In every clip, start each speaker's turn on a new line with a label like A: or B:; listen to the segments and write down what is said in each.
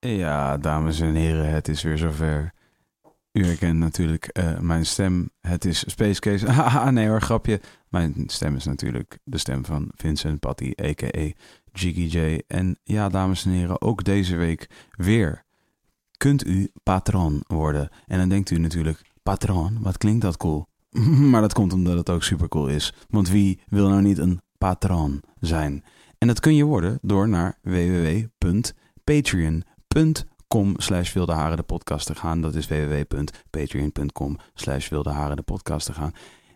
A: Ja, dames en heren, het is weer zover. U herkent natuurlijk eh, mijn stem. Het is Space Case. Haha, nee hoor, grapje. Mijn stem is natuurlijk de stem van Vincent Patty, a.k.a. Jiggy J. En ja, dames en heren, ook deze week weer kunt u patroon worden. En dan denkt u natuurlijk, patroon, wat klinkt dat cool? maar dat komt omdat het ook super cool is. Want wie wil nou niet een patroon zijn? En dat kun je worden door naar www.patreon patreon.com slash Wilde Haren de podcast te gaan. Dat is www.patreon.com slash Wilde Haren de podcast te gaan.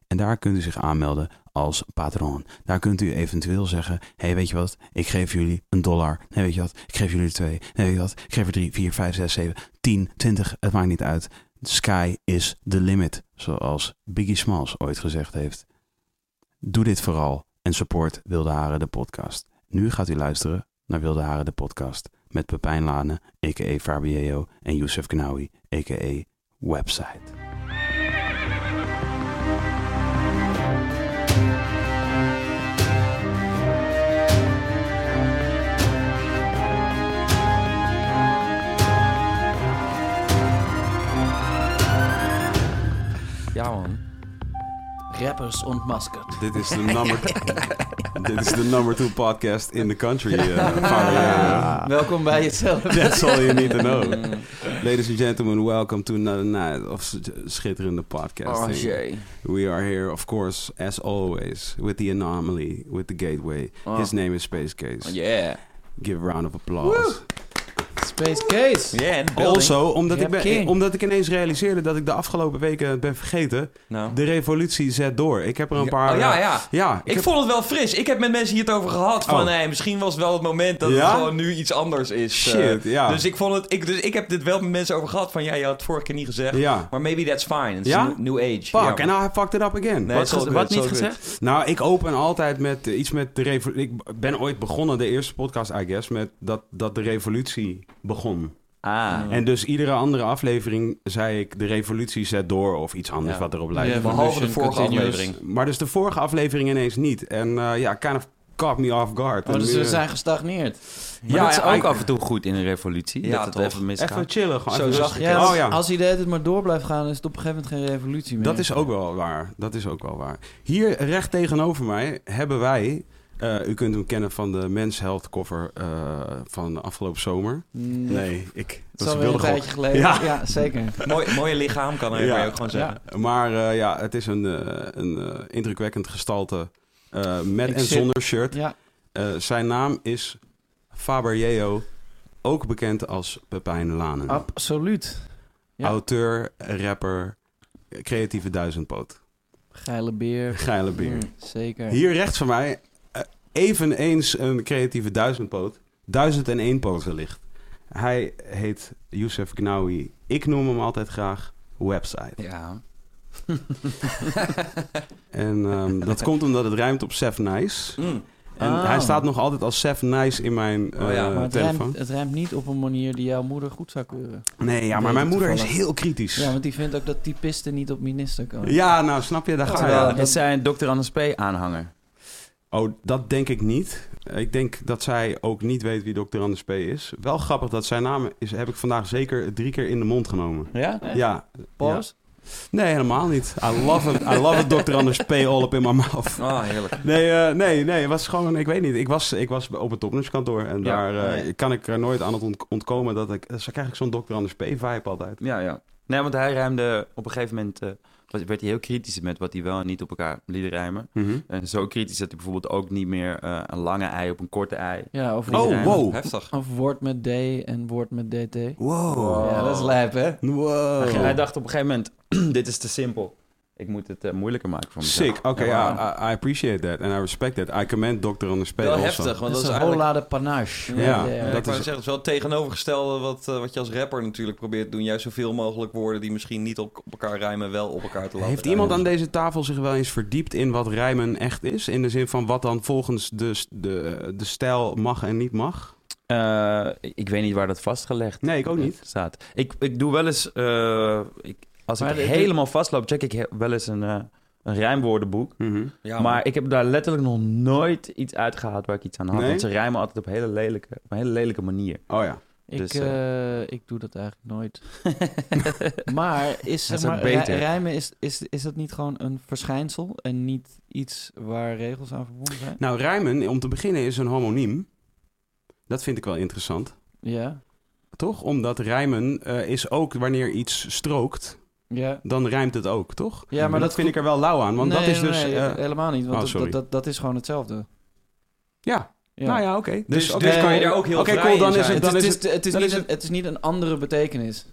A: En daar kunt u zich aanmelden als patroon. Daar kunt u eventueel zeggen, hé hey, weet je wat, ik geef jullie een dollar. Nee weet je wat, ik geef jullie er twee. Nee weet je wat, ik geef er drie, vier, vijf, zes, zeven, tien, twintig. Het maakt niet uit. Sky is the limit, zoals Biggie Smalls ooit gezegd heeft. Doe dit vooral en support Wilde Haren de podcast. Nu gaat u luisteren naar Wilde Haren de podcast met Pepijn Lane, a.k.a. Fabieo, en Youssef Knawi, a.k.a. Website.
B: Ja, man. Rappers ontmaskerd.
A: Dit is de number, dit is de number two podcast in the country, eh, Fabio.
B: Welkom bij jezelf.
A: That's all you need to know.
B: Mm.
A: Ladies and gentlemen, welcome to another night of s- schitterende
B: Oh,
A: podcasting.
B: jee.
A: We are here, of course, as always, with the anomaly, with the gateway.
B: Oh.
A: His name is Space Case.
B: Yeah.
A: Give a round of applause.
B: Space Case.
C: Yeah, in the building.
A: Also, omdat ik,
B: Rap
A: ben,
B: King.
A: omdat ik ineens realiseerde dat ik de afgelopen weken ben vergeten...
C: Nou.
A: De revolutie zet door. Ik heb er een paar.
C: Oh, ja,
A: eh,
C: ja.
A: ja,
C: Ik
A: ik, heb,
C: vond het wel fris. Ik heb met mensen hier het over gehad. Van,
A: Oh.
C: hey, misschien was het wel het moment dat
A: Ja?
C: het gewoon nu iets anders is. eh.
A: Shit, ja.
C: Dus ik, vond het, ik, dus ik heb dit wel met mensen over gehad. Van, ja, je had het vorige keer niet gezegd.
A: ja.
C: Maar maybe that's fine. It's
A: Ja?
C: a new, new age.
A: Fuck,
C: Ja.
A: en nou, I fucked it up again.
C: Nee,
A: Wat-
C: het is all
B: Wat
C: good,
B: niet
C: it's all good.
B: gezegd?
A: nou, ik open altijd met eh, iets met de revolutie. Ik ben ooit begonnen, de eerste podcast, I guess, met dat, dat de revolutie begon.
B: Ah.
A: En dus iedere andere aflevering zei ik: de revolutie zet door of iets anders
C: Ja.
A: wat erop lijkt. Dus
B: Ja,
C: Behalve de
B: Evolution
C: vorige
B: continues.
C: aflevering.
A: Maar dus de vorige aflevering ineens niet. En eh, ja, kind of caught me off guard.
B: Oh,
A: En
B: dus
A: nu,
B: we
A: eh,
B: zijn gestagneerd.
D: Maar
A: Ja,
D: dat is
A: ja,
D: ook
A: ik-
D: af en toe goed in een revolutie.
C: Ja,
D: dat het
C: toch.
D: even misgaat.
A: Even chillen, gewoon.
C: Zo
A: even
C: zag
A: rustig.
C: ik
B: Ja, als,
A: Oh ja.
B: als hij de hele tijd maar door blijft gaan, is het op een gegeven moment geen revolutie meer.
A: Dat is ook wel waar. Dat is ook wel waar. Hier recht tegenover mij hebben wij. eh, u kunt hem kennen van de Men's Health cover eh, van afgelopen zomer.
B: Mm,
A: Nee, ik.
B: Het
A: Dat
B: is
A: is
B: alweer een
A: wilde gok.
B: tijdje geleden.
A: Ja.
B: Ja, zeker.
C: Mooi, mooie lichaam kan hij
A: Ja.
C: kan je ook gewoon zeggen.
B: Ja.
A: Maar eh, ja, het is een, eh, een eh, indrukwekkend gestalte. eh, met
B: Ik
A: en
B: zit-
A: zonder shirt.
B: Ja.
A: Eh, zijn naam is Faber Yeo, Ook bekend als Pepijn Lanen.
B: Absoluut. ja.
A: Auteur, rapper, creatieve duizendpoot.
B: Geile beer.
A: Geile beer.
B: Mm, zeker.
A: Hier rechts van mij eh, eveneens een creatieve duizendpoot. Duizend en één poot wellicht. Hij heet Youssef Gnawi. Ik noem hem altijd graag Website.
C: Ja.
A: En ehm, dat komt omdat het ruimt op Sef Nice.
C: Mm.
A: En
B: Ah.
A: hij staat nog altijd als Sef Nice in mijn eh,
C: Oh ja,
B: maar het
A: telefoon.
B: rijmt, het rijmt niet op een manier die jouw moeder goed zou keuren.
A: Nee, ja, maar
B: Nee,
A: mijn moeder is
B: toevallig.
A: heel kritisch.
B: Ja,
A: Ja,
B: want die vindt ook dat typisten niet op minister komen.
A: nou snap je, daar
B: Oh,
A: ga je.
B: ja.
D: Terwijl,
B: dat-
D: is zij een Dr. Anders P. aanhanger?
A: Oh, dat denk ik niet. Ik denk dat zij ook niet weet wie Dr. Anders P. is. Wel grappig dat zijn naam is, heb ik vandaag zeker drie keer in de mond genomen.
B: Ja?
A: Ja,
B: Paus?
A: Nee, helemaal niet. I love it. I love it, Dr. Anders P. all up in my mouth.
C: Oh, heerlijk.
A: Nee, eh, nee, nee. Het was gewoon, ik weet niet. Ik was, ik was op het topnumskantoor en
D: Ja,
A: daar eh,
D: nee.
A: kan ik er nooit aan het ont- ontkomen dat ik, zo krijg ik zo'n Dr. Anders P. vibe altijd.
D: Ja, ja. Nee, want hij ruimde op een gegeven moment... eh, was- werd hij heel kritisch met wat hij wel en niet op elkaar liet rijmen.
A: Oh,
D: En zo kritisch dat hij bijvoorbeeld ook niet meer eh, een lange ei op een korte ei...
B: Ja, of,
D: liet
A: Oh,
D: rijmen.
A: wow.
C: Heftig.
B: of woord met D en woord met DT.
A: Wow.
B: Ja, dat is lijp, hè?
A: Wow.
D: En hij dacht op een gegeven moment, dit is te simpel. Ik moet het eh, moeilijker maken voor mezelf.
A: Sick. Oké, ja, I, I appreciate that and I respect that. I commend Dr. Anders P.
C: Wel
A: also.
C: heftig, want
B: dat is een
C: eigenlijk...
B: hola de panache.
A: Ja,
C: Ja,
A: dat
C: ik wou
A: is-
C: zeggen, het is wel het tegenovergestelde wat, eh, wat je als rapper natuurlijk probeert te doen. Juist zoveel mogelijk woorden die misschien niet op, op elkaar rijmen, wel op elkaar te laten
A: Heeft
C: rijmen.
A: iemand aan deze tafel zich wel eens verdiept in wat rijmen echt is? In de zin van wat dan volgens de, s- de, de stijl mag en niet mag?
D: Eh, ik weet niet waar dat vastgelegd
A: Nee, ik ook niet.
D: staat. Ik, ik doe wel eens... eh, ik, als
B: Maar
D: ik
B: dit- dit-
D: helemaal vastloop, check ik he- wel eens een, eh, een rijmwoordenboek.
A: Mhm.
C: Ja,
D: maar ik heb daar letterlijk nog nooit iets uitgehaald waar ik iets aan had.
A: Nee?
D: Want ze rijmen altijd op, hele lelijke, op een hele lelijke manier.
A: Oh ja.
B: Ik,
D: Dus,
B: eh, ik doe dat eigenlijk nooit. maar is,
D: Dat
B: zeg
D: is
B: maar
D: ook beter.
B: rij- rijmen, is, is, is dat niet gewoon een verschijnsel en niet iets waar regels aan verbonden zijn?
A: Nou, rijmen, om te beginnen, is een homoniem. Dat vind ik wel interessant.
B: Ja,
A: Toch? Omdat rijmen eh, is ook wanneer iets strookt,
B: ja.
A: dan rijmt het ook, toch?
B: Ja, maar
A: En dat
B: dat
A: vind ik er wel lauw aan, want
B: Nee,
A: dat is
B: nee,
A: dus...
B: nee,
A: eh,
B: helemaal niet, want
A: oh,
B: dat-
A: sorry.
B: dat, dat, dat is gewoon hetzelfde.
A: ja.
B: Ja.
A: nou ja, oké.
C: Dus,
A: oké.
C: dus kan je
B: eh,
C: daar ook heel
A: oké,
C: vrij
A: cool, dan
C: in
A: is
C: zijn.
B: Het is,
A: dan is
B: het, is, het, is
A: dan
B: niet
A: is
B: een, het is niet een andere betekenis.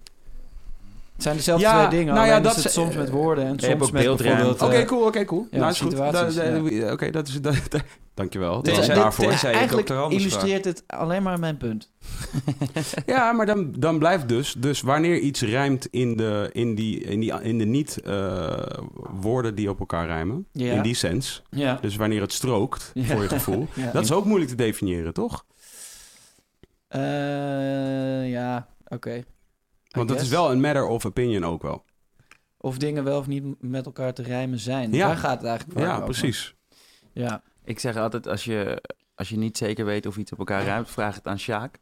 B: Het zijn dezelfde
A: Ja,
B: twee dingen,
A: nou ja,
B: alleen
A: dat
B: is het
A: ze-
B: soms met woorden en
D: je hebt
B: soms
D: ook
B: met
D: beeldruimte.
B: bijvoorbeeld...
A: Oké,
B: eh,
A: cool, oké, cool.
B: ja,
A: nou, is goed.
B: situaties,
A: Da- da- eh,
B: ja.
A: Oké, dat is... da- da- dankjewel.
C: Dit-
A: Dat is
C: dit-
A: daarvoor.
C: dit- Tenzij je
B: eigenlijk
C: Dr. Anders
B: illustreert het alleen maar mijn punt.
A: Ja, maar dan, dan blijft dus... Dus wanneer iets rijmt in de, in die, in die, in de niet-woorden die op elkaar rijmen,
B: Ja.
A: in die sens...
B: Ja.
A: Dus wanneer het strookt,
B: Ja.
A: voor je gevoel...
B: ja.
A: Dat is ook moeilijk te definiëren, toch?
B: Eh, ja, oké. I
A: Want dat is
B: guess.
A: wel een matter of opinion ook wel.
B: Of dingen wel of niet m- met elkaar te rijmen zijn.
A: Ja.
B: Daar gaat het eigenlijk vaak
A: Ja,
B: over.
A: precies.
B: Ja.
D: Ik zeg altijd, als je, als je niet zeker weet of iets op elkaar ruimt, vraag het aan Sjaak.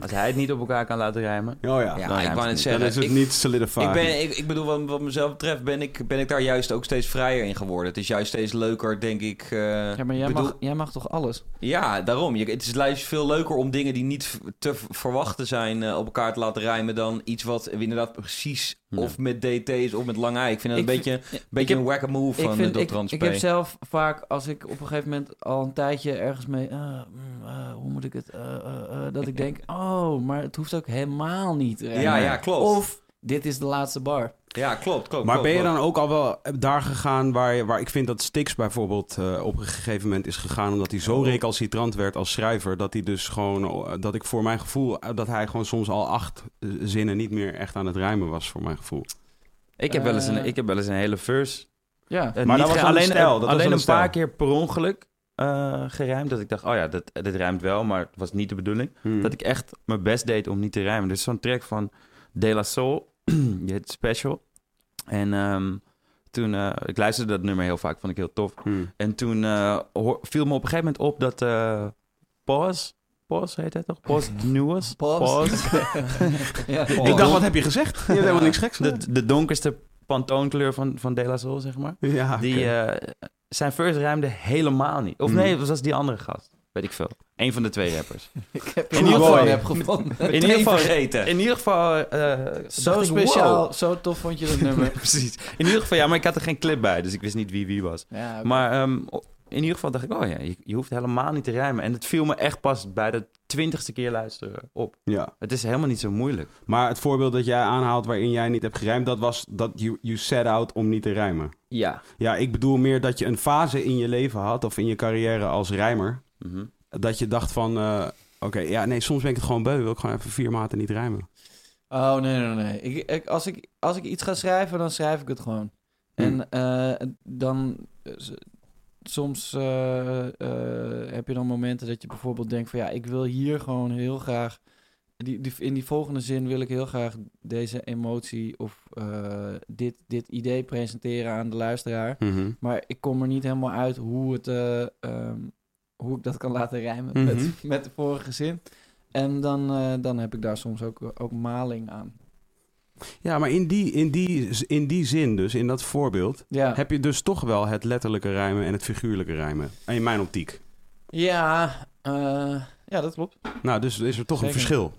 D: Als hij het niet op elkaar kan laten rijmen...
A: Oh ja.
C: Ja,
D: Dan
C: ik
D: ruimt
C: wou
D: het
C: net
D: niet.
A: Dan
C: zeggen.
A: is het
C: ik-
A: niet solidified.
C: Ik, ben, ik, ik bedoel, wat, wat mezelf betreft ben ik, ben ik daar juist ook steeds vrijer in geworden. Het is juist steeds leuker, denk ik. eh,
B: ja, maar jij,
C: bedoel-
B: mag, jij mag toch alles?
C: Ja, daarom. Je, het is juist veel leuker om dingen die niet v- te v- verwachten zijn eh, op elkaar te laten rijmen... dan iets wat inderdaad precies
D: Ja.
C: of met DT is of met lang ei. Ik vind dat
B: Ik
C: een beetje, beetje een whack-a-move van de
B: ik,
C: Dr. Hans
B: ik
C: P.
B: heb zelf vaak, als ik op een gegeven moment al een tijdje ergens mee... eh, mm, eh, hoe moet ik het? eh, eh, eh, dat ik denk, oh, maar het hoeft ook helemaal niet te rijmen.
C: Ja, ja, klopt.
B: Of, dit is de laatste bar.
C: Ja, klopt, klopt.
A: maar
C: klopt,
A: ben je
C: klopt.
A: dan ook al wel eh, daar gegaan waar, je- waar ik vind dat Stix bijvoorbeeld eh, op een gegeven moment is gegaan omdat hij zo recalcitrant werd als schrijver dat hij dus gewoon eh, dat ik voor mijn gevoel eh, dat hij gewoon soms al acht eh, zinnen niet meer echt aan het rijmen was voor mijn gevoel.
D: Ik heb, wel eens een,
B: Eh.
D: ik heb wel eens een hele verse.
B: Ja.
D: eh,
A: Maar
D: niet
A: dat was
D: ge-
A: wel een
D: alleen
A: stijl, dat was
D: alleen
A: wel een
D: een paar
A: stijl.
D: keer per ongeluk eh gerijmd. Dat ik dacht, oh ja, dat, dit rijmt wel, maar het was niet de bedoeling. Dat ik echt mijn best deed om niet te rijmen. Dus zo'n track van De La Soul, die heet Special. En ehm, toen, eh, ik luisterde dat nummer heel vaak, vond ik heel tof.
A: Hmm.
D: En toen eh, hoor- viel me op een gegeven moment op dat eh Pause, Pause heet hij toch? Pause Nuance.
B: Pause. ja.
A: Ik dacht, wat heb je gezegd? Je hebt helemaal niks geks
D: De, de donkerste pantoonkleur van, van De La Soul, zeg maar.
A: gedaan. Ja,
D: Die,
A: oké.
D: eh, zijn first ruimde helemaal niet. Of
A: Mhm.
D: nee, het was die andere gast. Weet ik veel. Eén van de twee rappers.
B: Ik heb
D: In ieder
B: een
D: geval-
B: heb gevonden.
D: In ieder geval...
C: vergeten.
D: In ieder geval... eh,
B: Zo
D: dacht ik,
B: speciaal,
D: wow.
B: zo tof vond je dat nummer.
D: Precies. In ieder geval, ja, maar ik had er geen clip bij. Dus ik wist niet wie wie was.
B: Ja, oké.
D: Maar ehm, in ieder geval dacht ik... Oh ja, je, je hoeft helemaal niet te rijmen. En het viel me echt pas bij de twintigste keer luisteren op.
A: ja.
D: Het is helemaal niet zo moeilijk.
A: Maar het voorbeeld dat jij aanhaalt waarin jij niet hebt gerijmd, dat was dat you, you set out om niet te rijmen.
D: Ja.
A: Ja, ik bedoel meer dat je een fase in je leven had of in je carrière als rijmer,
D: Mhm.
A: dat je dacht van, eh, oké, ja, nee, soms ben ik het gewoon beu, wil ik gewoon even vier maten niet rijmen.
B: Oh, nee, nee, nee. Ik, ik- als, ik, als ik iets ga schrijven, dan schrijf ik het gewoon.
A: Hmm.
B: En eh, dan... eh, s- soms eh, eh, heb je dan momenten dat je bijvoorbeeld denkt van... Ja, ik wil hier gewoon heel graag... Die, die, in die volgende zin wil ik heel graag deze emotie of eh, dit, dit idee presenteren aan de luisteraar.
D: Mhm.
B: Maar ik kom er niet helemaal uit hoe, het, eh, ehm, hoe ik dat kan laten rijmen
A: Mhm.
B: met, met de vorige zin. En dan, eh, dan heb ik daar soms ook, ook maling aan.
A: Ja, maar in die, in, die, in die zin dus, in dat voorbeeld,
B: Ja,
A: heb je dus toch wel het letterlijke rijmen en het figuurlijke rijmen. In mijn optiek.
B: ja, eh, ja dat klopt.
A: Nou, dus is er toch een
B: Zeker.
A: verschil.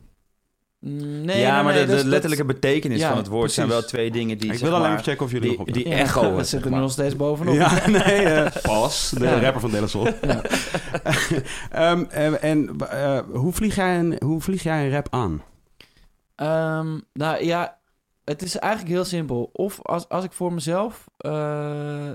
B: Mm, Nee,
D: ja,
B: nee,
D: maar
B: nee,
D: de, de
B: dat- dat-
D: letterlijke betekenis
B: Ja,
D: van het woord zijn
B: precies.
D: wel twee dingen die...
A: ik
D: zeg
A: wil alleen
D: maar,
A: even checken of jullie er nog op
D: die, die
B: Ja,
D: echo...
B: We
D: zeg
B: zitten
D: maar.
B: er nog steeds bovenop.
A: Ja, nee, eh, Pas, de
B: Ja.
A: rapper van Delasol.
B: Ja.
A: Ehm, en en, eh, hoe, vlieg jij een, hoe vlieg jij een rap aan?
B: Ehm, nou ja, het is eigenlijk heel simpel. Of als, als ik voor mezelf eh,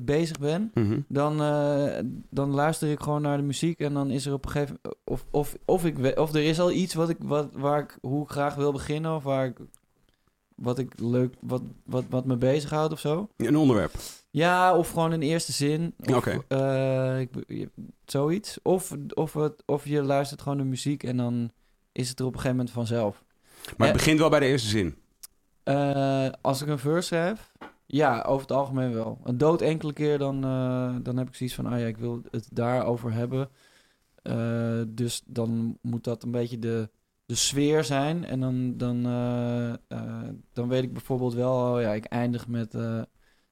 B: bezig ben,
A: Mhm.
B: dan, eh, dan luister ik gewoon naar de muziek en dan is er op een gegeven Of, of, of, ik, we- of er is al iets wat ik, wat, waar ik, hoe ik graag wil beginnen of waar ik, wat ik leuk, wat, wat, wat me bezighoudt of zo.
A: Een onderwerp.
B: Ja, of gewoon een eerste zin. Of,
A: Oké.
B: eh, ik be- je- zoiets. Of, of, het, of je luistert gewoon naar muziek en dan is het er op een gegeven moment vanzelf.
A: Maar
B: Ja.
A: het begint wel bij de eerste zin.
B: Eh, als ik een verse schrijf, ja, over het algemeen wel. Een dood enkele keer, dan, eh, dan heb ik zoiets van, ah ja, ik wil het daarover hebben. Eh, dus dan moet dat een beetje de de sfeer zijn. En dan, dan, eh, eh, dan weet ik bijvoorbeeld wel, oh ja, ik eindig met... eh,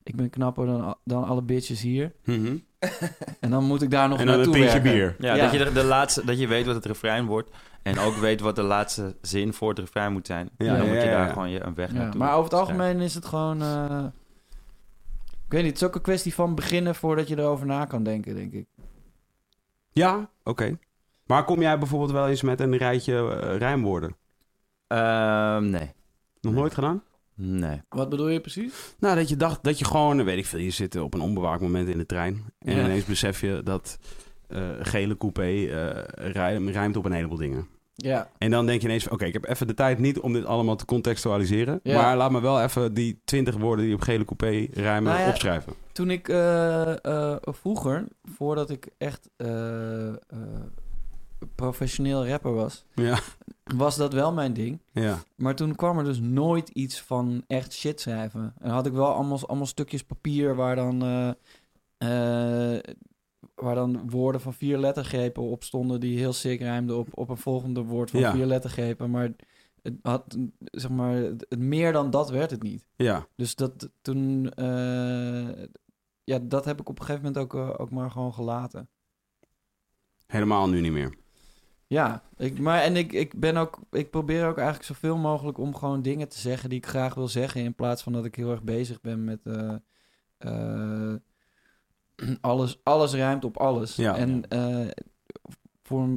B: ik ben knapper dan, a- dan alle bitches hier.
A: Mhm.
B: En dan moet ik daar nog
A: En dan een
B: naartoe
A: pintje
B: werken.
A: bier.
D: Ja,
B: Ja.
D: Dat, je de, de laatste, dat je weet wat het refrein wordt. En ook weet wat de laatste zin voor het refrein moet zijn.
A: Ja,
D: en dan
A: ja,
D: moet je
A: ja,
D: daar
A: ja.
D: gewoon je een weg
B: Ja,
D: naartoe
B: maar over het
D: schrijven.
B: algemeen is het gewoon... eh, ik weet niet, het is ook een kwestie van beginnen voordat je erover na kan denken, denk ik.
A: Ja, oké. Maar kom jij bijvoorbeeld wel eens met een rijtje eh, rijmwoorden?
D: Ehm, nee.
A: Nog nooit gedaan?
D: Nee.
B: Wat bedoel je precies?
A: Nou, dat je dacht dat je gewoon, weet ik veel, je zit op een onbewaakt moment in de trein. En
B: Ja.
A: ineens besef je dat eh, gele coupé eh, rij- rijmt op een heleboel dingen.
B: Ja,
A: En dan denk je ineens, van, oké, ik heb even de tijd niet om dit allemaal te contextualiseren.
B: Ja.
A: Maar laat me wel even die twintig woorden die op gele coupé rijmen
B: Nou ja.
A: opschrijven.
B: toen ik eh, eh, vroeger, voordat ik echt eh, eh, professioneel rapper was,
A: Ja,
B: was dat wel mijn ding.
A: ja.
B: Maar toen kwam er dus nooit iets van echt shit schrijven. En had ik wel allemaal, allemaal stukjes papier waar dan, eh, eh, waar dan woorden van vier lettergrepen op stonden... die heel sick rijmden op, op een volgende woord van
A: Ja.
B: vier lettergrepen. Maar, het had, zeg maar het, het meer dan dat werd het niet.
A: ja.
B: Dus dat toen. eh, ja, dat heb ik op een gegeven moment ook, eh, ook maar gewoon gelaten.
A: Helemaal nu niet meer.
B: Ja, ik, maar en ik, ik ben ook. Ik probeer ook eigenlijk zoveel mogelijk om gewoon dingen te zeggen die ik graag wil zeggen. In plaats van dat ik heel erg bezig ben met. eh, eh, alles, alles ruimt op alles.
A: Ja.
B: en eh, voor,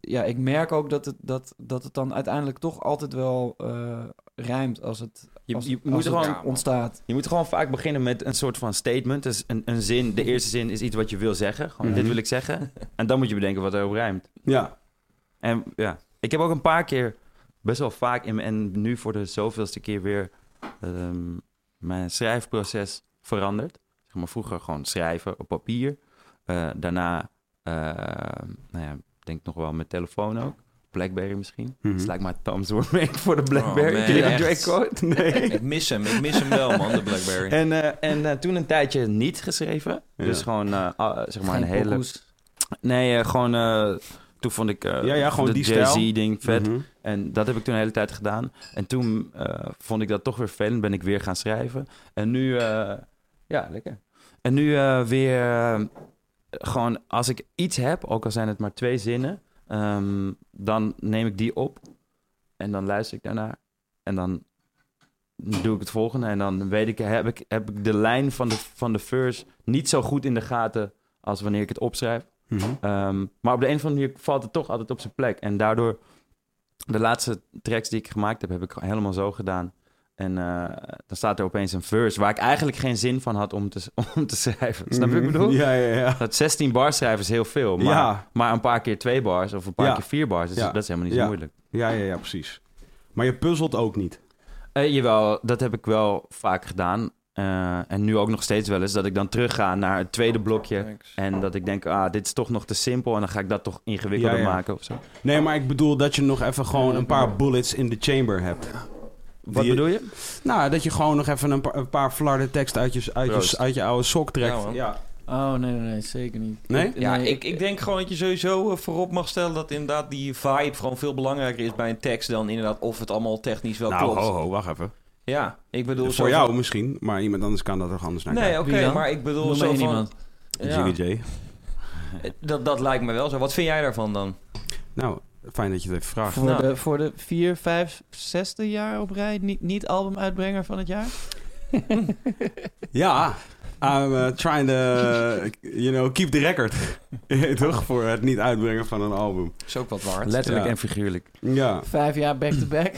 B: ja, ik merk ook dat het, dat, dat het dan uiteindelijk toch altijd wel eh ruimt als het,
D: Je,
B: als,
D: je
B: het-
D: moet
B: als
D: er
B: het
D: gewoon,
B: ontstaat.
D: je moet gewoon vaak beginnen met een soort van statement. Dus een, een zin. De eerste zin is iets wat je wil zeggen. Gewoon,
A: Mhm.
D: Dit wil ik zeggen. En dan moet je bedenken wat erop rijmt.
A: Ja.
D: En ja, ik heb ook een paar keer, best wel vaak, in, mijn- en nu voor de zoveelste keer weer ehm, mijn schrijfproces veranderd. Zeg maar vroeger gewoon schrijven op papier. Eh, daarna, eh, nou ja, ik denk nog wel met telefoon ook. Blackberry misschien.
A: Mhm.
D: Dus lijkt mij Tom's Warming voor de Blackberry.
C: man,
D: Ken je die
C: echt.
D: Drake quote? Nee.
C: Ik mis hem. Ik mis hem wel, man, de Blackberry.
D: En, eh, en eh, toen een tijdje niet geschreven.
A: Ja.
D: Dus gewoon, eh, ah, zeg maar, een
B: Geen
D: hele...
B: pokoes.
D: Nee, eh, gewoon... eh, toen vond ik eh
A: Ja, ja, gewoon
D: de
A: die stijl.
D: Jay-Z-ding vet.
A: Mhm.
D: En dat heb ik toen de hele tijd gedaan. En toen eh, vond ik dat toch weer vervelend. Ben ik weer gaan schrijven. En nu... eh, ja, lekker. En nu eh, weer... eh, gewoon als ik iets heb, ook al zijn het maar twee zinnen... ehm, dan neem ik die op. En dan luister ik daarnaar. En dan doe ik het volgende. En dan weet ik, heb ik, heb ik de lijn van de, van de verse niet zo goed in de gaten... als wanneer ik het opschrijf.
A: Mhm.
D: Ehm, maar op de een of andere manier valt het toch altijd op zijn plek. En daardoor, de laatste tracks die ik gemaakt heb, heb ik helemaal zo gedaan. En eh, dan staat er opeens een verse waar ik eigenlijk geen zin van had om te, om te schrijven. Snap je wat ik bedoel?
A: Mhm. Ja, ja, ja.
D: Dat 16 bars schrijven is heel veel. Maar,
A: Ja.
D: maar een paar keer twee bars of een paar
A: Ja.
D: keer vier bars, dus
A: Ja.
D: dat is helemaal niet zo
A: Ja.
D: moeilijk.
A: Ja, ja, ja, precies. Maar je puzzelt ook niet.
D: Eh, jawel, dat heb ik wel vaak gedaan. Eh, en nu ook nog steeds wel eens, dat ik dan terugga naar het tweede blokje. En dat ik denk, ah, dit is toch nog te simpel. En dan ga ik dat toch ingewikkelder
A: Ja, ja.
D: maken of zo.
A: Nee, maar ik bedoel dat je nog even gewoon een paar bullets in de chamber hebt.
D: Wat
A: Die-
D: bedoel je?
A: Nou, dat je gewoon nog even een, pa- een paar flarden tekst uit je, uit,
D: Proost.
A: je, uit je oude sok
C: Ja,
A: trekt.
C: man.
A: ja.
B: Oh, nee, nee, nee, zeker niet.
A: Nee?
C: Ja,
B: eh,
C: ik, ik denk gewoon dat je sowieso eh, voorop mag stellen dat inderdaad die vibe gewoon veel belangrijker is bij een tekst dan inderdaad of het allemaal technisch wel
A: Nou,
C: klopt.
A: ho, ho, wacht even.
C: Ja, ik bedoel zo
A: Voor jou misschien, maar iemand anders kan dat toch anders naar
C: Van, nee, oké,
B: Wie dan?
C: maar ik bedoel
B: Noem
C: zo
B: één
C: van...
B: iemand.
C: Ja,
A: Jiggy J.
C: dat, dat lijkt me wel zo. Wat vind jij daarvan dan?
A: Nou, fijn dat je het even vraagt.
B: Voor,
C: Nou.
B: de, voor de vier, vijf, zesde jaar op rij, niet, niet albumuitbrenger van het jaar.
A: Ja, I'm eh, trying to, eh, you know, keep the record. toch? Voor het niet uitbrengen van een album.
C: Is ook wat waard.
D: Letterlijk
A: Ja.
D: en figuurlijk.
A: Ja,
B: Vijf jaar back-to-back.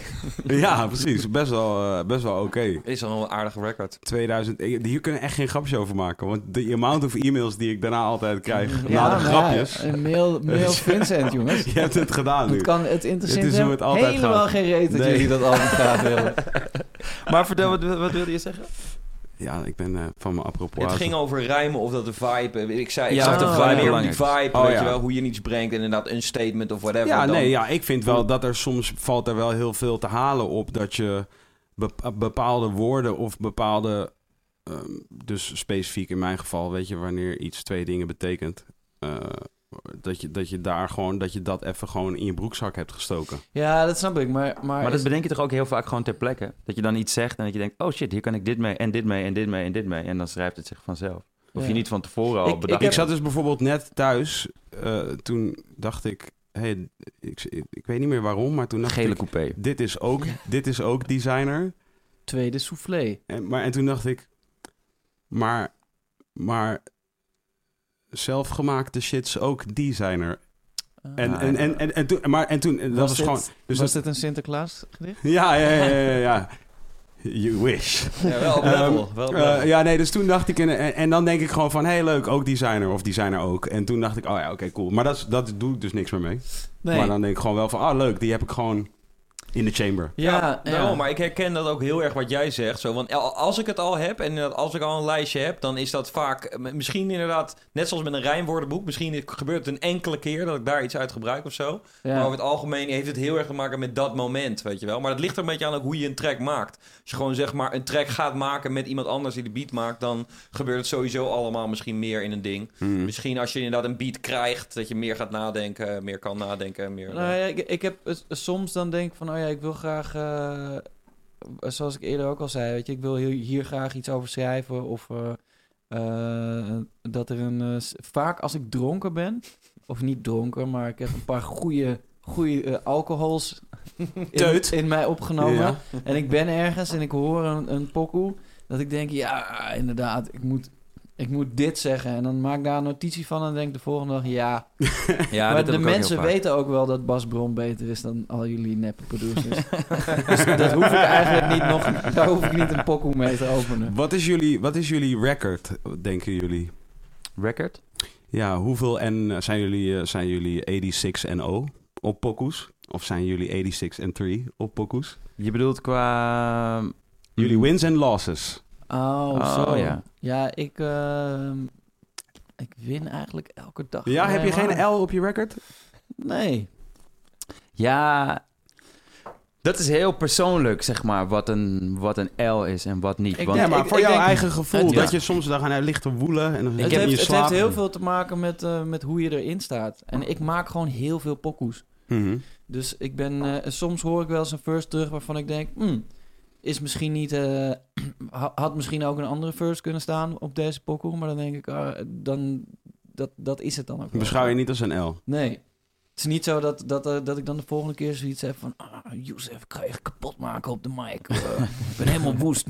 A: ja precies. Best wel, eh, best wel oké.
C: Is al een aardige record.
A: 2000. ik- Hier kunnen echt geen grapjes over maken. Want de amount of e-mails die ik daarna altijd krijg.
B: Ja,
A: na de
B: maar
A: grapjes.
B: ja, mail, mail Vincent, jongens.
A: Je hebt het gedaan nu.
B: Het, kan, het interesseert
A: Het is hoe
B: hem
A: het altijd
B: helemaal
A: gaat.
B: geen reet dat
A: Nee.
B: jullie dat album graag willen.
D: Maar vertel, wat, wat wilde je zeggen?
A: Ja, ik ben eh, van mijn apropos.
C: Het ging over rijmen of dat de vibe... eh, Ik zei, ik
D: Ja,
C: zag
D: de
C: het
D: vibe
C: gewoon meer om die
D: belangrijk
C: vibe,
A: Oh,
C: weet
A: ja.
C: je wel, hoe je iets brengt. Inderdaad, een statement of whatever.
A: Ja,
C: dan-
A: nee, ja, ik vind wel dat er soms valt er wel heel veel te halen op dat je bep- bepaalde woorden of bepaalde. ehm, dus specifiek in mijn geval, weet je, wanneer iets twee dingen betekent. eh, Dat je, dat je daar gewoon, dat je dat even gewoon in je broekzak hebt gestoken.
B: Ja, dat snap ik. Maar, maar,
D: Maar
B: is-
D: dat bedenk je toch ook heel vaak gewoon ter plekke? Dat je dan iets zegt en dat je denkt, oh shit, hier kan ik dit mee en dit mee en dit mee en dit mee. En dan schrijft het zich vanzelf. Of
B: Ja.
D: je niet van tevoren al
B: Ik- ik
D: bedacht.
A: Ik
B: heb-
A: zat dus bijvoorbeeld net thuis. eh, toen dacht ik, hey, ik, ik, ik weet niet meer waarom, maar toen dacht
D: gele
A: ik,
D: coupé.
A: dit is ook, dit is ook designer.
B: tweede soufflé.
A: En, maar, en toen dacht ik, maar, maar zelfgemaakte shits ook designer. En, en, en, en, en toen, maar en toen, dat was,
B: dit,
A: gewoon, dus
B: Ah.
A: dat,
B: was dit een Sinterklaas gedicht?
A: ja, ja, ja, ja, ja. You wish.
C: Ja, wel op level. wel op
A: Eh,
C: level.
A: ja, nee, dus toen dacht ik... En, en, en dan denk ik gewoon van... hey, leuk, ook designer of designer ook. En toen dacht ik, oh ja, oké, cool. Maar dat, is- dat doe ik dus niks meer mee.
B: Nee.
A: Maar dan denk ik gewoon wel van... ah, leuk, die heb ik gewoon in de chamber.
B: ja,
C: Ja,
B: ja.
C: daarom, maar ik herken dat ook heel erg wat jij zegt. Zo, want al- als ik het al heb en inderdaad als ik al een lijstje heb, dan is dat vaak eh, misschien inderdaad, net zoals met een rijmwoordenboek, misschien gebeurt het een enkele keer dat ik daar iets uit gebruik of zo.
B: Ja.
C: Maar over het algemeen heeft het heel erg te maken met dat moment, weet je wel. Maar dat ligt er een beetje aan ook hoe je een track maakt. Als je gewoon zeg maar een track gaat maken met iemand anders die de beat maakt, dan gebeurt het sowieso allemaal misschien meer in een ding.
B: Hm.
C: Misschien als je inderdaad een beat krijgt, dat je meer gaat nadenken, meer kan nadenken, meer... eh.
B: Nou ja, ik, ik heb het- soms dan denk ik van, oh ja, ik wil graag, eh, zoals ik eerder ook al zei, weet je, ik wil hier, hier graag iets over schrijven of eh, eh, dat er een, eh, s- vaak als ik dronken ben, of niet dronken, maar ik heb een paar goede, goede eh, alcohols in,
A: Teut.
B: in mij opgenomen
A: Ja.
B: en ik ben ergens en ik hoor een, een pokoe, dat ik denk, ja, inderdaad, ik moet, ik moet dit zeggen en dan maak ik daar een notitie van en denk de volgende dag, ja,
D: Ja,
B: maar de mensen weten ook wel dat Bas Bron beter is dan al jullie neppe producers. dus dat hoef ik eigenlijk niet nog... Daar hoef ik niet een pokoe mee te openen.
A: Wat is, jullie, wat is jullie record, denken jullie?
D: Record?
A: Ja, hoeveel en eh, zijn jullie, eh, zijn jullie 86 en O op pokoes? Of zijn jullie 86 en 3 op pokoes?
D: Je bedoelt qua... ehm,
A: Jullie wins en losses.
B: Oh,
D: Oh,
B: zo. Ja,
D: ja.
B: ik... ehm, ik win eigenlijk elke dag.
A: Ja, heb je
B: Nee, maar-
A: geen L op je record?
B: Nee.
D: Ja, dat is heel persoonlijk, zeg maar, wat een, wat een L is en wat niet.
B: Ik-
D: Want
A: Ja, maar
B: ik-
A: voor
B: ik
A: jouw
B: denk-
A: eigen gevoel.
B: het-
A: dat
B: ja.
A: je soms daar gaan ligt te woelen. En dan
D: Ik
A: heb
B: het,
A: je in
B: heeft,
A: je
B: het heeft
A: slaap.
B: heel veel te maken met, eh, met hoe je erin staat. En ik maak gewoon heel veel pokoes.
A: Mhm.
B: Dus ik ben, eh, soms hoor ik wel eens een verse terug waarvan ik denk, hmm, is misschien niet, eh, ha- had misschien ook een andere verse kunnen staan op deze pokoe, maar dan denk ik, ah, dan, dat, dat is het dan ook. wel.
A: Beschouw je niet als een L.
B: Nee. Het is niet zo dat, dat, eh, dat ik dan de volgende keer zoiets heb van, ah, Youssef, ik ga je kapot maken op de mic. Eh, ik ben helemaal woest.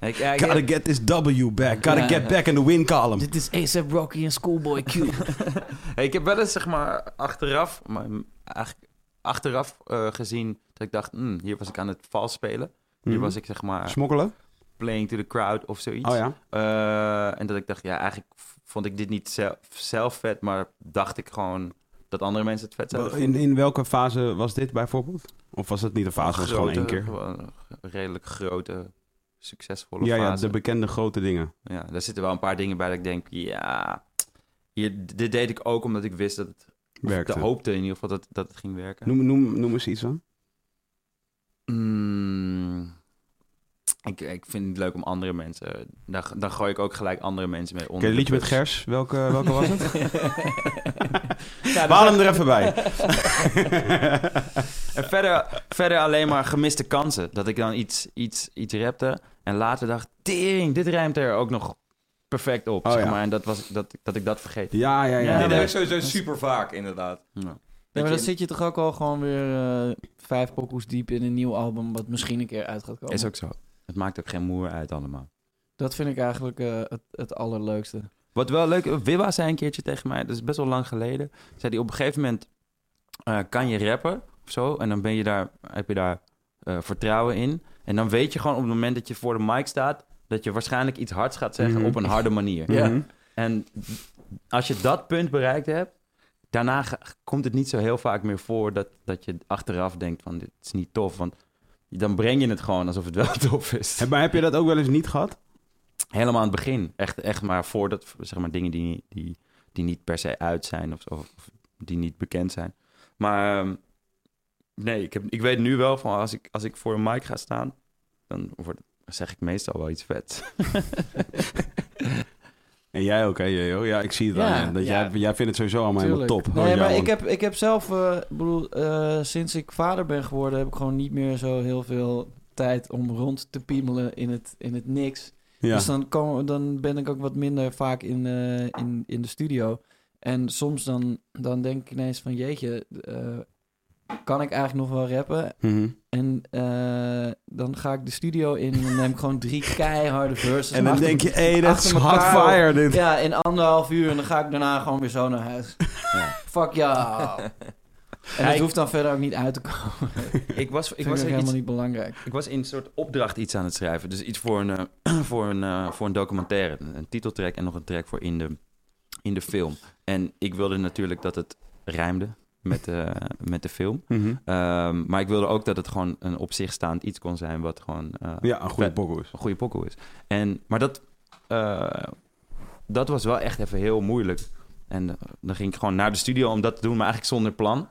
D: Ik, ja, ik-
A: Gotta get this W back. Gotta
B: Ja.
A: get back in the win column.
B: Dit is ASAP Rocky en Schoolboy Q.
D: Hey, ik heb wel eens, zeg maar, achteraf, maar m- eigenlijk achteraf eh, gezien dat ik dacht, "Hmm, hier was ik aan het vals spelen. Hier
A: Mhm.
D: was ik, zeg maar,
A: Smokkelen?
D: playing to the crowd of zoiets.
A: Oh ja.
D: Eh, en dat ik dacht, ja, eigenlijk v- vond ik dit niet zelf, zelf vet, maar dacht ik gewoon dat andere mensen het vet zouden
A: In, in welke fase was dit bijvoorbeeld? Of was het niet een fase, was het gewoon één
D: Grote,
A: keer?
D: gewoon een redelijk grote, succesvolle
A: Ja, ja,
D: fase.
A: de bekende grote dingen.
D: Ja, daar zitten wel een paar dingen bij dat ik denk, ja, hier, dit deed ik ook omdat ik wist dat het, of ik
A: Werkte.
D: hoopte in ieder geval dat, dat het ging werken.
A: Noem, noem, noem eens iets aan.
D: Mm, ik, ik vind het leuk om andere mensen, daar, daar gooi ik ook gelijk andere mensen mee onder.
A: Oké, het liedje
D: de
A: met
D: bus.
A: Gers. Welke, welke was het?
B: Ja,
A: We
B: dat-
A: halen hem er even bij.
D: En verder, verder alleen maar gemiste kansen. Dat ik dan iets, iets, iets rapte en later dacht, tering, dit rijmt er ook nog perfect op.
A: Oh,
D: zeg
A: ja.
D: maar. En dat, was, dat, dat ik dat vergeet.
A: Ja, ja, ja.
B: Ja,
A: ja.
C: Dit heb ik sowieso super vaak, inderdaad.
D: Ja.
B: Nee, maar
C: je-
B: dan zit je toch ook al gewoon weer eh, vijf pokoes diep in een nieuw album, wat misschien een keer uit gaat komen.
D: Is ook zo. Het maakt ook geen moer uit allemaal.
B: Dat vind ik eigenlijk eh, het, het allerleukste.
D: Wat wel leuk, Wibba zei een keertje tegen mij, dat is best wel lang geleden. Zei die op een gegeven moment eh, kan je rappen of zo. En dan ben je daar, heb je daar eh, vertrouwen in. En dan weet je gewoon op het moment dat je voor de mic staat, dat je waarschijnlijk iets hards gaat zeggen
A: Mhm.
D: op een harde manier.
A: Mhm.
D: En als je dat punt bereikt hebt, daarna ga- komt het niet zo heel vaak meer voor dat, dat je achteraf denkt van dit is niet tof. Want dan breng je het gewoon alsof het wel tof is.
A: Heb- Maar heb je dat ook wel eens niet gehad?
D: Helemaal aan het begin. Echt, echt maar voordat, zeg maar, dingen die, die, die niet per se uit zijn of, of, of die niet bekend zijn. Maar ehm, nee, ik, heb, ik weet nu wel van als ik, als ik voor een mic ga staan, dan wordt, zeg ik meestal wel iets vet.
A: En jij ook, hè, Jeo? Ja, ik zie het
B: Ja,
A: aan je. Dat
B: ja.
A: Jij, jij vindt het sowieso allemaal
B: Tuurlijk.
A: helemaal top.
B: Nee,
A: Want
B: maar
A: jou-
B: ik heb, ik heb zelf, eh, ik bedoel, eh, sinds ik vader ben geworden, heb ik gewoon niet meer zo heel veel tijd om rond te piemelen in het, in het niks.
A: ja.
B: Dus dan, kom, dan ben ik ook wat minder vaak in, eh, in, in de studio. En soms dan, dan denk ik ineens van jeetje, eh, kan ik eigenlijk nog wel rappen?
A: Mhm.
B: En eh, dan ga ik de studio in en dan neem ik gewoon drie keiharde verses.
A: En dan
B: dus achter-
A: denk je, hé, hey, dat is
B: achter elkaar
A: hot fire dit.
B: Ja, in anderhalf uur en dan ga ik daarna gewoon weer zo naar huis. Fuck ja. En
D: Ja,
B: dat
D: ik-
B: hoeft dan verder ook niet uit te komen.
D: Ik was, ik
B: Vind ik
D: was iets,
B: ook helemaal niet belangrijk.
D: Ik was in een soort opdracht iets aan het schrijven. Dus iets voor een, eh, voor een, eh, voor een documentaire. Een, een titeltrack en nog een track voor in de, in de film. En ik wilde natuurlijk dat het rijmde met, de met de film.
A: Mhm.
D: Ehm, maar ik wilde ook dat het gewoon een op zich staand iets kon zijn... wat gewoon eh,
A: Ja, een goede
D: Vet.
A: bokkel is.
D: een goede pokkel is. En, maar dat, eh, dat was wel echt even heel moeilijk. En eh, dan ging ik gewoon naar de studio om dat te doen, maar eigenlijk zonder plan.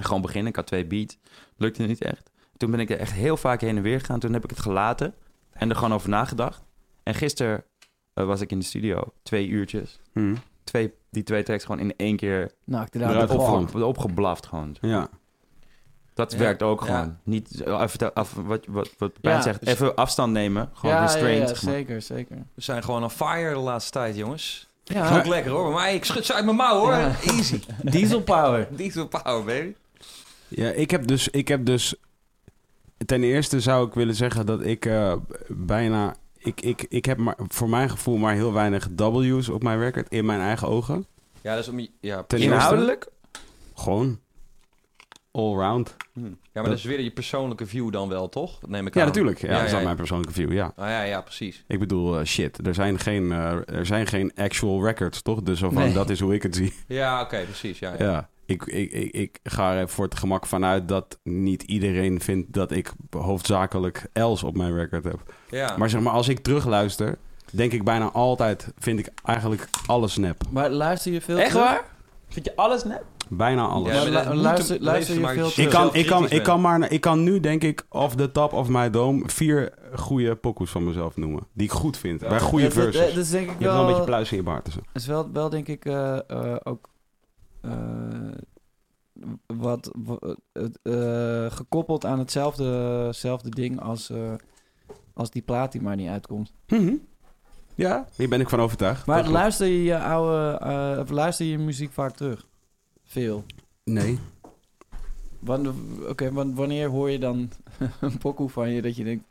D: Gewoon beginnen, ik had twee beats. Lukte niet echt. Toen ben ik er echt heel vaak heen en weer gegaan. Toen heb ik het gelaten en er gewoon over nagedacht. En gisteren eh, was ik in de studio, twee uurtjes.
A: Mhm.
D: Twee, die twee tracks gewoon in één keer
B: Nou, ik
A: Ja,
B: inderdaad
A: Eruit dat
D: opge-
A: opgevangen.
D: opgeblaft gewoon.
A: Ja.
D: Dat
C: Ja.
D: werkt ook
C: Ja.
D: gewoon. Niet, zo even, te- af, wat, wat, wat Pijn
B: Ja.
D: zegt, even afstand nemen. Gewoon
B: ja, ja,
D: restraint.
B: ja,
D: zeg maar.
B: zeker, zeker.
C: We zijn gewoon on fire de laatste tijd, jongens. Dat is
B: Ja,
C: ook lekker hoor. Maar ik schud ze uit mijn mouw hoor.
B: Ja.
C: Easy.
B: diesel power.
C: Diesel power, baby.
A: ja, ik heb dus... Ik heb dus ten eerste zou ik willen zeggen dat ik eh, bijna... Ik, ik, ik heb maar, voor mijn gevoel maar heel weinig W's op mijn record in mijn eigen ogen.
C: Ja, dat is om je... Ja,
A: Ten
C: ja, maar
D: Inhoudelijk?
A: Gewoon allround.
D: Hm.
C: dat is weer je persoonlijke view dan wel, toch? Dat neem ik
A: Ja,
C: aan.
A: natuurlijk. Ja,
C: Ja,
A: dat is
C: ja,
A: dan
C: ja.
A: mijn persoonlijke view, ja.
C: Ah, ja, ja, precies.
A: Ik bedoel, eh, shit, er zijn, geen, eh, er zijn geen actual records, toch? Dus zo van,
B: Nee.
A: dat is hoe ik het zie.
C: Ja, oké, precies. Ja, ja.
A: Ja, Ik, ik, ik, ik ga er even voor het gemak vanuit dat niet iedereen vindt dat ik hoofdzakelijk Els op mijn record heb.
C: Ja.
A: Maar zeg maar, als ik terugluister, denk ik bijna altijd, vind ik eigenlijk alles nep.
B: Maar luister je veel
D: Echt
B: terug?
D: waar? Vind je alles net?
A: Bijna alles.
B: Ja,
C: maar dat
B: lu-
C: moet
B: luister-
C: hem-
B: luister je
C: maar
B: veel
C: dat
A: Ik
B: terug?
A: kan, ik, kan,
C: zelfkritisch
A: ik, kan maar, ik kan nu, denk ik, off the top of my dome, vier goede pokoes van mezelf noemen. Die ik goed vind.
C: Ja.
A: Bij goede
B: Dat- dat-
A: verses.
B: Dat is denk ik
A: Je hebt wel een beetje
B: wel...
A: pluis in je baard. dus. en zo.
B: is wel, wel denk ik eh, eh, ook eh, wat wa- het, eh, gekoppeld aan hetzelfde zelfde ding als, eh, als die plaat die maar niet uitkomt.
A: Mhm. Ja, hier ben ik van overtuigd. Dat
B: Maar
A: klopt.
B: luister je je oude, eh, of luister je muziek vaak terug? Veel.
A: Nee.
B: Wanneer, wanneer hoor je dan een pokoe van je dat je denkt,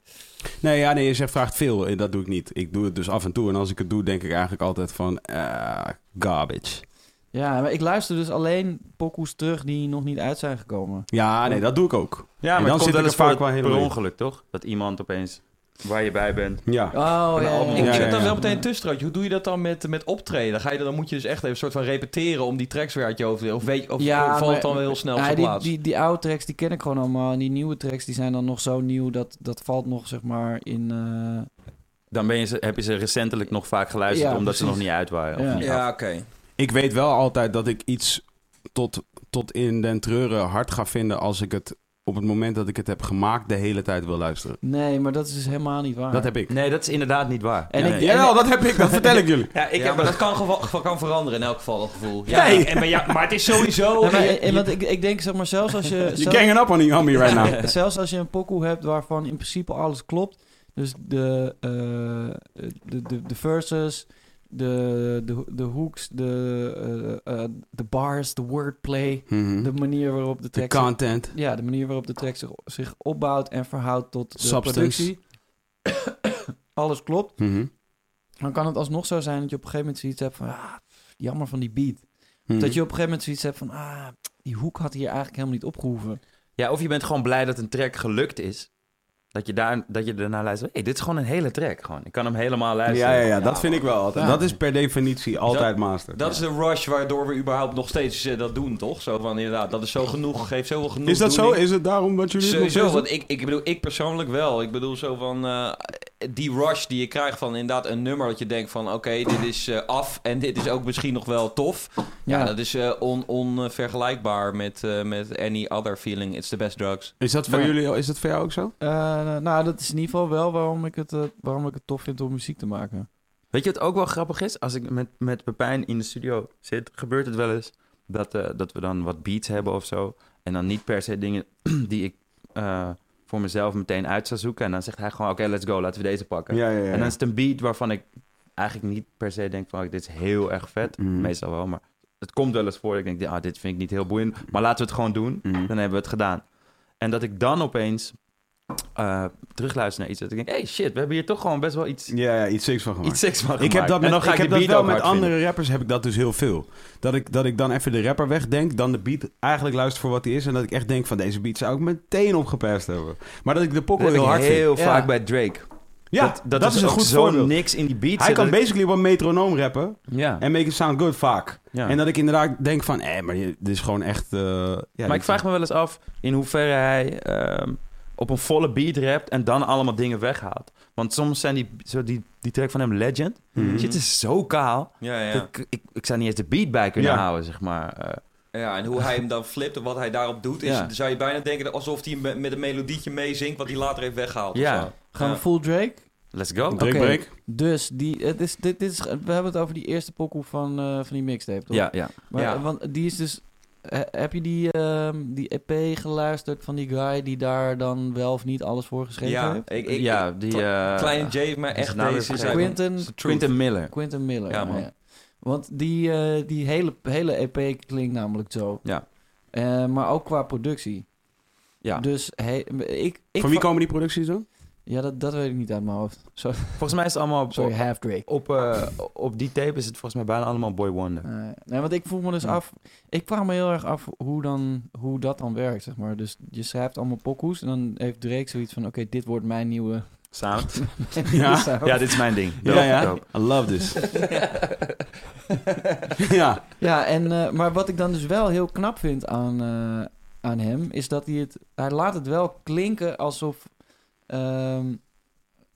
A: Nee, ja, nee, je zegt vraagt veel. Eh, Dat doe ik niet. Ik doe het dus af en toe. En als ik het doe, denk ik eigenlijk altijd van... eh, garbage.
B: ja, maar ik luister dus alleen pokoes terug die nog niet uit zijn gekomen.
A: Ja, nee, dat doe ik ook.
D: Ja, maar
A: dan zit
D: het komt wel
A: ik
D: eens
A: er vaak
D: vaak
A: wel
D: wel
A: helemaal
D: per
A: in.
D: ongeluk, toch? Dat iemand opeens waar je bij bent.
A: Ja.
B: Oh,
D: Een
B: ja,
D: album.
B: ja,
C: Ik
A: Ja,
C: zit
A: ja,
C: dan
A: ja.
C: wel meteen tussenstraatje. Hoe doe je dat dan met, met optreden? Ga je, dan dan moet je dus echt even een soort van repeteren om die tracks weer uit je hoofd te Of, weet, of
B: Ja,
C: valt
B: maar-
C: het dan wel heel snel op
B: Ja,
C: zijn
B: die,
C: plaats?
B: die, die oude tracks die ken ik gewoon allemaal. En die nieuwe tracks die zijn dan nog zo nieuw dat dat valt nog zeg maar in. eh,
D: Dan ben je ze, heb je ze recentelijk nog vaak geluisterd
B: Ja,
D: omdat ze nog
B: precies.
D: niet uit waren.
B: Ja.
D: Of niet af.
C: ja, oké.
A: Ik weet wel altijd dat ik iets tot, tot in den treuren hard ga vinden... als ik het op het moment dat ik het heb gemaakt de hele tijd wil luisteren.
B: nee, maar dat is dus helemaal niet waar.
A: Dat heb ik.
D: Nee, dat is inderdaad niet waar.
B: En
D: Nee.
B: ik-
A: Jawel, dat heb ik. Dat vertel ik jullie.
D: ja, ik
C: ja,
D: heb
C: maar
D: dat...
C: dat kan, geva- ge- kan veranderen in elk geval, dat gevoel. Ja,
A: Nee.
C: en, maar, ja, maar het is sowieso...
B: Nee, maar, eh, want ik, ik denk zeg maar zelfs als je.
A: Je
B: zelfs-
A: ganging up on, me- on me right now.
B: Zelfs als je een pokoe hebt waarvan in principe alles klopt. Dus de, eh, de, de, de verses, de, de, de hooks, de, eh, eh, de bars, de wordplay.
A: Mhm.
B: De manier waarop
A: De
B: de track
A: content.
B: Ja, de manier waarop de track zich, zich opbouwt en verhoudt tot de
A: Substance.
B: productie. Alles klopt.
A: Mhm.
B: Dan kan het alsnog zo zijn dat je op een gegeven moment zoiets hebt van... Ah, jammer van die beat.
A: Mhm.
B: Dat je op een gegeven moment zoiets hebt van... Ah, die hoek had hier eigenlijk helemaal niet opgehoeven.
D: ja, of je bent gewoon blij dat een track gelukt is. Dat je, daar, dat je daarna luistert. hey, dit is gewoon een hele track. Gewoon. Ik kan hem helemaal luisteren.
A: Ja, ja, ja,
C: Ja,
A: dat vind ik wel altijd.
B: Ja.
A: Dat is per definitie altijd master.
C: Dat is de rush waardoor we überhaupt nog steeds eh, dat doen, toch? Zo van, inderdaad, dat is zo genoeg, geeft zoveel genoeg.
A: Is dat zo? Is het daarom dat jullie het nog
C: Sowieso,
A: steeds doen?
C: want ik, ik bedoel, ik persoonlijk wel. Ik bedoel zo van eh, die rush die je krijgt van inderdaad een nummer dat je denkt van oké, dit is eh, af en dit is ook misschien nog wel tof. Ja,
B: Ja.
C: dat is eh, on, onvergelijkbaar met, eh, met any other feeling. It's the best drugs.
A: Is dat voor
B: Ja.
A: jullie, is dat voor jou ook zo?
B: Eh, nou, dat is in ieder geval wel waarom ik, het, eh, waarom ik het tof vind om muziek te maken.
D: Weet je wat ook wel grappig is? Als ik met, met Pepijn in de studio zit, gebeurt het wel eens dat, eh, dat we dan wat beats hebben of zo. En dan niet per se dingen die ik eh, voor mezelf meteen uit zou zoeken. En dan zegt hij gewoon, oké, let's go, laten we deze pakken.
A: Ja, ja, ja.
D: En dan is het een beat waarvan ik eigenlijk niet per se denk van, oh, dit is heel erg vet.
A: Mhm.
D: Meestal wel, maar het komt wel eens voor. dat Ik denk, ah, dit vind ik niet heel boeiend, maar laten we het gewoon doen.
A: Mhm.
D: Dan hebben we het gedaan. En dat ik dan opeens eh, terugluister naar iets. Dat ik denk, hey shit, we hebben hier toch gewoon best wel iets,
A: Ja, ja, iets seks van gemaakt.
D: iets seks van gemaakt.
A: Ik heb dat,
D: en
A: met,
D: dan ga
A: ik
D: ik,
A: heb
D: die
A: dat
D: beat
A: wel
D: ook
A: met
D: hard
A: andere
D: vinden.
A: rappers, heb ik dat dus heel veel. Dat ik, dat ik dan even de rapper wegdenk, dan de beat eigenlijk luister voor wat hij is. En dat ik echt denk van deze beat zou ik meteen opgeperst hebben. Maar dat ik de pop
D: Dat
A: wel
D: heb ik
A: heel hard vind.
D: heel
B: vind.
D: vaak
B: Ja.
D: bij Drake.
A: Ja,
D: dat, dat, is, een goed zo
A: voorbeeld.
D: niks in die beat
A: Hij
D: zit
A: kan
D: dat ik-
A: basically wel metronoom rappen
D: Ja.
A: en make it sound good vaak.
D: ja.
A: En dat ik inderdaad denk van, eh, maar je- dit is gewoon echt... eh, ja, dit-
D: maar ik vraag me wel eens af in hoeverre hij ehm, op een volle beat rapt en dan allemaal dingen weghaalt. Want soms zijn die, zo die, die track van hem Legend,
A: Mhm.
D: shit is zo kaal.
C: Ja, ja.
D: dat Ik, ik, ik zou niet eens de beat bij kunnen
A: Ja.
D: houden, zeg maar. Eh,
C: Ja, en hoe hij hem dan flipt en wat hij daarop doet, is,
D: Ja.
C: zou je bijna denken dat alsof hij me- met een melodietje meezingt wat hij later heeft weggehaald. of
D: Ja.
C: zo.
B: Gaan we
C: Ja.
B: full Drake?
D: let's go.
A: Drake
B: Oké.
A: break.
B: Dus die, het is, dit, dit is, we hebben het over die eerste pokoe van, eh, van die mixtape, toch?
D: Ja, ja.
B: Maar,
C: Ja.
B: Want die is dus. eh, Heb je die, ehm, die EP geluisterd van die guy die daar dan wel of niet alles voor geschreven
C: Ja,
B: heeft?
C: ik, ik,
D: ja, die... eh,
C: Kleine J heeft mij
D: die is
C: echt
D: nou weer
C: deze... is
D: vergeten.
C: hij-
B: Quentin,
C: is de truth.
D: Quentin Miller.
B: Quentin Miller.
C: Ja, man.
B: Want die, eh, die hele, hele EP klinkt namelijk zo.
D: Ja.
B: Eh, maar ook qua productie.
D: Ja.
B: Dus he- ik, ik.
A: Van wie komen die producties dan?
B: Ja, dat, dat weet ik niet uit mijn hoofd. Zo-
D: Volgens mij is het allemaal... op-
B: Sorry, half Drake.
D: Op, eh, op die tape is het volgens mij bijna allemaal Boy Wonder.
B: Eh, nee, want ik vroeg me dus
D: Ja.
B: af. Ik vraag me heel erg af hoe, dan, hoe dat dan werkt, zeg maar. Dus je schrijft allemaal pokoes en dan heeft Drake zoiets van: oké, dit wordt mijn nieuwe. Dus, eh,
D: Sound.
A: Ja.
B: sound.
D: ja, dit is mijn ding.
A: Ja,
D: Dope,
A: ja.
D: dope.
A: I love this. ja.
B: Ja, en, eh, maar wat ik dan dus wel heel knap vind aan, eh, aan hem, is dat hij het. Hij laat het wel klinken alsof. ehm,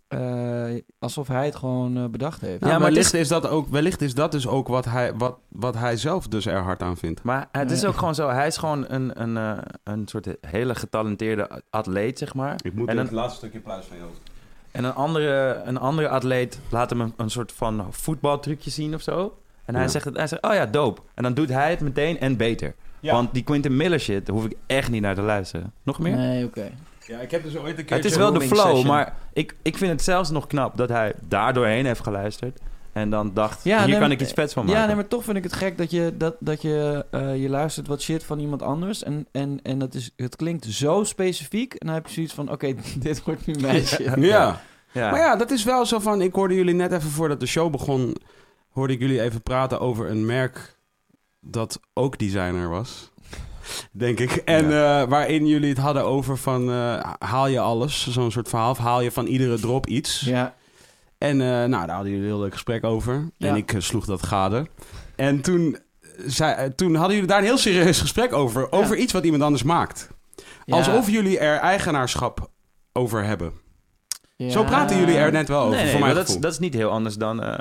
B: eh, alsof hij het gewoon eh, bedacht heeft.
A: ja,
D: maar
A: maar
D: het
A: Nou, wellicht is, dat ook, wellicht is dat dus ook wat hij, wat, wat hij zelf dus er hard aan vindt.
D: Maar het is
B: Ja.
D: ook gewoon zo. Hij is gewoon een, een, eh, een soort hele getalenteerde atleet, zeg maar.
A: Ik moet
D: En het een-
A: laatste stukje pluis van jou.
D: En een andere, een andere atleet laat hem een, een soort van voetbaltrucje zien of zo. En hij,
A: Ja.
D: zegt het, hij zegt, oh ja, dope. En dan doet hij het meteen en beter.
A: Ja.
D: Want die Quentin Miller shit, daar hoef ik echt niet naar te luisteren. Nog meer?
B: Nee, oké.
A: Ja, ik heb dus ooit een
D: het is wel de
C: rooming
D: flow,
C: session.
D: maar ik, ik vind het zelfs nog knap dat hij daar doorheen heeft geluisterd. En dan dacht,
B: Ja,
D: hier
B: nee,
D: kan
B: maar-
D: ik iets vets van maken.
B: Ja, nee, maar toch vind ik het gek dat je, dat, dat je, eh, je luistert wat shit van iemand anders. En, en, en dat is, het klinkt zo specifiek. En dan heb je zoiets van, oké, dit wordt nu mijn shit.
A: Ja.
D: Ja.
A: maar ja, dat is wel zo van... Ik hoorde jullie net even voordat de show begon... hoorde ik jullie even praten over een merk dat ook designer was. Denk ik. En eh, waarin jullie het hadden over van... eh, haal je alles, zo'n soort verhaal. Of haal je van iedere drop iets.
B: Ja,
A: En eh, nou, daar hadden jullie een heel leuk gesprek over.
B: Ja.
A: En ik eh, sloeg dat gade. En toen, zei, eh, toen hadden jullie daar een heel serieus gesprek over. Over iets wat iemand anders maakt.
B: Ja.
A: Alsof jullie er eigenaarschap over hebben.
B: Ja.
A: Zo praten jullie er net wel over,
D: Nee, nee,
A: Oh, voor
D: maar
A: mijn
D: dat, is,
A: gevoel.
D: dat is niet heel anders dan eh,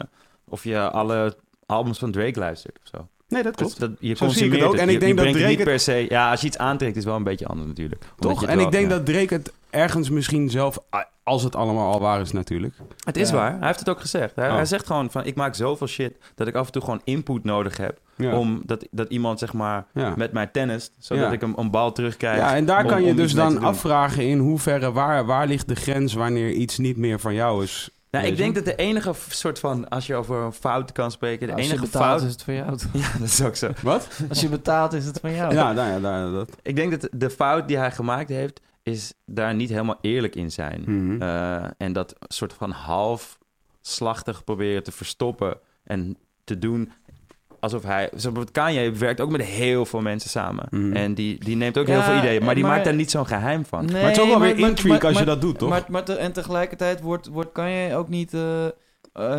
D: of je alle albums van Drake luistert of zo.
A: nee, dat klopt.
D: Dat, dat- je
A: Zo
D: consumeert
A: zie ik het ook. En
D: Je-
A: ik denk
D: je
A: dat
D: brengt het
A: Drake
D: niet per se... Ja, als je iets aantrekt is wel een beetje anders natuurlijk. Omdat
A: Toch?
D: je het
A: En
D: wel-
A: ik denk
D: ja.
A: dat Drake het ergens misschien zelf... ah, Als het allemaal al waar is natuurlijk.
D: Het is
B: Ja.
D: waar. Hij heeft het ook gezegd. Hij,
A: Oh.
D: hij zegt gewoon van... Ik maak zoveel shit dat ik af en toe gewoon input nodig heb...
A: Ja.
D: om dat, dat iemand zeg maar
A: ja.
D: met mij tennist... zodat
A: Ja.
D: ik hem een bal terugkrijg.
A: Ja, en daar
D: om-
A: kan je
D: om
A: dus
D: iets mee
A: dan
D: te doen.
A: afvragen in hoeverre... Waar, waar ligt de grens wanneer iets niet meer van jou is?
D: Nou,
A: Weet
D: ik
A: je?
D: denk dat de enige f- soort van... Als je over een fout kan spreken... De
B: Als je
D: enige
B: betaalt
D: fout...
B: is het van jou.
D: Ja, dat is ook zo.
A: Wat?
B: Als je betaalt is het van jou.
A: Ja, nou ja, daar, dat...
D: Ik denk dat de fout die hij gemaakt heeft... is daar niet helemaal eerlijk in zijn.
A: Mhm.
D: Eh, en dat soort van half slachtig proberen te verstoppen en te doen alsof hij... Zo bijvoorbeeld Kanye werkt ook met heel veel mensen samen.
A: Mhm.
D: En die, die neemt ook
B: Ja,
D: heel veel ideeën, maar die
B: maar-
D: maakt daar niet zo'n geheim van.
B: Nee,
A: maar het is ook wel weer
B: maar-
A: intrigue
B: maar-
A: als
B: maar-
A: je dat doet, toch?
B: Maar, maar te- en tegelijkertijd wordt, wordt, kan je ook niet eh, eh,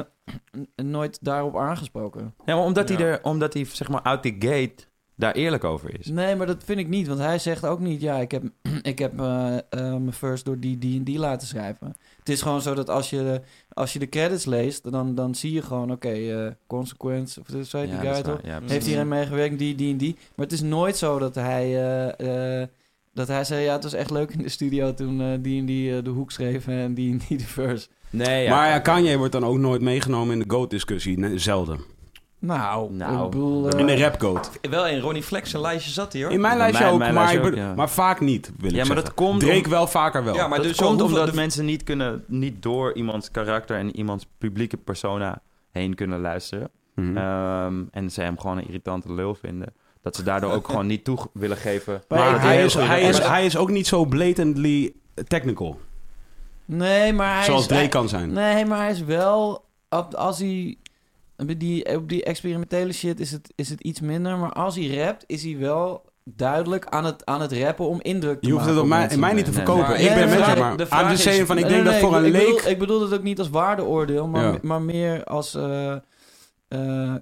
B: n- nooit daarop aangesproken.
D: Ja, maar omdat,
C: Ja.
D: Hij er, omdat hij, zeg maar, out the gate daar eerlijk over is.
B: Nee, maar dat vind ik niet. Want hij zegt ook niet, ja, ik heb, ik heb eh, eh, mijn first door die, die en die laten schrijven. Het is gewoon zo dat als je de, als je de credits leest, dan, dan zie je gewoon, oké, eh Consequence, of dat zei
D: Ja,
B: die
D: dat
B: guy
D: is waar. Mm.
B: toch?
D: Ja,
B: Heeft
D: precies.
B: hierin meegewerkt, die, die en die. Maar het is nooit zo dat hij eh, eh, Dat hij zei, ja, het was echt leuk in de studio toen eh, die en die eh, de hoek schreef en die en die de verse.
D: Nee, ja.
A: maar ja, Kanye wordt dan ook nooit meegenomen in de GOAT-discussie. Nee, zelden.
B: Nou,
D: Nou.
B: ik bedoel... eh,
A: In de rap-GOAT.
C: Wel in Ronnie Flex zijn lijstje zat hier.
A: In mijn lijstje
D: mijn-
A: ook,
D: mijn
A: maar,
D: lijstje
A: ik
D: ook,
A: bedo-
D: ja.
A: maar vaak niet, wil ik
D: Ja, maar
A: zeggen.
D: dat komt,
A: Drake
D: om-
A: wel, vaker wel.
C: Ja, maar
D: dat
C: dus zo
D: komt
C: hoeveel-
D: omdat
C: de-
D: mensen niet, kunnen, niet door iemands karakter en iemands publieke persona heen kunnen luisteren.
A: Mhm.
D: Ehm, en ze hem gewoon een irritante lul vinden. Dat ze daardoor ook gewoon niet toe willen geven.
B: Maar
A: maar
B: ik-
A: hij
B: heel
A: is,
B: goed.
A: hij, is,
B: Maar dat-
A: hij is ook niet zo blatantly technical,
B: Nee, maar hij
A: zoals
B: is...
A: Drake kan zijn.
B: Nee, maar hij is wel... op- Als hij... Op die, op die experimentele shit is het, is het iets minder. Maar als hij rapt, is hij wel duidelijk aan het, aan het rappen om indruk te
A: Je hoeft het
B: maken
A: op mij,
B: mensen.
A: mij niet te
D: nee, nee.
A: verkopen.
B: Maar-
A: ik
B: nee,
A: ben
B: de
A: met je,
B: vraag-
A: maar
C: de
A: I'm
C: vraag
A: just saying
C: is-
A: van, ik
B: Nee,
A: denk
B: nee,
A: dat
B: nee,
A: voor een
B: ik bedoel-
A: leek...
B: Ik bedoel het ook niet als waardeoordeel, maar,
A: Ja.
B: maar meer als... eh, eh,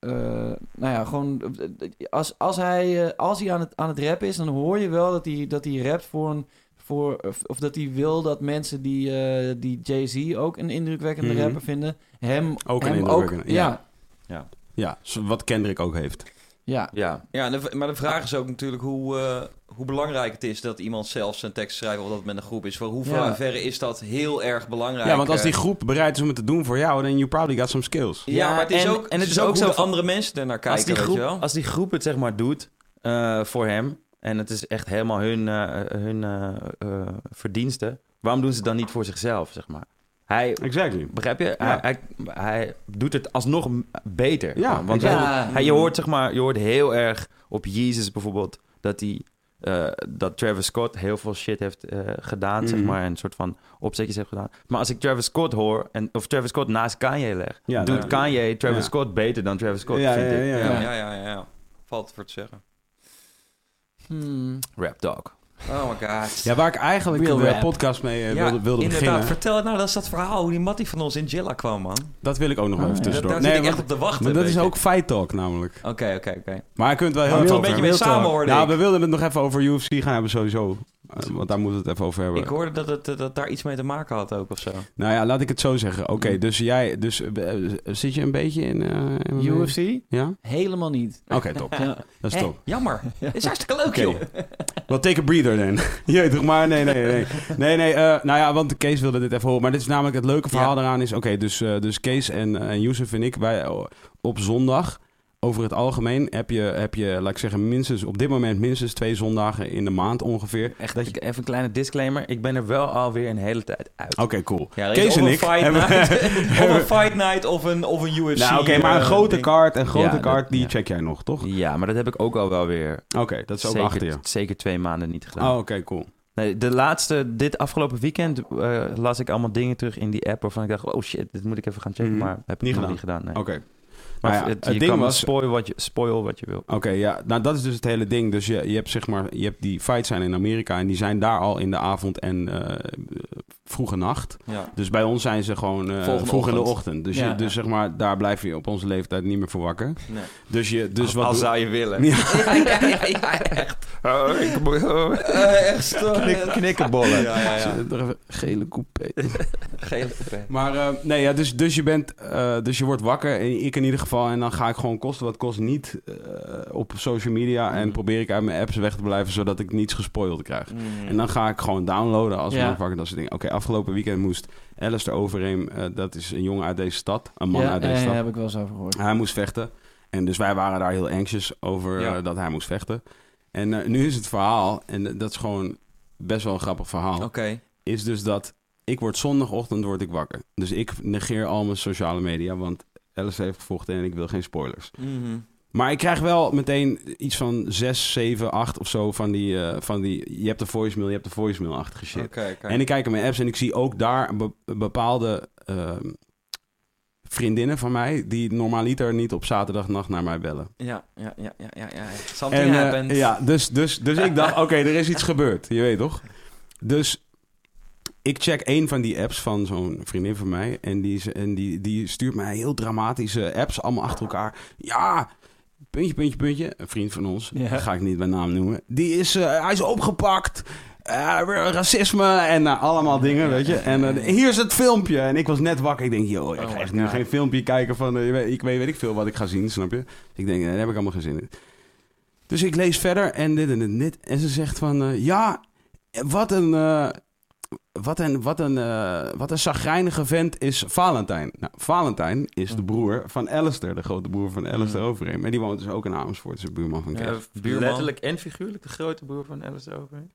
B: eh, nou ja, gewoon... eh, Als, als, hij, eh, als hij aan het, aan het rappen is, dan hoor je wel dat hij, dat hij rapt voor een... Voor, of, of dat hij wil dat mensen die, eh, die Jay-Z ook een indrukwekkende
A: Mhm.
B: rapper vinden, hem
A: Ook een
B: hem
A: indrukwekkende, ja.
B: ja.
A: Ja, zo- wat Kendrick ook heeft.
B: ja.
D: Ja,
C: Ja, de- maar de vraag is ook natuurlijk hoe, eh, hoe belangrijk het is dat iemand zelf zijn tekst schrijft of dat het met een groep is. Voor hoe
B: Ja.
C: verre is dat heel erg belangrijk?
A: Ja, want als
C: eh,
A: die groep bereid is om het te doen voor jou, then you probably got some skills.
C: Ja,
D: Ja,
C: maar het is
D: en-
C: ook,
D: en
C: het is ook,
D: zo
C: hoe de
D: van-
C: andere mensen ernaar kijken,
D: als die,
C: weet je wel?
D: groep, als die groep het zeg maar doet eh, voor hem... en het is echt helemaal hun, eh, hun eh, eh, verdienste... waarom doen ze het dan niet voor zichzelf, zeg maar? Hij,
A: Exactly.
D: begrijp je?
A: Ja.
D: Hij, hij, hij doet het alsnog m- beter.
A: Ja,
D: want
A: exact.
D: hij- hij, je, hoort, zeg maar, je hoort heel erg op Jezus bijvoorbeeld... dat, hij, eh, dat Travis Scott heel veel shit heeft eh, gedaan, zeg
A: Mhm.
D: maar... en een soort van opzetjes heeft gedaan. Maar als ik Travis Scott hoor... En, of Travis Scott naast Kanye leg...
A: Ja,
D: doet
A: nou,
D: Kanye Travis
A: ja.
D: Scott beter dan Travis Scott,
A: ja,
D: vind
A: ja,
D: ik.
A: ja, ja.
C: ja, ja, ja, ja, ja. Valt voor te zeggen.
B: Hmm.
D: Rap Dog.
C: Oh my god.
A: Ja, waar ik eigenlijk
B: Real
A: de
B: rap.
A: podcast mee eh,
C: Ja,
A: wilde, wilde
C: inderdaad.
A: beginnen,
C: Vertel het nou, dat is dat verhaal hoe die Mattie van ons in Jilla kwam, man.
A: dat wil ik ook nog
B: Ah,
A: even
B: ja.
A: tussendoor.
C: Daar zit
A: nee,
C: ik echt
A: want-
C: op te wachten.
A: maar dat
C: weet
A: is
C: je.
A: ook fight talk namelijk.
C: Oké, oké, oké.
A: Maar je kunt wel heel
C: Maar
A: even
C: we willen
A: over
C: een beetje
A: hebben.
C: mee
A: Real talk.
C: samen, hoorde
A: Nou,
C: ik.
A: we wilden het nog even over UFC gaan hebben sowieso. Eh, want daar moeten we het even over hebben.
C: Ik hoorde dat het eh, dat daar iets mee te maken had ook of zo.
A: Nou ja, laat ik het zo zeggen. Oké, dus jij... Dus, eh, eh, zit je een beetje in... eh, in-
B: UFC?
A: Ja?
B: Helemaal niet.
A: Oké, top.
B: Ja.
A: Dat is
C: Hè,
A: top.
C: jammer. Het is hartstikke leuk,
A: Oké.
C: joh.
A: Wel, take a breather dan. Jeet toch maar. Nee, nee, nee. Nee, nee. eh, nou ja, want Kees wilde dit even horen. Maar dit is namelijk het leuke verhaal
C: Ja.
A: daaraan is... Oké, dus, eh, dus Kees en, eh, en Youssef en ik, wij oh, op zondag... Over het algemeen heb je, heb je, laat ik zeggen, minstens op dit moment minstens twee zondagen in de maand ongeveer.
D: Echt, ik- even een kleine disclaimer. Ik ben er wel alweer een hele tijd uit.
A: Oké, cool.
C: Ja, er is
A: Kees
C: of
A: en
C: een
A: ik
C: fight
A: hebben-
C: night, of een fight night of een, of een UFC.
A: Nou, oké, maar een
C: eh,
A: grote
C: ding.
A: kaart, een grote
D: Ja, dat-
A: kaart, die
D: ja.
A: check jij nog, toch?
D: Ja, maar dat heb ik ook al wel weer.
A: Oké, dat is ook
D: zeker,
A: achter je.
D: Zeker twee maanden niet gedaan.
A: Oh, oké, cool.
D: Nee, de laatste, dit afgelopen weekend eh, las ik allemaal dingen terug in die app waarvan ik dacht, oh shit, dit moet ik even gaan checken.
A: Mhm.
D: Maar heb ik
A: Niet
D: nog
A: gedaan.
D: niet gedaan. Nee.
A: Oké.
D: Maar
A: Nou ja,
D: het,
A: het
D: je
A: ding
D: kan wel
A: was-
D: spoil wat je, spoil wat je wil.
A: Oké, ja, nou dat is dus het hele ding. Dus je, je hebt zeg maar, je hebt die fights zijn in Amerika en die zijn daar al in de avond en eh, vroege nacht.
C: Ja.
A: Dus bij ons zijn ze gewoon eh,
C: Volgende
A: vroeg in de
C: ochtend.
A: ochtend. Dus,
B: Ja,
A: je, dus
B: ja.
A: zeg maar, daar blijf je op onze leeftijd niet meer voor wakker.
C: Nee.
A: Dus je, dus wat
D: Al
A: doe-
D: zou je willen. Oh, ik- oh,
C: Eh, echt stoor.
D: knik- Knikkenbollen.
C: Ja, ja, ja.
A: Nog even Gele coupé.
C: Gele coupé.
A: Maar eh, nee, ja, dus, dus je bent, eh, dus je wordt wakker, en ik in ieder geval, en dan ga ik gewoon kosten wat kost niet eh, op social media en
C: Mhm.
A: probeer ik uit mijn apps weg te blijven zodat ik niets gespoild krijg.
C: Mm.
A: En dan ga ik gewoon downloaden als
B: Ja.
A: motherfucker dat soort dingen. Oké, afgelopen weekend moest Alistair Overeem, eh, dat is een jongen uit deze stad, een man
B: ja,
A: uit deze
B: eh,
A: stad.
B: heb ik wel eens over gehoord.
A: Hij moest vechten. En dus wij waren daar heel anxious over
C: Ja.
A: eh, dat hij moest vechten. En eh, nu is het verhaal, en dat is gewoon best wel een grappig verhaal
C: Oké.
A: is dus dat ik word zondagochtend word ik wakker. Dus ik negeer al mijn sociale media, want Alice heeft gevochten en ik wil geen spoilers.
C: Mhm.
A: Maar ik krijg wel meteen iets van 6, 7, 8 of zo van die, eh, van die je hebt de voicemail, je hebt de voicemail-achtige shit.
C: Oké, oké.
A: En ik kijk in mijn apps en ik zie ook daar be- bepaalde ehm, vriendinnen van mij die normaliter niet op zaterdagnacht naar mij bellen.
C: Ja, ja, ja, ja, ja. ja. Something
A: eh,
C: happened.
A: ja, dus, dus, dus ik dacht, oké, er is iets gebeurd. Je weet toch? Dus ik check een van die apps van zo'n vriendin van mij. En, die, is- en die, die stuurt mij heel dramatische apps, allemaal achter elkaar. Ja, puntje, puntje, puntje. Een vriend van ons,
B: Ja.
A: dat ga ik niet bij naam noemen. Die is, eh, hij is opgepakt. Eh, racisme en nou, allemaal dingen, weet je. En eh, hier is het filmpje. En ik was net wakker. Ik denk, joh, ik
C: Oh
A: ga
C: my
A: echt nu
C: God.
A: geen Dus filmpje kijken van... eh, je weet- ik weet, weet ik veel wat ik ga zien, snap je? Ik denk, eh, daar heb ik allemaal geen zin in. Dus ik lees verder en dit en dit en dit. En ze zegt van, eh, ja, wat een, eh, wat een, wat een, eh, wat een zagrijnige vent is Valentijn. Nou, Valentijn is de broer van Alistair, de grote broer van Alistair Overeem. En die woont dus ook in Amersfoort, is een buurman van Kees.
C: Mm. Ja.
A: Ja.
C: buurman.
D: Letterlijk en figuurlijk de grote broer van Alice Overheen.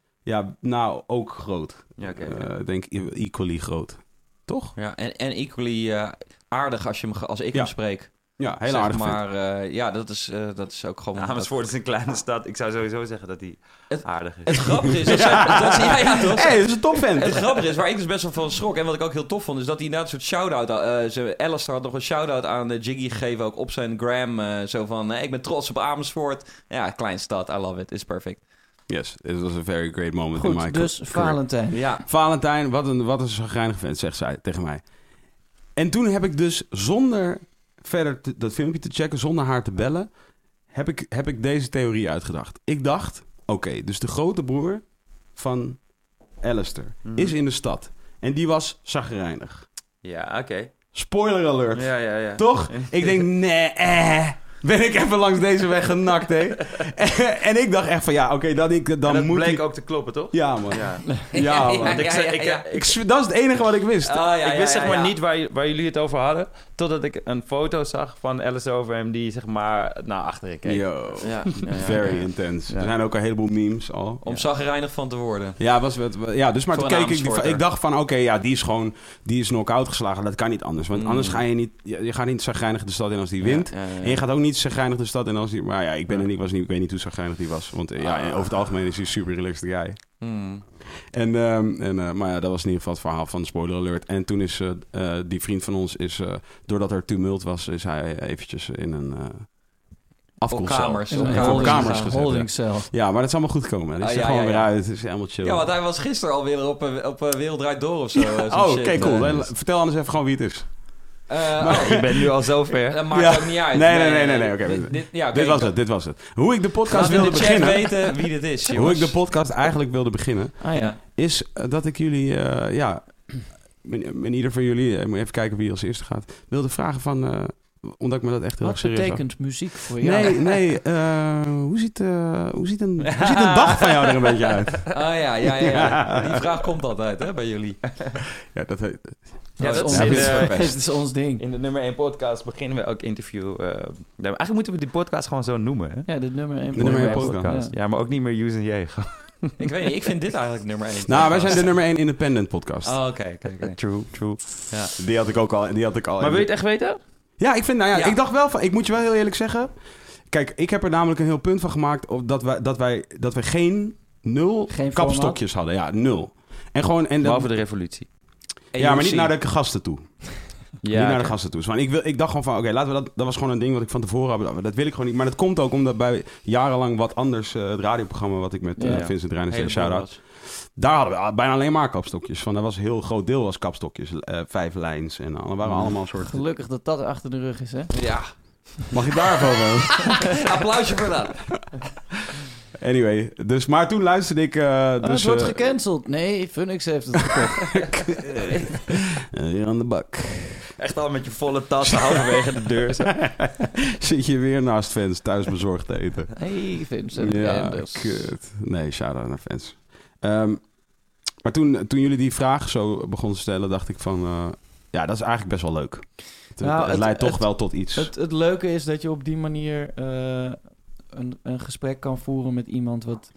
A: nou, ook groot.
D: Ja, oké.
A: Eh, Ik denk equally groot. Toch?
C: Ja, en, en equally eh, aardig als, je hem, ge- als ik
A: Ja.
C: hem spreek.
A: Ja, heel
C: Zeg
A: aardig vent.
C: Maar eh, ja, dat is, eh, dat is ook gewoon...
D: Amersfoort is een kleine stad. Ik zou sowieso zeggen dat hij
C: Het-
D: aardig is.
C: Het grappige is... Dus Dat zij- dat zij- ja, ja, toch?
A: hey, dat is een topvent.
C: Het grappige is, waar ik dus best wel van schrok en wat ik ook heel tof vond, is dat hij inderdaad een soort shout-out... eh ze- Alistair had nog een shout-out aan eh, Jiggy gegeven, ook op zijn gram. eh, zo van, eh, ik ben trots op Amersfoort. Ja, klein stad, I love it, is perfect.
A: Yes, it was a very great moment in my
B: Goed, dus
A: career.
B: Valentijn.
C: Ja,
A: Valentijn, wat een, wat een chagrijnig vent, zegt zij tegen mij. En toen heb ik dus zonder verder te- dat filmpje te checken, zonder haar te bellen, heb ik, heb ik deze theorie uitgedacht. Ik dacht, oké, dus de grote broer van Alistair
D: Mhm.
A: is in de stad. En die was chagrijnig.
D: Ja, oké.
A: Spoiler alert.
D: Ja, ja, ja.
A: Toch? Ik denk, nee, eh. Ben ik even langs deze weg genakt, hè? en ik dacht echt van, ja, oké, dat ik dan
D: En dat
A: moet...
D: bleek
A: die-
D: ook te kloppen, toch?
A: Ja, man.
D: Ja.
A: Ja, man.
D: Want ik
C: Ja,
D: zei-
C: ja,
D: ik-
C: ja.
D: ik-
A: Ik, zw- dat is het enige wat ik wist.
C: Ah, ja, ja,
D: ik wist
C: ja,
D: zeg maar
C: ja.
D: niet waar, waar jullie het over hadden. Totdat ik een foto zag van Alice over hem die zeg maar naar achteren keek.
A: Yo,
C: Ja,
A: very intense.
D: Ja.
A: Er zijn ook een heleboel memes al.
C: om zagrijnig van te worden.
A: Ja, was wat, ja dus maar
C: Voor
A: toen
C: een
A: keek ik, die,
C: Amersfoorter.
A: ik dacht van, oké, ja, die is gewoon, die is knock-out geslagen. Dat kan niet anders, want
C: Mm.
A: anders ga je niet, je, je gaat niet zagrijnig de stad in als die wint.
C: Ja, ja, ja.
A: En je gaat ook niet zagrijnig de stad in als die, maar ja, ik ben
D: Ja.
A: en ik was niet, ik weet niet hoe zagrijnig die was. Want eh, ja,
D: Ah.
A: over het algemeen is hij een super relaxed guy.
C: Hmm.
A: En, ehm, en, eh, maar ja, dat was in ieder geval het verhaal van Spoiler Alert. En toen is eh, eh, die vriend van ons, is, eh, doordat er tumult was, is hij eventjes in een eh afkoelcel.
C: kamers.
B: In
A: Op
B: een
C: Ja,
A: kamers,
B: holding-
C: kamers
A: gezet. ja.
B: holdingcel.
A: Ja, maar dat is allemaal goed komen. Dat is
C: Ah,
A: er
C: ja,
A: gewoon
C: ja,
A: weer
C: ja.
A: uit. Het is helemaal chill.
C: Ja, want hij was gisteren alweer op, eh, op eh, Wereld Draait Door of zo. eh, zo'n
A: oh, oké,
C: shit,
A: cool.
C: eh.
A: Dan la- Vertel anders even gewoon wie het is.
C: Eh, oh,
D: Ik ben nu al zover.
C: dat maakt
A: Ja.
C: ook niet uit.
A: Nee, nee, nee, nee, nee, oké.
C: Dit, dit- ja, oké,
A: dit was
C: ik-
A: het, dit was het. Hoe ik de podcast
C: Laat in
A: wilde
C: de chat
A: beginnen...
C: weten wie dit is,
A: Hoe
C: jongens. Oh,
A: ik de podcast eigenlijk wilde beginnen...
B: Ah ja.
A: is eh, dat ik jullie... eh, ja, in, in ieder van jullie... eh, moet even kijken wie als eerste gaat... wilde vragen van... eh, omdat ik me dat echt heel
B: Wat
A: erg serieus af-
B: betekent muziek voor jou?
A: Nee, nee. eh, hoe, ziet, eh, hoe, ziet een, hoe ziet een dag van jou er een beetje uit?
C: Oh ja, ja, ja, ja. Die vraag komt altijd, hè, bij jullie.
A: Ja, dat, heet-
D: Ja, dat
B: ons,
D: is
A: Ja,
D: in
A: dit is
D: de,
B: dit is ons ding.
D: in de nummer 1 podcast beginnen we elk interview. eh, nou, eigenlijk moeten we die podcast gewoon zo noemen. Hè?
B: Ja, dit nummer 1
A: De nummer één
D: podcast. Ja. maar ook niet meer use en jij.
C: Ik weet niet, ik vind dit eigenlijk nummer 1.
A: nou, wij zijn de nummer 1 independent podcast.
C: Oh, oké, oké, oké.
D: True, true.
A: Die had ik ook al. Die had ik al
D: Maar wil je het echt weten?
A: Ja, ik vind, nou ja,
C: Ja.
A: ik dacht wel van, ik moet je wel heel eerlijk zeggen. Kijk, ik heb er namelijk een heel punt van gemaakt of dat wij, dat wij, dat wij geen nul
B: Geen
A: kapstokjes hadden. Ja, nul. En gewoon, en dat,
D: Behalve de revolutie.
A: ja, maar niet
C: AOC.
A: naar de gasten toe.
D: Ja,
A: niet naar de gasten toe. Want ik, wil, ik dacht gewoon van, oké, laten we dat, dat was gewoon een ding wat ik van tevoren had. bedacht. Dat wil ik gewoon niet. Maar dat komt ook omdat bij jarenlang wat anders, eh, het radioprogramma wat ik met eh
B: Ja.
A: Vincent Reijnen
C: Hele
A: deed, shout-out.
C: podcast.
A: Daar hadden we al- bijna alleen maar kapstokjes van. Dat was een heel groot deel was kapstokjes. eh, vijf lijns en al- waren
B: Mm.
A: allemaal een soort...
B: Gelukkig dat dat achter de rug is, hè?
C: Ja,
A: Mag ik daarvoor wel?
C: applausje voor dat.
A: Anyway, dus, maar toen luisterde ik... eh
B: Oh,
A: dus,
B: het wordt
A: eh,
B: gecanceld. Nee, Funix heeft het gekocht.
A: Eh, weer aan de bak.
D: Echt al met je volle tas halverwege de deur. Zo.
A: Zit je weer naast fans thuis bezorgd te eten?
B: Hey, Vincent.
A: ja,
B: Anders.
A: kut. Nee, shout-out naar fans. Ehm, maar toen, toen jullie die vraag zo begonnen te stellen, dacht ik van... eh, ja, dat is eigenlijk best wel leuk. Het,
B: Nou,
A: het
B: het-
A: leidt toch
B: het-
A: wel tot iets.
B: Het, het leuke is dat je op die manier eh, een, een gesprek kan voeren met iemand wat,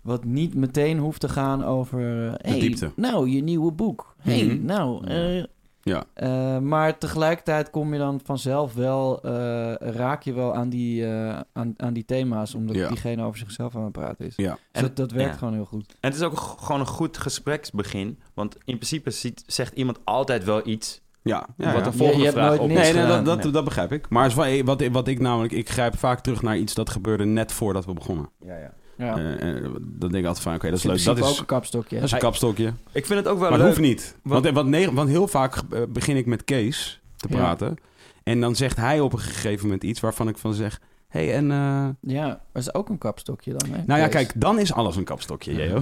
B: wat niet meteen hoeft te gaan over... eh, hey,
A: diepte.
B: nou, je nieuwe boek. hey,
A: Mhm.
B: nou... eh,
A: Ja.
B: eh, maar tegelijkertijd kom je dan vanzelf wel, eh, raak je wel aan die, eh, aan, aan die thema's, omdat
A: Ja.
B: diegene over zichzelf aan het praten is.
A: ja.
B: En dat, dat werkt
D: ja.
B: gewoon heel goed.
D: En het is ook g- gewoon een goed gespreksbegin. Want in principe ziet, zegt iemand altijd wel iets.
A: Ja, ja,
D: wat
A: ja.
D: de volgende
B: Je- je hebt
D: vraag
B: nooit
D: op
B: niks
A: Nee, nee,
B: gedaan.
A: eh, dat, dat, dat begrijp ik. Maar is wel- wat, wat ik namelijk, ik grijp vaak terug naar iets dat gebeurde net voordat we begonnen.
D: Ja, ja.
B: Ja.
A: Eh, eh, dan denk ik altijd van, oké, dat is
B: in
A: leuk. Dat
B: principe
A: is,
B: ook een kapstokje.
A: dat
B: hè?
A: is een kapstokje.
D: Ik vind het ook wel
A: Maar het
D: leuk.
A: hoeft niet.
D: Wat-
A: Want, want, negen- want heel vaak eh, begin ik met Kees te
B: Ja.
A: praten. En dan zegt hij op een gegeven moment iets waarvan ik van zeg... hey, en... eh,
B: Ja, maar dat is ook een kapstokje dan. Hè?
A: nou ja,
B: Kees.
A: kijk, dan is alles een kapstokje,
D: Ja.
A: Jeo.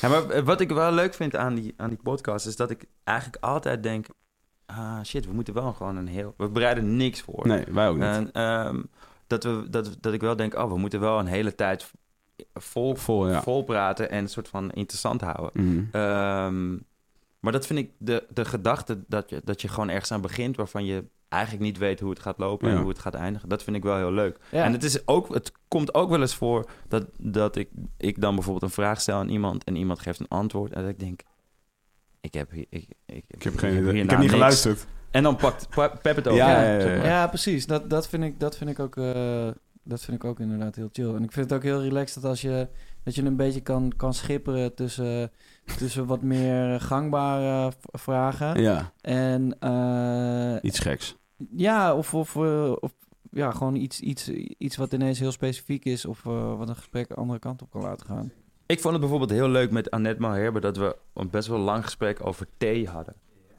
D: Ja, maar eh, wat ik wel leuk vind aan die, aan die podcast is dat ik eigenlijk altijd denk: ah shit, we moeten wel gewoon een heel. We bereiden niks voor.
A: Nee, wij ook niet.
D: En, ehm, dat, we, dat, dat ik wel denk, oh, we moeten wel een hele tijd vol,
A: Vol, ja.
D: vol praten en een soort van interessant houden.
A: Mhm.
D: Ehm, maar dat vind ik de, de gedachte dat je, dat je gewoon ergens aan begint waarvan je eigenlijk niet weet hoe het gaat lopen
A: Ja.
D: en hoe het gaat eindigen. Dat vind ik wel heel leuk.
B: Ja.
D: En het, is ook, het komt ook wel eens voor dat, dat ik, ik dan bijvoorbeeld een vraag stel aan iemand en iemand geeft een antwoord en dat ik denk, ik heb, hier- ik, ik,
A: Ik heb geen idee.
D: hierna
A: Ik heb niet
D: niks.
A: geluisterd.
D: En dan pakt pa- Pep het over.
A: Ja,
B: ja,
A: ja, ja, ja.
B: Ja, precies. Dat, dat, vind ik, dat, vind ik ook, eh, dat vind ik ook inderdaad heel chill. En ik vind het ook heel relaxed dat als je, dat je een beetje kan, kan schipperen tussen, tussen wat meer gangbare v- vragen.
A: Ja,
B: En eh,
A: iets geks.
B: ja, of, of, eh, of ja, gewoon iets, iets, iets wat ineens heel specifiek is of eh, wat een gesprek een andere kant op kan laten gaan.
D: Ik vond het bijvoorbeeld heel leuk met Annette Malherbe dat we een best wel lang gesprek over thee hadden.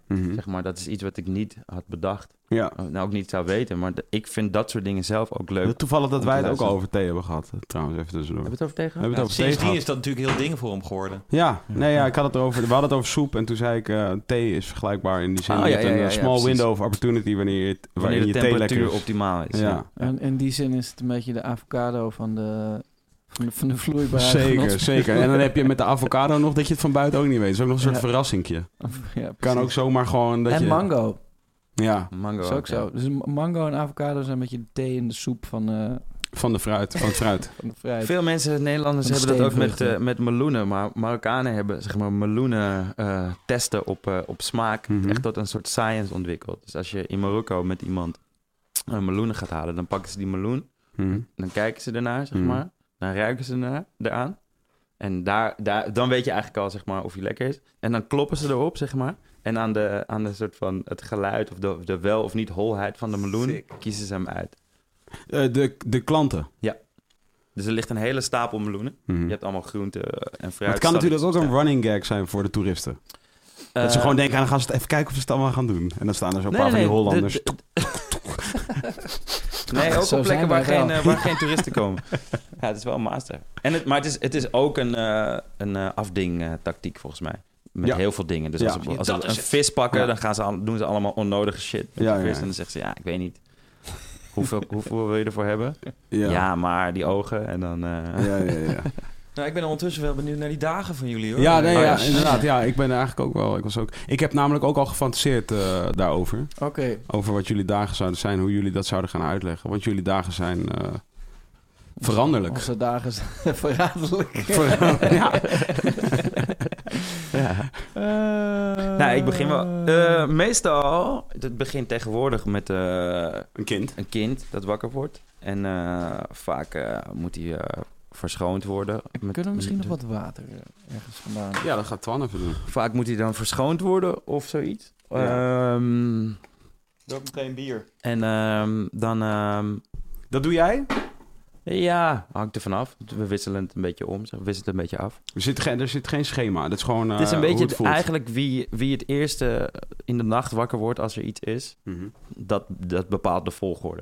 A: Mhm.
D: Zeg maar, dat is iets wat ik niet had bedacht.
A: Ja.
D: nou ook niet zou weten, maar d- ik vind dat soort dingen zelf ook leuk.
A: Toevallig dat
D: Om
A: wij
D: te
A: het ook al
D: luisteren.
A: over thee hebben gehad. eh, Trouwens, even tussendoor.
D: Hebben we het over tegen?
A: We hebben het over thee
C: Sindsdien
A: gehad.
C: is dat natuurlijk heel ding voor hem geworden.
A: Ja, nee, ja, ik had het over, we hadden het over soep en toen zei ik, eh, thee is vergelijkbaar in die zin.
D: Oh,
A: je
D: ja,
A: hebt een
D: ja, ja,
A: eh,
D: ja,
A: small
D: precies.
A: window of opportunity wanneer je,
D: Wanneer
A: wanneer
D: de
A: je thee lekker
D: temperatuur
A: is.
D: optimaal is.
A: Ja,
B: En in die zin is het een beetje de avocado van de, van de, van de vloeibare.
A: zeker,
B: genot-
A: zeker. En dan heb je met de avocado nog dat je het van buiten ook niet weet. Dat is ook nog een soort
B: Ja.
A: verrassingje.
B: Ja,
A: Kan ook
B: precies.
A: zomaar gewoon dat
B: En
A: je...
B: mango.
A: Ja,
D: Mango.
B: is ook zo. Dus ma- mango en avocado zijn een beetje de thee in de soep van, eh,
A: van de fruit, van het fruit.
B: van de vrijheid.
D: Veel mensen, Nederlanders,
B: Een
D: hebben dat ook met,
B: steenvruchten.
D: eh, met meloenen. Maar Marokkanen hebben zeg maar, meloenen eh, testen op, eh, op smaak.
A: Mhm.
D: Echt tot een soort science ontwikkeld. Dus als je in Marokko met iemand een meloenen gaat halen, dan pakken ze die meloen.
A: Mhm.
D: Dan kijken ze ernaar, zeg
A: Mhm.
D: maar. Dan ruiken ze ernaar, eraan. En daar, daar, dan weet je eigenlijk al, zeg maar, of hij lekker is. En dan kloppen ze erop, zeg maar. En aan de, aan de soort van het geluid of de, de wel of niet holheid van de meloen kiezen ze hem uit.
A: Eh, de, de klanten.
D: Dus er ligt een hele stapel meloenen.
A: Mhm.
D: Je hebt allemaal groenten en fruit.
A: Maar het kan natuurlijk ook
D: salades.
A: een running gag zijn voor de toeristen.
D: Ja.
A: dat ze
D: Eh,
A: gewoon denken, "Ah, dan gaan ze het even kijken of ze het allemaal gaan doen. En dan staan er zo'n paar van die Hollanders.
D: de- de- nee, ook
B: Zo
D: op plekken
B: zijn
D: waar,
B: wij wel.
D: geen, eh, waar geen toeristen komen. Ja, het is wel een master. En het, maar het is, het is ook een, eh een eh, afdingtactiek volgens mij. Met
A: Ja.
D: heel veel dingen. Dus
A: Ja.
D: als ze, als ze
C: Dat
D: een
C: is het.
D: vis pakken,
A: Ja.
D: dan gaan ze al- doen ze allemaal onnodige shit. Met
A: Ja,
D: die vis.
A: ja, ja.
D: En dan zegt ze, ja, ik weet niet. Hoeveel, hoeveel wil je ervoor hebben? Ja,
A: ja. Ja.
D: maar die ogen en dan... eh,
A: Ja, ja, ja.
C: Nou, ik ben ondertussen wel benieuwd naar die dagen van jullie hoor.
A: Ja, nee,
D: Oh,
A: ja,
D: ja.
A: inderdaad. Ja, ik ben eigenlijk ook wel. Ik, was ook, ik heb namelijk ook al gefantaseerd eh, daarover.
B: Oké.
A: Over wat jullie dagen zouden zijn, hoe jullie dat zouden gaan uitleggen. Want jullie dagen zijn eh, veranderlijk.
B: Onze dagen zijn verraderlijk.
A: Ver- ja.
D: ja. Nou, ik begin wel... eh, meestal, het begint tegenwoordig met... eh,
A: Een kind.
D: een kind dat wakker wordt. En eh, vaak eh, moet hij eh, verschoond worden. Met-
B: Kunnen we misschien nog wat water eh, ergens vandaan?
A: Ja, dat gaat Twan even doen.
D: Vaak moet hij dan verschoond worden of zoiets. Ehm,
C: Doe ook meteen bier.
D: en ehm, dan... ehm,
A: Dat doe jij?
D: ja, hangt er vanaf. We wisselen het een beetje om. We wisselen het een beetje af.
A: Er zit, geen- er zit geen schema. Dat is gewoon. eh,
D: het is een
A: hoe
D: beetje
A: het
D: Ah, het-
A: voelt.
D: eigenlijk wie, wie het eerste in de nacht wakker wordt als er iets is.
A: Mhm.
D: dat, dat bepaalt de volgorde,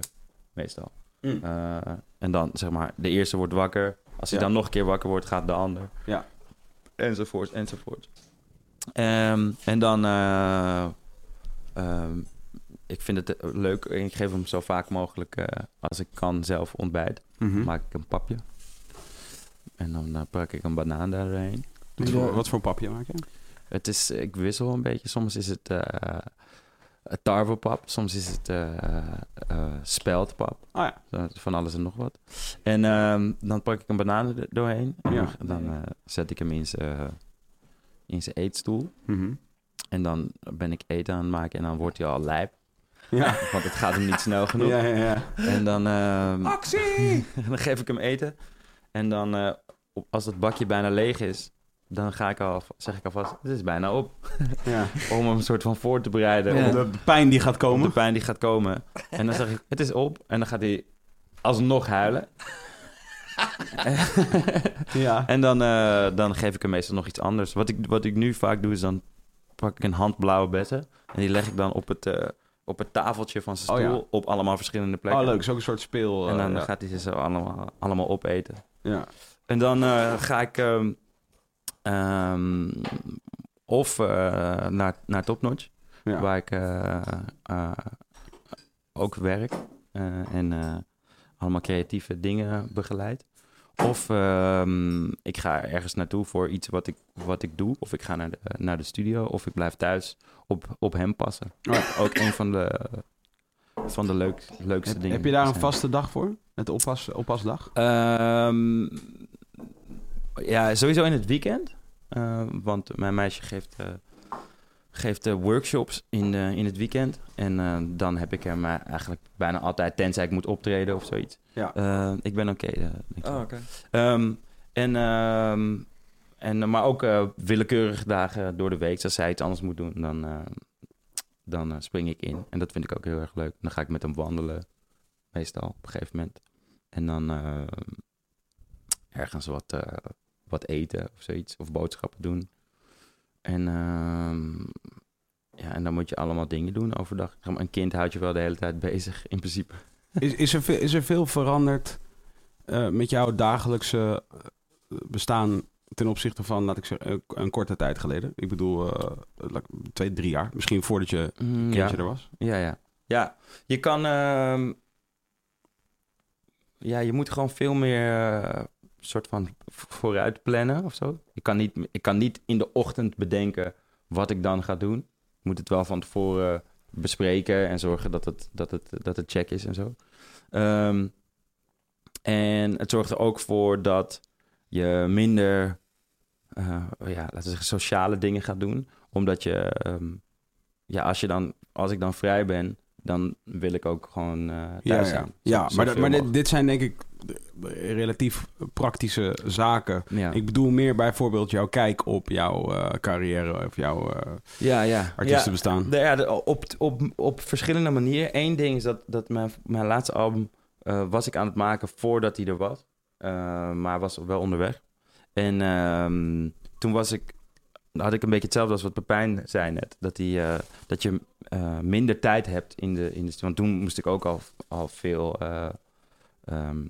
D: meestal.
A: Mm.
D: Eh, en dan, zeg maar, de eerste wordt wakker. Als hij
A: Ja.
D: dan nog een keer wakker wordt, gaat de ander.
A: Ja.
D: Enzovoort, enzovoort. Ehm, en dan, eh, ehm, ik vind het eh, leuk. en Ik geef hem zo vaak mogelijk, eh, als ik kan, zelf ontbijt.
A: Mhm.
D: Maak ik een papje. En dan eh, pak ik een banaan daarheen.
A: Wat voor- Wat voor papje maak je?
D: Het is, ik wissel een beetje. Soms is het eh, tarwepap, soms is het eh, eh, speldpap.
A: Oh ja.
D: Dat is Van alles en nog wat. En ehm, dan pak ik een banaan er doorheen. En
A: Ja.
D: dan- dan eh, zet ik hem in zijn in zijn eetstoel.
A: Mhm.
D: En dan ben ik eten aan het maken en dan wordt hij al lijp.
A: Ja.
D: Want het gaat hem niet snel genoeg.
A: Ja, ja, ja.
D: En dan, ehm,
C: Actie!
D: dan geef ik hem eten. En dan, eh, op- als dat bakje bijna leeg is, dan ga ik al, zeg ik alvast, het is bijna op.
A: ja.
D: Om hem een soort van voor te bereiden.
B: Ja.
D: Om
A: De pijn die gaat
D: Om
A: komen.
D: de pijn die gaat komen. En dan zeg ik, het is op. En dan gaat hij alsnog huilen.
A: Ja.
D: en dan, eh, dan geef ik hem meestal nog iets anders. Wat ik, wat ik nu vaak doe, is dan pak ik een hand blauwe bessen. En die leg ik dan op het, eh, op het tafeltje van zijn
A: Oh, ja.
D: stoel. Op allemaal verschillende plekken.
A: Oh, leuk. Is ook een soort speel.
D: En
A: eh,
D: dan
A: ja.
D: gaat hij ze zo allemaal, allemaal opeten.
A: Ja.
D: En dan eh, ga ik ehm, ehm, of eh, naar, naar Topnotch,
A: Ja.
D: waar ik eh, eh, ook werk. eh, en eh, allemaal creatieve dingen begeleid. Of ehm, ik ga ergens naartoe voor iets wat ik, wat ik doe. Of ik ga naar de, naar de studio. Of ik blijf thuis op, op hem passen.
A: Oh.
D: Wat Ook een van de, van de leuk, leukste
A: Heb,
D: dingen.
A: heb je daar een
D: zijn.
A: vaste dag voor? Het oppas, oppasdag?
D: Ehm, ja, sowieso in het weekend. Ehm, want mijn meisje geeft, eh, geeft eh, workshops in, eh, in het weekend. En eh, dan heb ik hem eh, eigenlijk bijna altijd, tenzij ik moet optreden of zoiets.
A: Ja.
D: Eh, ik ben oké. eh, dankjewel.
C: Oh, oké.
D: Ehm, en, ehm, en, eh, maar ook eh, willekeurige dagen door de week. Dus als zij iets anders moet doen, dan, eh, dan eh, spring ik in. En dat vind ik ook heel erg leuk. Dan ga ik met hem wandelen, meestal op een gegeven moment. En dan eh, ergens wat, eh, wat eten of zoiets. Of boodschappen doen. En, ehm, ja, en dan moet je allemaal dingen doen overdag. Zeg maar, Een kind houdt je wel de hele tijd bezig, in principe.
A: Is, is, er, veel- is er veel veranderd eh, met jouw dagelijkse eh, bestaan ten opzichte van, laat ik zeggen, een, een korte tijd geleden? Ik bedoel, eh, laat ik- twee, drie jaar. Misschien voordat je,
D: Mm,
A: kindje er was.
D: Ja, ja. Ja, je kan... ehm, ja, je moet gewoon veel meer eh, soort van v- vooruit plannen of zo. Ik kan, niet, ik kan niet in de ochtend bedenken wat ik dan ga doen. Ik moet het wel van tevoren bespreken en zorgen dat het, dat het, dat het check is en zo. Ehm, en het zorgt er ook voor dat je minder, eh, ja, laten we zeggen, sociale dingen gaat doen. Omdat je, ehm, ja, als je dan als ik dan vrij ben, dan wil ik ook gewoon eh, thuis
A: ja, ja.
D: zijn.
A: ja
D: Zo-
A: maar, dat- maar
D: zoveel
A: dit,
D: mogelijk.
A: dit zijn denk ik eh, relatief praktische zaken.
D: Ja,
A: Ik bedoel meer bijvoorbeeld jouw kijk op jouw eh, carrière of jouw eh,
D: ja, ja.
A: artiestenbestaan.
D: Ja, nou ja, de- op, op, op verschillende manieren. Eén ding is dat, dat mijn, mijn laatste album eh, was ik aan het maken voordat hij er was. Eh, maar was wel onderweg. En ehm, toen was ik, had ik een beetje hetzelfde als wat Pepijn zei net. Dat, die, eh, dat je eh, minder tijd hebt in de, in de... Want toen moest ik ook al, al veel... eh, ehm,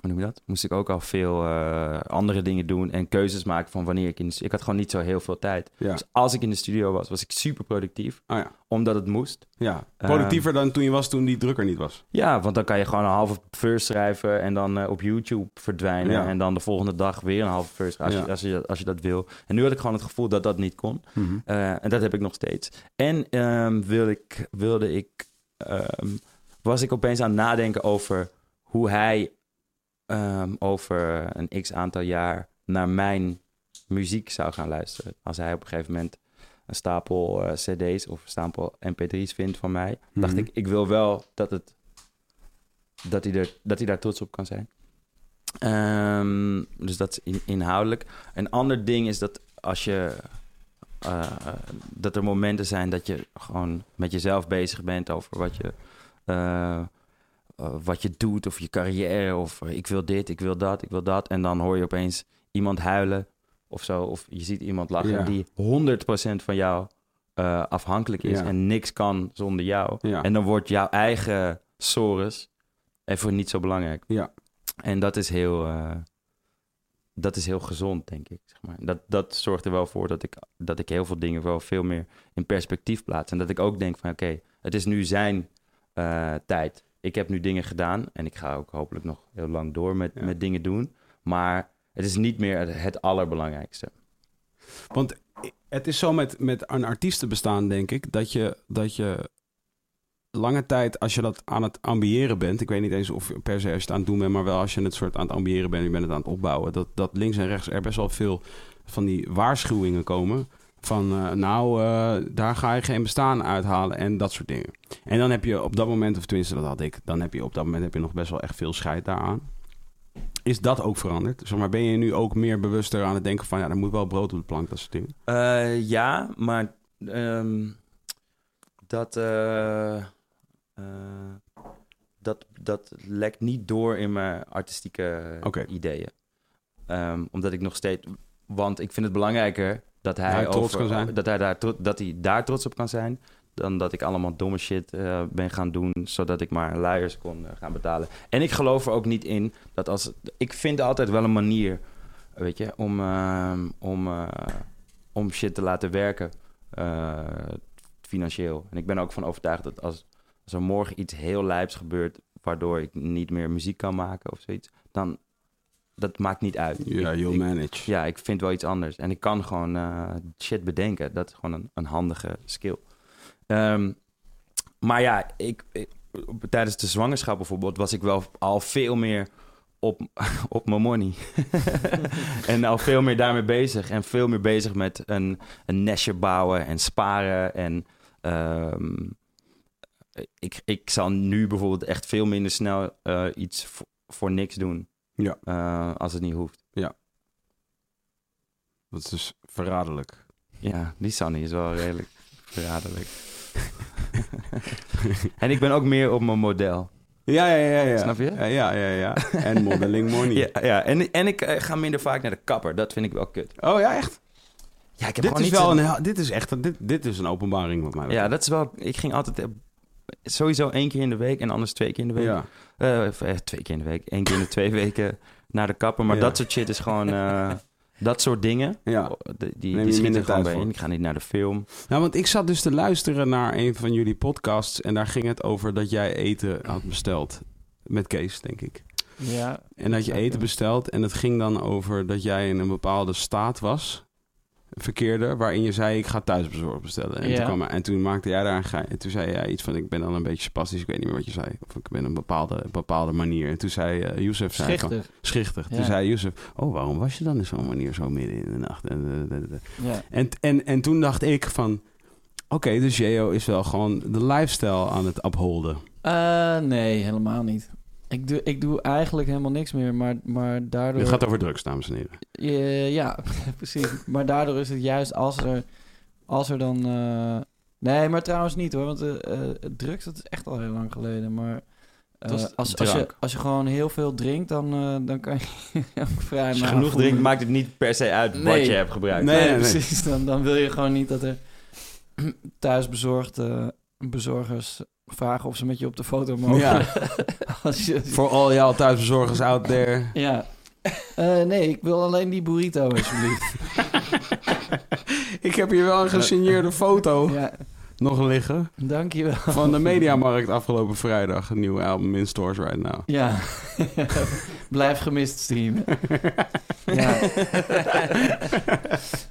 D: hoe noem je dat? Moest ik ook al veel eh, andere dingen doen en keuzes maken van wanneer ik in de... stu- Ik had gewoon niet zo heel veel tijd.
A: Ja.
D: Dus als ik in de studio was, was ik super productief.
A: Ah ja.
D: Omdat het moest.
A: Ja,
D: Ehm.
A: productiever dan toen je was toen die drukker niet was.
D: Ja, want dan kan je gewoon een halve verse schrijven en dan eh, op YouTube verdwijnen.
A: Ja.
D: En dan de volgende dag weer een halve verse als,
A: Ja.
D: je, als, je, als je dat wil. En nu had ik gewoon het gevoel dat dat niet kon. Eh, en dat heb ik nog steeds. En ehm, wil ik, wilde ik, ehm, was ik opeens aan het nadenken over hoe hij ehm, over een x aantal jaar naar mijn muziek zou gaan luisteren. Als hij op een gegeven moment een stapel eh, CD's of een stapel MP3's vindt van mij, dacht
A: Mhm.
D: ik, ik wil wel dat het dat hij, er, dat hij daar trots op kan zijn. Ehm, dus dat is in- inhoudelijk. Een ander ding is dat als je eh, dat er momenten zijn dat je gewoon met jezelf bezig bent over wat je, eh, eh, wat je doet of je carrière of eh, ik wil dit, ik wil dat, ik wil dat. En dan hoor je opeens iemand huilen of zo. Of je ziet iemand lachen
A: Ja.
D: die 100% van jou eh, afhankelijk is
A: Ja.
D: en niks kan zonder jou.
A: Ja.
D: En dan wordt jouw eigen sores even niet zo belangrijk.
A: Ja.
D: En dat is heel, eh, dat is heel gezond, denk ik. Zeg maar. dat, dat zorgt er wel voor dat ik, dat ik heel veel dingen wel veel meer in perspectief plaats. En dat ik ook denk van oké, het is nu zijn eh, tijd. Ik heb nu dingen gedaan en ik ga ook hopelijk nog heel lang door met,
A: Ja.
D: met dingen doen. Maar het is niet meer het, het allerbelangrijkste.
A: Want het is zo met, met een artiestenbestaan, denk ik, dat je, dat je lange tijd, als je dat aan het ambiëren bent, ik weet niet eens of per se als je het aan het doen bent, maar wel als je het soort aan het ambiëren bent, je bent het aan het opbouwen, dat, dat links en rechts er best wel veel van die waarschuwingen komen. Van eh, nou, eh, daar ga je geen bestaan uithalen en dat soort dingen. En dan heb je op dat moment, of tenminste dat had ik, dan heb je op dat moment heb je nog best wel echt veel scheid daaraan. Is dat ook veranderd? Zeg maar, ben je nu ook meer bewuster aan het denken van ja, er moet wel brood op de plank, dat soort dingen?
D: Eh, ja, maar ehm, dat, eh, eh, dat, dat lekt niet door in mijn artistieke
A: Oké.
D: ideeën. Ehm, omdat ik nog steeds. Want ik vind het belangrijker dat hij,
A: hij trots
D: over-
A: kan zijn.
D: Dat hij, daar, tro- dat hij daar trots op kan zijn. Dan dat ik allemaal domme shit eh, ben gaan doen. Zodat ik maar luiers kon eh, gaan betalen. En ik geloof er ook niet in dat als. Ik vind altijd wel een manier. Weet je, om, ehm, om, eh, om shit te laten werken. eh, financieel. En ik ben er ook van overtuigd dat als, als er morgen iets heel lijps gebeurt. waardoor ik niet meer muziek kan maken of zoiets, dan dat maakt niet uit.
A: Ja,
D: Ik-
A: you'll
D: ik-
A: manage.
D: ja, ik vind wel iets anders. En ik kan gewoon eh, shit bedenken. Dat is gewoon een, een handige skill. Ehm, maar ja, ik, ik- op- tijdens de zwangerschap bijvoorbeeld was ik wel al veel meer op, op mijn money. en al veel meer daarmee bezig. En veel meer bezig met een, een nestje bouwen en sparen. En ehm, ik, ik zal nu bijvoorbeeld echt veel minder snel eh, iets voor, voor niks doen.
A: Ja.
D: Eh, als het niet hoeft.
A: Dat is dus verraderlijk.
D: Ja, die Sunny is wel redelijk verraderlijk. en ik ben ook meer op mijn model.
A: Ja, ja, ja. ja.
D: Snap je?
A: Ja, ja, ja. ja. En modeling money.
D: Ja, ja. En, en ik eh, ga minder vaak naar de kapper. Dat vind ik wel kut.
A: Oh ja, echt?
D: Ja, ik
A: Dit
D: heb gewoon
A: is,
D: niet
A: wel
D: zo-
A: een, heel- dit is echt dit, dit is een openbaring wat mij
D: Ja, dat is wel... Ik ging altijd... eh, Sowieso één keer in de week en anders twee keer in de week.
A: Ja.
D: Eh, of, eh, twee keer in de week. Eén keer in de twee weken naar de kapper. Maar
A: Ja.
D: dat soort shit is gewoon... eh, dat soort dingen,
A: ja.
D: oh, die, die,
A: Neem
D: die
A: je
D: schiet
A: minder
D: er
A: tijd
D: gewoon bij
A: voor.
D: in. Ik ga niet naar de film.
A: Nou, want ik zat dus te luisteren naar een van jullie podcasts. En daar ging het over dat jij eten had besteld. Met Kees, denk ik.
B: Ja,
A: En dat je eten bestelt. En het ging dan over dat jij in een bepaalde staat was. Verkeerde, waarin je zei: Ik ga thuisbezorgd bestellen. En,
B: Ja.
A: toen, kwam, en toen maakte jij daar een gein. En toen zei jij iets van: Ik ben dan een beetje spastisch. Ik weet niet meer wat je zei. Of ik ben een bepaalde, bepaalde manier. En toen zei eh Youssef: zei van-
B: schichtig.
A: Schichtig. Toen
B: Ja.
A: zei Youssef: Oh, waarom was je dan in zo'n manier zo midden in de nacht? En, eh, eh, eh, eh.
B: Ja.
A: En, en, en toen dacht ik: van... Oké, dus Jeo is wel gewoon de lifestyle aan het upholden.
B: Eh, nee, helemaal niet. Ik doe, ik doe eigenlijk helemaal niks meer, maar, maar daardoor...
A: Het gaat over drugs, dames en heren.
B: Eh, ja, precies. Maar daardoor is het juist als er, als er dan... eh, Nee, maar trouwens niet hoor, want eh, eh, drugs, dat is echt al heel lang geleden, maar... eh,
D: Dat is
B: als, als, je,
D: drank.
B: als je gewoon heel veel drinkt, dan, eh, dan kan je ook vrij
D: Als je genoeg
B: maar afvoeren.
D: drinkt, maakt het niet per se uit
B: Nee.
D: wat je hebt gebruikt.
A: Nee,
B: Nee,
A: nee, nee.
B: precies. Dan, dan wil je gewoon niet dat er thuis bezorgde bezorgers vragen of ze met je op de foto mogen.
A: Ja.
B: Als je,
A: Voor al jouw thuisbezorgers out there.
B: ja. Eh, nee, ik wil alleen die burrito, alsjeblieft.
A: Ik heb hier wel een gesigneerde
D: Oh.
A: foto
B: ja,
A: nog liggen
B: dankjewel.
A: van de Mediamarkt afgelopen vrijdag. Een nieuwe album in stores right now.
B: Ja. Blijf gemist streamen. ja.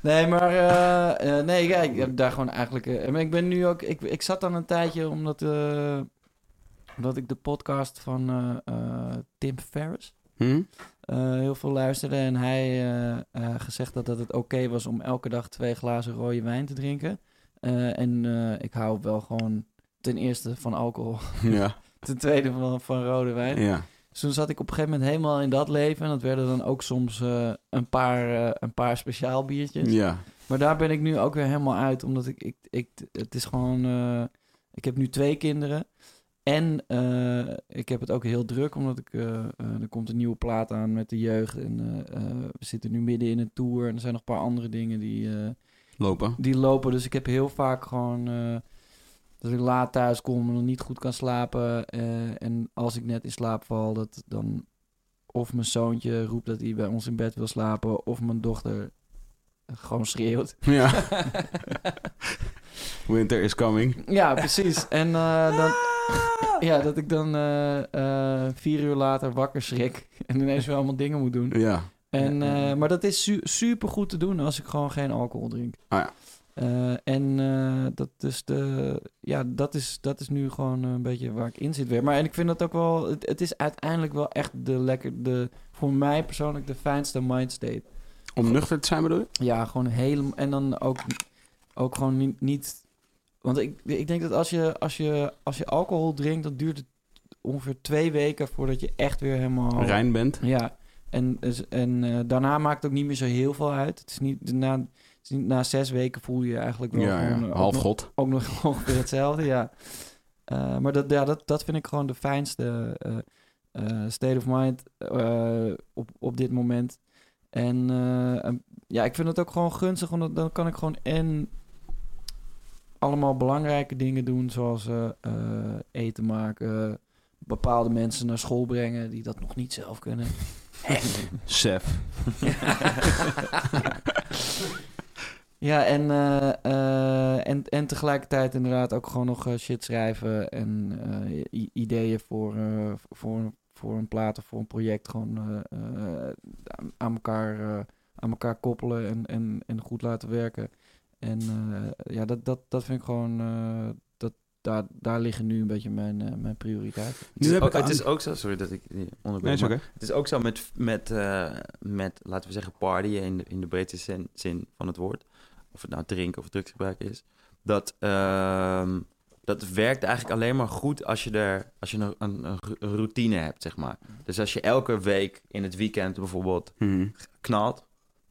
B: nee, maar eh, eh, nee, kijk, ik heb daar gewoon eigenlijk. eh, maar ik ben nu ook. Ik, ik zat dan een tijdje omdat, eh, omdat ik de podcast van eh, eh, Tim Ferriss
A: Hm?
B: eh, heel veel luisterde. En hij eh, eh, gezegd had dat het oké was om elke dag twee glazen rode wijn te drinken. Eh, en eh, ik hou wel gewoon ten eerste van alcohol,
A: Ja,
B: ten tweede van, van rode wijn.
A: ja.
B: Dus toen zat ik op een gegeven moment helemaal in dat leven. En dat werden dan ook soms eh, een, paar, eh, een paar speciaal biertjes.
A: ja.
B: Maar daar ben ik nu ook weer helemaal uit. Omdat ik, ik, ik het is gewoon... eh, ik heb nu twee kinderen. En eh, ik heb het ook heel druk. Omdat ik, eh, eh, er komt een nieuwe plaat aan met de jeugd. En eh, eh, we zitten nu midden in een tour. En er zijn nog een paar andere dingen die... eh,
A: Lopen.
B: die lopen. Dus ik heb heel vaak gewoon eh, dat ik laat thuis kom en dan niet goed kan slapen. eh, en als ik net in slaap val, dat dan of mijn zoontje roept dat hij bij ons in bed wil slapen, of mijn dochter gewoon schreeuwt.
A: Ja. Winter is coming.
B: Ja, precies. En eh, dan, ja, dat ik dan eh, eh, vier uur later wakker schrik en ineens weer allemaal dingen moet doen.
A: Ja.
B: En,
D: Ja, ja, ja.
B: eh, maar dat is su- super goed te doen als ik gewoon geen alcohol drink.
A: Ah,
D: Oh,
A: ja.
B: Eh, en eh, dat, is de, ja, dat, is, dat is nu gewoon een beetje waar ik in zit weer. Maar en ik vind dat ook wel, het, het is uiteindelijk wel echt de lekker, de, voor mij persoonlijk de fijnste mindstate.
A: Om nuchter te zijn bedoel je?
B: Ja, gewoon helemaal, en dan ook, ook gewoon niet, niet want ik, ik denk dat als je, als, je, als je alcohol drinkt, dan duurt het ongeveer twee weken voordat je echt weer helemaal...
A: Rein bent.
B: Ja, en, dus- en eh, daarna maakt het ook niet meer zo heel veel uit. Het is niet, na, het is niet, na zes weken voel je je eigenlijk wel
A: Ja,
B: gewoon,
A: ja.
B: eh,
A: half
B: ook, nog,
A: god.
B: ook nog ongeveer hetzelfde, ja. Eh, maar dat, ja, dat, dat vind ik gewoon de fijnste eh, eh, state of mind eh, op, op dit moment. En eh, eh, ja, ik vind het ook gewoon gunstig, omdat dan kan ik gewoon en allemaal belangrijke dingen doen, zoals eh, eh, eten maken, bepaalde mensen naar school brengen die dat nog niet zelf kunnen.
A: Sef.
B: Ja, en, eh, eh, en, en tegelijkertijd inderdaad ook gewoon nog eh, shit schrijven en eh, i- ideeën voor, eh, voor, voor een plaat of voor een project gewoon eh, eh, aan- aan, elkaar, eh, aan elkaar koppelen en, en, en goed laten werken. En eh, ja, dat, dat, dat vind ik gewoon, eh, dat, daar, daar liggen nu een beetje mijn, eh, mijn prioriteiten.
D: Het is,
A: Nu heb
D: ook,
A: ik
D: het
A: aan-
D: is ook zo, sorry dat ik je onderbreek.
A: Nee, is
D: maar
A: oké.
D: Het is ook zo met, met, eh, met laten we zeggen, partyen in de, in de breedste zin, zin van het woord. Of het nou drinken of drugsgebruik is. Dat, ehm, dat werkt eigenlijk alleen maar goed als je, er, als je een, een, een ru- een routine hebt, zeg maar. Dus als je elke week in het weekend bijvoorbeeld
A: Mhm.
D: knalt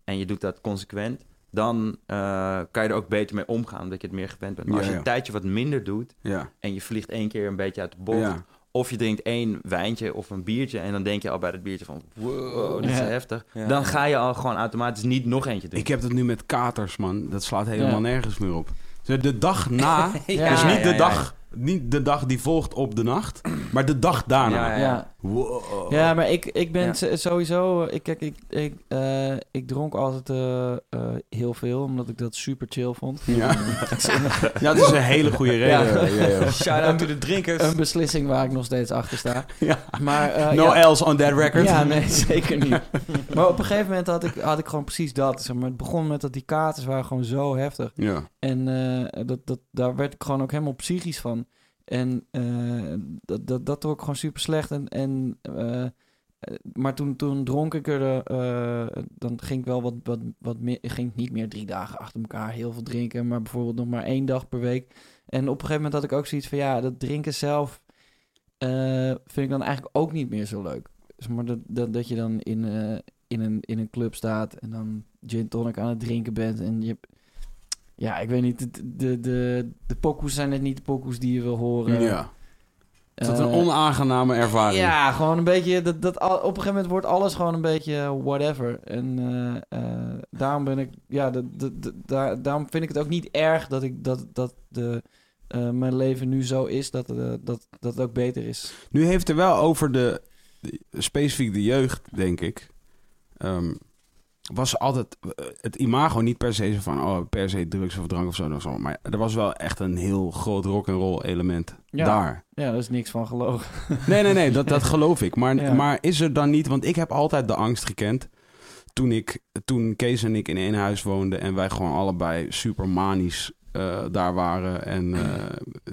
D: en je doet dat consequent, dan eh, kan je er ook beter mee omgaan, omdat je het meer gewend bent. Maar
A: Ja,
D: als je
A: ja.
D: een tijdje wat minder doet
A: Ja.
D: en je vliegt één keer een beetje uit de bocht,
A: ja.
D: of je drinkt één wijntje of een biertje en dan denk je al bij dat biertje van wow, Oh, dit is
B: Ja.
D: heftig.
C: Ja.
D: Dan ga je al gewoon automatisch niet nog eentje
A: Ik
D: drinken.
A: heb dat nu met katers, man. Dat slaat helemaal
B: Ja.
A: nergens meer op. De dag na,
B: Ja,
A: dus niet,
D: ja,
A: de
D: ja.
A: dag, niet de dag die volgt op de nacht, maar de dag daarna.
C: Ja,
B: Ja,
C: ja. Oh.
A: Wow.
B: Ja, maar ik, ik ben
C: Ja.
B: s- sowieso... eh, Ik, kijk, ik, ik, eh, ik dronk altijd eh, eh, heel veel, omdat ik dat super chill vond.
A: Ja. Ja, dat is een hele goede reden. Ja. Ja, ja.
C: Shout out to de drinkers.
B: Een beslissing waar ik nog steeds achter sta.
A: Ja.
B: Maar, eh,
A: No
B: ja,
A: else on that record.
B: Ja, nee, zeker niet. maar op een gegeven moment had ik, had ik gewoon precies dat. Zeg maar, het begon met dat die katers waren gewoon zo heftig.
A: Ja.
B: En eh, dat, dat, daar werd ik gewoon ook helemaal psychisch van. En eh, dat, dat, dat trok gewoon super slecht. En, en, eh, eh, maar toen, toen dronk ik er, eh, eh, dan ging ik wel wat, wat, wat meer, ging ik niet meer drie dagen achter elkaar heel veel drinken, maar bijvoorbeeld nog maar één dag per week. En op een gegeven moment had ik ook zoiets van, ja, dat drinken zelf eh, vind ik dan eigenlijk ook niet meer zo leuk. Dus maar dat, dat, dat je dan in, eh, in, een, in een club staat en dan gin tonic aan het drinken bent en je hebt- ja, ik weet niet, de, de, de, de pokoes zijn net niet de pokoes die je wil horen.
A: ja. Is dat een
B: Eh,
A: onaangename ervaring?
B: ja, gewoon een beetje. Dat, dat, al- op een gegeven moment wordt alles gewoon een beetje whatever. En eh, eh, daarom ben ik. Ja, dat, dat, dat- daar, daarom vind ik het ook niet erg dat ik dat, dat de, eh, mijn leven nu zo is dat, eh, dat, dat het ook beter is.
A: Nu heeft er wel over de, de- specifiek de jeugd, denk ik. ehm, was altijd eh, het imago niet per se zo van oh, per se drugs of drank of zo, of zo. Maar er was wel echt een heel groot rock and roll element
B: Ja.
A: daar.
B: Ja, daar is niks van gelogen.
A: Nee, nee, nee, dat, dat geloof ik. Maar,
B: Ja.
A: maar is er dan niet, want ik heb altijd de angst gekend. Toen, ik, toen Kees en ik in één huis woonden en wij gewoon allebei super manisch eh, daar waren. En eh,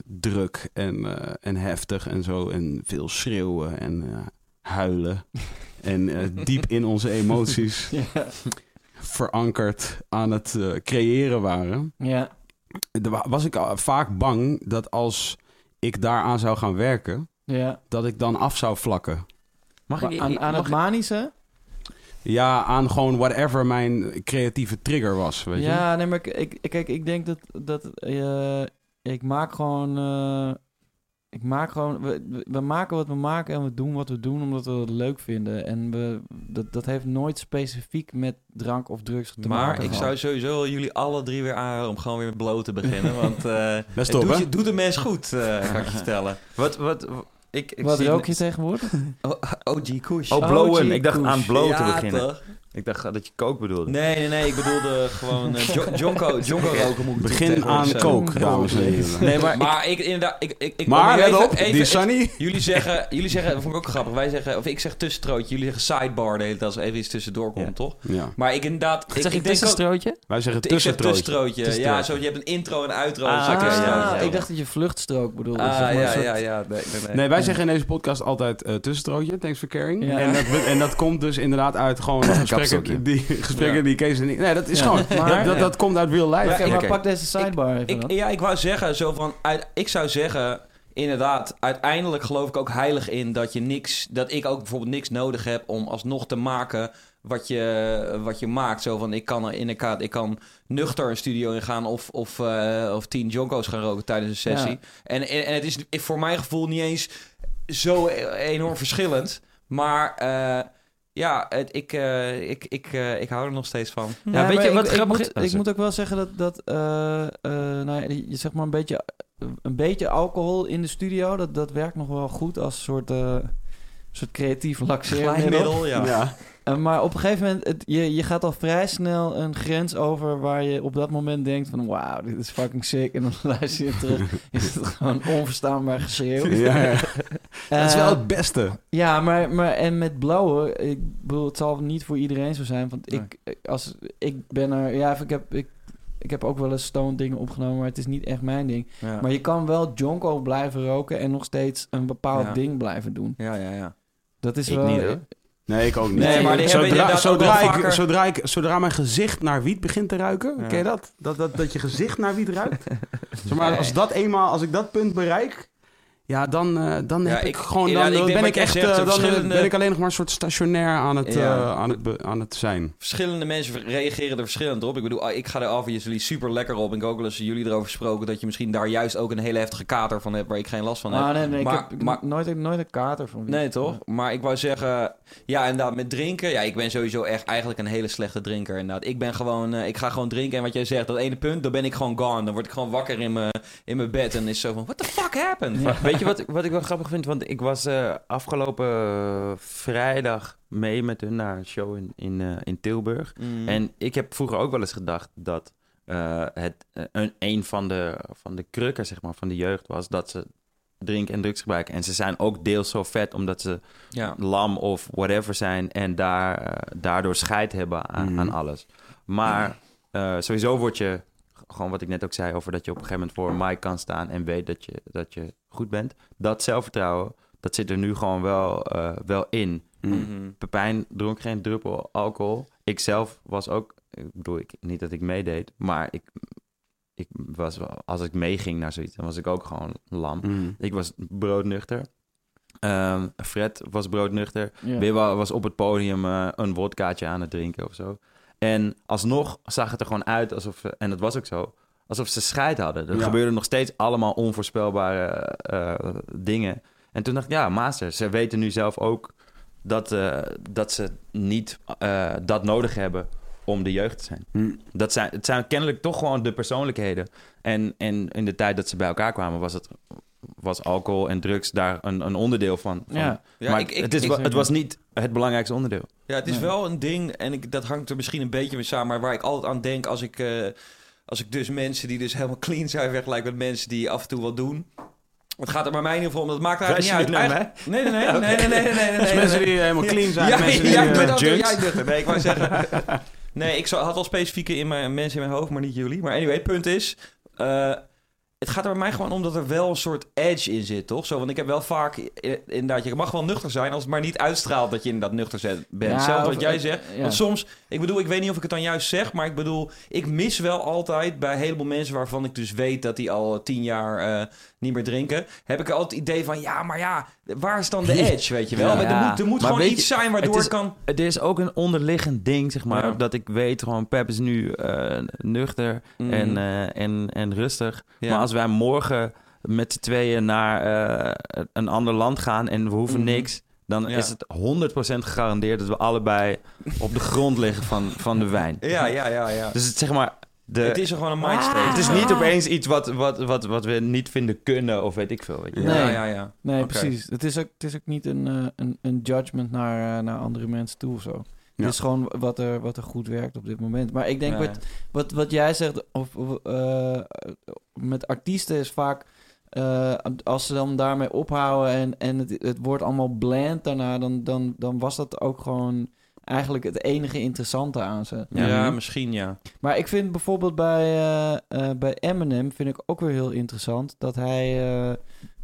A: druk en, eh, en heftig en zo. En veel schreeuwen en eh, huilen. en eh, diep in onze emoties
B: ja.
A: verankerd aan het eh, creëren waren.
B: ja.
A: Er wa- was ik al vaak bang dat als ik daaraan zou gaan werken,
B: Ja.
A: dat ik dan af zou vlakken.
D: Mag
B: Maar aan, aan
D: mag
B: het manische?
A: Ja, aan gewoon whatever mijn creatieve trigger was, weet je.
B: ja, nee, maar ik, ik, kijk, ik denk dat, dat eh, ik maak gewoon, eh, ik maak gewoon, we, we- we maken wat we maken en we doen wat we doen omdat we het leuk vinden. En we, dat, dat heeft nooit specifiek met drank of drugs te
C: maar
B: maken.
C: ik
B: gehad.
C: zou sowieso jullie alle drie weer aanraden om gewoon weer met bloot te beginnen. Want eh
A: Dat is
C: het
A: top,
C: doet,
A: hè?
C: je- doet de mens goed, eh ga ik je vertellen.
D: Wat, wat, ik, ik
B: Wat
D: zie-
B: rook je tegenwoordig?
C: OG Kush.
D: Oh, blowen.
B: OG
D: Ik dacht aan
B: Kush.
D: blow te
C: Ja,
D: beginnen.
C: toch?
D: Ik dacht eh, dat je kook bedoelde.
C: Nee, nee, nee. Ik bedoelde gewoon... eh, Jo- Jonko Jonko roken moet ik
A: Begin
C: tegenwoordig
A: aan
C: zeggen.
A: coke, dames en heren.
D: Nee, maar
C: Maar,
D: ik-
C: ik, inderdaad... Ik, ik, ik
A: Maar
C: nu
A: let
C: even-
A: op,
C: even-
A: die
C: ik-
A: Sunny.
C: Jullie zeggen, jullie zeggen, dat vond ik ook grappig. Wij zeggen, of ik zeg tussenstrootje, jullie zeggen sidebar de hele tijd als er even iets tussendoor komt,
D: Ja.
C: toch?
A: Ja.
C: Maar ik inderdaad, ik,
B: zeg
C: ik
B: ik
C: denk ook, Oh,
B: tussenstrootje?
A: Wij zeggen
C: ik zeg
A: tussentrootje.
C: tussenstrootje. Ja,
A: Tussenstrootje.
C: zo, je hebt een intro en een outro.
D: Ah,
C: dus
B: Ah,
C: ik zeg
D: ja,
C: tussenstrootje.
B: ik dacht dat je vluchtstrook bedoelde.
C: Ah,
B: zeg maar, een
C: ja,
B: soort-
C: ja, ja. Nee, nee, nee.
A: Nee, wij zeggen in deze podcast altijd eh tussenstrootje, thanks for caring.
B: Ja.
A: En, dat, en dat komt dus inderdaad uit gewoon
D: Kapseltje.
A: gesprekken, die, gesprekken
C: Ja.
A: die Kees en ik... Nee, dat is
B: Ja.
A: gewoon...
B: Maar-
A: dat, dat, dat komt uit real life.
B: Oké, maar
D: Oké.
B: pak deze sidebar even
C: Ik,
B: dan.
C: ja, ik wou zeggen, zo van, uit, ik zou zeggen, inderdaad, uiteindelijk geloof ik ook heilig in dat je niks, dat ik ook bijvoorbeeld niks nodig heb om alsnog te maken wat je, wat je maakt. Zo van, ik kan er in elkaar, ik kan nuchter een studio ingaan of, of, eh, of tien jonko's gaan roken tijdens een sessie.
B: Ja.
C: En, en, en het is voor mijn gevoel niet eens zo e-, enorm verschillend, maar... eh, ja, het, ik, eh, ik, ik, eh, ik hou er nog steeds van.
D: Ja, weet
B: maar
D: je
B: ik-
D: wat
B: ik,
D: grappig
B: moet,
D: is?
B: Ik moet ook wel zeggen dat, dat eh, eh, nou ja, je zeg maar een beetje, een beetje alcohol in de studio, dat, dat werkt nog wel goed als soort eh, soort creatief laxeermiddel.
C: Glijmiddel, ja.
A: ja.
B: Eh, maar op een gegeven moment, het, je, je gaat al vrij snel een grens over waar je op dat moment denkt van... Wauw, dit is fucking sick. En dan luister je terug, is het gewoon onverstaanbaar geschreeuw.
A: Ja, ja. Dat is wel
B: Eh,
A: het beste.
B: Ja, maar, maar en met blauwe, ik bedoel, het zal niet voor iedereen zo zijn. Want ik, eh, als, ik ben er, ja, ik heb, ik, ik heb ook wel eens stone dingen opgenomen, maar het is niet echt mijn ding.
C: Ja.
B: Maar je kan wel jonko blijven roken en nog steeds een bepaald
C: Ja.
B: ding blijven doen.
C: ja, ja, ja.
B: Dat is
D: Ik
B: wel...
D: niet, hoor.
A: Nee, ik ook niet.
B: Nee, maar die
C: hebben
A: zodra,
C: inderdaad ook
A: zodra,
C: wel
A: ik,
C: vaker-
A: zodra, ik, zodra mijn gezicht naar wiet begint te ruiken,
C: Ja.
A: ken je dat? Dat, dat? dat je gezicht naar wiet ruikt. Zeg maar als, dat eenmaal, als ik dat punt bereik, ja, dan, eh, dan,
C: Ja,
A: heb ik,
C: ik-
A: gewoon,
C: ja,
A: dan,
C: ik
A: eh,
C: denk
A: ben
C: wat
A: ik
C: jij
A: echt
C: zegt,
A: eh,
C: de
A: dan, eh,
C: verschillende-
A: ben ik alleen nog maar een soort stationair aan het,
C: Ja.
A: eh, aan het, be- aan het zijn.
C: Verschillende mensen reageren er verschillend op. Ik bedoel, ah, ik ga er obviously super lekker op. Ik heb ook wel eens jullie erover gesproken dat je misschien daar juist ook een hele heftige kater van hebt waar ik geen last van heb.
B: Ah, nee, nee, ik
C: Maar-
B: heb ik
C: maar-
B: heb nooit, nooit een kater van wie.
C: Nee, toch? Maar ik wou zeggen, ja, inderdaad, met drinken. Ja, ik ben sowieso echt eigenlijk een hele slechte drinker, inderdaad. Ik ben gewoon, eh, ik ga gewoon drinken. En wat jij zegt, dat ene punt, dan ben ik gewoon gone. Dan word ik gewoon wakker in mijn in mijn bed en is zo van, what the fuck happened?
B: Ja.
D: Weet je wat, wat ik wel grappig vind? Want ik was eh, afgelopen eh, vrijdag mee met hun naar een show in, in, eh, in Tilburg.
C: Mm.
D: En ik heb vroeger ook wel eens gedacht dat eh, het eh, een, een van, de, van de krukken zeg maar, van de jeugd was dat ze drinken en drugs gebruiken. En ze zijn ook deels zo vet omdat ze
C: ja.
D: lam of whatever zijn en daar, eh, daardoor scheid hebben aan,
A: Mhm.
D: aan alles. Maar eh, sowieso word je, gewoon wat ik net ook zei over dat je op een gegeven moment voor een mic kan staan en weet dat je, dat je goed bent. Dat zelfvertrouwen, dat zit er nu gewoon wel, eh, wel in.
C: Mhm.
D: Pepijn dronk geen druppel alcohol. Ik zelf was ook, ik bedoel, ik, niet dat ik meedeed, maar ik, ik was wel, als ik meeging naar zoiets, dan was ik ook gewoon lam.
C: Mm.
D: Ik was broodnuchter. Ehm, Fred was broodnuchter.
B: Ja.
D: Wibba was op het podium eh, een wodkaatje aan het drinken of zo. En alsnog zag het er gewoon uit alsof, ze- en dat was ook zo, alsof ze scheid hadden. Er
A: Ja.
D: gebeurden nog steeds allemaal onvoorspelbare eh, eh, dingen. En toen dacht ik, ja, master, ze weten nu zelf ook dat, eh, dat ze niet eh, dat nodig hebben om de jeugd te zijn.
B: Hm.
D: Dat zijn. Het zijn kennelijk toch gewoon de persoonlijkheden. En, en in de tijd dat ze bij elkaar kwamen, was, het, was alcohol en drugs daar een, een onderdeel van. van
B: Ja.
C: Ja,
D: maar
C: ik- ik-
D: het, is,
C: ik-
D: wa- het was niet het belangrijkste onderdeel.
C: Ja, het is
B: Nee.
C: wel een ding, en ik, dat hangt er misschien een beetje mee samen, maar waar ik altijd aan denk als ik, eh, als ik dus mensen die dus helemaal clean zijn vergelijk met mensen die af en toe wat doen. Het gaat er bij mij in ieder geval om, dat maakt eigenlijk
D: Wijs je
C: niet uit.
D: nu naar
C: Eigen- Nee, nee, nee, nee, nee, nee, nee, nee, nee,
A: Dus
C: nee.
A: mensen die helemaal
C: Ja.
A: clean zijn,
C: ja,
A: mensen die
C: ja,
A: eh,
C: ik ben ook-
A: junks.
C: ja, ik ben er. Nee, ik wou zeggen. Nee, ik zou- had al specifieke in mijn, mensen in mijn hoofd, maar niet jullie. Maar anyway, het punt is. eh, het gaat er bij mij gewoon om dat er wel een soort edge in zit, toch? Zo, want ik heb wel vaak eh, inderdaad, je mag wel nuchter zijn als het maar niet uitstraalt dat je inderdaad nuchter zet- bent.
B: Ja,
C: Zelfs
B: of-
C: wat jij
B: eh,
C: zegt.
B: ja.
C: Want soms, ik bedoel, ik weet niet of ik het dan juist zeg, maar ik bedoel, ik mis wel altijd bij een heleboel mensen waarvan ik dus weet dat die al tien jaar eh, niet meer drinken, heb ik altijd het idee van ja, maar ja, waar is dan de edge, weet je wel?
D: Ja.
C: Er moet, er moet
D: Maar
C: gewoon
D: weet
C: iets
D: je,
C: zijn waardoor
D: het is-
C: ik kan.
D: Er is ook een onderliggend ding, zeg maar.
C: Ja.
D: Dat ik weet gewoon, Pep is nu eh, nuchter
C: Mm.
D: en, eh, en, en rustig.
C: Ja.
D: Maar als wij morgen met z'n tweeën naar eh, een ander land gaan en we hoeven
C: Mhm.
D: niks... dan
C: Ja.
D: is het 100% gegarandeerd dat we allebei op de grond liggen van, van de wijn.
C: Ja, ja, ja, ja.
D: Dus het, zeg maar, de, Ah,
C: het is er gewoon een mindset.
D: het is niet opeens iets wat, wat, wat, wat we niet vinden kunnen of weet ik veel. Weet je.
B: Ja.
C: Nee, ja,
B: Nee.
C: ja.
B: Nee,
C: Oké.
B: precies. Het is ook, het is ook niet een, eh, een, een judgment naar, eh, naar andere mensen toe of zo.
A: Ja.
B: Het is gewoon wat er, wat er goed werkt op dit moment. Maar ik denk
C: Ja,
B: wat, wat, wat jij zegt of, of, eh, met artiesten is vaak... eh, als ze dan daarmee ophouden en, en het, het wordt allemaal bland daarna... Dan, dan, dan was dat ook gewoon eigenlijk het enige interessante aan ze.
C: ja. Mm-hmm.
D: Ja.
C: Ja,
D: Mhm.
C: misschien ja.
B: Maar ik vind bijvoorbeeld bij, eh, eh, bij Eminem vind ik ook weer heel interessant... dat hij... eh,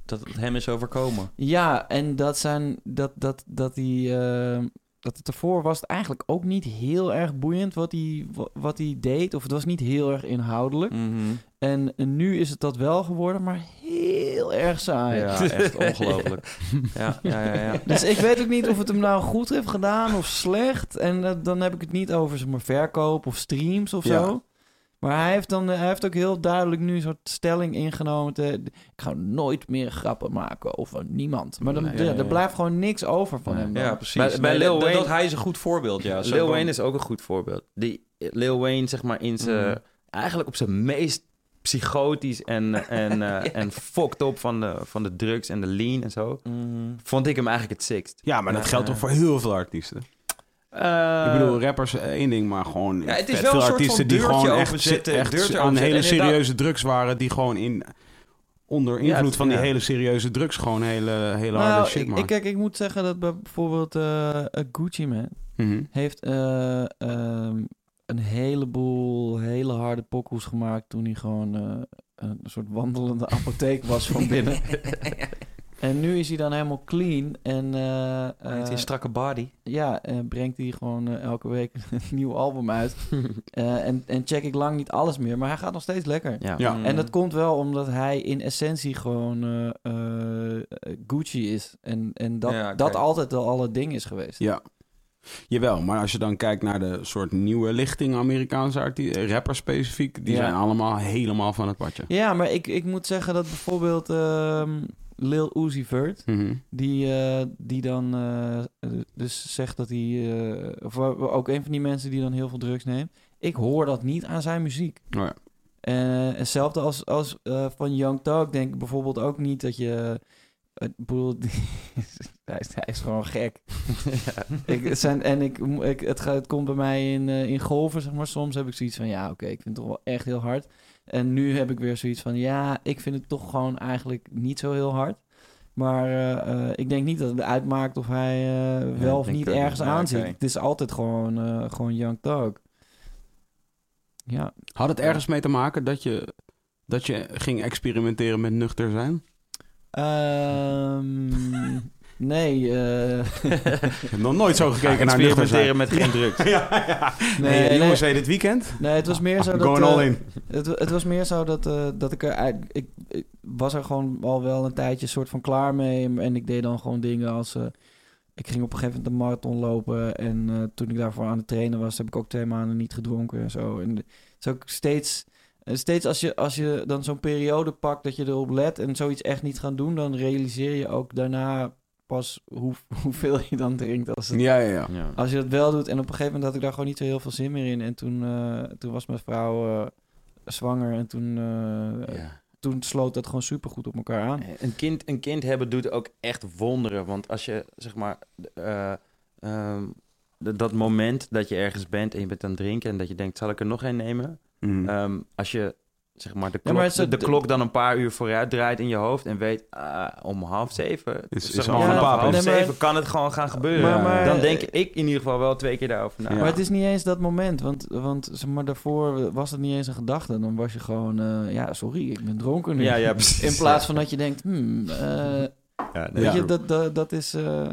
C: Dat het hem is overkomen.
B: ja, en dat zijn dat dat dat die eh, dat het ervoor was het eigenlijk ook niet heel erg boeiend wat hij wa- wat hij deed of het was niet heel erg inhoudelijk.
C: Mm-hmm.
B: En, en nu is het dat wel geworden, maar heel erg saai.
C: Ja, echt ongelooflijk. Ja, ja, ja. ja.
B: Dus ik weet ook niet of het hem nou goed heeft gedaan of slecht. En eh, dan heb ik het niet over zeg maar, verkoop of streams of
A: Ja.
B: zo. Maar hij heeft, dan, eh, hij heeft ook heel duidelijk nu een soort stelling ingenomen. Te, ik ga nooit meer grappen maken over niemand. Maar dan,
D: Nee.
B: ja, er blijft gewoon niks over van
D: Nee.
B: hem. dan.
C: Ja, precies.
D: Bij- bij
C: Nee,
D: Lil
C: dat- dat,
D: Wayne-
C: dat hij is een goed voorbeeld, ja. Zo
D: Lil
C: van-
D: Wayne is ook een goed voorbeeld. Die Lil Wayne, zeg maar, in zijn...
C: Mhm.
D: Eigenlijk op zijn meest psychotisch en, en, eh, en fucked up van de, van de drugs en de lean en zo.
C: Mm-hmm.
D: Vond ik hem eigenlijk het sixth.
A: Ja, maar dat
D: Ja,
A: geldt
D: ja.
A: toch voor heel veel artiesten.
D: Eh,
A: ik bedoel, rappers eh, één ding, maar gewoon
C: Ja, het is
A: vet
C: wel een
A: veel
C: soort van
A: artiesten die
C: deurtje
A: gewoon echt,
C: openzetten,
A: zi- echt
C: deurtje
A: aan
C: openzetten.
A: hele
C: En inderdaad-
A: serieuze drugs waren die gewoon in onder
D: Ja,
A: invloed
D: het-
A: van die
D: ja.
A: hele serieuze drugs gewoon hele, hele
B: Nou,
A: harde shit
B: ik,
A: maken.
B: ik, kijk, ik moet zeggen dat bij- bijvoorbeeld eh, eh, Gucci Man
A: Mhm.
B: heeft eh, ehm, een heleboel hele harde pokoes gemaakt toen hij gewoon eh, een soort wandelende apotheek was van binnen. en nu is hij dan helemaal clean en eh,
C: Hij
B: eh,
C: een strakke body.
B: ja, eh, brengt hij gewoon eh, elke week een nieuw album uit. Eh, en, en check ik lang niet alles meer, maar hij gaat nog steeds lekker.
D: ja.
A: Ja.
C: Mm.
B: En dat komt wel omdat hij in essentie gewoon eh, eh, Gucci is. En, en dat,
C: Ja, oké.
B: dat altijd al alle ding is geweest.
A: Ja. Jawel, maar als je dan kijkt naar de soort nieuwe lichting Amerikaanse arti- eh, rappers specifiek, die
B: Ja.
A: zijn allemaal helemaal van het padje.
B: Ja, maar ik, ik moet zeggen dat bijvoorbeeld ehm, Lil Uzi Vert,
A: Mhm.
B: die, eh, die dan eh, dus zegt dat hij, eh, of wa- ook een van die mensen die dan heel veel drugs neemt, ik hoor dat niet aan zijn muziek.
A: Oh ja.
B: En Eh, hetzelfde als, als eh, van Young Talk denk ik bijvoorbeeld ook niet dat je, eh, ik bedoel, die- hij, is, hij is gewoon gek. Ik, het zijn, en ik, ik, het, gaat, het komt bij mij in, eh, in golven, zeg maar. Soms heb ik zoiets van, ja, oké, ik vind het toch wel echt heel hard. En nu heb ik weer zoiets van, ja, ik vind het toch gewoon eigenlijk niet zo heel hard. Maar eh, eh, ik denk niet dat het uitmaakt of hij eh, wel
D: dat
B: of
D: denk
B: niet
D: ik ook
B: ergens
D: niet. Ja,
B: aan zit.
D: oké.
B: Het is altijd gewoon, eh, gewoon Young Talk. Ja.
A: Had het ergens mee te maken dat je, dat je ging experimenteren met nuchter zijn?
B: Ehm, nee, eh,
A: Ik heb nog nooit zo gekeken
D: Ga
A: naar nuchter
D: experimenteren
A: zijn.
D: met geen drugs.
A: ja, ja.
B: Nee,
A: Nee,
B: nee.
A: jongens, hey, dit weekend?
B: nee, het was meer zo
A: I'm
B: dat...
A: going
B: eh,
A: all in.
B: Het, wa- het was meer zo dat, eh, dat ik er uit- ik, ik was er gewoon al wel een tijdje soort van klaar mee. En ik deed dan gewoon dingen als... eh, ik ging op een gegeven moment een marathon lopen. En eh, toen ik daarvoor aan het trainen was, heb ik ook twee maanden niet gedronken en zo. En het is ook steeds... eh, Steeds als je, als je dan zo'n periode pakt dat je erop let en zoiets echt niet gaan doen, dan realiseer je ook daarna pas hoe, hoeveel je dan drinkt. Als het
A: Ja, ja, ja.
D: Ja.
B: als je dat wel doet. En op een gegeven moment had ik daar gewoon niet zo heel veel zin meer in. En toen, eh, toen was mijn vrouw eh, zwanger. En toen, eh, toen sloot dat gewoon supergoed op elkaar aan.
D: Eh, Een kind, een kind hebben doet ook echt wonderen. Want als je, zeg maar, eh, ehm, d- dat moment dat je ergens bent en je bent aan het drinken en dat je denkt, zal ik er nog een nemen?
A: Mhm.
D: Ehm, als je, zeg maar, de
B: maar
D: klok,
B: het is
D: de,
B: ook-
D: klok dan een paar uur vooruit draait in je hoofd en weet, ah, om half zeven,
A: Is-
D: zeg
A: is
D: maar,
A: al
D: vanaf
B: een papo.
D: half
B: Nee, maar-
D: zeven kan het gewoon gaan gebeuren.
B: Maar- maar-
D: dan denk ik in ieder geval wel twee keer daarover na.
A: Ja.
B: Maar het is niet eens dat moment. Want, want zeg maar, daarvoor was het niet eens een gedachte. Dan was je gewoon, eh, ja, sorry, ik ben dronken nu.
D: Ja, ja, precies.
B: in plaats van dat je denkt, hmm, eh,
D: Ja, nee,
B: Weet
A: Ja.
B: je, dat, dat, dat is. eh,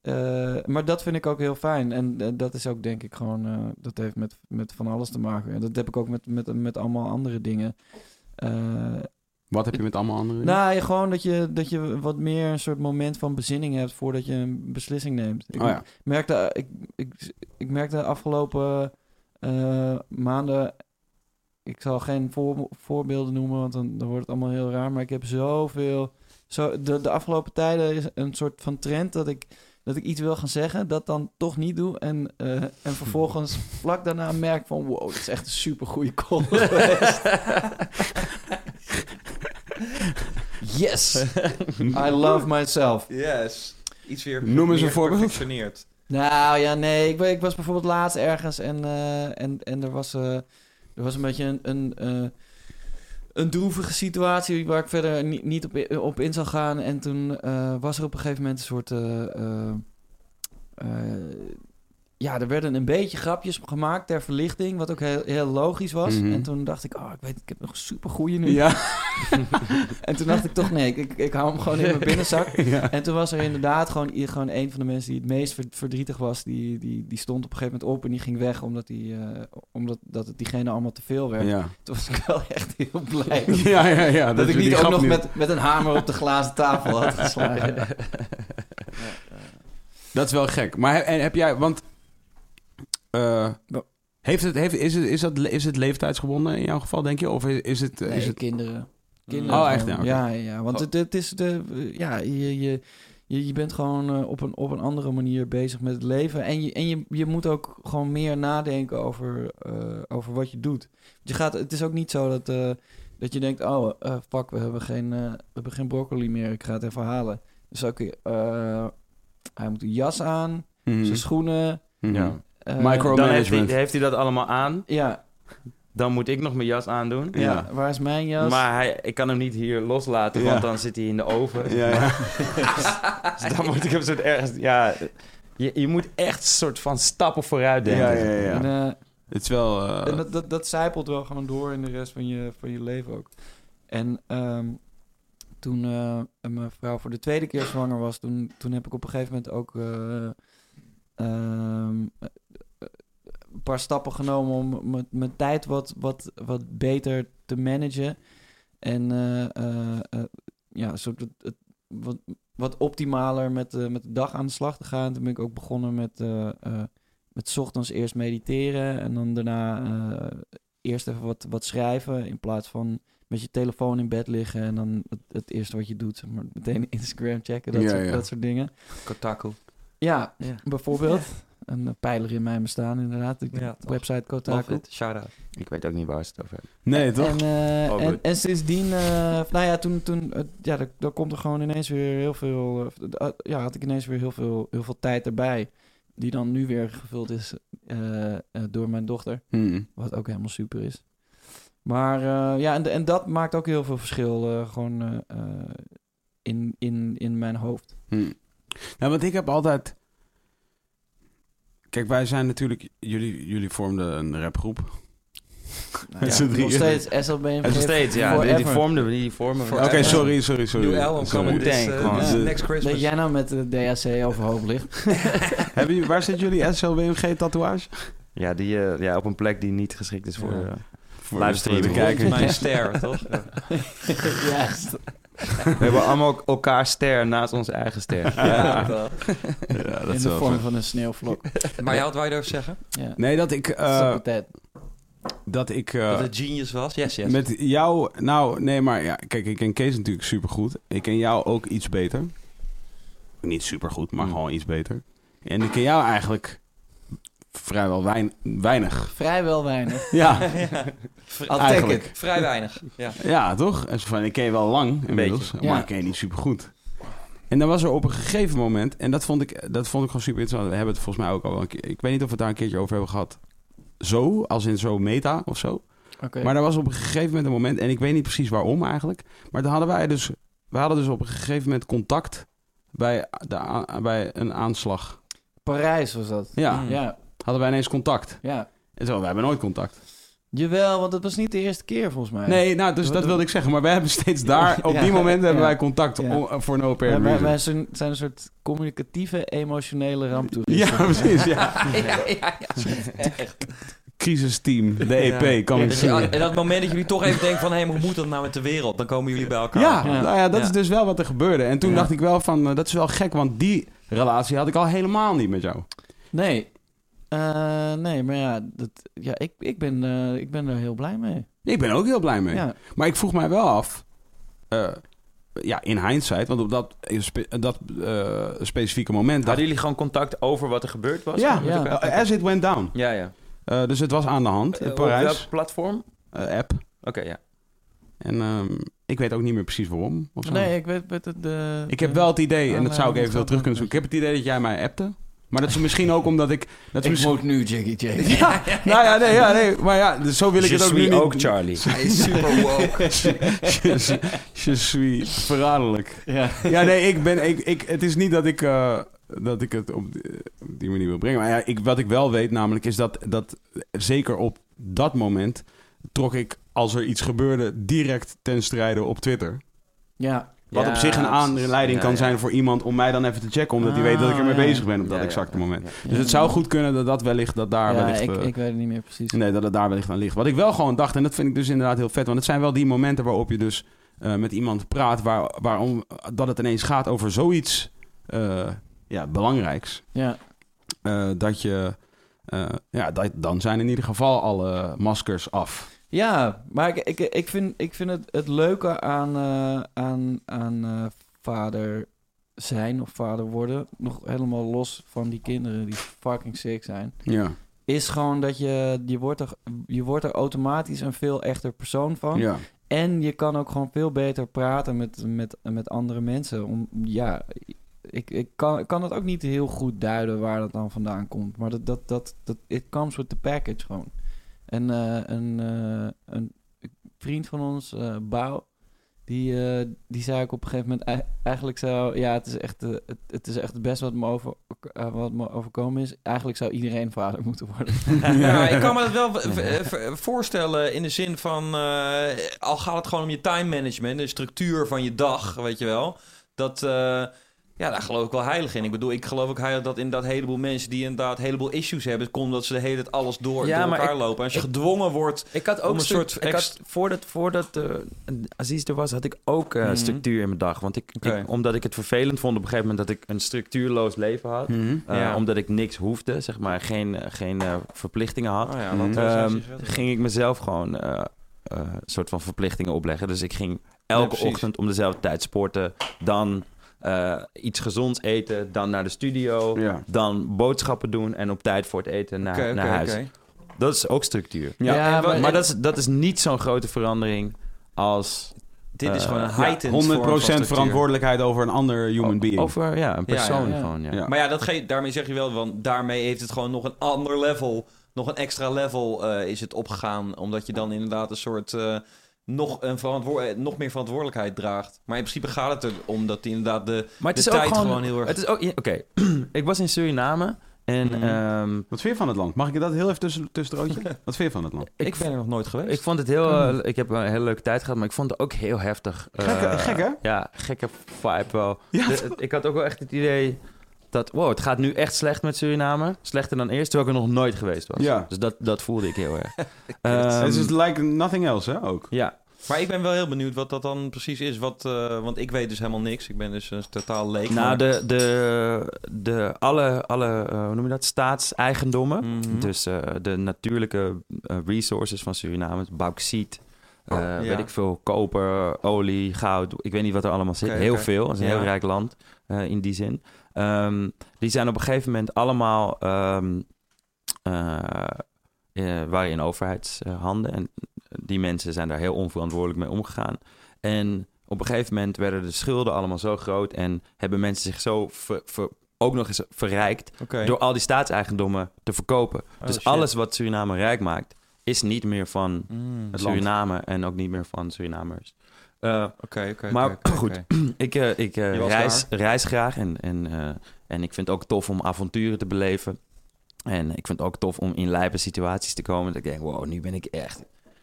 B: eh, maar dat vind ik ook heel fijn. En eh, dat is ook, denk ik, gewoon. eh, dat heeft met, met van alles te maken. En dat heb ik ook met, met, met allemaal andere dingen. Eh,
A: Wat heb je met allemaal anderen?
B: nou, je- gewoon dat je, dat je wat meer een soort moment van bezinning hebt voordat je een beslissing neemt. Ik
A: oh ja.
B: merkte, eh, ik, ik, ik merkte de afgelopen eh, maanden. Ik zal geen voor- voorbeelden noemen, want dan, dan wordt het allemaal heel raar. Maar ik heb zoveel. Zo, de, de afgelopen tijden is een soort van trend dat ik, dat ik iets wil gaan zeggen, dat dan toch niet doe. En, eh, en vervolgens vlak daarna merk van: wow, dit is echt een super goede call. geweest. yes, I love myself.
C: Yes. Iets weer
A: Noem eens een
C: meer
A: voorbeeld.
C: perfectioneerd.
B: Nou ja, nee. Ik, ben- ik was bijvoorbeeld laatst ergens en, eh, en, en er, was, eh, er was een beetje een, een, eh, een droevige situatie waar ik verder ni- niet op, i- op in zou gaan. En toen eh, was er op een gegeven moment een soort. eh, eh, eh, ja, er werden een beetje grapjes gemaakt ter verlichting, wat ook heel, heel logisch was.
A: Mhm.
B: En toen dacht ik, oh, ik weet, ik heb nog een supergoeie nu.
A: Ja.
B: En toen dacht ik toch, nee, ik, ik, ik hou hem gewoon in mijn binnenzak.
A: ja.
B: En toen was er inderdaad gewoon, i- gewoon een van de mensen die het meest verd- verdrietig was. Die, die, die stond op een gegeven moment op en die ging weg omdat, die, eh, omdat dat het diegene allemaal te veel werd.
A: Ja.
B: Toen was ik wel echt heel blij dat,
A: Ja, ja, ja.
B: dat
A: je
B: ik
A: die
B: niet ook
A: grap
B: nog
A: nu-
B: met, met een hamer op de glazen tafel had geslagen.
A: Dat is wel gek. Maar he- en heb jij... Want... eh, heeft het, heeft, is, het, is, dat, is het leeftijdsgebonden in jouw geval, denk je? Of is, is het...
B: Nee,
A: eh, is het
B: kinderen.
C: Mm.
B: kinderen
A: Oh, echt?
B: gewoon.
A: Ja, oké. Oh.
B: ja, ja, want het, het is de, ja, je, je, je, je bent gewoon eh, op een, op een andere manier bezig met het leven. En je, en je, je moet ook gewoon meer nadenken over, eh, over wat je doet. Want je gaat, het is ook niet zo dat, eh, Dat je denkt, oh, eh, fuck, we hebben, geen, eh, we hebben geen broccoli meer. Ik ga het even halen. Dus oké, eh, hij moet een jas aan, zijn schoenen.
D: Ja.
B: eh,
A: Mhm. Micro-
D: Dan heeft hij,
A: Management.
D: heeft hij dat allemaal aan.
B: Ja,
D: Dan moet ik nog mijn jas aandoen.
B: ja, waar is mijn jas?
D: Maar hij, ik kan hem niet hier loslaten,
A: Ja.
D: want dan zit hij in de oven.
A: Ja, ja.
D: Dus dan moet ik hem soort ergens... Ja, je, je moet echt soort van stappen vooruit denken.
A: Ja, ja, ja.
B: En, eh,
E: Het is wel... eh,
B: En dat, dat, dat zijpelt wel gewoon door in de rest van je, van je leven ook. En ehm, toen eh, mijn vrouw voor de tweede keer zwanger was, toen, toen heb ik op een gegeven moment ook eh, ehm, eh, een paar stappen genomen om mijn- mijn tijd wat, wat, wat beter te managen. En eh, eh, eh, ja, een soort het, het- wat, wat optimaler met, eh, met de dag aan de slag te gaan. Toen ben ik ook begonnen met eh, eh, met 's ochtends eerst mediteren en dan daarna eh, eerst even wat, wat schrijven in plaats van met je telefoon in bed liggen en dan het, het eerste wat je doet, zeg maar meteen Instagram checken, dat,
A: Ja,
B: soort,
A: ja.
B: dat soort dingen.
C: Kotaku.
B: Ja,
C: Ja.
B: bijvoorbeeld. Een eh, pijler in mijn bestaan, inderdaad. Ik,
C: Ja, toch.
B: website
C: Love
B: Kotaku.
C: it. Shout out.
D: Ik weet ook niet waar ze het over hebben.
A: Nee, toch?
B: En, eh,
D: Oh,
B: en,
D: goed.
B: en sindsdien, eh, nou ja, toen, toen eh, ja, dan, dan komt er gewoon ineens weer heel veel, eh, d- ah, ja, had ik ineens weer heel veel, heel veel tijd erbij, die dan nu weer gevuld is eh, eh, door mijn dochter,
A: Mhm.
B: wat ook helemaal super is. Maar eh, ja, en, en dat maakt ook heel veel verschil, eh, gewoon eh, eh, in, in, in mijn hoofd.
A: Hmm. Nou, want ik heb altijd. Kijk, wij zijn natuurlijk. Jullie, jullie vormden een rapgroep.
B: Nou,
A: Met z'n
B: nog
A: drieën.
B: steeds SLB en
D: Nog steeds, ja. Die, die vormden we, die vormen we.
A: Oké,
C: Forever.
A: sorry, sorry, sorry.
C: New album
A: Sorry.
C: coming this,
D: Wu-Tang,
C: eh,
D: gewoon.
C: this
A: Ja.
C: next Christmas.
B: Dat jij nou met de DHC overhoop ligt.
A: Hebben jullie, waar zit jullie SLWMG-tatoeage?
D: Ja, die, eh, ja, op een plek die niet geschikt is voor...
B: Ja.
D: eh,
A: Livestream
D: Livestream.
A: te
C: Rond
A: kijken.
C: Mijn ster, toch? Ja.
B: Juist.
D: we hebben allemaal ook elkaar ster naast onze eigen ster.
C: Ja, wel.
A: Ja, dat
B: in
A: is
B: de
A: wel
B: vorm
A: goed.
B: van een sneeuwvlok.
C: Maar jij had wij durven zeggen?
B: Ja.
A: Nee, dat ik. eh,
B: Dat is ook tijd.
A: dat ik. eh,
C: dat het genius was? Yes, yes.
A: Met jou, nou nee, maar ja, kijk, ik ken Kees natuurlijk supergoed. Ik ken jou ook iets beter. Niet supergoed, maar
D: Hmm.
A: gewoon iets beter. En ik ken jou eigenlijk vrijwel wein- weinig.
B: Vrijwel weinig.
A: Ja,
C: Vrij-
B: I'll take
A: Eigenlijk.
B: it.
C: Vrij weinig. Ja.
A: ja toch? En zo van, ik ken je wel lang inmiddels,
B: beetje,
A: maar
B: ja.
A: ik ken je niet supergoed. En dan was er op een gegeven moment, en dat vond ik, dat vond ik gewoon super interessant. We hebben het volgens mij ook al wel een keer, ik weet niet of we het daar een keertje over hebben gehad. Zo, als in zo meta of zo.
B: Oké.
A: Maar er was op een gegeven moment een moment, en ik weet niet precies waarom eigenlijk. Maar dan hadden wij dus, we hadden dus op een gegeven moment contact bij, de, a- bij een aanslag.
B: Parijs was dat.
A: Ja,
C: Mm.
B: Ja,
A: hadden wij ineens contact.
B: ja.
A: En zo, wij hebben nooit contact.
B: Jawel, want dat was niet de eerste keer volgens mij.
A: Nee, nou, dus
B: Doe-
A: dat
B: doe-
A: wilde ik zeggen. Maar wij hebben steeds daar, op
B: Ja.
A: die momenten hebben
B: Ja.
A: wij contact
B: Ja.
A: o- voor no
B: Ja,
A: apparent
B: wij,
A: reason.
B: wij zijn, zijn een soort communicatieve, emotionele ramptoeristen.
A: Ja, precies, ja.
C: Ja, ja, ja. Echt.
A: Crisisteam, de EP,
C: Ja.
A: kan ik
C: Dus ja,
A: zien.
C: en dat moment dat jullie toch even denken van... hé, maar hoe moet dat nou met de wereld? Dan komen jullie bij elkaar.
A: Ja,
B: Ja.
A: nou ja, dat
C: Ja.
A: is dus wel wat er gebeurde. En toen
B: Ja.
A: dacht ik wel van, eh, dat is wel gek, want die relatie had ik al helemaal niet met jou.
B: Nee. Eh, nee, maar ja, dat, ja ik, ik, ben, eh, ik ben daar heel blij mee.
A: Ik ben er ook heel blij mee.
B: Ja.
A: Maar ik vroeg mij wel af, eh, ja, in hindsight, want op dat, spe- dat eh, specifieke moment. dacht-
D: Hadden jullie gewoon contact over wat er gebeurd was?
A: ja,
D: Met
B: Ja.
D: elkaar?
A: eh, as it went down.
D: Ja, ja.
A: Eh, dus het was aan de hand in
D: Eh, Op
A: Parijs,
D: welk platform? Oké,
A: eh, app.
D: ja.
A: En ehm, ik weet ook niet meer precies waarom. Of zo.
B: Nee, ik weet, weet het... de- Ah,
A: ik heb wel het idee,
C: Oh,
A: en dat zou ik
B: Aanleiding
A: eventueel
B: van
A: terug kunnen zoeken. Ik heb het idee dat jij mij appte. Maar dat is misschien ook omdat ik... Dat is
B: Ik
A: misschien-
B: moet nu Jackie J.
A: Ja, nou ja, nee, ja, nee. Maar ja, dus zo wil ik
D: Je
A: het ook
D: suis
A: nu niet.
D: ook Charlie.
C: Hij is super woke.
A: je, suis- je suis verraderlijk.
B: Ja.
A: Ja, nee, ik ben. Ik, ik, het is niet dat ik, eh, dat ik het op die, op die manier wil brengen. Maar ja, ik, wat ik wel weet, namelijk, is dat, dat zeker op dat moment trok ik, als er iets gebeurde, direct ten strijde op Twitter.
B: ja.
A: Wat
D: Ja,
A: op zich een
D: precies.
A: aanleiding
D: Ja,
A: kan
D: ja.
A: zijn voor iemand om mij dan even te checken, omdat hij
B: Ah,
A: weet dat ik ermee
B: ja.
A: bezig ben op dat
D: Ja, ja,
A: exacte
D: ja,
A: moment.
D: ja.
A: Dus het zou goed kunnen dat dat wellicht, dat daar
B: ja,
A: wellicht.
B: ik,
A: eh,
B: ik weet het niet meer precies.
A: Nee, dat het daar wellicht aan ligt. Wat ik wel gewoon dacht, en dat vind ik dus inderdaad heel vet. Want het zijn wel die momenten waarop je dus eh, met iemand praat... Waar, waarom dat het ineens gaat over zoiets eh, ja, belangrijks.
B: Ja.
A: Eh, dat je... eh, ja, dat, dan zijn in ieder geval alle maskers af.
B: Ja, maar ik, ik, ik vind, ik vind het, het leuke aan, eh, aan, aan eh, vader zijn of vader worden, nog helemaal los van die kinderen die fucking sick zijn,
A: Ja,
B: is gewoon dat je, je, wordt, er, je wordt er automatisch een veel echter persoon van.
A: ja.
B: En je kan ook gewoon veel beter praten met, met, met andere mensen. Om, ja, ik, ik kan, ik kan het ook niet heel goed duiden waar dat dan vandaan komt. Maar dat, dat, dat, dat it comes with the package gewoon. En eh, een, eh, een vriend van ons, eh Bouw, die, eh, die zei ook op een gegeven moment ei- eigenlijk zou... Ja, het is echt, eh, het, het is echt het beste wat me, over, eh, wat me overkomen is. Eigenlijk zou iedereen vader moeten worden.
C: Ja, ik kan me dat wel v- v- v- voorstellen in de zin van... eh, al gaat het gewoon om je time management, de structuur van je dag, weet je wel. Dat, eh, ja, daar geloof ik wel heilig in. Ik bedoel, ik geloof ook heilig dat inderdaad een heleboel mensen... die inderdaad een heleboel issues hebben... komt dat ze de hele tijd alles door,
D: Ja,
C: door
D: maar
C: elkaar
D: ik-
C: lopen. Als je
D: ik-
C: gedwongen wordt...
D: Ik had ook
C: Om een
D: een soort.
C: soort
D: Ik
C: ex-
D: had, voordat voordat eh, Aziz er was, had ik ook eh,
C: Mhm.
D: structuur in mijn dag. Want ik, ik-
C: Oké.
D: omdat ik het vervelend vond op een gegeven moment dat ik een structuurloos leven had.
A: Mhm.
D: Eh,
C: Ja.
D: Omdat ik niks hoefde, zeg maar, geen, eh, geen eh, verplichtingen had.
C: Oh ja,
A: Mhm.
C: wat
A: dat
D: Ehm,
C: um,
D: ging ik mezelf gewoon eh, eh, soort van verplichtingen opleggen. Dus ik ging elke
C: precies.
D: ochtend om dezelfde tijd sporten. Dan eh, iets gezonds eten. Dan naar de studio.
A: Ja.
D: Dan boodschappen doen. En op tijd voor het eten naar, naar huis. Dat is ook structuur.
A: Ja,
C: en wat-
D: Maar, dat, is, dat is niet zo'n grote verandering als...
C: Dit is
D: Eh,
C: gewoon een
D: ja,
C: heightened vorm van
A: 100%
C: structuur.
A: verantwoordelijkheid over een ander human being.
D: Oh, Over ja, een
C: Ja, ja,
D: persoon
B: ja.
D: gewoon. Ja.
A: Ja.
C: Maar ja, dat ge- daarmee zeg je wel, want daarmee heeft het gewoon nog een ander level, nog een extra level eh, is het opgegaan. Omdat je dan inderdaad een soort eh, nog, een verantwoor- eh, nog meer verantwoordelijkheid draagt. Maar in principe gaat het erom dat die inderdaad de,
D: Maar het
C: de
D: is ook
C: tijd
D: gewoon...
C: gewoon, heel erg...
D: Het is ook... ja, Oké, ik was in Suriname en...
C: Mhm.
D: ehm,
A: Wat vind je van het land? Mag ik dat heel even tussen, tussendoortje? Wat vind je van het land?
C: ik, ben er nog nooit geweest.
D: Ik vond het heel... eh, ik heb een hele leuke tijd gehad, maar ik vond het ook heel heftig.
A: Gek,
D: Eh,
A: gek, hè?
D: Ja, gekke vibe wel.
A: Ja.
D: De- het- ik had ook wel echt het idee dat... Wow, het gaat nu echt slecht met Suriname. Slechter dan eerst, terwijl ik er nog nooit geweest was.
A: Ja.
D: Dus dat, dat voelde ik heel erg.
A: Het
D: Ehm,
A: is like nothing else, hè? Ook.
D: ja,
C: Maar ik ben wel heel benieuwd wat dat dan precies is. Wat, eh, want ik weet dus helemaal niks. Ik ben dus een totaal leek.
D: Nou,
C: maar-
D: de, de, de, alle, alle eh, hoe noem je dat, staatseigendommen.
C: Mhm.
D: Dus eh, de natuurlijke eh, resources van Suriname, dus bauxiet, eh,
C: Oh, ja.
D: weet ik veel, koper, olie, goud. Ik weet niet wat er allemaal zit.
C: Oké,
D: heel
C: oké.
D: veel. Het is een
C: Ja.
D: heel rijk land eh, in die zin. Ehm, die zijn op een gegeven moment allemaal ehm, eh, eh, waren in overheidshanden. En die mensen zijn daar heel onverantwoordelijk mee omgegaan. En op een gegeven moment werden de schulden allemaal zo groot en hebben mensen zich zo ver- ver- ook nog eens verrijkt
C: Oké.
D: door al die staatseigendommen te verkopen.
C: Oh,
D: dus
C: shit.
D: alles wat Suriname rijk maakt, is niet meer van
C: Mm,
A: Het land.
D: Suriname en ook niet meer van Surinamers. Eh,
C: Oké, oké.
D: Maar
C: oké, oké,
D: goed,
C: oké.
D: ik eh, ik eh,
C: Je was
D: reis, reis graag en, en, eh, en ik vind het ook tof om avonturen te beleven. En ik vind het ook tof om in lijpe situaties te komen. Dat ik denk, wow, nu ben ik echt,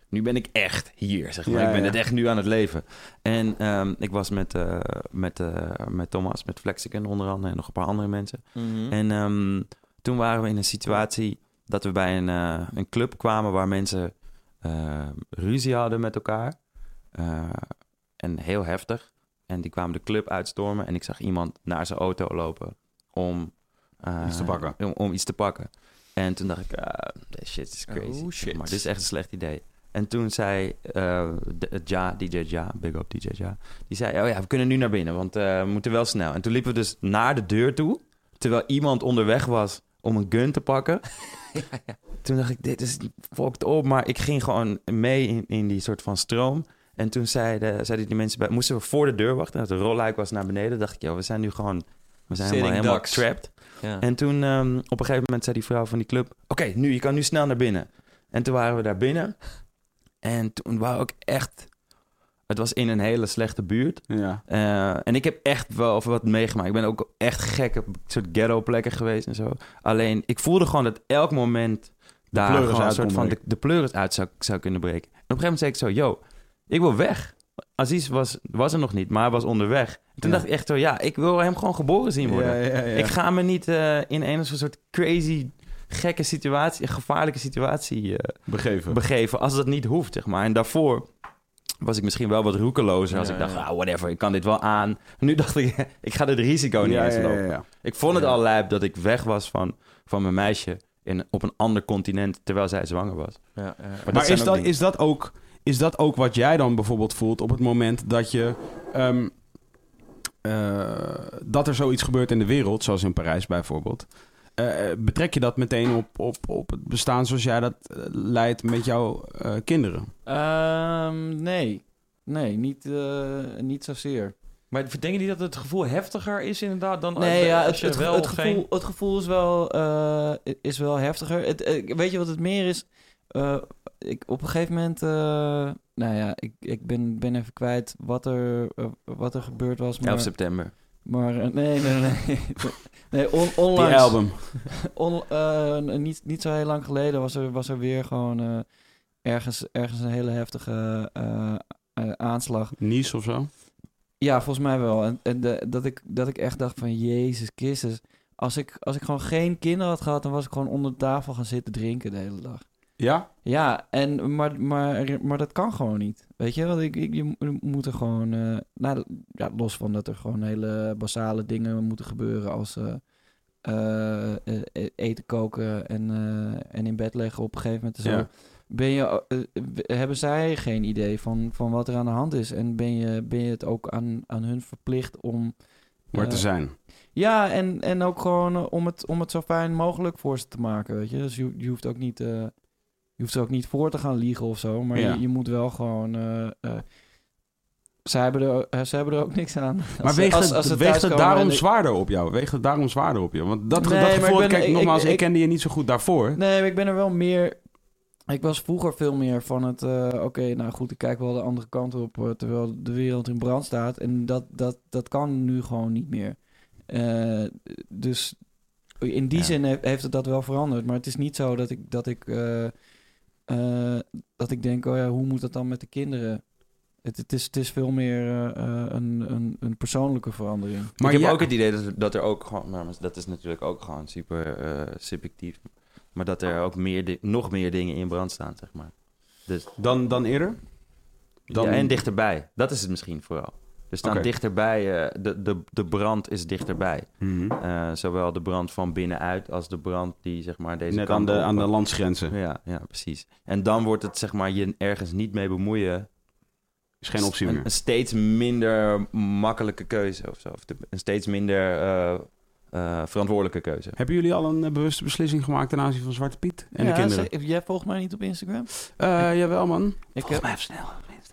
D: nu ben ik echt hier, zeg maar.
A: Ja,
D: ik ben
A: ja.
D: het echt nu aan het leven. En ehm, ik was met, eh, met, eh, met Thomas, met Flexicon onder andere en nog een paar andere mensen.
C: Mhm.
D: En ehm, toen waren we in een situatie dat we bij een, eh, een club kwamen waar mensen eh, ruzie hadden met elkaar. Eh, en heel heftig. En die kwamen de club uitstormen en ik zag iemand naar zijn auto lopen om eh,
A: Iets te pakken.
D: Om, om iets te pakken. En toen dacht ik, ah, this shit is crazy.
C: Oh, shit.
D: Maar dit is echt een slecht idee. En toen zei eh, de- het Ja, DJ Ja, big up DJ Ja, die zei, oh ja, we kunnen nu naar binnen, want eh, we moeten wel snel. En toen liepen we dus naar de deur toe, terwijl iemand onderweg was om een gun te pakken. Toen dacht ik, dit is fucked op, maar ik ging gewoon mee in, in die soort van stroom. En toen zeiden, zeiden die mensen, bij, moesten we voor de deur wachten, dat de rolluik was naar beneden. dacht ik, joh, we zijn nu gewoon, we zijn helemaal,
C: Sitting
D: helemaal
C: ducks.
D: trapped.
C: Ja.
D: En toen ehm, op een gegeven moment zei die vrouw van die club: Oké, nu, je kan nu snel naar binnen. En toen waren we daar binnen. En toen waren we ook echt. Het was in een hele slechte buurt.
A: Ja.
D: Eh, en ik heb echt wel wat meegemaakt. Ik ben ook echt gek op soort ghetto plekken geweest en zo. Alleen, ik voelde gewoon dat elk moment daar
A: pleuris
D: gewoon een
A: uit
D: soort
A: kon
D: van de,
A: breken.
D: de pleuris uit zou, zou kunnen breken. En op een gegeven moment zei ik zo, yo, ik wil weg. Aziz was, was er nog niet, maar hij was onderweg. En toen
A: Ja.
D: dacht ik echt zo, ja, ik wil hem gewoon geboren zien worden. Ik ga me niet eh, in een of soort crazy, gekke situatie, gevaarlijke situatie eh,
A: Begeven.
D: begeven als dat niet hoeft, zeg maar. En daarvoor was ik misschien wel wat roekelozer als
C: Ja,
D: ik dacht,
C: ja.
D: ah, whatever, ik kan dit wel aan. Nu dacht ik, ik ga dit risico niet
A: Ja,
D: eens
A: ja, ja,
D: lopen.
A: ja.
D: Ik vond het
A: Ja.
D: al lijp dat ik weg was van, van mijn meisje in, op een ander continent terwijl zij zwanger was.
C: Ja, ja, ja.
D: Maar dat
A: Maar
D: zijn
A: is
D: ook
A: dat,
D: dingen.
A: is, dat ook, is dat ook wat jij dan bijvoorbeeld voelt op het moment dat je. ehm, eh, dat er zoiets gebeurt in de wereld, zoals in Parijs bijvoorbeeld. Eh, betrek je dat meteen op, op, op het bestaan zoals jij dat eh, leidt met jouw eh, kinderen?
B: Ehm, nee. Nee, niet, eh, niet zozeer.
C: Maar denken jullie dat het gevoel heftiger is inderdaad dan
B: Nee, ja,
C: als
B: het,
C: je
B: het, ge-
C: wel
B: het
C: of
B: gevoel,
C: geen...
B: het gevoel is wel, eh, is wel heftiger. Het, eh, weet je wat het meer is? Eh, ik, op een gegeven moment, eh, nou ja, ik, ik ben, ben even kwijt wat er, eh, wat er gebeurd was. Maar,
D: 11 september.
B: maar eh, nee, nee, nee. nee on,
A: Die
B: onlangs,
A: album.
B: on- eh, niet, niet zo heel lang geleden was er, was er weer gewoon eh, ergens, ergens een hele heftige eh, eh, aanslag.
A: Nice of zo.
B: Ja, volgens mij wel. En, en de- dat, ik, dat ik echt dacht van, Jezus Christus. Als ik, als ik gewoon geen kinderen had gehad, dan was ik gewoon onder de tafel gaan zitten drinken de hele dag.
A: Ja?
B: Ja, en, maar, maar, maar dat kan gewoon niet. Weet je, want ik, ik, je mo- moet er gewoon... eh, nou, ja, los van dat er gewoon hele basale dingen moeten gebeuren als... eh, eh, eh, eten, koken en, eh, en in bed leggen op een gegeven moment. en Zo.
A: Ja.
B: Ben je, eh, eh, hebben zij geen idee van, van wat er aan de hand is? En ben je, ben je het ook aan, aan hun verplicht om...
A: Waar te
B: eh,
A: zijn.
B: ja, en, en ook gewoon eh, om het, om het zo fijn mogelijk voor ze te maken, weet je. Dus je, je hoeft ook niet... eh, je hoeft er ook niet voor te gaan liegen of zo. Maar
A: Ja.
B: je, je moet wel gewoon... eh eh, zij, hebben er, eh, zij hebben er ook niks aan.
A: Maar weegt het,
B: ze
A: weegt het
B: thuiskomen en
A: daarom
B: ik-
A: zwaarder op jou? Weegt het daarom zwaarder op jou? Want dat,
B: Nee,
A: dat
B: maar
A: gevoel,
B: ik ben-
A: kijk,
B: ik-
A: nogmaals, ik,
B: ik-
A: kende je niet zo goed daarvoor.
B: Nee, maar ik ben er wel meer... Ik was vroeger veel meer van het... eh, Oké, nou goed, ik kijk wel de andere kant op... eh, terwijl de wereld in brand staat. En dat, dat, dat kan nu gewoon niet meer. Eh, dus in die
D: Ja.
B: zin he- heeft het dat wel veranderd. Maar het is niet zo dat ik... Dat ik, eh, eh, dat ik denk, oh ja, hoe moet dat dan met de kinderen? Het, het, is, het is veel meer eh, eh, een, een, een persoonlijke verandering.
A: Maar
D: ik heb
A: ja-
D: ook het idee dat, dat er ook gewoon... nou, maar dat is natuurlijk ook gewoon super eh, subjectief. Maar dat er ook meer di- nog meer dingen in brand staan, zeg maar.
A: Dan, dan eerder? Dan-
D: Ja, en dichterbij. Dat is het misschien vooral. Er staan
A: Oké.
D: dichterbij... eh, de, de, de brand is dichterbij.
A: Mhm.
D: Eh, zowel de brand van binnenuit als de brand die zeg maar deze
A: Net
D: kant
A: aan de,
D: op-
A: aan de landsgrenzen.
D: Ja, ja, precies. En dan wordt het zeg maar je ergens niet mee bemoeien.
A: Is geen optie
D: Een-
A: meer.
D: Een steeds minder makkelijke keuze of zo. Of de- een steeds minder eh, eh, verantwoordelijke keuze.
A: Hebben jullie al een eh, bewuste beslissing gemaakt ten aanzien van Zwarte Piet en de kinderen?
B: ze- jij volgt mij niet op Instagram?
A: Eh, jawel, man.
B: Ik heb,
A: mij even snel.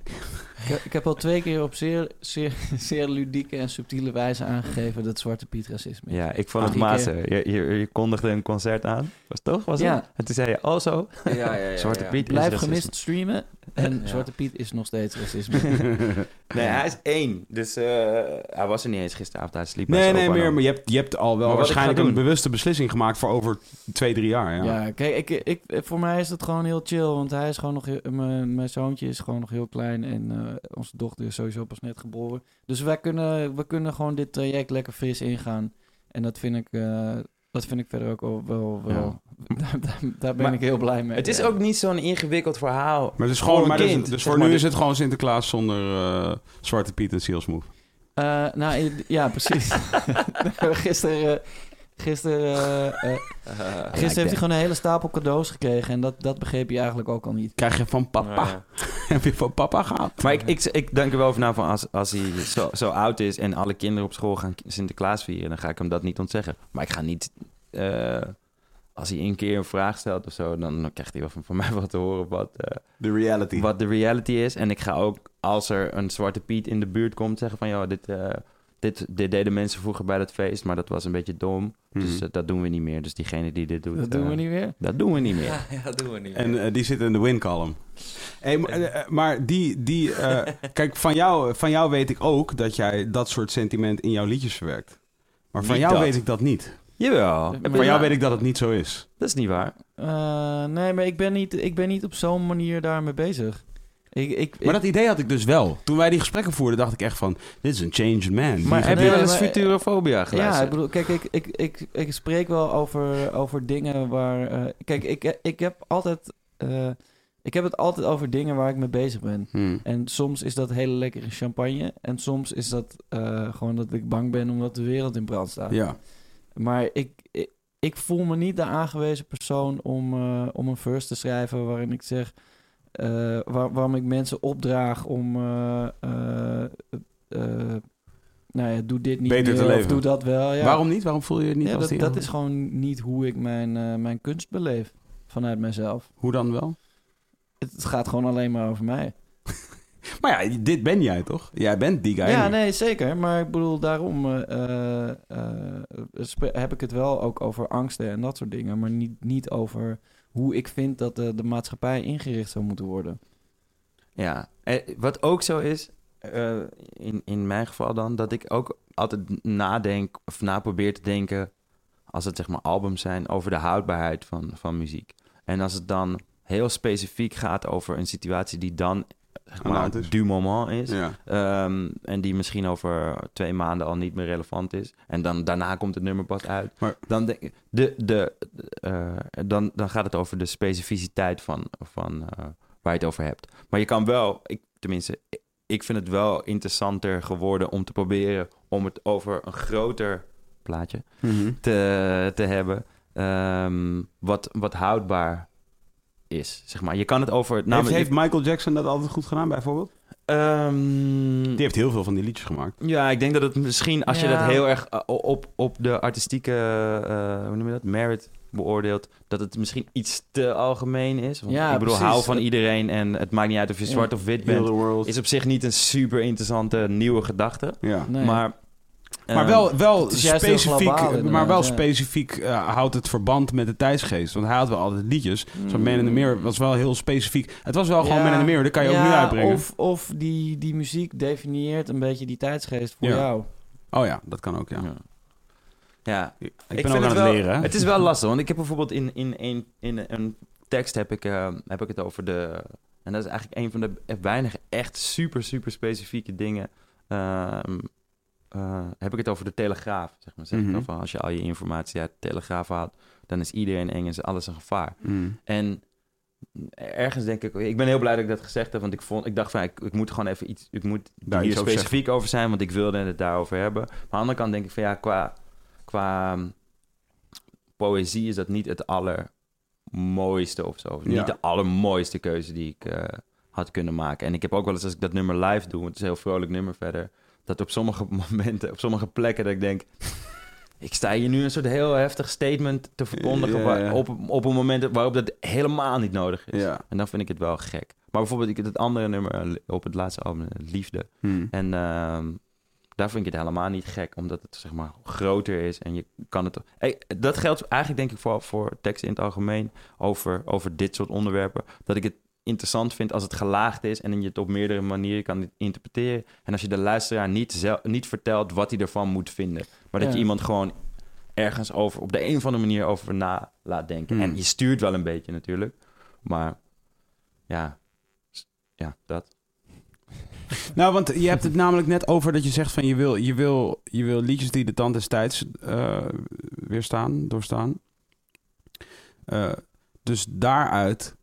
B: Ik, heb- ik heb al twee keer op zeer, zeer, zeer ludieke en subtiele wijze aangegeven dat Zwarte Piet racisme is.
D: Ja, ik vond het
B: Drie keer.
D: mazen. Je, je, je kondigde een concert aan. Was het toch? Was
B: Ja.
D: het? En toen zei je, oh zo,
C: Ja, ja, ja,
D: Zwarte
C: ja.
D: Piet is
B: Blijf
D: racisme.
B: gemist streamen en
D: Ja.
B: Zwarte Piet is nog steeds racisme.
D: Nee, hij is één. Dus eh, hij was er niet eens gisteravond. Hij sliep bij
A: Nee,
D: zijn
A: nee,
D: opa en
A: meer.
D: oma.
A: Maar je hebt, je hebt al wel
D: Maar wat ik
A: waarschijnlijk
D: ga
A: een
D: doen-
A: bewuste beslissing gemaakt voor over twee, drie jaar. Ja.
B: ja. kijk, ik, ik, voor mij is dat gewoon heel chill, want hij is gewoon nog heel- eh, mijn, mijn zoontje is gewoon nog heel klein en eh, onze dochter is sowieso pas net geboren. Dus wij kunnen, we kunnen gewoon dit traject lekker fris ingaan en dat vind ik, eh, dat vind ik verder ook wel, wel, wel- daar, daar, daar ben
D: Maar
B: ik heel blij mee.
D: Het is
B: Ja.
D: ook niet zo'n ingewikkeld verhaal.
A: Maar, het is
D: Gewoon
A: gewoon,
D: een
A: maar dus-
D: kind,
A: dus,
D: zeg
A: voor
D: maar,
A: nu
D: dit-
A: is het gewoon Sinterklaas zonder eh, Zwarte Piet en Sealsmove.
B: Eh, nou, i- ja, precies. gisteren eh, gisteren, eh, eh, gisteren heeft hij gewoon een hele stapel cadeaus gekregen. En dat, dat begreep hij eigenlijk ook al niet.
A: Krijg je van papa?
C: Nou ja.
A: Heb je van papa gehad?
D: Maar ik, ik, ik denk er wel over na van als, als hij zo, zo oud is en alle kinderen op school gaan Sinterklaas vieren, dan ga ik hem dat niet ontzeggen. Maar ik ga niet, eh, als hij een keer een vraag stelt of zo, dan, dan krijgt hij wel van, van mij wat te horen wat, eh,
A: De reality.
D: wat de reality is. En ik ga ook, als er een zwarte Piet in de buurt komt, zeggen van, joh, dit, eh, dit, dit deden mensen vroeger bij dat feest, maar dat was een beetje dom. Dus
A: Mhm.
D: eh, dat doen we niet meer. Dus diegene die dit doet,
B: Dat doen we
D: eh,
B: niet weer.
D: Dat doen we niet meer.
C: Ja, dat doen we niet.
A: En eh, die zit in de win column. Hey, maar, eh, eh, maar die, die eh, kijk, van jou, van jou weet ik ook dat jij dat soort sentiment in jouw liedjes verwerkt. Maar van
D: Niet
A: jou
D: dat.
A: weet ik dat niet.
D: Jawel.
B: Maar
A: Van jou
B: ja.
A: weet ik dat het niet zo is.
D: Dat is niet waar.
B: Eh, nee, maar ik ben niet, ik ben niet op zo'n manier daarmee bezig. Ik, ik,
A: Maar
B: ik-
A: dat idee had ik dus wel. Toen wij die gesprekken voerden, dacht ik echt van... Dit is een changed man. Die
D: Maar
A: ge-
D: heb je
B: Nee,
D: wel eens
A: eh,
B: maar-
D: futurofobia geluisterd?
B: Ja, ik bedoel, kijk, ik, ik, ik, ik spreek wel over, over dingen waar. eh, kijk, ik, ik heb altijd. eh, ik heb het altijd over dingen waar ik mee bezig ben.
A: Hmm.
B: En soms is dat hele lekkere champagne. En soms is dat eh, gewoon dat ik bang ben omdat de wereld in brand staat.
A: Ja.
B: Maar ik, ik, ik voel me niet de aangewezen persoon om, eh, om een verse te schrijven waarin ik zeg. eh, waar- waarom ik mensen opdraag om. eh, eh, eh, nou ja, doe dit niet
A: Beter
B: meer,
A: te
B: of
A: leven.
B: doe dat wel. Ja.
A: Waarom niet? Waarom voel je het niet
B: Ja,
A: als
B: dat,
A: die?
B: dat is gewoon niet hoe ik mijn, eh, mijn kunst beleef vanuit mezelf.
A: Hoe dan wel?
B: Het, het gaat gewoon alleen maar over mij.
A: Maar ja, dit ben jij toch? Jij bent die guy.
B: ja,
A: nu.
B: nee, zeker. Maar ik bedoel, daarom eh, eh, eh, sp- heb ik het wel ook over angsten en dat soort dingen. Maar niet, niet over hoe ik vind dat de, de maatschappij ingericht zou moeten worden.
D: Ja, en wat ook zo is, eh, in, in mijn geval dan, dat ik ook altijd nadenk of na probeer te denken, als het zeg maar albums zijn, over de houdbaarheid van, van muziek. En als het dan heel specifiek gaat over een situatie die dan zeg
A: Aan de
D: maar
A: hand is.
D: du moment is.
A: Ja.
D: ehm, en die misschien over twee maanden al niet meer relevant is. En dan daarna komt het nummer pas uit.
A: Maar-
D: dan, denk, ik- de, de, eh, dan, dan gaat het over de specificiteit van, van eh, waar je het over hebt. Maar je kan wel, ik, tenminste, ik- ik vind het wel interessanter geworden om te proberen om het over een groter plaatje te, te hebben. ehm, wat, wat houdbaar is, zeg maar. Je kan het over...
A: heeft,
D: namelijk-
A: heeft Michael Jackson dat altijd goed gedaan, bijvoorbeeld?
D: Ehm,
A: Die heeft heel veel van die liedjes gemaakt.
D: ja, ik denk dat het misschien als je dat
B: Ja.
D: heel erg eh, op, op de artistieke, eh, hoe noem je dat, merit beoordeelt, dat het misschien iets te algemeen is. Want
B: Ja,
D: ik bedoel,
B: precies.
D: hou van iedereen en het maakt niet uit of je
B: Ja.
D: zwart of wit
A: Heel
D: bent.
A: the world.
D: Is op zich niet een super interessante nieuwe gedachte.
A: Ja.
B: Nee.
D: Maar,
A: Maar
D: ehm,
A: wel, wel
B: het is juist heel
A: specifiek,
B: globaal,
A: maar
B: inderdaad,
A: wel
B: ja.
A: specifiek eh, houdt het verband met de tijdsgeest. Want hij had wel altijd liedjes. Zo
B: Mm.
A: Man in the Mirror was wel heel specifiek. Het was wel gewoon Man in the Mirror, dat kan je ook nu
B: Ja,
A: uitbrengen.
B: Of, of die, die muziek definieert een beetje die tijdsgeest voor
A: Ja.
B: jou.
A: Oh ja, dat kan ook, ja.
D: ja. ja,
A: Ik ben
D: Ik
A: ook aan
D: vind
A: het
D: het wel-
A: leren. hè.
D: Het is wel lastig, want ik heb bijvoorbeeld in, in, een, in een tekst heb ik, eh, heb ik het over de... En dat is eigenlijk een van de weinige echt super, super specifieke dingen. ehm, eh, heb ik het over de telegraaf, zeg maar. Zeg ik
A: Mhm.
D: dan van, als je al je informatie uit de telegraaf haalt, dan is iedereen eng en is alles een gevaar.
A: Mm.
D: En ergens denk ik, ik ben heel blij dat ik dat gezegd heb, want ik, vond, ik dacht van, ik, ik moet gewoon even iets, ik moet
A: Daar
D: hier
A: iets over
D: specifiek over zijn, want ik wilde het daarover hebben. Maar aan de andere kant denk ik van, ja, qua, qua ehm, poëzie is dat niet het allermooiste of zo. Of
A: Ja.
D: Niet de allermooiste keuze die ik eh, had kunnen maken. En ik heb ook wel eens, als ik dat nummer live doe, want het is een heel vrolijk nummer verder, dat op sommige momenten, op sommige plekken, dat ik denk... Ik sta hier nu een soort heel heftig statement te verkondigen
A: Ja,
D: waar-
A: ja.
D: op, op een moment waarop dat helemaal niet nodig is.
A: Ja.
D: En dan vind ik het wel gek. Maar bijvoorbeeld ik, het andere nummer eh, li- op het laatste album, eh, Liefde.
A: Mm.
D: En ehm, daar vind ik het helemaal niet gek, omdat het zeg maar groter is en je kan het... Hey, dat geldt eigenlijk denk ik vooral voor teksten in het algemeen over, over dit soort onderwerpen. Dat ik het interessant vind als het gelaagd is en je het op meerdere manieren kan interpreteren. En als je de luisteraar niet, zel- niet vertelt wat hij ervan moet vinden. Maar dat
B: Ja.
D: je iemand gewoon ergens over, op de een of andere manier over na laat denken.
A: Hmm.
D: En je stuurt wel een beetje natuurlijk. Maar ja, s- ja dat.
A: Nou, want je hebt het namelijk net over dat je zegt van je wil, je wil, je wil liedjes die de tand des tijds eh, weerstaan, doorstaan. Eh, dus daaruit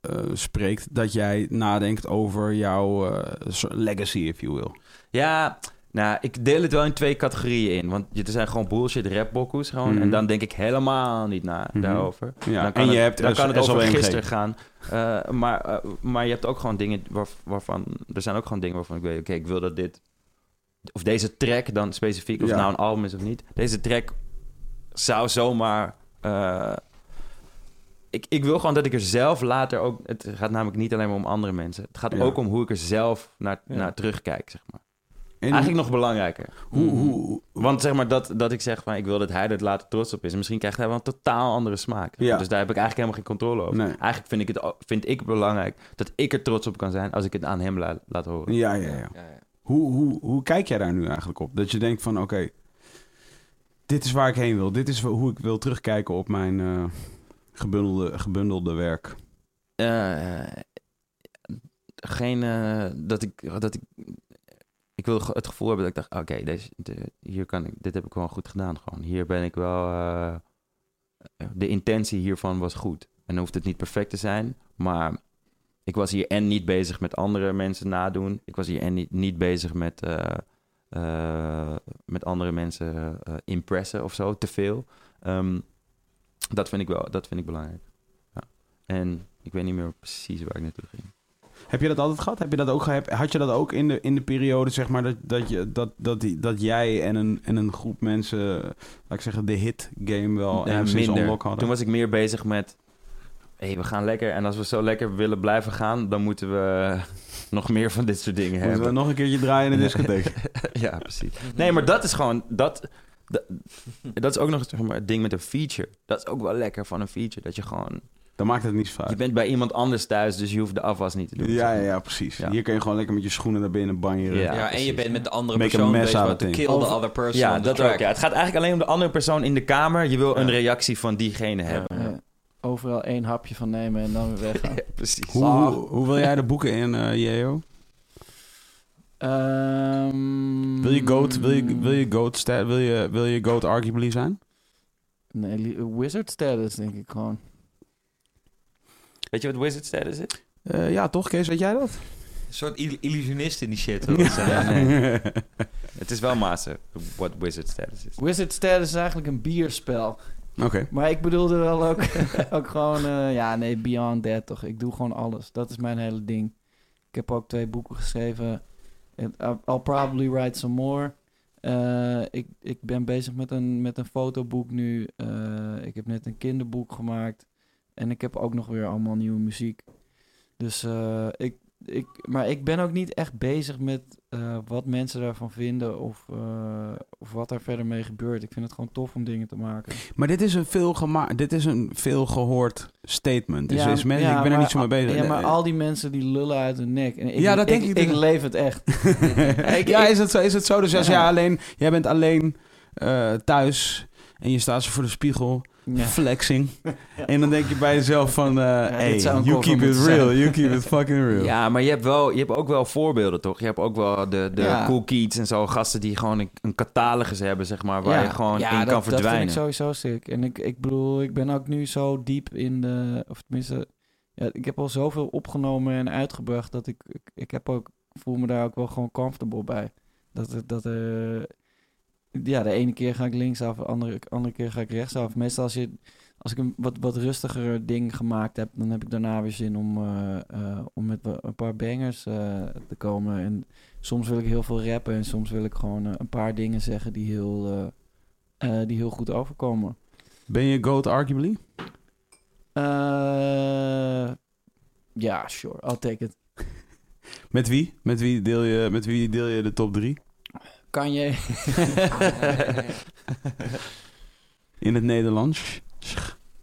A: eh, spreekt dat jij nadenkt over jouw eh, so- legacy, if you will.
D: Ja, nou, ik deel het wel in twee categorieën in. Want er zijn gewoon bullshit rapbokkoes gewoon.
A: Mhm.
D: En dan denk ik helemaal niet na
A: Mhm.
D: daarover.
A: Ja,
D: Dan kan
A: en je
D: het,
A: hebt
D: dan
A: S-
D: kan het over
A: SOMG.
D: gisteren gaan. Eh, maar, eh, maar je hebt ook gewoon dingen waarv- waarvan... Er zijn ook gewoon dingen waarvan ik weet... Oké, ik wil dat dit... Of deze track dan specifiek, of
A: Ja.
D: het nou een album is of niet. Deze track zou zomaar... eh, ik, ik wil gewoon dat ik er zelf later ook... Het gaat namelijk niet alleen maar om andere mensen. Het gaat
A: Ja.
D: ook om hoe ik er zelf naar,
B: Ja.
D: naar terugkijk, zeg maar.
A: En
D: Eigenlijk nog belangrijker.
A: hoe, hoe,
D: Want zeg maar dat, dat ik zeg van ik wil dat hij er later trots op is. En Misschien krijgt hij wel een totaal andere smaak.
A: Ja.
D: Dus daar heb ik eigenlijk helemaal geen controle over.
A: Nee.
D: Eigenlijk vind ik het o- vind ik belangrijk dat ik er trots op kan zijn als ik het aan hem la- laat horen.
A: ja, ja, ja.
C: Ja, ja.
A: Hoe, hoe, hoe kijk jij daar nu eigenlijk op? Dat je denkt van oké, dit is waar ik heen wil. Dit is wa- hoe ik wil terugkijken op mijn eh, gebundelde, gebundelde werk.
D: Eh, geen eh, dat ik dat ik ik wil ge- het gevoel hebben dat ik dacht oké deze de- hier kan ik dit heb ik gewoon goed gedaan gewoon hier ben ik wel eh, de intentie hiervan was goed en dan hoeft het niet perfect te zijn maar ik was hier en niet bezig met andere mensen nadoen ik was hier en niet, niet bezig met eh, eh, met andere mensen eh, impressen of zo te veel Ehm, dat vind ik wel dat vind ik belangrijk ja. en ik weet niet meer precies waar ik naartoe ging
A: Heb je dat altijd gehad? Heb je dat ook ge- heb- had je dat ook in de, in de periode, zeg maar, dat, dat, je, dat, dat, die- dat jij en een, en een groep mensen, laat ik zeggen, de hit game wel
D: Ja,
A: enigszins
D: minder.
A: unlock hadden?
D: Toen was ik meer bezig met hey, we gaan lekker. En als we zo lekker willen blijven gaan, dan moeten we nog meer van dit soort dingen
A: Moeten we
D: hebben.
A: nog een keertje draaien in de discotheek?
D: ja, precies. Nee, maar dat is gewoon... Dat, dat, dat is ook nog zeg maar, het ding met een feature. Dat is ook wel lekker van een feature. Dat je gewoon...
A: Dan maakt het niet zo
D: Je
A: uit.
D: bent bij iemand anders thuis, dus je hoeft de afwas niet te doen.
A: Ja, ja, ja, precies.
D: Ja.
A: Hier kun je gewoon lekker met je schoenen naar binnen banjeren.
C: Ja,
D: Ja,
C: en je
D: precies.
C: bent met de andere
A: Make a
C: persoon
A: mess
C: bezig.
A: out
C: maar
A: of
C: To
A: things.
C: kill
B: Over-
C: the other person
D: Ja,
C: on the
D: dat
C: track.
D: ook. Ja. Het gaat eigenlijk alleen om de andere persoon in de kamer. Je wil een
C: Ja.
D: reactie van diegene hebben.
B: Ja. Eh, Overal één hapje van nemen en dan weer weggaan.
D: Ja, precies.
A: Hoe, hoe, hoe wil jij de boeken in, eh Jeo?
B: Ehm,
A: Wil je goat, wil je, wil je goat, sta- wil je, wil je goat arguably zijn?
B: Nee, li- wizard status denk ik gewoon.
D: Weet je wat Wizard Status is?
A: Eh, ja, toch Kees, weet jij dat?
C: Een soort ill- illusionist in die shit. wil dat zijn.
D: Ja, nee. Het is wel master wat Wizard Status is.
B: Wizard status is eigenlijk een bierspel.
A: Oké.
B: Maar ik bedoelde wel ook, ook gewoon, eh, ja nee, Beyond That toch. Ik doe gewoon alles. Dat is mijn hele ding. Ik heb ook twee boeken geschreven. And I- I'll probably write some more. Eh, ik, ik ben bezig met een, met een fotoboek nu. Eh, ik heb net een kinderboek gemaakt. En ik heb ook nog weer allemaal nieuwe muziek. Dus eh, ik, ik, maar ik ben ook niet echt bezig met eh, wat mensen daarvan vinden of, eh, of wat daar verder mee gebeurt. Ik vind het gewoon tof om dingen te maken.
A: Maar dit is een veel, gema dit is een veel gehoord statement. Dus
B: Ja,
A: is mensen,
B: ja,
A: ik ben er
B: maar-
A: niet zo mee bezig.
B: Ja, maar al die mensen die lullen uit hun nek. En ik,
A: Ja, dat denk
B: ik.
A: ik
B: Ik
A: dus.
B: leef het echt. Ik-
A: ja,
B: ik-
A: is het zo? Is het zo? Dus als
B: Ja.
A: jij alleen, jij bent alleen eh, thuis en je staat zo voor de spiegel,
B: Ja.
A: flexing. En dan denk je bij jezelf van, eh, hey,
B: dit zou een
A: you
B: cover
A: keep it
B: moeten
A: real,
B: zijn.
A: you keep it fucking real.
D: Ja, maar je hebt, wel, je hebt ook wel voorbeelden, toch? Je hebt ook wel de, de
B: Ja.
D: cool kids en zo. Gasten die gewoon een, een catalogus hebben, zeg maar. Waar
B: Ja.
D: je gewoon
B: Ja,
D: in
B: dat-
D: kan verdwijnen.
B: Dat vind ik sowieso sick. En ik, ik bedoel, ik ben ook nu zo diep in de... Of tenminste, ja, ik heb al zoveel opgenomen en uitgebracht... dat ik, ik, ik heb ook, voel me daar ook wel gewoon comfortable bij. Dat, het- dat eh, ja, de ene keer ga ik linksaf, de andere, andere keer ga ik rechtsaf. Meestal als, je, als ik een wat, wat rustiger ding gemaakt heb... dan heb ik daarna weer zin om, eh, eh, om met wa- een paar bangers eh, te komen. En soms wil ik heel veel rappen... en soms wil ik gewoon eh, een paar dingen zeggen die heel... eh, eh, die heel goed overkomen.
A: Ben je goat arguably?
B: Eh, ja, sure. I'll take it.
A: Met wie? Met wie deel je, met wie deel je de top drie?
B: Kan je?
A: In het Nederlands?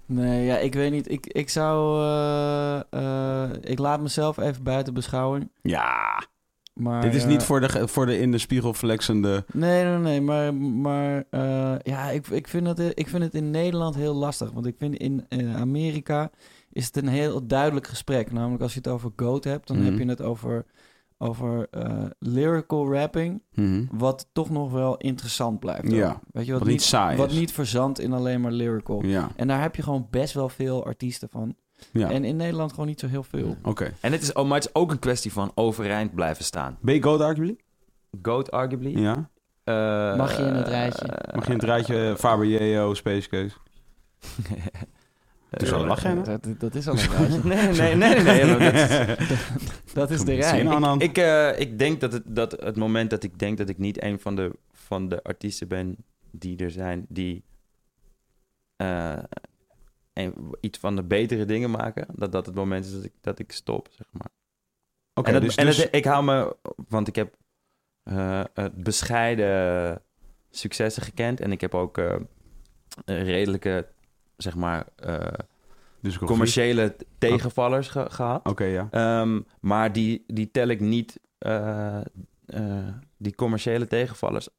B: nee, ja, ik weet niet. Ik, ik zou... eh, eh, ik laat mezelf even buiten beschouwing.
A: Ja,
B: Maar,
A: dit is
D: Ah,
B: eh,
A: niet voor de, ge- voor de in de spiegel flexende...
B: Nee, nee, nee. Maar, maar eh, ja, ik, ik, vind dat, ik vind het in Nederland heel lastig. Want ik vind in eh, Amerika is het een heel duidelijk gesprek. Namelijk als je het over GOAT hebt, dan
A: Mhm.
B: heb je het over, over eh, lyrical rapping.
A: Mhm.
B: wat toch nog wel interessant blijft. ook.
A: Ja,
B: Weet je,
A: Wat
B: wat,
A: niet
B: niet,
A: saai
B: wat
A: is.
B: niet verzandt in alleen maar lyrical.
A: Ja,
B: En daar heb je gewoon best wel veel artiesten van.
A: ja.
B: En in Nederland gewoon niet zo heel veel.
A: Oké.
D: En het is, oh, maar het is ook een kwestie van overeind blijven staan.
A: Ben je goat arguably?
D: Goat, arguably.
A: Ja.
D: Eh,
B: Mag je in het rijtje?
A: Mag je in het rijtje eh, Faber, Jeo, Space Case? Dus al lachen, hè?
B: Dat, dat is al een rijtje.
D: Nee, nee, nee, nee. nee, maar dat is-
B: Dat is de
A: Zin
B: rij.
A: aan aan.
D: Ik, eh, ik denk dat het, dat het moment dat ik denk dat ik niet een van de, van de artiesten ben die er zijn, die eh, een- iets van de betere dingen maken, dat dat het moment is dat ik, dat ik stop, zeg maar.
A: Oké,
D: en dat,
A: dus,
D: en dat-
A: dus-
D: ik hou me, want ik heb eh, het bescheiden successen gekend en ik heb ook eh, een redelijke, zeg maar, eh,
A: dus ik-
D: commerciële tegenvallers ge- gehad.
A: Oké, ja.
D: Ehm, maar die, die tel ik niet, eh, eh, die commerciële tegenvallers,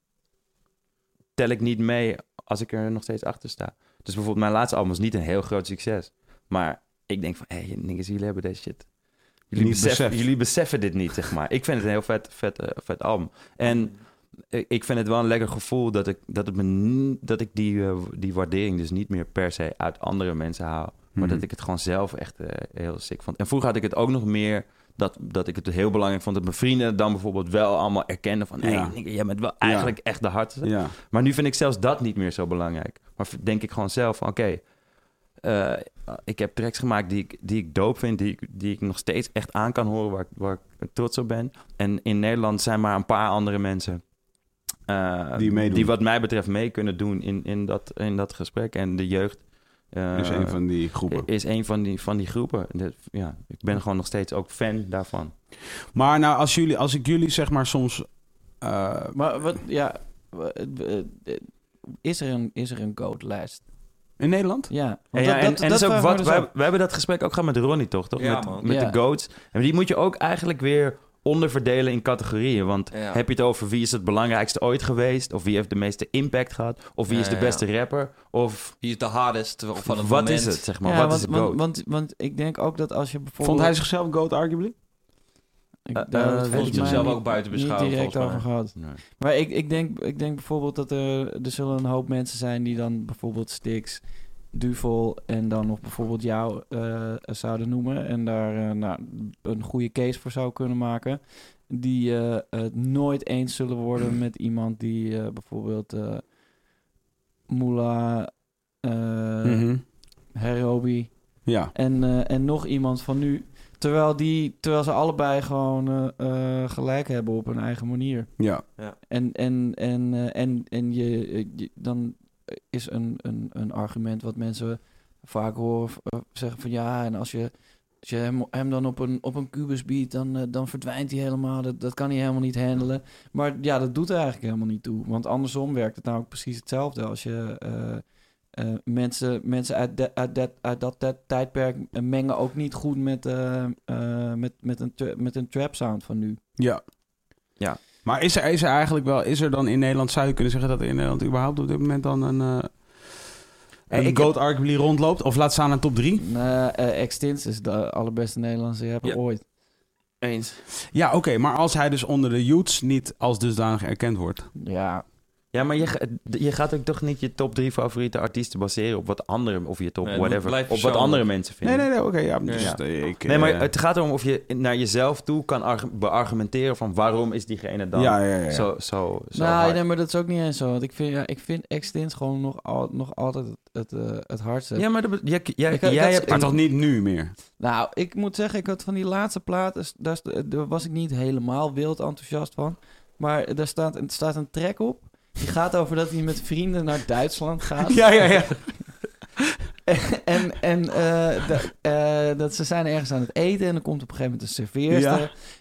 D: tel ik niet mee als ik er nog steeds achter sta. Dus bijvoorbeeld mijn laatste album is niet een heel groot succes. Maar ik denk van, hé, hey, niggas, jullie hebben deze shit. Jullie
A: Niet
D: beseffen,
A: beseft.
D: jullie beseffen dit niet, zeg maar. Ik vind het een heel vet, vet, eh, vet album. En ik ik vind het wel een lekker gevoel dat ik, dat het me, ni- dat ik die, eh, die waardering dus niet meer per se uit andere mensen haal. Maar
A: Mhm.
D: dat ik het gewoon zelf echt eh, heel sick vond. En vroeger had ik het ook nog meer dat, dat ik het heel belangrijk vond dat mijn vrienden dan bijvoorbeeld wel allemaal erkennen van... hé,
A: Ja.
D: nigga, jij bent wel eigenlijk echt de hardste.
A: Ja.
D: Maar nu vind ik zelfs dat niet meer zo belangrijk. Maar v- denk ik gewoon zelf van, oké, eh, ik heb tracks gemaakt die ik, die ik dope vind, die, ik- die ik nog steeds echt aan kan horen, waar, ik- waar ik trots op ben. En in Nederland zijn maar een paar andere mensen eh,
A: Die meedoen.
D: die wat mij betreft mee kunnen doen in, in, dat, in dat gesprek. En de jeugd eh,
A: Dus een van die groepen.
D: is een van die, van die groepen. Dat- ja, ik ben gewoon nog steeds ook fan daarvan.
A: Maar nou, als, jullie, als ik jullie zeg maar soms... eh,
B: Maar wat, ja, wa- het- het- het- is er een, is er een code-lijst?
A: in Nederland?
B: Ja, want
D: En, ja, en, en dat is ook
B: vragen we
D: wat.
B: dus
D: wij,
B: af.
D: wij hebben dat gesprek ook gehad met Ronnie, toch? toch?
C: Ja,
D: met
C: man.
D: met
B: Ja.
D: de goats. En die moet je ook eigenlijk weer onderverdelen in categorieën. Want
C: Ja.
D: heb je het over wie is het belangrijkste ooit geweest? Of wie heeft de meeste impact gehad? Of wie
C: Ja,
D: is de
C: ja,
D: beste rapper? Of
C: Hier is de hardest van het
D: wat
C: moment.
D: is het, zeg maar?
B: Ja,
D: wat
B: want,
D: is de
B: want,
D: goat?
B: want, want ik denk ook dat als je bijvoorbeeld...
A: Vond hij zichzelf goat, arguably?
B: Ik,
D: Eh,
B: daar hebben we
D: eh,
B: het
D: weet
B: volgens
D: ik
B: mij
C: zelf
B: niet-
C: ook buiten
B: Niet
C: beschouwen,
B: direct
C: volgens
B: over
C: mij.
B: gehad.
D: Nee.
B: Maar ik, ik, denk, ik denk bijvoorbeeld dat er, er zullen een hoop mensen zijn die dan bijvoorbeeld Stix, Duvel en dan nog bijvoorbeeld jou eh, zouden noemen. En daar eh, nou, een goede case voor zou kunnen maken. Die eh, het nooit eens zullen worden met iemand die eh, bijvoorbeeld eh Moula, eh
A: Mhm.
B: Herobi
A: Ja.
B: en, eh, en nog iemand van nu. Terwijl, die, terwijl ze allebei gewoon eh, eh, gelijk hebben op hun eigen manier.
A: Ja.
B: En, en, en, eh, en, en je, eh, je- dan is een, een, een argument wat mensen vaak horen v- eh, zeggen van ja, en als je, als je hem, hem dan op een, op een kubus biedt, dan, eh, dan verdwijnt hij helemaal. Dat, dat kan hij helemaal niet handelen. Maar ja, dat doet er eigenlijk helemaal niet toe. Want andersom werkt het namelijk precies hetzelfde. Als je eh, eh, mensen, mensen uit, de- uit, dat uit dat tijd- tijdperk eh, mengen ook niet goed met, eh, eh, met, met, een, tra- met een trap sound van nu.
A: Ja.
D: Ja.
A: Maar is er, is er eigenlijk wel, is er dan in Nederland, zou je kunnen zeggen dat er in Nederland überhaupt op dit moment dan een, eh een
D: ik-
A: goat arguably rondloopt? Of laat staan een top 3?
B: Nee, eh, Extins is de allerbeste Nederlandse rapper
D: Ja.
B: ooit.
D: Eens.
A: Ja, oké, maar als hij dus onder de youths niet als dusdanig erkend wordt.
B: Ja,
D: Ja, maar je, ga- je gaat ook toch niet je top drie favoriete artiesten baseren op wat andere... Of je top,
C: Nee, dat
D: whatever.
C: blijft
D: Op wat
C: persoonlijk.
D: andere mensen vinden.
A: Nee, nee, nee, oké. ja, dus,
D: Ja.
A: eh, ik,
D: Nee, maar
A: eh,
D: het gaat erom of je naar jezelf toe kan argu- beargumenteren van waarom is diegene dan
A: ja, ja, ja. ja.
D: zo, zo, zo
B: nou,
D: hard.
B: nee, maar dat is ook niet eens zo. Want ik vind, ja, ik vind Extins gewoon nog, al, nog altijd het, het, eh, het hardste.
D: Ja, maar dat, be- jij, jij,
B: Ik- ik
D: jij
B: had-
D: hebt...
A: Maar toch niet nu meer?
B: Nou, ik moet zeggen, ik had van die laatste plaat, dus daar, st- daar was ik niet helemaal wild enthousiast van. Maar daar staat, er staat een track op. Die gaat over dat hij met vrienden naar Duitsland gaat.
D: Ja, ja, ja.
B: en en eh, da- eh, dat ze zijn ergens aan het eten en dan komt op een gegeven moment een
A: Ja.
B: serveerster.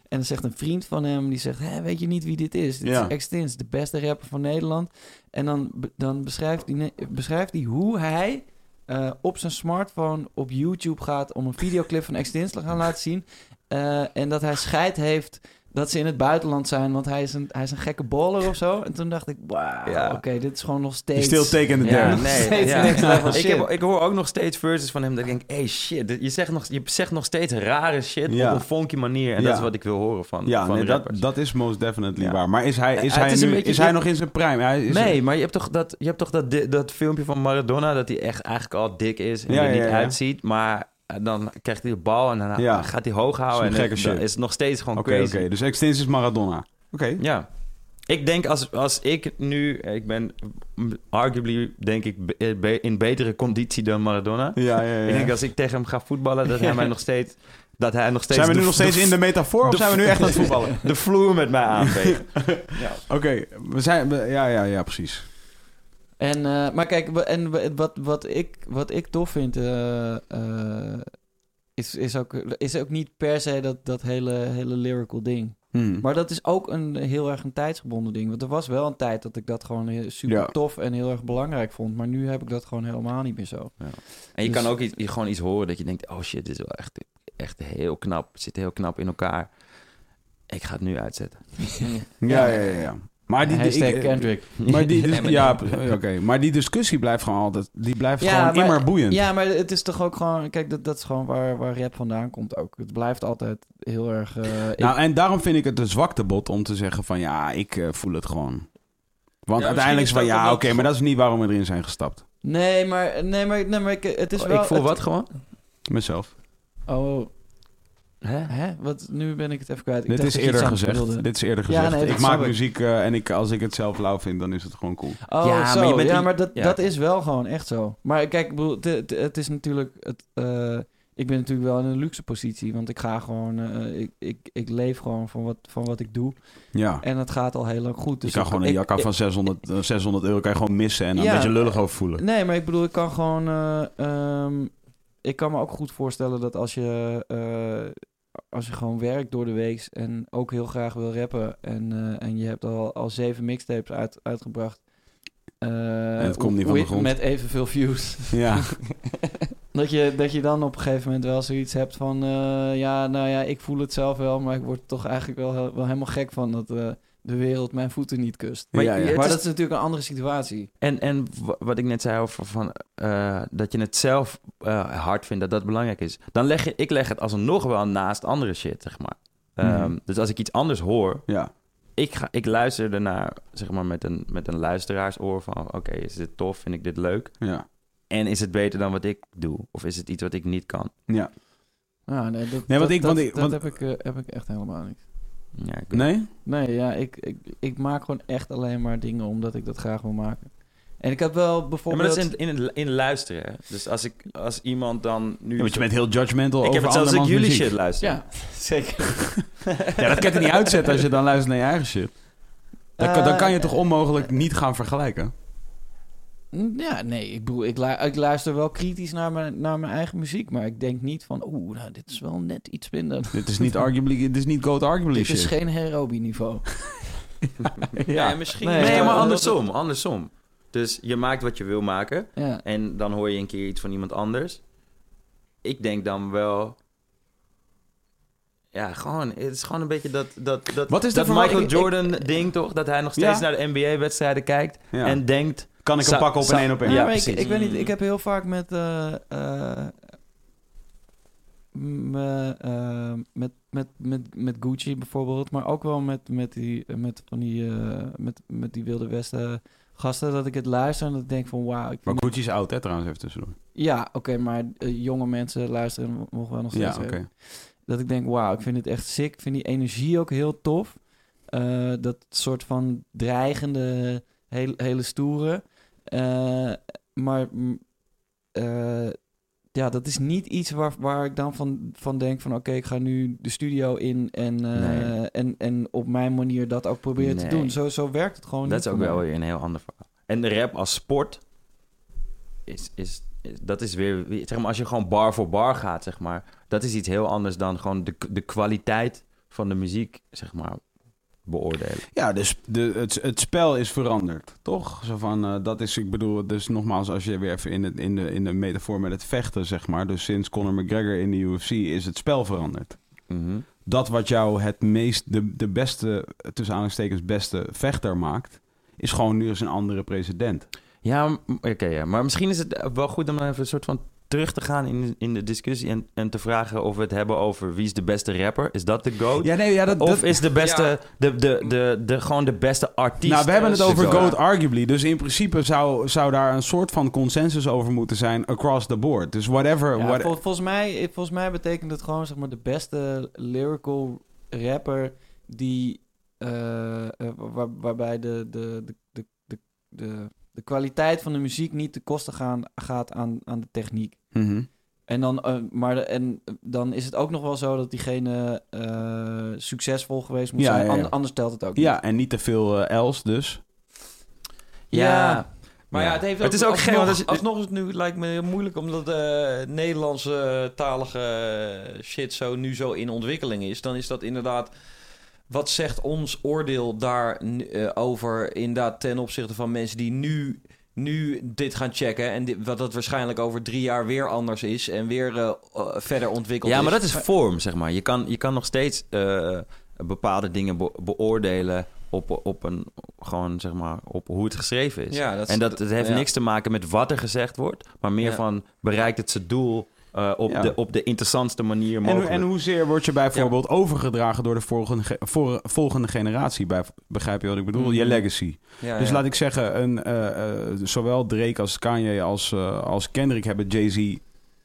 B: En dan zegt een vriend van hem, die zegt, Hé, weet je niet wie dit is? Dit
A: Ja.
B: is Extins, de beste rapper van Nederland. En dan, be- dan beschrijft hij ne- beschrijft hij hoe hij eh, op zijn smartphone op YouTube gaat... om een videoclip van Extins te gaan laten zien. Eh, en dat hij scheid heeft dat ze in het buitenland zijn, want hij is een, hij is een gekke baller of zo. En toen dacht ik, wauw,
D: Ja.
B: oké, dit is gewoon nog
A: You
B: steeds...
A: still taking the
D: Ja,
A: damage.
B: Nog
D: nee,
B: steeds
D: ja.
B: next level
D: Ik,
B: shit.
D: heb, ik hoor ook nog steeds verses van hem dat ik denk, hey shit, dit- je zegt nog, je zegt nog steeds rare shit
A: Ja.
D: op een funky manier. En
A: Ja.
D: dat is wat ik wil horen van,
A: Ja,
D: van
A: nee, dat,
D: rappers.
A: dat is most definitely
D: Ja.
A: waar. Maar is hij,
D: Eh,
A: is
D: het
A: hij,
D: is een
A: nu,
D: beetje-
A: is hij nog in zijn prime? Hij is
D: nee, maar je hebt toch, dat, je hebt toch dat, di- dat filmpje van Maradona dat hij echt eigenlijk al dik is en
A: Ja,
D: er niet
A: ja, ja.
D: uitziet, maar... eh, Dan krijgt hij de bal en dan
A: Ja.
D: gaat hij hoog
A: Zo'n
D: houden. En
A: gekke
D: dan
A: shit.
D: is het nog steeds gewoon
A: Oké,
D: crazy.
A: oké, dus Extins is Maradona. Oké.
D: Ja. Ik denk als, als ik nu, ik ben arguably denk ik be- be- in betere conditie dan Maradona.
A: Ja, ja, ja.
D: Ik denk als ik tegen hem ga voetballen, dat hij mij nog steeds, dat hij nog steeds
A: Zijn we nu
D: de-
A: nog steeds
D: de-
A: in de metafoor of
D: de-
A: zijn we nu echt aan het voetballen?
D: de vloer met mij aanveegt.
A: Oké, we zijn... we- ja, ja, ja, precies.
B: En, eh, maar kijk, wa- en wa- wat, wat, ik, wat ik tof vind, eh, eh, is, is, ook, is ook niet per se dat, dat hele, hele lyrical ding.
A: Hm.
B: Maar dat is ook een heel erg een tijdsgebonden ding. Want er was wel een tijd dat ik dat gewoon heel- super
A: Ja.
B: tof en heel erg belangrijk vond. Maar nu heb ik dat gewoon helemaal niet meer zo.
D: En je
B: Dus-
D: kan ook iets, je gewoon iets horen dat je denkt, oh shit, dit is wel echt, echt heel knap, zit heel knap in elkaar. Ik ga het nu uitzetten.
A: Ja, ja, ja. ja. Maar Ah, die, die-
B: Hashtag
A: ik-
B: Kendrick.
A: maar die, dus,
C: Eminem.
A: ja, oké. Maar die discussie blijft gewoon altijd, die blijft
B: Ja,
A: gewoon
B: maar-
A: immer boeiend.
B: Ja, maar het is toch ook gewoon... Kijk, dat, dat is gewoon waar, waar rap vandaan komt ook. Het blijft altijd heel erg... eh, ik-
A: Nou, en daarom vind ik het een zwakte bot om te zeggen van ja, ik eh, voel het gewoon. Want
C: Ja,
A: uiteindelijk
C: misschien
A: is
C: is
A: van
C: dat
A: ja,
C: ook
A: oké,
C: wel-
A: maar dat is niet waarom we erin zijn gestapt.
B: nee, maar, nee, maar, nee, maar ik- het is
D: Oh,
B: wel...
D: ik voel
B: het-
D: wat gewoon.
A: Mezelf.
B: Oh,
D: Hè?
B: Hè? Wat, nu ben ik het even kwijt. Ik
A: Dit
B: dacht
A: is,
B: dat je
A: eerder
B: iets anders
A: gezegd.
B: wilde.
A: Dit is eerder
B: Ja,
A: gezegd.
B: nee, dat
A: Ik maak
B: snap ik.
A: muziek eh, en ik, als ik het zelf lauw vind, dan is het gewoon cool.
B: Oh,
D: Ja, maar
B: zo.
D: je bent
B: ja,
D: die-
B: maar dat,
D: ja.
B: dat is wel gewoon echt zo. Maar kijk, ik bedoel, het, het- het is natuurlijk... Het, eh, ik ben natuurlijk wel in een luxe positie, want ik ga gewoon, eh, ik, ik, ik leef gewoon van wat, van wat ik doe.
A: Ja.
B: En dat gaat al heel lang goed. Eh, Dus
A: je kan
B: ik-
A: gewoon een
B: ik-
A: jacka
B: ik-
A: van 600, eh, 600 euro kan je gewoon missen en dan
B: Ja.
A: een beetje lullig over voelen.
B: Nee, maar ik bedoel, ik kan gewoon. eh, ehm, ik kan me ook goed voorstellen dat als je. eh, als je gewoon werkt door de week en ook heel graag wil rappen. En, eh, en je hebt al, al zeven mixtapes uit, uitgebracht. eh,
A: het komt niet van de
B: with-
A: grond.
B: Met evenveel views.
A: Ja.
B: dat, je, dat je dan op een gegeven moment wel zoiets hebt van... eh, ja, nou ja, ik voel het zelf wel, maar ik word er toch eigenlijk wel, he- wel helemaal gek van... dat eh, de wereld mijn voeten niet kust.
D: Maar
A: ja, ja.
D: Het
B: Maar
D: is-
B: dat is natuurlijk een andere situatie.
D: En, en wa- wat ik net zei over van, eh, dat je het zelf eh, hard vindt, dat dat belangrijk is. Dan leg je, ik leg het alsnog wel naast andere shit, zeg maar. Ehm,
A: Mhm.
D: Dus als ik iets anders hoor,
A: ja.
D: ik, ga, ik luister ernaar, zeg maar, met een, met een luisteraarsoor van... oké, is dit tof? Vind ik dit leuk?
A: Ja.
D: En is het beter dan wat ik doe? Of is het iets wat ik niet kan?
B: Ja, nee, dat,
A: Nee, want
B: dat,
A: ik- want
B: dat-
A: ik-
B: dat
A: want-
B: heb, ik, eh, heb ik echt helemaal niet.
D: Ja, ik-
A: Nee?
B: Nee, ja, ik, ik, ik maak gewoon echt alleen maar dingen omdat ik dat graag wil maken. En ik heb wel
D: Ja,
B: bijvoorbeeld...
D: maar dat is in, in, het- in luisteren. hè. Dus als, ik, als iemand dan nu...
A: Ja, want je bent heel judgmental
D: ik
A: over
D: heb het zelfs als ik
A: andermans
D: jullie
A: muziek.
D: shit luister.
B: Ja,
D: zeker.
A: Ja, dat kan je niet uitzetten als je dan luistert naar je eigen shit. Dan, kan- dan kan je toch
D: Eh,
A: onmogelijk niet gaan vergelijken?
B: Mm, Ja, nee, ik bedoel, ik, lu- ik luister wel kritisch naar mijn, naar mijn eigen muziek, maar ik denk niet van, oeh, nou, dit is wel net iets minder.
A: Dit is niet arguably, dit is niet goat arguably
B: Dit is
A: shit.
B: geen Herobi-niveau.
C: Ja,
A: Ja.
C: en misschien.
B: Nee,
D: Nee,
B: ja,
D: maar
B: dat-
D: andersom, andersom. Dus je maakt wat je wil maken...
B: Ja.
D: en dan hoor je een keer iets van iemand anders. Ik denk dan wel... Ja, gewoon, het is gewoon een beetje dat, dat, dat,
A: Wat is de
D: dat Michael
A: verwachting-
D: Jordan ding, toch? Dat hij nog
A: Ja.
D: steeds naar de NBA-wedstrijden kijkt
A: Ja.
D: en denkt...
F: Kan ik hem
D: Zou-
F: pakken op een
D: zou-
F: één op
B: Ja,
F: één?
D: Ja,
B: maar ik,
D: precies.
B: ik weet niet, ik heb heel vaak met, eh, eh, m- eh, eh, met, met, met, met Gucci bijvoorbeeld, maar ook wel met, met, die, met, van die, eh, met, met die Wilde Westen gasten, dat ik het luister en dat ik denk van wauw. Ik
A: Maar Gucci is oud, hè, trouwens, even tussendoor.
B: Ja, oké, maar eh, jonge mensen luisteren mogen wel nog steeds
A: Ja,
B: hebben
A: oké.
B: dat ik denk, wauw, ik vind het echt sick. Ik vind die energie ook heel tof. Eh, dat soort van dreigende, hele, hele stoere. Eh, maar mm, eh, ja, dat is niet iets waar, waar ik dan van, van denk van... oké, ik ga nu de studio in en, eh,
D: Nee.
B: en, en op mijn manier dat ook proberen te
D: Nee.
B: doen. Zo, zo werkt het gewoon
D: Dat
B: niet
D: is ook
B: voor
D: wel
B: mij.
D: weer een heel ander verhaal. En de rap als sport is, is, is- dat is weer, weer- zeg maar, als je gewoon bar voor bar gaat, zeg maar, dat is iets heel anders dan gewoon de, de kwaliteit van de muziek, zeg maar, beoordelen.
A: Ja, dus de, het, het spel is veranderd, toch? Zo van, eh, dat is, ik bedoel, dus nogmaals, als je weer even in, het, in, de, in de metafoor met het vechten, zeg maar. Dus sinds Conor McGregor in de UFC is het spel veranderd. Dat wat jou het meest, de, de beste, tussen aanhalingstekens, beste vechter maakt, is gewoon nu eens een andere president.
D: Ja, m- oké, ja. maar misschien is het wel goed om even een soort van terug te gaan in, in de discussie en, en te vragen of we het hebben over wie is de beste rapper. Is dat de GOAT?
A: Ja, nee, ja, dat...
D: Oh, Of is de beste,
C: Ja.
D: de, de, de, de, gewoon de beste artiest?
A: nou, we hebben het
D: eh,
A: over
D: de
A: GOAT arguably. Dus in principe zou, zou daar een soort van consensus over moeten zijn across the board. Dus whatever...
B: Ja,
A: what-
B: vol- volgens, mij, volgens mij betekent het gewoon zeg maar, de beste lyrical rapper die eh, eh, waar- waarbij de, de, de, de, de, de, de kwaliteit van de muziek niet te kosten gaan, gaat aan, aan de techniek.
A: Mhm.
B: En dan, eh, maar de- en dan is het ook nog wel zo dat diegene eh, succesvol geweest moet
A: Ja,
B: zijn.
A: ja, ja.
B: An- anders telt het ook niet.
A: Ja, en niet te veel eh, else dus.
D: Ja.
C: Maar ja, het, heeft
D: het is ook
C: alsnog,
D: gek, want als je-
C: alsnog is het nu lijkt me heel moeilijk omdat eh Nederlandse eh, talige eh, shit zo nu zo in ontwikkeling is. Dan is dat inderdaad wat zegt ons oordeel daar eh, over inderdaad ten opzichte van mensen die nu nu dit gaan checken en dit, wat dat waarschijnlijk over drie jaar weer anders is en weer eh, eh, verder ontwikkeld
D: Ja,
C: is.
D: maar dat is vorm, zeg maar. Je kan, je kan nog steeds eh, bepaalde dingen be- beoordelen op, op, een, gewoon, zeg maar, op hoe het geschreven is.
C: Ja, dat is-
D: en dat, het heeft
C: ja.
D: niks te maken met wat er gezegd wordt, maar meer
C: Ja.
D: van bereikt het zijn doel eh, op,
A: Ja.
D: de, op de interessantste manier
A: En, hoe-
D: mogelijk.
A: en hoezeer word je bijvoorbeeld overgedragen door de volgende, ge- voor- volgende generatie? Bij, begrijp je wat ik bedoel? Je legacy.
C: Ja,
A: dus
C: ja.
A: laat ik zeggen, een, eh, eh, zowel Drake als Kanye als, eh, als Kendrick hebben Jay-Z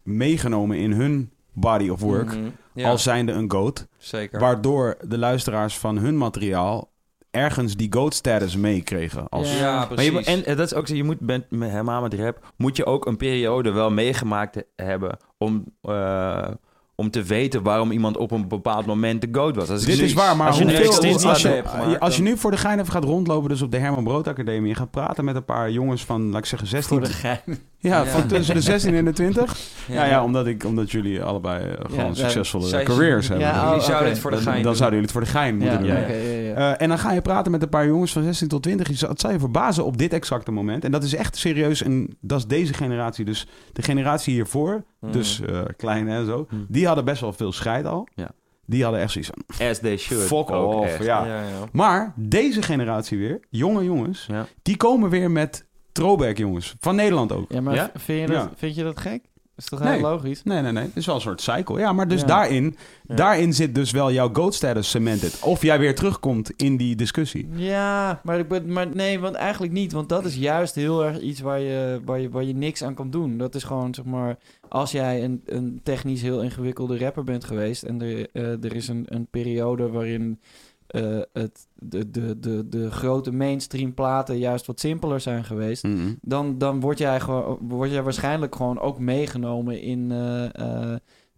A: meegenomen in hun body of work.
C: Mhm. Ja,
A: Als zijnde een goat.
C: zeker.
A: Waardoor de luisteraars van hun materiaal ergens die goat status meekregen. Als...
B: Ja.
C: Ja,
D: Maar
C: precies.
D: je, moet- en eh, dat is ook zo, je moet bent, met helemaal met rap, moet je ook een periode wel meegemaakt he- hebben om, eh, om te weten waarom iemand op een bepaald moment de goat was. Als ik
A: Dit
D: nu-
A: is waar, maar
D: als je nu
A: hoeveel-
D: echt steeds
A: als,
D: laat
A: je,
D: hebt gemaakt,
A: als je
D: dan-
A: nu voor de gein even gaat rondlopen, dus op de Herman Brood Academie, en gaat praten met een paar jongens van, laat ik zeggen, 16.
B: Voor de gein.
A: Ja,
C: Ja.
A: van tussen de 16 en de 20. Ja, Nou ja omdat, ik, omdat jullie allebei eh, gewoon
B: ja,
A: succesvolle
C: zij-
A: careers
B: ja,
A: hebben.
B: oh,
C: Jullie
B: oké.
C: zouden het voor de
A: dan,
C: gein
A: dan
C: doen.
A: zouden jullie het voor de gein moeten
B: Ja,
A: doen.
B: ja,
A: Ja.
B: oké, ja, ja.
A: Eh, en dan ga je praten met een paar jongens van 16 tot 20. Je zou- Het zou je verbazen op dit exacte moment. En dat is echt serieus. En dat is deze generatie. Dus de generatie hiervoor,
C: Mm.
A: dus eh klein en zo,
D: Mm.
A: die hadden best wel veel scheid al.
D: Ja.
A: Die hadden echt zoiets van,
D: As they should.
A: fuck
D: ook
A: off.
D: echt.
A: Ja.
C: Ja, ja.
A: Maar deze generatie weer, jonge jongens,
D: Ja.
A: die komen weer met throwback jongens. Van Nederland ook.
B: Ja, maar
D: Ja?
B: Vind, je dat,
A: Ja.
B: vind je dat gek? Is toch
A: Nee.
B: heel logisch?
A: Nee, nee, nee. Het is wel een soort cycle. Ja, maar dus
B: Ja.
A: daarin,
C: Ja.
A: daarin zit dus wel jouw goat status cemented. Of jij weer terugkomt in die discussie.
B: Ja, maar, ik ben, maar nee, want eigenlijk niet. Want dat is juist heel erg iets waar je, waar je, waar je niks aan kan doen. Dat is gewoon, zeg maar, als jij een, een technisch heel ingewikkelde rapper bent geweest... en er, eh, er is een, een periode waarin eh, het, de, de, de, de grote mainstream platen juist wat simpeler zijn geweest... dan, dan word, jij gewoon, word jij waarschijnlijk gewoon ook meegenomen in eh, eh,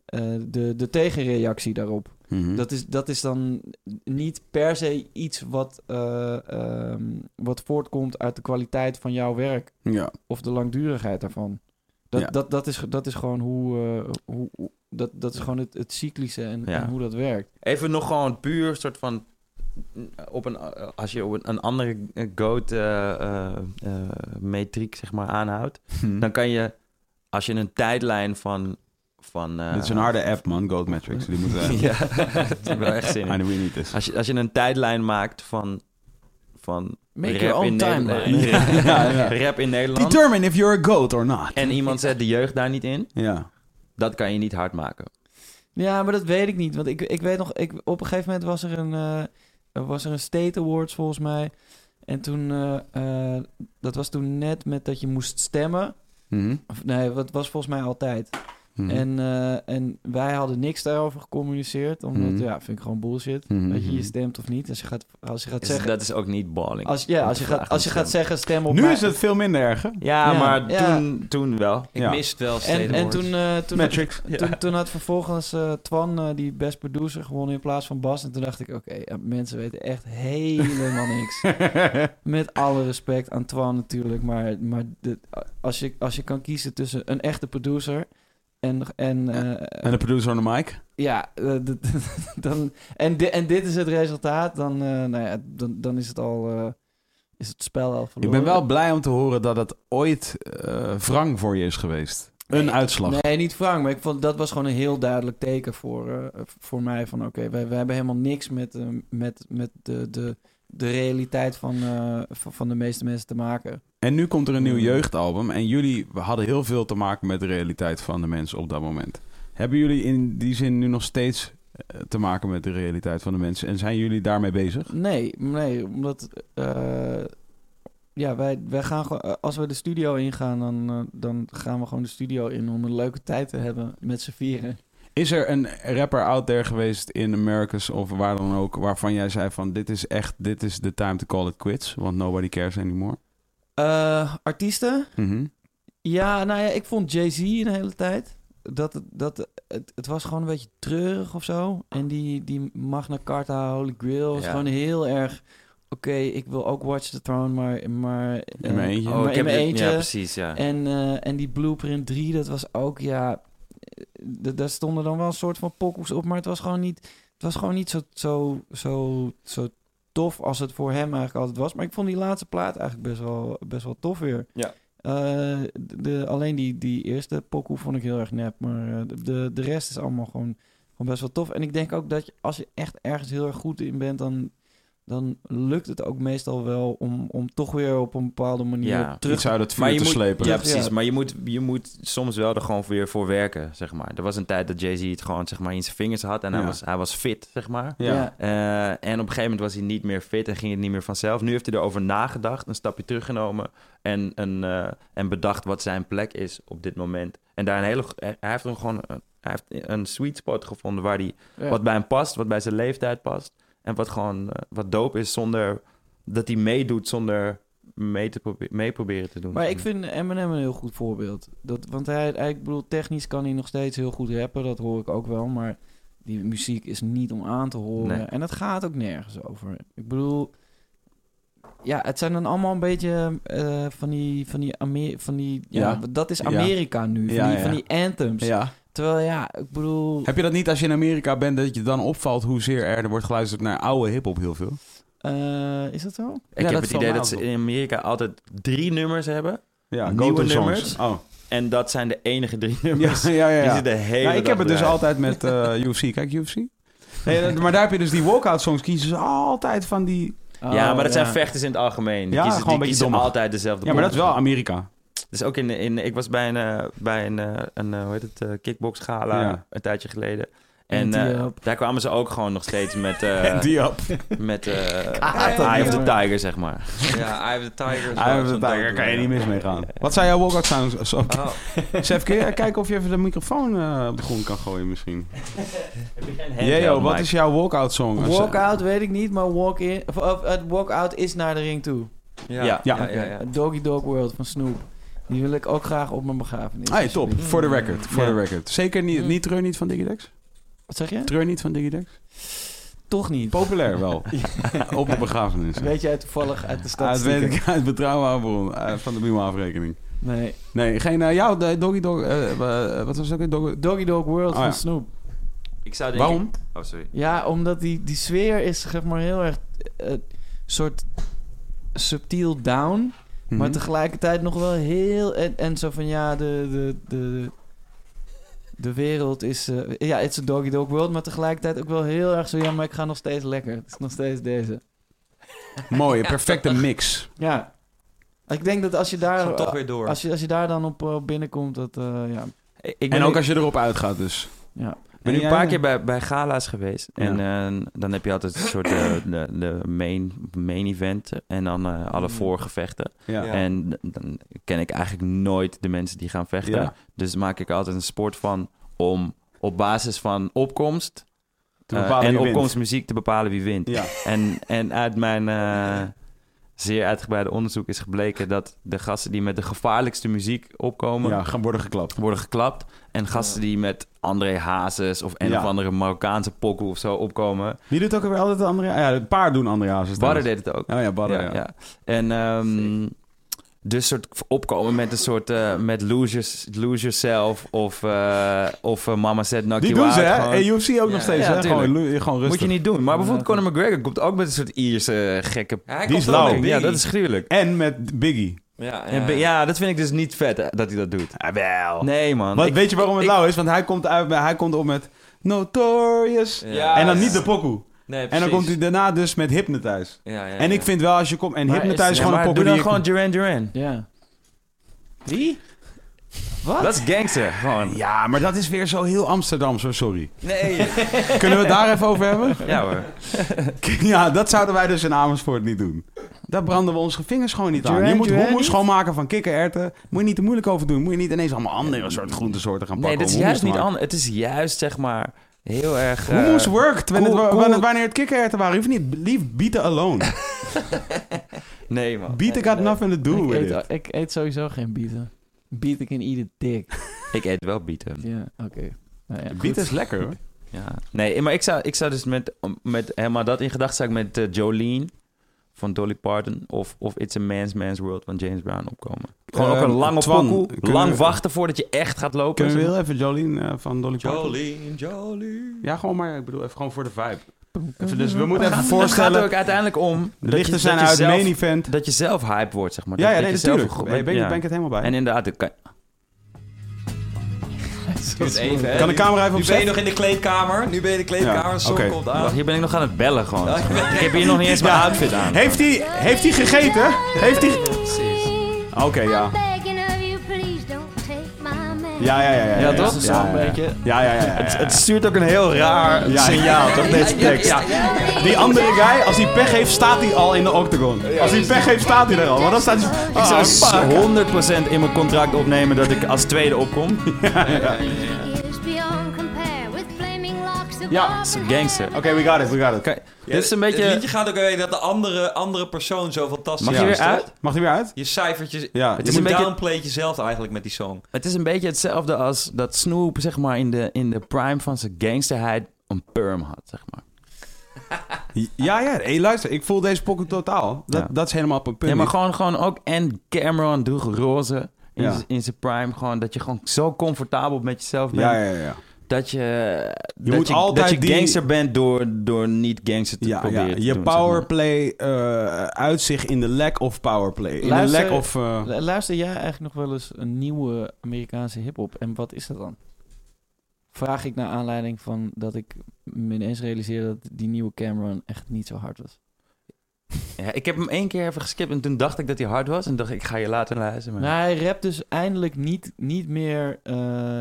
B: eh, de, de tegenreactie daarop.
D: Hm.
B: Dat is, dat is dan niet per se iets wat, eh, ehm, wat voortkomt uit de kwaliteit van jouw werk
A: Ja.
B: of de langdurigheid daarvan. Dat,
A: Ja.
B: dat, dat, is, dat is gewoon hoe. eh, hoe hoe- dat, dat is gewoon het, het cyclische en,
D: Ja.
B: en hoe dat werkt.
D: Even nog gewoon puur soort van... Op een, als je op een, een andere goat eh, eh, eh, metriek zeg maar, aanhoudt...
B: Hm.
D: dan kan je, als je een tijdlijn van... van eh,
A: Dit is een harde app, man. Goat Matrix. Die moeten Ah, we...
D: ja, dat heb ik wel echt zin in.
A: I know we need this.
D: Als je, als je een tijdlijn maakt van... van
B: Make
D: rap
B: your own
D: in Nederland-
B: timeline.
A: Ja, ja.
D: Rap in Nederland.
A: Determine if you're a goat or not.
D: En iemand zet de jeugd daar niet in.
A: Ja.
D: Dat kan je niet hard maken.
B: Ja, maar dat weet ik niet. Want ik, ik weet nog, ik, op een gegeven moment was er een, eh, er was er een State Awards volgens mij. En toen, eh, eh, dat was toen net met dat je moest stemmen. Of, nee, dat was volgens mij altijd.
A: Mhm.
B: En, eh, en wij hadden niks daarover gecommuniceerd. Omdat,
A: Mhm.
B: ja, vind ik gewoon bullshit.
A: Mhm.
B: Dat je je stemt of niet. Als je gaat, als je gaat
D: Is-
B: zeggen...
D: Dus dat is ook niet balling.
B: Als, ja, als je,
D: vragen
B: gaat, als je
D: om
B: gaat zeggen stem op
A: nu
B: mij.
A: is het veel minder erg, hè?
D: ja,
B: Ja,
D: maar
B: ja.
D: Toen, toen wel.
C: Ik
A: Ja.
C: mis het wel steeds.
B: En, en toen, eh, toen,
A: Matrix.
B: toen, toen had vervolgens eh, Twan eh, die best producer gewonnen in plaats van Bas. En toen dacht ik, oké, ja, mensen weten echt helemaal niks. Met alle respect aan Twan natuurlijk. Maar, maar de- als, je, als je kan kiezen tussen een echte producer en... en eh,
A: En de producer on the mic.
B: Ja, eh, d- d- dan, en, di- en dit is het resultaat. Dan, eh, nou ja, dan, dan is het al. eh, is het spel al
A: Ik
B: verloren.
A: ben wel blij om te horen dat het ooit eh, wrang voor je is geweest. Een uitslag.
B: Nee, niet Frank. Maar ik vond dat was gewoon een heel duidelijk teken voor, eh, voor mij. Van oké, wij, wij hebben helemaal niks met, eh, met, met de, de, de realiteit van, eh, van, van de meeste mensen te maken.
A: En nu komt er een nieuw
B: Mm.
A: jeugdalbum. En jullie hadden heel veel te maken met de realiteit van de mensen op dat moment. Hebben jullie in die zin nu nog steeds eh, te maken met de realiteit van de mensen? En zijn jullie daarmee bezig?
B: Nee, nee, omdat. eh, ja, wij, wij gaan gewoon. eh, Als we de studio ingaan, dan, eh, dan gaan we gewoon de studio in om een leuke tijd te hebben met z'n vieren.
A: Is er een rapper out there geweest in Americas of waar dan ook... waarvan jij zei van dit is echt, dit is the time to call it quits... want nobody cares anymore?
B: Eh, artiesten?
A: Mhm.
B: Ja, nou ja, ik vond Jay-Z een hele tijd. Dat, dat, het, het was gewoon een beetje treurig of zo. En die, die Magna Carta, Holy Grail, is
D: Ja.
B: gewoon heel erg... Oké, ik wil ook Watch the Throne, maar... maar eh,
A: In mijn eentje.
B: maar
A: Oh,
B: in mijn
D: dit-
B: eentje.
D: Ja, precies, ja.
B: en, eh, en die Blueprint 3, dat was ook, ja... eh, d- Daar stonden dan wel een soort van pokkels op, maar het was gewoon niet... Het was gewoon niet zo, zo, zo, zo tof als het voor hem eigenlijk altijd was. Maar ik vond die laatste plaat eigenlijk best wel, best wel tof weer.
C: Ja.
B: Eh, de, alleen die, die eerste pokoe vond ik heel erg nep. Maar eh, de- de, de rest is allemaal gewoon, gewoon best wel tof. En ik denk ook dat je, als je echt ergens heel erg goed in bent, dan, dan lukt het ook meestal wel om, om toch weer op een bepaalde manier
D: Ja,
B: terug
A: Iets uit het vuur
D: Maar je
A: te
D: moet-
A: slepen.
D: Ja,
B: Ja.
D: precies. Maar je moet, je moet soms wel er gewoon weer voor werken, zeg maar. Er was een tijd dat Jay-Z het gewoon zeg maar, in zijn vingers had en hij,
A: Ja.
D: was, hij was fit, zeg maar.
A: Ja.
D: Eh, en op een gegeven moment was hij niet meer fit en ging het niet meer vanzelf. Nu heeft hij erover nagedacht, een stapje teruggenomen en, een, eh, en bedacht wat zijn plek is op dit moment. En daar een hele, eh, hij heeft hem gewoon een, hij heeft een sweet spot gevonden waar hij,
B: Ja.
D: wat bij hem past, wat bij zijn leeftijd past. En wat gewoon eh, wat dope is zonder dat hij meedoet zonder mee te probe- mee proberen te doen.
B: Maar ik vind Eminem een heel goed voorbeeld. Dat, want hij, hij, ik bedoel, technisch kan hij nog steeds heel goed rappen, dat hoor ik ook wel. Maar die muziek is niet om aan te horen.
D: Nee.
B: En dat gaat ook nergens over. Ik bedoel, ja, het zijn dan allemaal een beetje eh, van die, van die, Amer van die ja,
A: Ja.
B: dat is
A: Ja.
B: Amerika nu. Van,
A: Ja,
B: die,
A: ja.
B: van die anthems.
A: Ja.
B: Terwijl ja, ik bedoel,
A: Heb je dat niet als je in Amerika bent, dat je dan opvalt hoezeer er wordt geluisterd naar oude hip-hop heel veel?
B: eh, is dat zo?
D: Ik
A: dat
D: heb het
A: valt mij
D: idee dat
A: ook
D: ze
A: op.
D: in Amerika altijd drie nummers hebben.
A: Ja,
D: Nieuwe
A: go-to songs.
D: nummers.
A: Oh.
D: En dat zijn de enige drie
A: Ja,
D: nummers.
A: ja, ja.
D: Die
A: ja.
D: ze de hele
A: Nou, ik
D: dag
A: heb het dus
D: draaien.
A: altijd met eh, UFC. Kijk, UFC. Nee, dat- maar daar heb je dus die walkout songs. Kiezen ze altijd van die...
D: ja,
B: Oh,
D: maar dat zijn vechters in het algemeen. Die
A: Ja,
D: kiezen,
A: gewoon een
D: die
A: beetje
D: kiezen
A: dommig.
D: altijd dezelfde
A: Ja, maar dat
D: pop.
A: is wel Amerika.
D: Dus ook in, in ik was bij een, eh, bij een, eh, een eh, hoe heet het, eh, kickbox gala
A: Ja.
D: een tijdje geleden.
B: En
D: En eh,
B: die op.
D: daar kwamen ze ook gewoon nog steeds met, eh
A: die op.
D: met eh
B: die
D: Eye of the
B: op.
D: Tiger, zeg maar.
C: Ja, Eye of the Tiger. is wel
A: Ah,
C: zo'n
A: daar
C: dooddoener.
A: kan je niet mis mee gaan. Wat zijn jouw walkout songs? Zo-
C: Oh,
A: Sef, kun je kijken of je even de microfoon eh, op de grond kan gooien misschien? Jeo,
D: Handheld
A: wat
D: mic.
A: is jouw walkout song? Als- Ah,
B: Walkout weet ik niet, maar walk in, of, of, het walkout is naar de ring toe.
C: ja.
D: Ja.
C: Ja. Ja,
A: Ja.
C: ja,
B: Doggy Dog World van Snoop. Die wil ik ook graag op mijn begrafenis.
A: Hey, Ah, top.
B: alsjeblieft.
A: For the record. For
D: Ja.
A: the record. Zeker niet, niet treur niet van Digidex?
B: Wat zeg je?
A: Treur niet van Digidex?
B: Toch niet.
A: Populair wel. Op de begrafenis.
B: Weet jij toevallig uit de
A: Ah, dat
B: statistieken?
A: weet ik uit betrouwbare bron eh, van de BIMA-afrekening.
B: Nee.
A: Nee, geen... eh, jouw eh, Doggy Dog... eh, eh, wat was het ook? weer? Doggy...
B: Doggy Dog World
A: Oh,
B: van
A: ja.
B: Snoop.
D: Ik zou denken...
A: Waarom?
D: Oh, sorry.
B: Ja, omdat die, die sfeer is zeg maar heel erg... eh, soort subtiel down.
A: Mhm.
B: Maar tegelijkertijd nog wel heel... En, en zo van ja, de... de, de de wereld is... eh, ja, it's a doggy dog world. Maar tegelijkertijd ook wel heel erg zo... Ja, maar ik ga nog steeds lekker. Het is nog steeds deze.
A: Mooie, perfecte mix.
B: Ja. Ik denk dat als je daar... eh,
C: Gaat toch weer door.
B: Als je, als je daar dan op eh, binnenkomt, dat eh, ja.
D: Ik ben
A: En ook
D: nu-
A: als je erop uitgaat dus.
B: ja.
D: Ik ben nu een paar keer bij, bij gala's geweest.
A: eh? Ja.
D: En eh, dan heb je altijd een soort eh, de, de main, main event. En dan eh, alle
B: Mm.
D: voorgevechten.
A: Ja. Ja.
D: En dan ken ik eigenlijk nooit de mensen die gaan vechten.
A: Ja.
D: Dus maak ik er altijd een sport van om op basis van opkomst
A: Te
D: eh,
A: bepalen
D: en
A: wie wint.
D: opkomstmuziek te bepalen wie wint.
A: Ja.
D: En, en uit mijn eh, zeer uitgebreide onderzoek is gebleken dat de gasten die met de gevaarlijkste muziek opkomen,
A: Ja, gaan worden geklapt.
D: worden geklapt. En gasten die met André Hazes of een
A: Ja. Dus
D: of andere Marokkaanse pokoe of zo opkomen.
A: Wie doet ook weer altijd de andere... Ja, een paar doen andere hazes.
D: Barre deed het ook.
A: Oh ja, Badder,
D: ja, ja. En ehm, dus soort opkomen met een soort eh, met losers, lose yourself of, eh, of eh, Mama said knock
A: Die
D: you
A: doen ze,
D: out.
A: hè?
D: gewoon.
A: En UFC ook
C: Ja,
A: nog steeds,
D: ja,
A: hè? Gewoon,
D: tuurlijk.
A: lu- gewoon rustig.
D: Moet je niet doen. Maar bijvoorbeeld Conor McGregor komt ook met een soort Ierse eh, gekke...
C: Hij
A: Die
C: komt
A: is
C: wel
A: lauw.
C: met
D: Ja,
C: Biggie.
D: dat is gruwelijk.
A: En met Biggie.
C: Ja,
D: En
C: ja.
D: be- Ja, dat vind ik dus niet vet eh, dat hij dat doet.
A: wel.
D: Nee, man.
A: Want
D: Ik-
A: weet je waarom het
D: ik-
A: lauw is? Want hij komt, uit, hij komt op met Notorious.
C: Ja.
A: En dan niet de pokoe.
C: Nee,
A: En dan
C: precies.
A: komt hij daarna dus met Hypnotize.
C: Ja, ja,
A: En ik
C: ja.
A: vind wel, als je komt... En
B: Maar
A: Hypnotize
B: is-
A: is
D: Ja,
A: gewoon een
D: maar doe
A: pokoe die
D: dan
A: je-
D: gewoon Duran Duran.
B: ja.
D: Wie?
B: Wat?
D: Dat is gangster, gewoon. Ja,
A: Ja, maar dat is weer zo heel Amsterdamse, sorry.
C: Nee.
A: Kunnen we het daar even over hebben?
D: hoor.
A: Ja, dat zouden wij dus in Amersfoort niet doen. Daar branden we onze vingers gewoon niet aan. Je
B: Duran
A: moet
B: Duran
A: hummus
B: niet?
A: schoonmaken van kikkererwten. Moet je niet te moeilijk over doen. Moet je niet ineens allemaal andere soort groentesoorten gaan
D: Nee,
A: pakken.
D: dat is
A: om hummus
D: juist
A: te
D: niet
A: maken.
D: anders. Het is juist, zeg maar, heel erg... eh,
A: Hummus worked. Wanneer,
D: cool,
A: het-
D: cool. Oh,
A: wanneer- wanneer het kikkererwten waren, je hoeft niet. Leave bieten alone.
D: Nee, man.
A: Bieten got nothing to do
B: ik,
A: with it.
B: eet, ik eet sowieso geen bieten. Bieten can eat it dick.
D: Ik eet wel bieten.
B: Ja, oké. Nou ja,
A: Bieten
B: goed.
A: is lekker hoor.
D: Ja. Nee, maar ik zou, ik zou dus met, met helemaal dat in gedachten zou ik met eh, Jolene van Dolly Parton of, of It's a Man's Man's World van James Brown opkomen. Gewoon ook
A: Ehm,
D: een lange
A: Twan,
D: pokoe,
A: kunnen
D: lang
A: we-
D: wachten voordat je echt gaat lopen.
A: Kunnen we heel even Jolene eh, van Dolly Parton?
C: Jolene, Jolene.
A: Ja, gewoon maar. Ik bedoel, even gewoon voor de vibe. Even, dus we moeten even
D: Het gaat er
A: voorstellen.
D: ook uiteindelijk om
A: De
D: dat
A: lichten
D: je-
A: zijn
D: dat je
A: uit de
D: zelf-
A: main event.
D: Dat je zelf hype wordt, zeg maar.
A: Ja,
D: Dat-
A: ja,
D: dat
A: nee,
D: je zelf
A: natuurlijk.
D: een goed-
A: Ben ben
D: ja.
A: ik het helemaal
D: En
A: bij.
D: inderdaad, ik kan-
C: Doe het even, hè.
D: eh,
A: Kan de camera even
C: Nu ben je
A: opzetten?
C: nog in de kleedkamer. Nu ben je in de kleedkamer.
A: Ja,
C: Zon
A: oké.
C: komt
D: Wacht,
C: aan.
D: hier ben ik nog aan het bellen gewoon.
C: Ja.
D: Ik heb hier nog niet eens mijn outfit aan.
A: Heeft hij heeft hij gegeten? Heeft hij... Oké, ja. Ja, ja, ja. Ja,
D: Ja, toch?
A: Ja,
B: Zo'n
A: ja, ja.
B: beetje.
A: Ja, ja, ja, ja, ja.
D: Het stuurt ook een heel raar
A: Ja.
D: signaal, toch? Deze tekst.
A: Die andere guy, als hij pech heeft, staat hij al in de octagon. Als hij pech heeft, staat hij er al. Want dan staat hij...
D: Ik zou
A: Ah,
D: s-
A: fuck.
D: 100% in mijn contract opnemen dat ik als tweede opkom.
E: Ears beyond compare with flaming locks of
D: Ja, is een gangster.
A: Oké, we got it, we got it.
D: Oké,
C: Ja,
D: dit is een
C: Het
D: beetje...
C: liedje gaat ook weer dat de andere, andere persoon zo fantastisch
D: Mag
C: is.
D: je weer
C: toch?
D: uit?
A: Mag die weer uit?
C: Je cijfertjes...
A: Ja,
C: Het
D: Het
C: je
D: is
C: moet
D: een beetje-
C: downplay jezelf eigenlijk met die song.
D: Het is een beetje hetzelfde als dat Snoop, zeg maar, in de, in de prime van zijn gangsterheid een perm had, zeg maar.
A: ja, ja. Hey, luister, ik voel deze pokken totaal. Dat,
D: Ja.
A: dat is helemaal op een punt.
D: Ja, maar gewoon, gewoon ook en Cameron droeg roze in,
A: Ja.
D: z- in zijn prime. Gewoon dat je gewoon zo comfortabel met jezelf bent.
A: ja, ja, ja.
D: Dat je, dat
A: moet
D: je,
A: altijd
D: dat je
A: die-
D: gangster bent door, door niet gangster te
A: ja, ja.
D: proberen te
A: Je
D: doen, zeg maar.
A: powerplay eh, uit zich in de lack of powerplay. In
B: Luister-
A: de lack of... eh,
B: Lu- Luister jij eigenlijk nog wel eens een nieuwe Amerikaanse hip-hop? En wat is dat dan? Vraag ik naar aanleiding van dat ik me ineens realiseerde dat die nieuwe Cameron echt niet zo hard was.
D: Ja, ik heb hem één keer even geskipt en toen dacht ik dat hij hard was. En dacht ik, ik ga je later luisteren. Maar...
B: Maar hij rapt dus eindelijk niet, niet meer eh,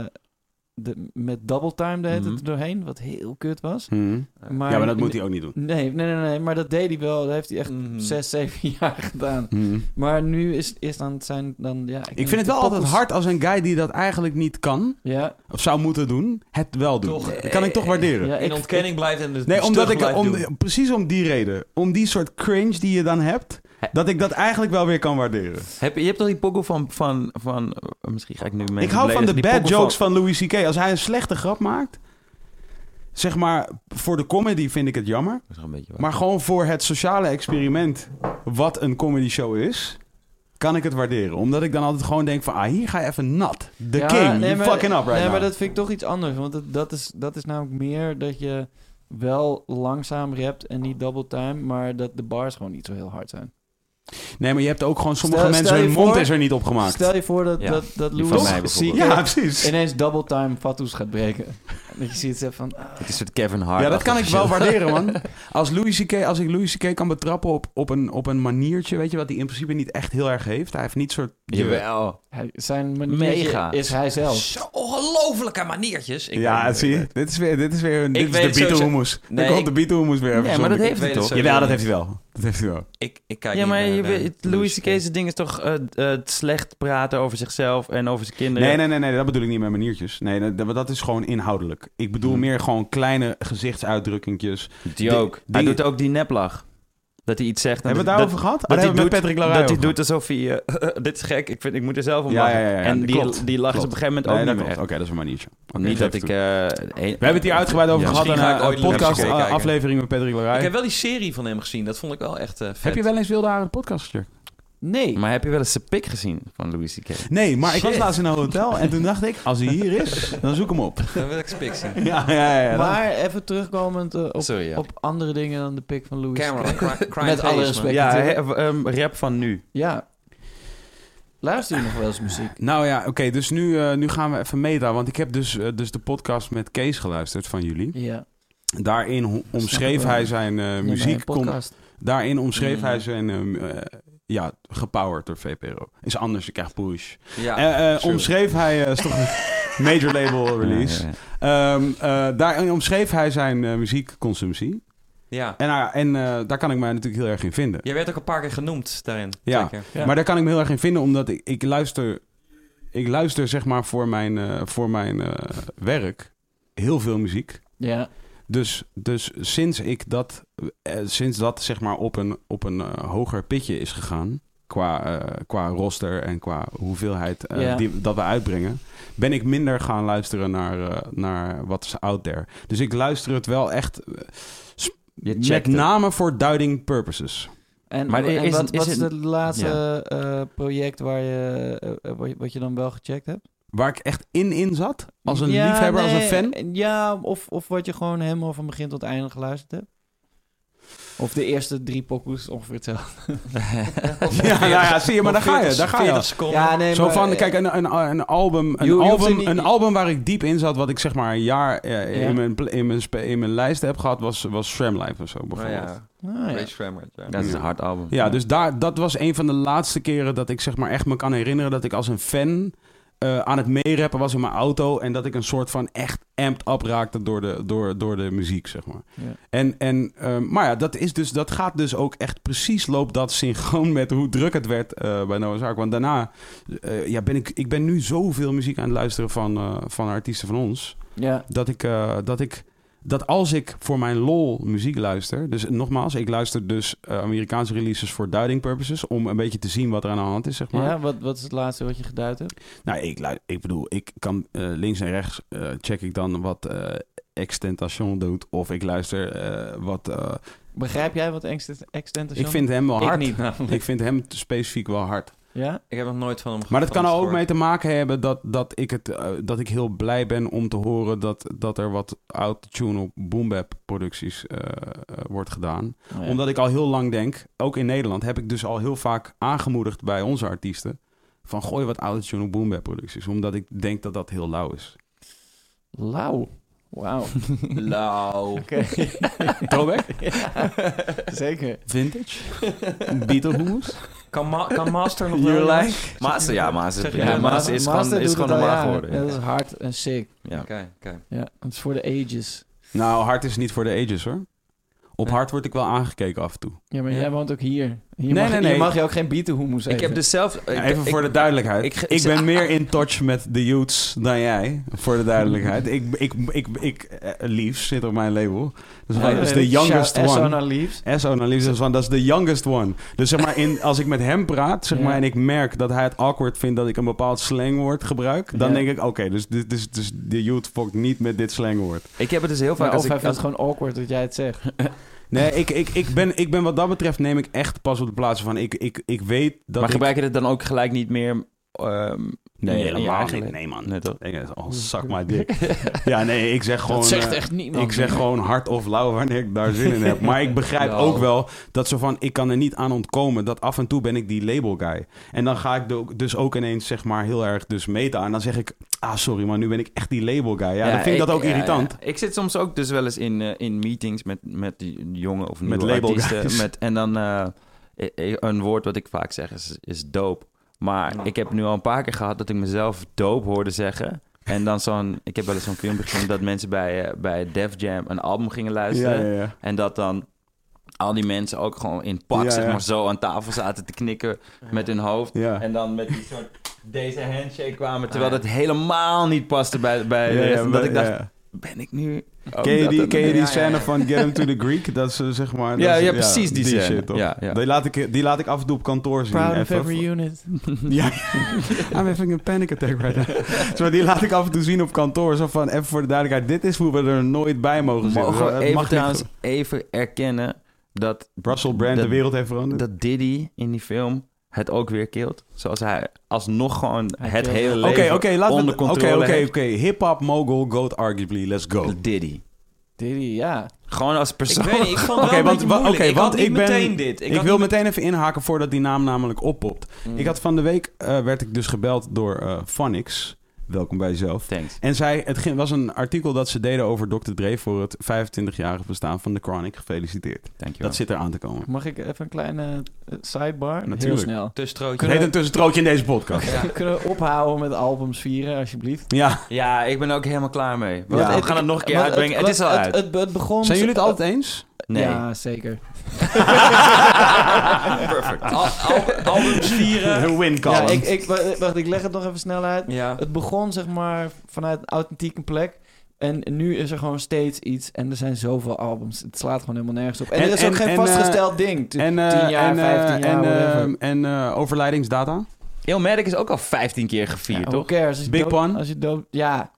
B: de, met double time de hele tijd
D: Mhm.
B: er doorheen, wat heel kut was.
A: hm.
D: Eh,
B: Maar,
D: Ah,
A: Ja, maar dat moet hij Hmm. ook niet doen.
B: Nee, nee, nee, nee, maar dat deed hij wel. Dat heeft hij echt
C: Mhm.
B: zes, zeven jaar gedaan.
D: Hmm.
A: Hm.
B: Maar nu is, is dan zijn dan ja.
A: Ik vind het wel altijd hard als een guy die dat eigenlijk niet kan,
B: Ja,
A: of zou moeten doen, het wel doet.
C: Toch.
A: Dat kan
D: eh,
A: ik toch waarderen.
B: ja
C: In ontkenning blijft en het
A: Nee, omdat
C: stug
A: ik,
C: blijft doen.
A: om, precies om die reden. Om die soort cringe die je dan hebt, dat ik dat eigenlijk wel weer kan waarderen.
D: Heb, je hebt toch die pokoe van, van, van... eh, Misschien ga ik nu mee.
A: ik hou van de
D: beledigen, die
A: bad
D: pokoe
A: jokes van Louis C.K. Als hij een slechte grap maakt, zeg maar, voor de comedy vind ik het jammer.
D: Dat is nog een beetje waar.
A: Maar gewoon voor het sociale experiment wat een comedy show is, kan ik het waarderen. Omdat ik dan altijd gewoon denk van, ah, hier ga je even nat. The
B: Ja,
A: king,
B: nee,
A: you
B: maar-
A: fucking up right
B: Nee,
A: now.
B: maar dat vind ik toch iets anders. Want dat, dat, is, dat is namelijk meer dat je wel langzaam rapt en niet double time, maar dat de bars gewoon niet zo heel hard zijn.
A: Nee, maar je hebt ook gewoon sommige
B: Stel-
A: mensen,
B: stel je
A: hun mond
B: voor-
A: is er niet opgemaakt.
B: Stel je voor dat,
D: Ja,
B: dat, dat
D: die van
B: Louis
D: mij
B: C.K.
D: bijvoorbeeld.
A: ja, precies.
B: ineens double time fatsoes gaat breken. Dat je ziet zegt van, ah,
D: Het is een soort Kevin Hart.
A: Ja, dat kan ik wel
D: achtige
A: waarderen, man. Als, Louis C.K., als ik Louis C.K. kan betrappen op, op, een, op een maniertje, weet je, wat hij in principe niet echt heel erg heeft. Hij heeft niet soort...
D: shit. Jawel.
B: hij- zijn manier
D: Mega.
B: is hij zelf.
C: Zo ongelofelijke maniertjes. Ik weet
A: ja,
C: niet
A: zie
C: meer.
A: je? Dit is weer, dit is weer een, dit
C: Ik
A: is
C: weet
A: de Beatle
C: sowieso-
A: hummus.
C: Nee,
A: Dan komt
C: ik-
A: de Beatle hummus weer
D: Nee, maar dat
C: Ik
D: heeft
C: weet
D: hij
C: het
D: toch?
C: zo.
A: Jawel, dat heeft hij wel. Dat heeft hij wel.
C: Ik, ik kijk
D: Ja,
C: niet
D: maar
C: meer
D: je
C: naar
D: weet, eh, Louis
C: C.K.
D: C.K.'s ding is toch eh, eh, het slecht praten over zichzelf en over zijn kinderen.
A: Nee, nee, nee, nee, dat bedoel ik niet met maniertjes. Nee, dat- dat, dat is gewoon inhoudelijk. Ik bedoel
D: Hmm.
A: meer gewoon kleine gezichtsuitdrukkingjes.
D: Die
A: Die-
D: ook. hij
A: die-
D: doet ook die neplach. Dat hij iets zegt. en
A: hebben we
D: dat-
A: het daarover gehad? Oh,
D: dat
A: dat
D: hij
A: hebben we met
D: doet-
A: Patrick
D: dat,
A: Larraire
D: hij
A: over
D: doet alsof hij... eh, dit is gek, ik, vind, ik moet er zelf om
A: Ja,
D: lachen.
A: ja, ja, ja,
D: en die,
A: klopt,
D: die lacht
A: klopt.
D: is op een gegeven moment
A: gehad. Nee,
D: ook
A: dat
D: niet
A: klopt.
D: meer
A: Oké, dat is een maniertje. Oké,
D: niet dat
A: geef
D: ik...
A: toe.
D: eh, een-
A: We hebben het hier uitgebreid over
D: Ja.
A: gehad
C: Misschien
A: in
C: ga ik
A: een
C: ooit
A: eh,
C: Louis
A: podcast
C: C.K. kijken.
A: eh, aflevering met Patrick
C: Ik
A: Larraire.
C: heb wel die serie van hem gezien. Dat vond ik wel echt eh, vet.
A: Heb je wel eens Wilde Haren de podcast gecheckt?
B: Nee,
D: Maar heb je wel eens zijn pik gezien van Louis C.K.?
A: Nee, maar ik was
C: Shit.
A: laatst in een hotel en toen dacht ik, als hij hier is, dan zoek hem op.
C: Dan wil ik spik zien.
A: Ja, ja, ja.
B: maar even terugkomend eh, op,
D: Sorry, ja.
B: op andere dingen dan de pick van Louis.
C: Cameron,
B: C.K.
C: cri- crime
B: Met alle
C: face,
B: respect.
C: man.
D: ja,
B: natuurlijk.
D: hè, ehm, rap van nu.
B: Ja. Luister je nog wel eens muziek?
A: Nou ja, oké, dus nu, eh, nu gaan we even meta, want ik heb dus, eh, dus de podcast met Kees geluisterd van jullie.
B: Ja.
A: Daarin ho- omschreef
B: ik wel.
A: hij zijn eh, muziek, com-
B: podcast.
A: daarin omschreef
C: Mm.
A: hij zijn, eh, eh, ja, gepowerd door VPRO. Is anders, je krijgt push.
C: Ja.
A: Eh, eh,
C: sure.
A: omschreef hij, eh, is toch een major label release.
D: Ja, ja,
A: Ehm, eh, daarin omschreef hij zijn eh, muziekconsumptie.
C: ja.
A: En, ah, en eh, daar kan ik mij natuurlijk heel erg in vinden.
C: Jij werd ook een paar keer genoemd daarin.
A: Ja.
C: Twee keer.
B: Ja.
A: Maar daar kan ik me heel erg in vinden, omdat ik, ik luister... Ik luister zeg maar voor mijn, eh, voor mijn eh, werk heel veel muziek.
B: Ja.
A: Dus, dus sinds ik dat, eh, sinds dat zeg maar op een, op een eh, hoger pitje is gegaan... qua, eh, qua roster en qua hoeveelheid eh,
B: Ja.
A: die, dat we uitbrengen... ben ik minder gaan luisteren naar, eh, naar wat is out there. Dus ik luister het wel echt eh,
D: Je
A: met
D: checkt het.
A: name voor duiding purposes.
B: En,
D: Maar
B: en
D: is-
B: wat,
D: is
B: wat is
D: het-
B: het laatste eh, project waar je, eh, eh, wat je- wat je dan wel gecheckt hebt?
A: Waar ik echt in in zat, als een
B: Ja,
A: liefhebber, als een
B: nee,
A: fan...
B: Ja, of, of wat je gewoon helemaal van begin tot einde geluisterd hebt. Of de eerste drie pokoes ongeveer hetzelfde.
A: Ja, nou ja, ja, zie je, maar daar ga je, daar ga je.
C: 40 seconden.
B: Ja, nee,
A: Zo
B: maar,
A: van,
B: eh,
A: kijk, een, een, een, album,
B: Je- je
A: een,
B: hoeft er
A: album,
B: niet-
A: een album waar ik diep in zat, wat ik zeg maar een jaar eh,
B: Ja.
A: in, mijn, pl- in, mijn, spe- in mijn lijst heb gehad, was, was Shram Life
B: Oh
A: of zo
C: Maar
A: bijvoorbeeld. Oh ja.
C: Oh ja,
B: Ah, ja.
C: Ray Schrammer, ja.
D: Dat is een hard album.
A: dus daar, dat was een van de laatste keren dat ik zeg maar echt me kan herinneren dat ik als een fan eh, aan het meerappen was in mijn auto en dat ik een soort van echt amped up raakte door de, door, door de muziek, zeg maar.
B: Ja.
A: En, en, ehm, maar ja, dat, is dus, dat gaat dus ook echt precies, loopt dat synchroon met hoe druk het werd eh, bij Noah's Ark. Want daarna eh, ja, ben ik, ik ben nu zoveel muziek aan het luisteren van, eh, van artiesten van ons,
B: Ja.
A: dat ik, eh, dat ik dat als ik voor mijn lol muziek luister. Dus nogmaals, ik luister dus eh, Amerikaanse releases voor duiding purposes. Om een beetje te zien wat er aan de hand is, zeg maar.
B: Ja, wat, wat is het laatste wat je geduid hebt?
A: Nou, ik, lu- ik bedoel, ik kan eh, links en rechts eh, check ik dan wat eh Extentation doet. Of ik luister eh, wat. eh,
B: Begrijp jij wat extent- extentation?
A: ik vind hem wel hard.
B: Ik niet namelijk.
A: Ik vind hem specifiek wel hard.
B: Ja?
C: nou. Ik heb nog nooit van hem
A: Maar dat
C: van
A: kan er
C: hem
A: ook mee
C: gehoord.
A: te maken hebben dat, dat, ik, het, eh, dat ik heel blij ben om te horen dat, dat er wat autotune op boombap producties eh, eh, wordt gedaan.
B: Oh, ja.
A: Omdat ik al heel lang denk, ook in Nederland heb ik dus al heel vaak aangemoedigd bij onze artiesten. Van gooi wat autotune op boombap producties. Omdat ik denk dat dat heel lauw is.
B: Lauw. Wauw.
C: Lauw.
B: Oké.
A: Throwback?
B: Ja, Zeker.
A: Vintage? Beetlejuice?
C: Kan, ma- kan Master nog
B: You
C: wel
B: like?
C: Oké,
D: Maas, ja, Maas is,
C: Zeg je-
D: ja,
C: Ja,
D: Maas
C: Maas-
D: is
B: Master
D: gewoon, is
B: doet
D: gewoon
B: het al
D: normaal
B: jaren.
D: geworden.
B: Ja, Dat is hard en sick.
D: Ja.
C: oké.
B: Ja, het is voor de ages.
A: Nou, hard is niet voor de ages hoor. Op
C: Nee.
A: hard word ik wel aangekeken af en toe.
B: Ja, maar
C: Ja.
B: jij woont ook hier. Hier,
A: Nee,
B: mag,
A: nee,
B: hier
A: nee.
B: mag je ook geen bietenhoemoes
D: Ik heb dus zelf...
A: Ja,
D: ik-
A: even
D: ik-
A: voor de duidelijkheid.
D: ik-
A: Ik,
D: ik-
A: ben meer in touch met de youths dan jij. Voor de duidelijkheid. ik, ik, ik, ik, eh, Leaves zit op mijn label. Dus dat is de youngest one.
B: Leaves.
A: SO analysis van dat is de youngest one. Dus zeg maar, in, als ik met hem praat, zeg
B: Ja.
A: maar, en ik merk dat hij het awkward vindt dat ik een bepaald slangwoord gebruik, dan
B: Ja.
A: denk ik, oké, dus, dit- dus, dus de youth fokt niet met dit slangwoord.
D: Ik heb het dus heel vaak...
B: Maar
D: Als
B: of
D: ik,
B: hij vindt
D: als-
B: het gewoon awkward dat jij het zegt.
A: Nee, ik, ik, ik, ben, ik ben wat dat betreft neem ik echt pas op de plaats van ik, ik, ik weet dat
D: maar
A: ik...
D: gebruik je het dan ook gelijk niet meer... ehm,
A: Nee,
D: in je- in je
A: helemaal
D: eigen
A: niet.
D: leven?
A: Nee, man.
D: Nee, toch?
A: Ik is al zak maar dik. Ja, nee, ik zeg gewoon...
B: dat zegt
A: eh,
B: echt niemand.
D: Nou,
A: ik zeg gewoon hard of lauw wanneer ik daar zin in heb. Maar ik begrijp
C: Nou.
A: ook wel dat zo van... Ik kan er niet aan ontkomen dat af en toe ben ik die label guy. En dan ga ik do- dus ook ineens zeg maar heel erg dus meta. En dan zeg ik... Ah, sorry, maar nu ben ik echt die label guy. Ja, dan vind ik dat ook
D: ja,
A: irritant.
D: ja. Ik zit soms ook dus wel eens in, eh, in meetings met, met die jonge of nieuwe
A: Met label
D: artiesten.
A: guys.
D: Met, en dan eh, eh, eh, een woord wat ik vaak zeg is, is dope. Maar ik heb nu al een paar keer gehad dat ik mezelf dope hoorde zeggen. En dan zo'n... Ik heb wel eens zo'n filmpje gezien dat mensen bij, eh, bij Def Jam een album gingen luisteren.
A: ja.
D: En dat dan al die mensen ook gewoon in pak,
A: Ja,
D: zeg
A: ja.
D: maar, zo aan tafel zaten te knikken met hun hoofd.
A: Ja.
D: En dan met die soort deze handshake kwamen, terwijl
C: Ah, ja.
D: dat helemaal niet paste bij, bij de
A: Ja,
D: rest.
A: ja,
D: eh, dat ik dacht,
A: ja. Oh,
D: ben ik nu... ook
A: Ken je
D: dat
A: die,
D: aan
A: ken je
D: het-
A: die
C: Ja, ja,
A: scène
C: ja.
A: van Get Him to the Greek? Dat ze zeg maar...
D: Ja,
A: dat ze-
D: ja, precies die scène.
A: shit, toch?
D: Ja, ja.
A: Die, laat ik, die laat ik af en toe op kantoor zien.
B: Proud of
A: even.
B: every unit.
A: Ja, I'm having a panic attack right now. Zo, die laat ik af en toe zien op kantoor. Zo van, even voor de duidelijkheid, dit is hoe we er nooit bij mogen zijn.
D: Mogen we
A: Het
D: even
A: mag niet
D: trouwens
A: gebeuren.
D: even erkennen dat,
A: Russell Brand
D: dat-
A: de wereld heeft veranderd.
D: dat Diddy in die film het ook weer keelt. Zoals hij alsnog gewoon
B: Hij
D: het
B: keelt.
D: hele
A: Oké,
D: leven
A: oké, laten we...
D: onder
A: Oké,
D: controle
A: oké, oké.
D: heeft.
A: Hip-hop, mogul, goat arguably, let's go. Oké,
D: Diddy.
B: Diddy, ja.
D: Gewoon als
C: Ik
D: persoon.
C: weet niet, ik vond het wel een
A: want,
C: beetje
A: wa-
C: moeilijk.
A: oké,
C: ik
A: want
C: had niet
A: ik ben...
C: meteen dit.
A: Ik,
C: had
A: wil
C: niet-
A: meteen even inhaken voordat die naam namelijk oppopt.
C: Mm.
A: Ik had van de week, eh, werd ik dus gebeld door eh Phonics. Welkom bij jezelf.
D: Thanks.
A: En zij, het ging- was een artikel dat ze deden over Dr. Dre voor het 25-jarige bestaan van The Chronic. Gefeliciteerd.
D: Dankjewel.
A: Dat zit er aan te komen.
B: Mag ik even een kleine eh, sidebar? Heel
A: Natuurlijk.
B: snel.
C: Tussenstrootje.
A: Het heet een tussenstrootje in deze podcast.
C: Ja.
B: Kunnen we ophouden met albums vieren, alsjeblieft?
A: Ja.
D: Ja, ik ben er ook helemaal klaar mee. Want
A: Ja.
D: We gaan het nog een keer
B: Want
D: uitbrengen. Het, is al
B: het,
D: uit.
B: Het, het begon...
A: Zijn jullie het altijd eens?
D: nee.
B: Ja, zeker.
D: Perfect.
C: Al, al, albums vieren.
A: win
B: Ja, ik, ik, wacht, ik leg het nog even snel uit.
C: Ja.
B: Het begon zeg maar vanuit een authentieke plek. En nu is er gewoon steeds iets. En er zijn zoveel albums. Het slaat gewoon helemaal nergens op. En,
A: En-
B: er is ook
A: en-
B: geen
A: en,
B: vastgesteld ding.
A: En, eh,
B: 10 jaar,
A: en, eh,
B: 15 jaar,
A: en, eh,
B: whatever.
A: en eh, overlijdingsdata?
D: Illmatic is ook al 15 keer gevierd,
B: Ja, who
D: toch?
B: cares? Als je
A: Big
B: dood-
A: Pun?
B: Als je dood... Ja.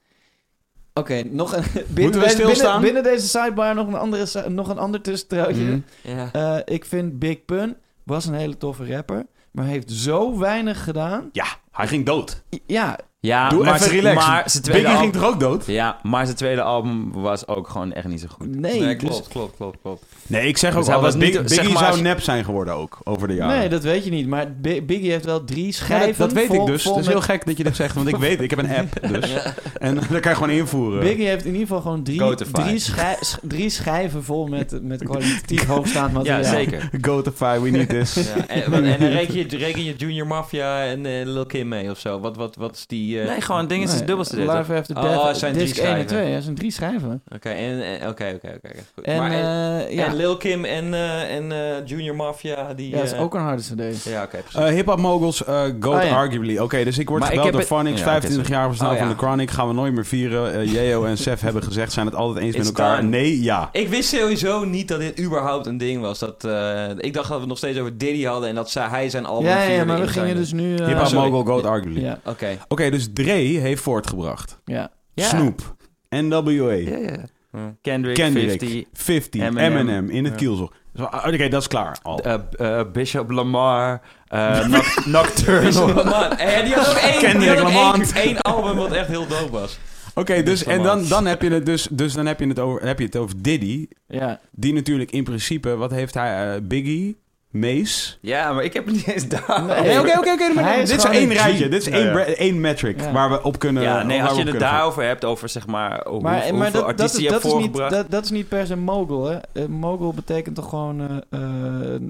B: Oké, nog een...
A: we
B: Binnen, deze- binnen,
A: stilstaan?
B: binnen deze sidebar nog een, andere, si- nog een ander tussentrouwtje.
A: Mhm.
C: Ja.
B: Eh, ik vind Big Pun was een hele toffe rapper. Maar heeft zo weinig gedaan.
A: Ja, hij ging dood.
B: I- Ja,
D: Ja,
A: Doe
D: maar,
A: even
D: ze-
A: relaxen.
D: maar zijn tweede
A: Biggie ging
D: album...
A: toch ook dood?
D: Ja, maar zijn tweede album was ook gewoon echt niet zo goed.
B: nee.
C: Nee,
B: dus-
C: klopt, klopt, klopt, klopt.
A: Nee, ik zeg ook
D: Dus hij
A: wel
D: was
A: dat Big-
D: niet- zeg
A: Biggie
D: maar als-
A: zou nep zijn geworden ook over de jaren.
B: Nee, dat weet je niet. Maar Bi- Biggie heeft wel drie
A: Ja,
B: schijven.
A: dat, dat weet
B: vol-
A: ik dus.
B: vol
A: Het is
B: met-
A: heel gek dat je dit zegt, want ik weet, ik heb een app dus. En dat kan je gewoon invoeren.
B: Biggie heeft in ieder geval gewoon drie,
D: Gotify.
B: drie, schij- sch- drie schijven vol met, met kwalitatief hoogstaand
D: Ja,
B: materiaal.
D: zeker.
A: Gotify, we need this.
C: Ja, en, en dan reken je, reken je Junior Mafia en eh, Lil Kim mee of zo. Wat, wat, wat is die drie... eh,
D: Nee, gewoon dingen is
B: Nee,
D: dubbel CD.
B: Live After
C: Oh,
B: Death,
C: het zijn drie
B: disc 1 en
C: schijven.
B: 2. Dat zijn drie schijven.
C: Oké, en- en- oké, oké, oké. oké, goed.
B: En,
C: Maar en-
B: eh, ja,
C: en Lil Kim en, eh, en eh, Junior Mafia, die...
B: ja, dat is
C: eh,
B: ook een harde CD.
C: Ja, oké, precies.
A: Eh Hip-hop moguls, eh goat
B: Ah, ja.
A: arguably. Oké, dus ik word
D: Maar ik
A: gebeld
D: heb
A: door
D: het-
A: Phonics,
D: Ja, oké,
A: 25
D: sorry.
A: jaar bestaan
C: Oh, ja.
A: van de Chronic. Gaan we nooit meer vieren. Eh, Jeo en Sef hebben gezegd, zijn het altijd eens met
C: It's
A: elkaar.
C: done.
A: Nee, ja.
C: Ik wist sowieso niet dat dit überhaupt een ding was. Dat, eh, ik dacht dat we het nog steeds over Diddy hadden en dat zij, hij zijn album
B: Ja, ja,
C: vierde
B: maar we
C: in zijn-
B: gingen dus nu... eh,
A: Hip-hop
C: sorry.
A: mogul, goat arguably.
B: ja,
C: Oké.
A: Oké, dus Dre heeft voortgebracht.
B: ja.
D: Ja.
A: Snoop, NWA,
D: Ja, ja.
C: Hm.
D: Kendrick,
A: Kendrick,
D: 50.
A: 50,
D: Eminem.
A: Eminem, in het
C: Ja.
A: kielzog. Zo, ah, Oké, dat is klaar. Al.
D: eh eh, Bishop Lamar. eh, Noc- Nocturnal.
C: Man, eh, die had ook één, die
A: Kendrick
C: had ook één,
A: Lamont.
C: één album wat echt heel dope was.
A: Oké, dus, en dan, dan heb je het dus, dus dan heb je het over, heb je het over Diddy.
B: ja.
A: Die natuurlijk in principe, wat heeft hij? eh, Biggie, Mace.
D: ja, maar ik heb het niet eens daar.
B: Nee,
A: Nee, oké, oké, oké.
B: Hij
A: maar
B: is
A: Dit is
B: gewoon
A: één
B: een
A: rijtje.
D: G.
A: Dit is
D: Ja,
A: één,
D: ja.
A: bre- één metric
B: Ja.
A: waar we op kunnen.
D: Ja, nee,
A: waar
D: als
A: we op
D: je het
A: kunnen gaan.
D: daarover hebt, over zeg maar hoe,
B: Maar,
D: hoeveel
B: maar dat, dat,
D: artiesten
B: is,
D: je hebt
B: dat, is niet,
D: voorgebracht.
B: dat, dat is niet per se mogul, hè? Eh, mogul betekent toch gewoon... eh, eh,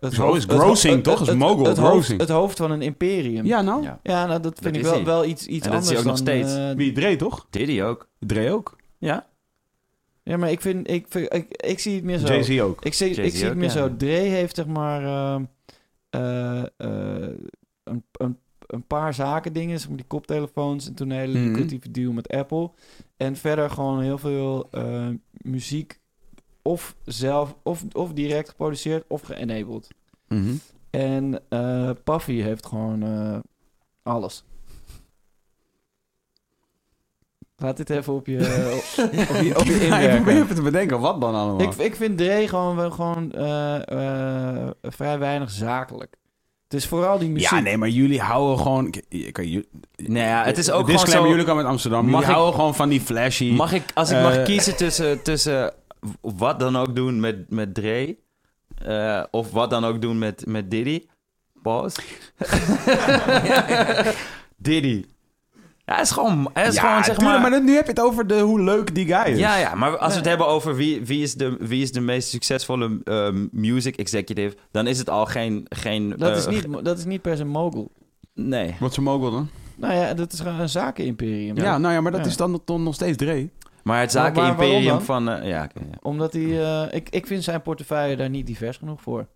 B: het
A: Zo
B: hoofd-
A: is
B: het ho-
A: grossing,
B: het-
A: toch? Is
B: het-
A: mogul
B: het hoofd-
A: grossing.
B: Het hoofd van een imperium.
A: Ja, nou.
D: Ja.
B: Ja, nou, dat vind
D: is
B: ik wel,
D: hij.
B: wel iets, iets
D: En dat is
B: anders
D: hij ook nog
B: dan,
D: steeds.
B: eh,
A: Wie? Dre, toch?
D: Diddy ook.
A: Dre ook.
D: Ja.
B: ja, maar ik, vind, ik, vind- ik, ik zie het meer zo.
A: Jay-Z ook.
B: Ik zie, ik
D: Jay-Z
B: zie het
D: ook,
B: meer
D: ja.
B: zo. Dre heeft zeg maar ehm, eh, eh, een, een, een paar zaken dingen. Zeg maar die koptelefoons en toen een hele
A: Mhm.
B: lucratieve deal met Apple. En verder gewoon heel veel eh, muziek of zelf, of, of direct geproduceerd of geënabled.
A: Mhm.
B: En eh Puffy heeft gewoon eh, alles. Laat dit even op je, op, je, op je
A: Ja, ik probeer
B: inwerken.
A: even te bedenken, wat dan allemaal?
B: Ik, ik vind Dre gewoon, wel gewoon eh, eh, vrij weinig zakelijk. Het is vooral die muziek.
A: ja, nee, maar jullie houden gewoon... K- kan jullie-
D: Nou ja, het is ook gewoon
A: Disclaimer,
D: zo-
A: jullie komen uit Amsterdam. Jullie
D: Mag ik-
A: houden gewoon van die flashy...
D: Mag ik, als ik
A: Eh,
D: mag kiezen tussen, tussen wat dan ook doen met, met Dre, eh, of wat dan ook doen met, met Diddy. Pause. Diddy. Ja, hij is gewoon, hij is gewoon zeg
A: tuurlijk,
D: maar...
A: maar nu heb je het over de, hoe leuk die guy is.
D: ja, ja, maar als we het hebben over wie, wie, is, de, wie is de meest succesvolle ehm, music executive, dan is het al geen... geen
B: dat,
D: eh,
B: is niet, mo- dat is niet per se mogul.
D: Nee.
A: Wat ze mogel dan?
B: Nou ja, dat is gewoon een zakenimperium.
A: Ja, nou ja, maar dat
B: Ja.
A: is dan, dan nog steeds Dre.
D: Maar het
B: Maar waar- waarom
D: zakenimperium
B: dan?
D: van... eh, ja, oké, ja.
B: Omdat hij... eh, ik, ik vind zijn portefeuille daar niet divers genoeg voor.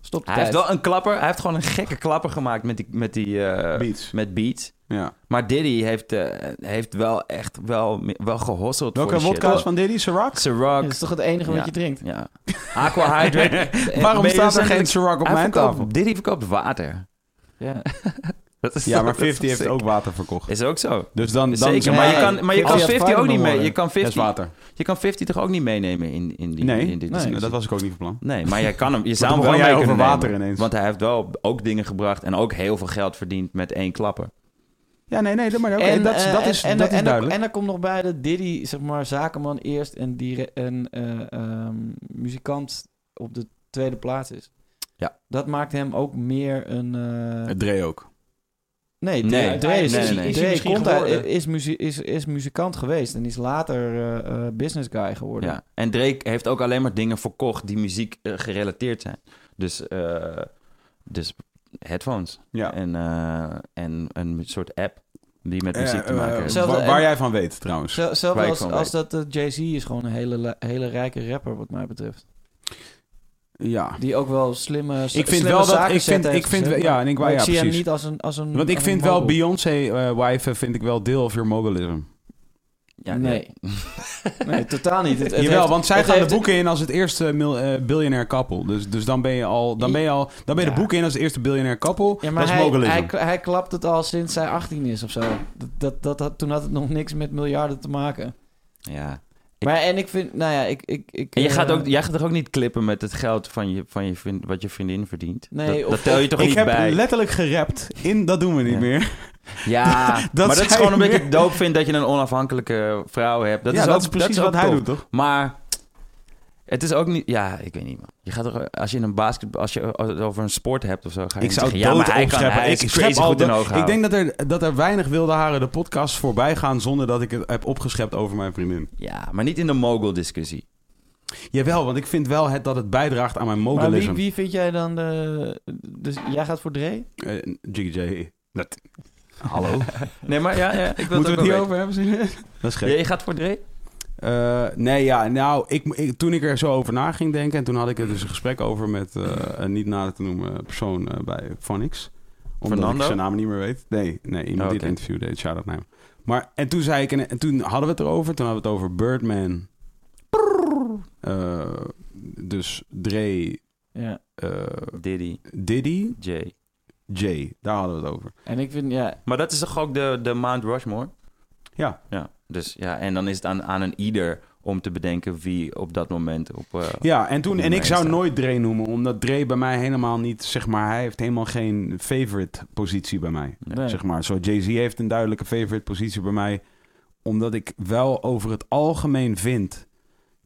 B: Stop de
D: Hij
B: tijd.
D: heeft wel een klapper. Hij heeft gewoon een gekke klapper gemaakt met die, met die eh,
A: Beats.
D: met beat.
A: Ja.
D: Maar Diddy heeft, eh, heeft wel echt wel, wel gehosseld
A: Welke
D: voor
A: wodka's van Diddy? Ciroc?
D: Ciroc.
B: Dat is toch het enige
D: Ja.
B: wat je drinkt?
D: Ja. Aqua Hydrate.
A: Waarom staat er geen
D: recentelijk-
A: Ciroc op
D: Hij
A: mijn
D: verkoopt-
A: tafel?
D: Diddy verkoopt water.
B: Ja.
D: Dat is
A: Ja,
D: toch-
A: maar
D: dat is
A: 50 heeft
D: sick.
A: ook water verkocht.
D: Is ook zo.
A: Dus dan... dan
D: Zeker,
B: Nee.
D: maar je kan, maar je
B: Als
D: kan
B: je
D: 50 ook
B: Spider-Man
D: niet mee.
B: worden.
D: Je kan
A: eh, Dat is
D: 50,
A: water.
D: je kan 50 toch ook niet meenemen in, in, die,
A: Nee.
D: in dit
B: Nee.
A: Nou, dat was ik ook niet van plan.
D: Nee, maar jij kan hem, je zou
A: toen
D: hem wel
A: begon
D: mee
A: jij
D: kunnen
A: over water
D: nemen.
A: ineens.
D: Want hij heeft wel ook dingen gebracht en ook heel veel geld verdiend met één klapper.
A: Ja, nee, nee, maar oké, dat, is-
B: eh,
A: dat is,
B: en,
A: dat
B: en,
A: is
B: en,
A: duidelijk.
B: En daar komt nog bij dat Diddy, zeg maar, zakenman eerst en, dire- en eh, ehm, muzikant op de tweede plaats is.
D: Ja.
B: Dat maakt hem ook meer een... eh,
A: Dre ook.
B: Nee, Dre,
D: Nee.
B: Dre is,
D: Nee, nee, nee.
B: is- Dre
C: Is hij misschien
B: komt uit-
C: geworden?
B: is, muzie- is, is muzikant geweest en is later eh, eh, business guy geworden.
D: Ja. En Drake heeft ook alleen maar dingen verkocht die muziek eh, gerelateerd zijn. Dus, eh, dus headphones
A: Ja.
D: en, eh, en een soort app die met
A: Eh,
D: muziek te
A: eh,
D: maken heeft.
B: zelf- Hetzelfde-
A: waar, waar jij van weet, trouwens.
B: Zo- Zelfs
D: Waar ik
B: als,
D: van
B: als dat eh, Jay-Z is gewoon een hele, la- hele rijke rapper wat mij betreft.
A: Ja.
B: Die ook wel slimme
A: Ik vind wel dat- ik vind- ik vind wel- ja, en ik wou-
B: ik
A: ja,
B: zie hem
A: precies.
B: niet als een als een
A: Want ik
B: als een
A: vind wel
B: mogul.
A: Beyoncé eh wife vind ik wel deel of your mogulism.
D: Ja,
B: nee. nee, totaal niet. Het, het
A: Jawel,
B: heeft-
A: want zij
B: het
A: gaan
B: heeft-
A: de boeken in als het eerste mil, eh, biljonair koppel. Dus, dus dan ben je al, dan ben je al, dan ben je
B: Ja.
A: de boeken in als het eerste biljonair koppel.
B: Ja,
A: dat
B: maar
A: is
B: hij,
A: mogulism.
B: hij, hij klapt het al sinds zij 18 is of zo. Dat, dat, dat, had- toen had het nog niks met miljarden te maken.
D: ja. ja. Ik-
B: Maar en ik vind, nou ja, ik... ik, ik
D: En je
B: eh,
D: gaat, ook, jij gaat toch ook niet klippen met het geld van je, van je vriend, wat je vriendin verdient?
B: Nee,
D: dat,
B: of-
D: dat tel je toch
A: ik
D: niet
A: heb
D: bij?
A: letterlijk gerapt in dat doen we niet
D: Ja.
A: meer.
D: Ja, maar dat
A: zei
D: is gewoon omdat
A: meer.
D: ik doop vind dat je een onafhankelijke vrouw hebt. Dat
A: ja,
D: is ook,
A: dat is precies
D: ook
A: wat hij
D: tof.
A: doet, toch?
D: Maar het is ook niet... Ja, ik weet niet, man. Je gaat toch... Als je een basket... Als je het over een sport hebt of zo... Ga je
A: Ik
D: niet
A: zou
D: zeggen,
A: dood
D: ja, maar hij kan,
A: opscheppen.
D: hij
A: Ik
D: is
A: schep
D: crazy
A: al
D: goed
A: de-
D: in ogen
A: Ik denk dat er, dat er weinig wilde haren de podcast voorbij gaan zonder dat ik het heb opgeschept over mijn vriendin.
D: Ja, maar niet in de mogul-discussie.
A: Jawel, want ik vind wel het, dat het bijdraagt aan mijn
B: Maar
A: mogulism.
B: wie, wie vind jij dan de... Dus jij gaat voor Dre?
A: Eh, Jiggy J. Dat.
E: Hallo.
D: Nee, maar ja, ja ik wil
E: Moeten we het
D: ook wel
E: hierover hebben? Simon? Dat is
D: weten.
E: gek.
D: Ja, je gaat voor Dre?
A: Eh, nee, ja, nou, ik, ik- toen ik er zo over na ging denken... en toen had ik er dus een gesprek over met eh, een niet nader te noemen persoon eh, bij Phonics. Omdat
D: Fernando?
A: ik zijn naam niet meer weet. Nee, nee iemand
D: Oh,
A: die
D: oké.
A: het interview deed. Shout-out naar hem. Maar, en toen zei ik... En, en toen hadden we het erover. Toen hadden we het over Birdman. Eh, dus Dre,
B: Ja.
A: eh,
D: Diddy,
A: Diddy,
D: Jay.
A: Jay. Daar hadden we het over.
B: En ik vind, ja,
D: Maar dat is toch ook de, de Mount Rushmore?
A: Ja.
D: ja. Dus ja, en dan is het aan, aan een ieder om te bedenken wie op dat moment op... eh,
A: Ja, en, toen, en ik zou
D: Meester.
A: nooit Dre noemen, omdat Dre bij mij helemaal niet, zeg maar, hij heeft helemaal geen favorite positie bij mij.
B: nee.
A: Zeg maar, zo Jay-Z heeft een duidelijke favorite positie bij mij, omdat ik wel over het algemeen vind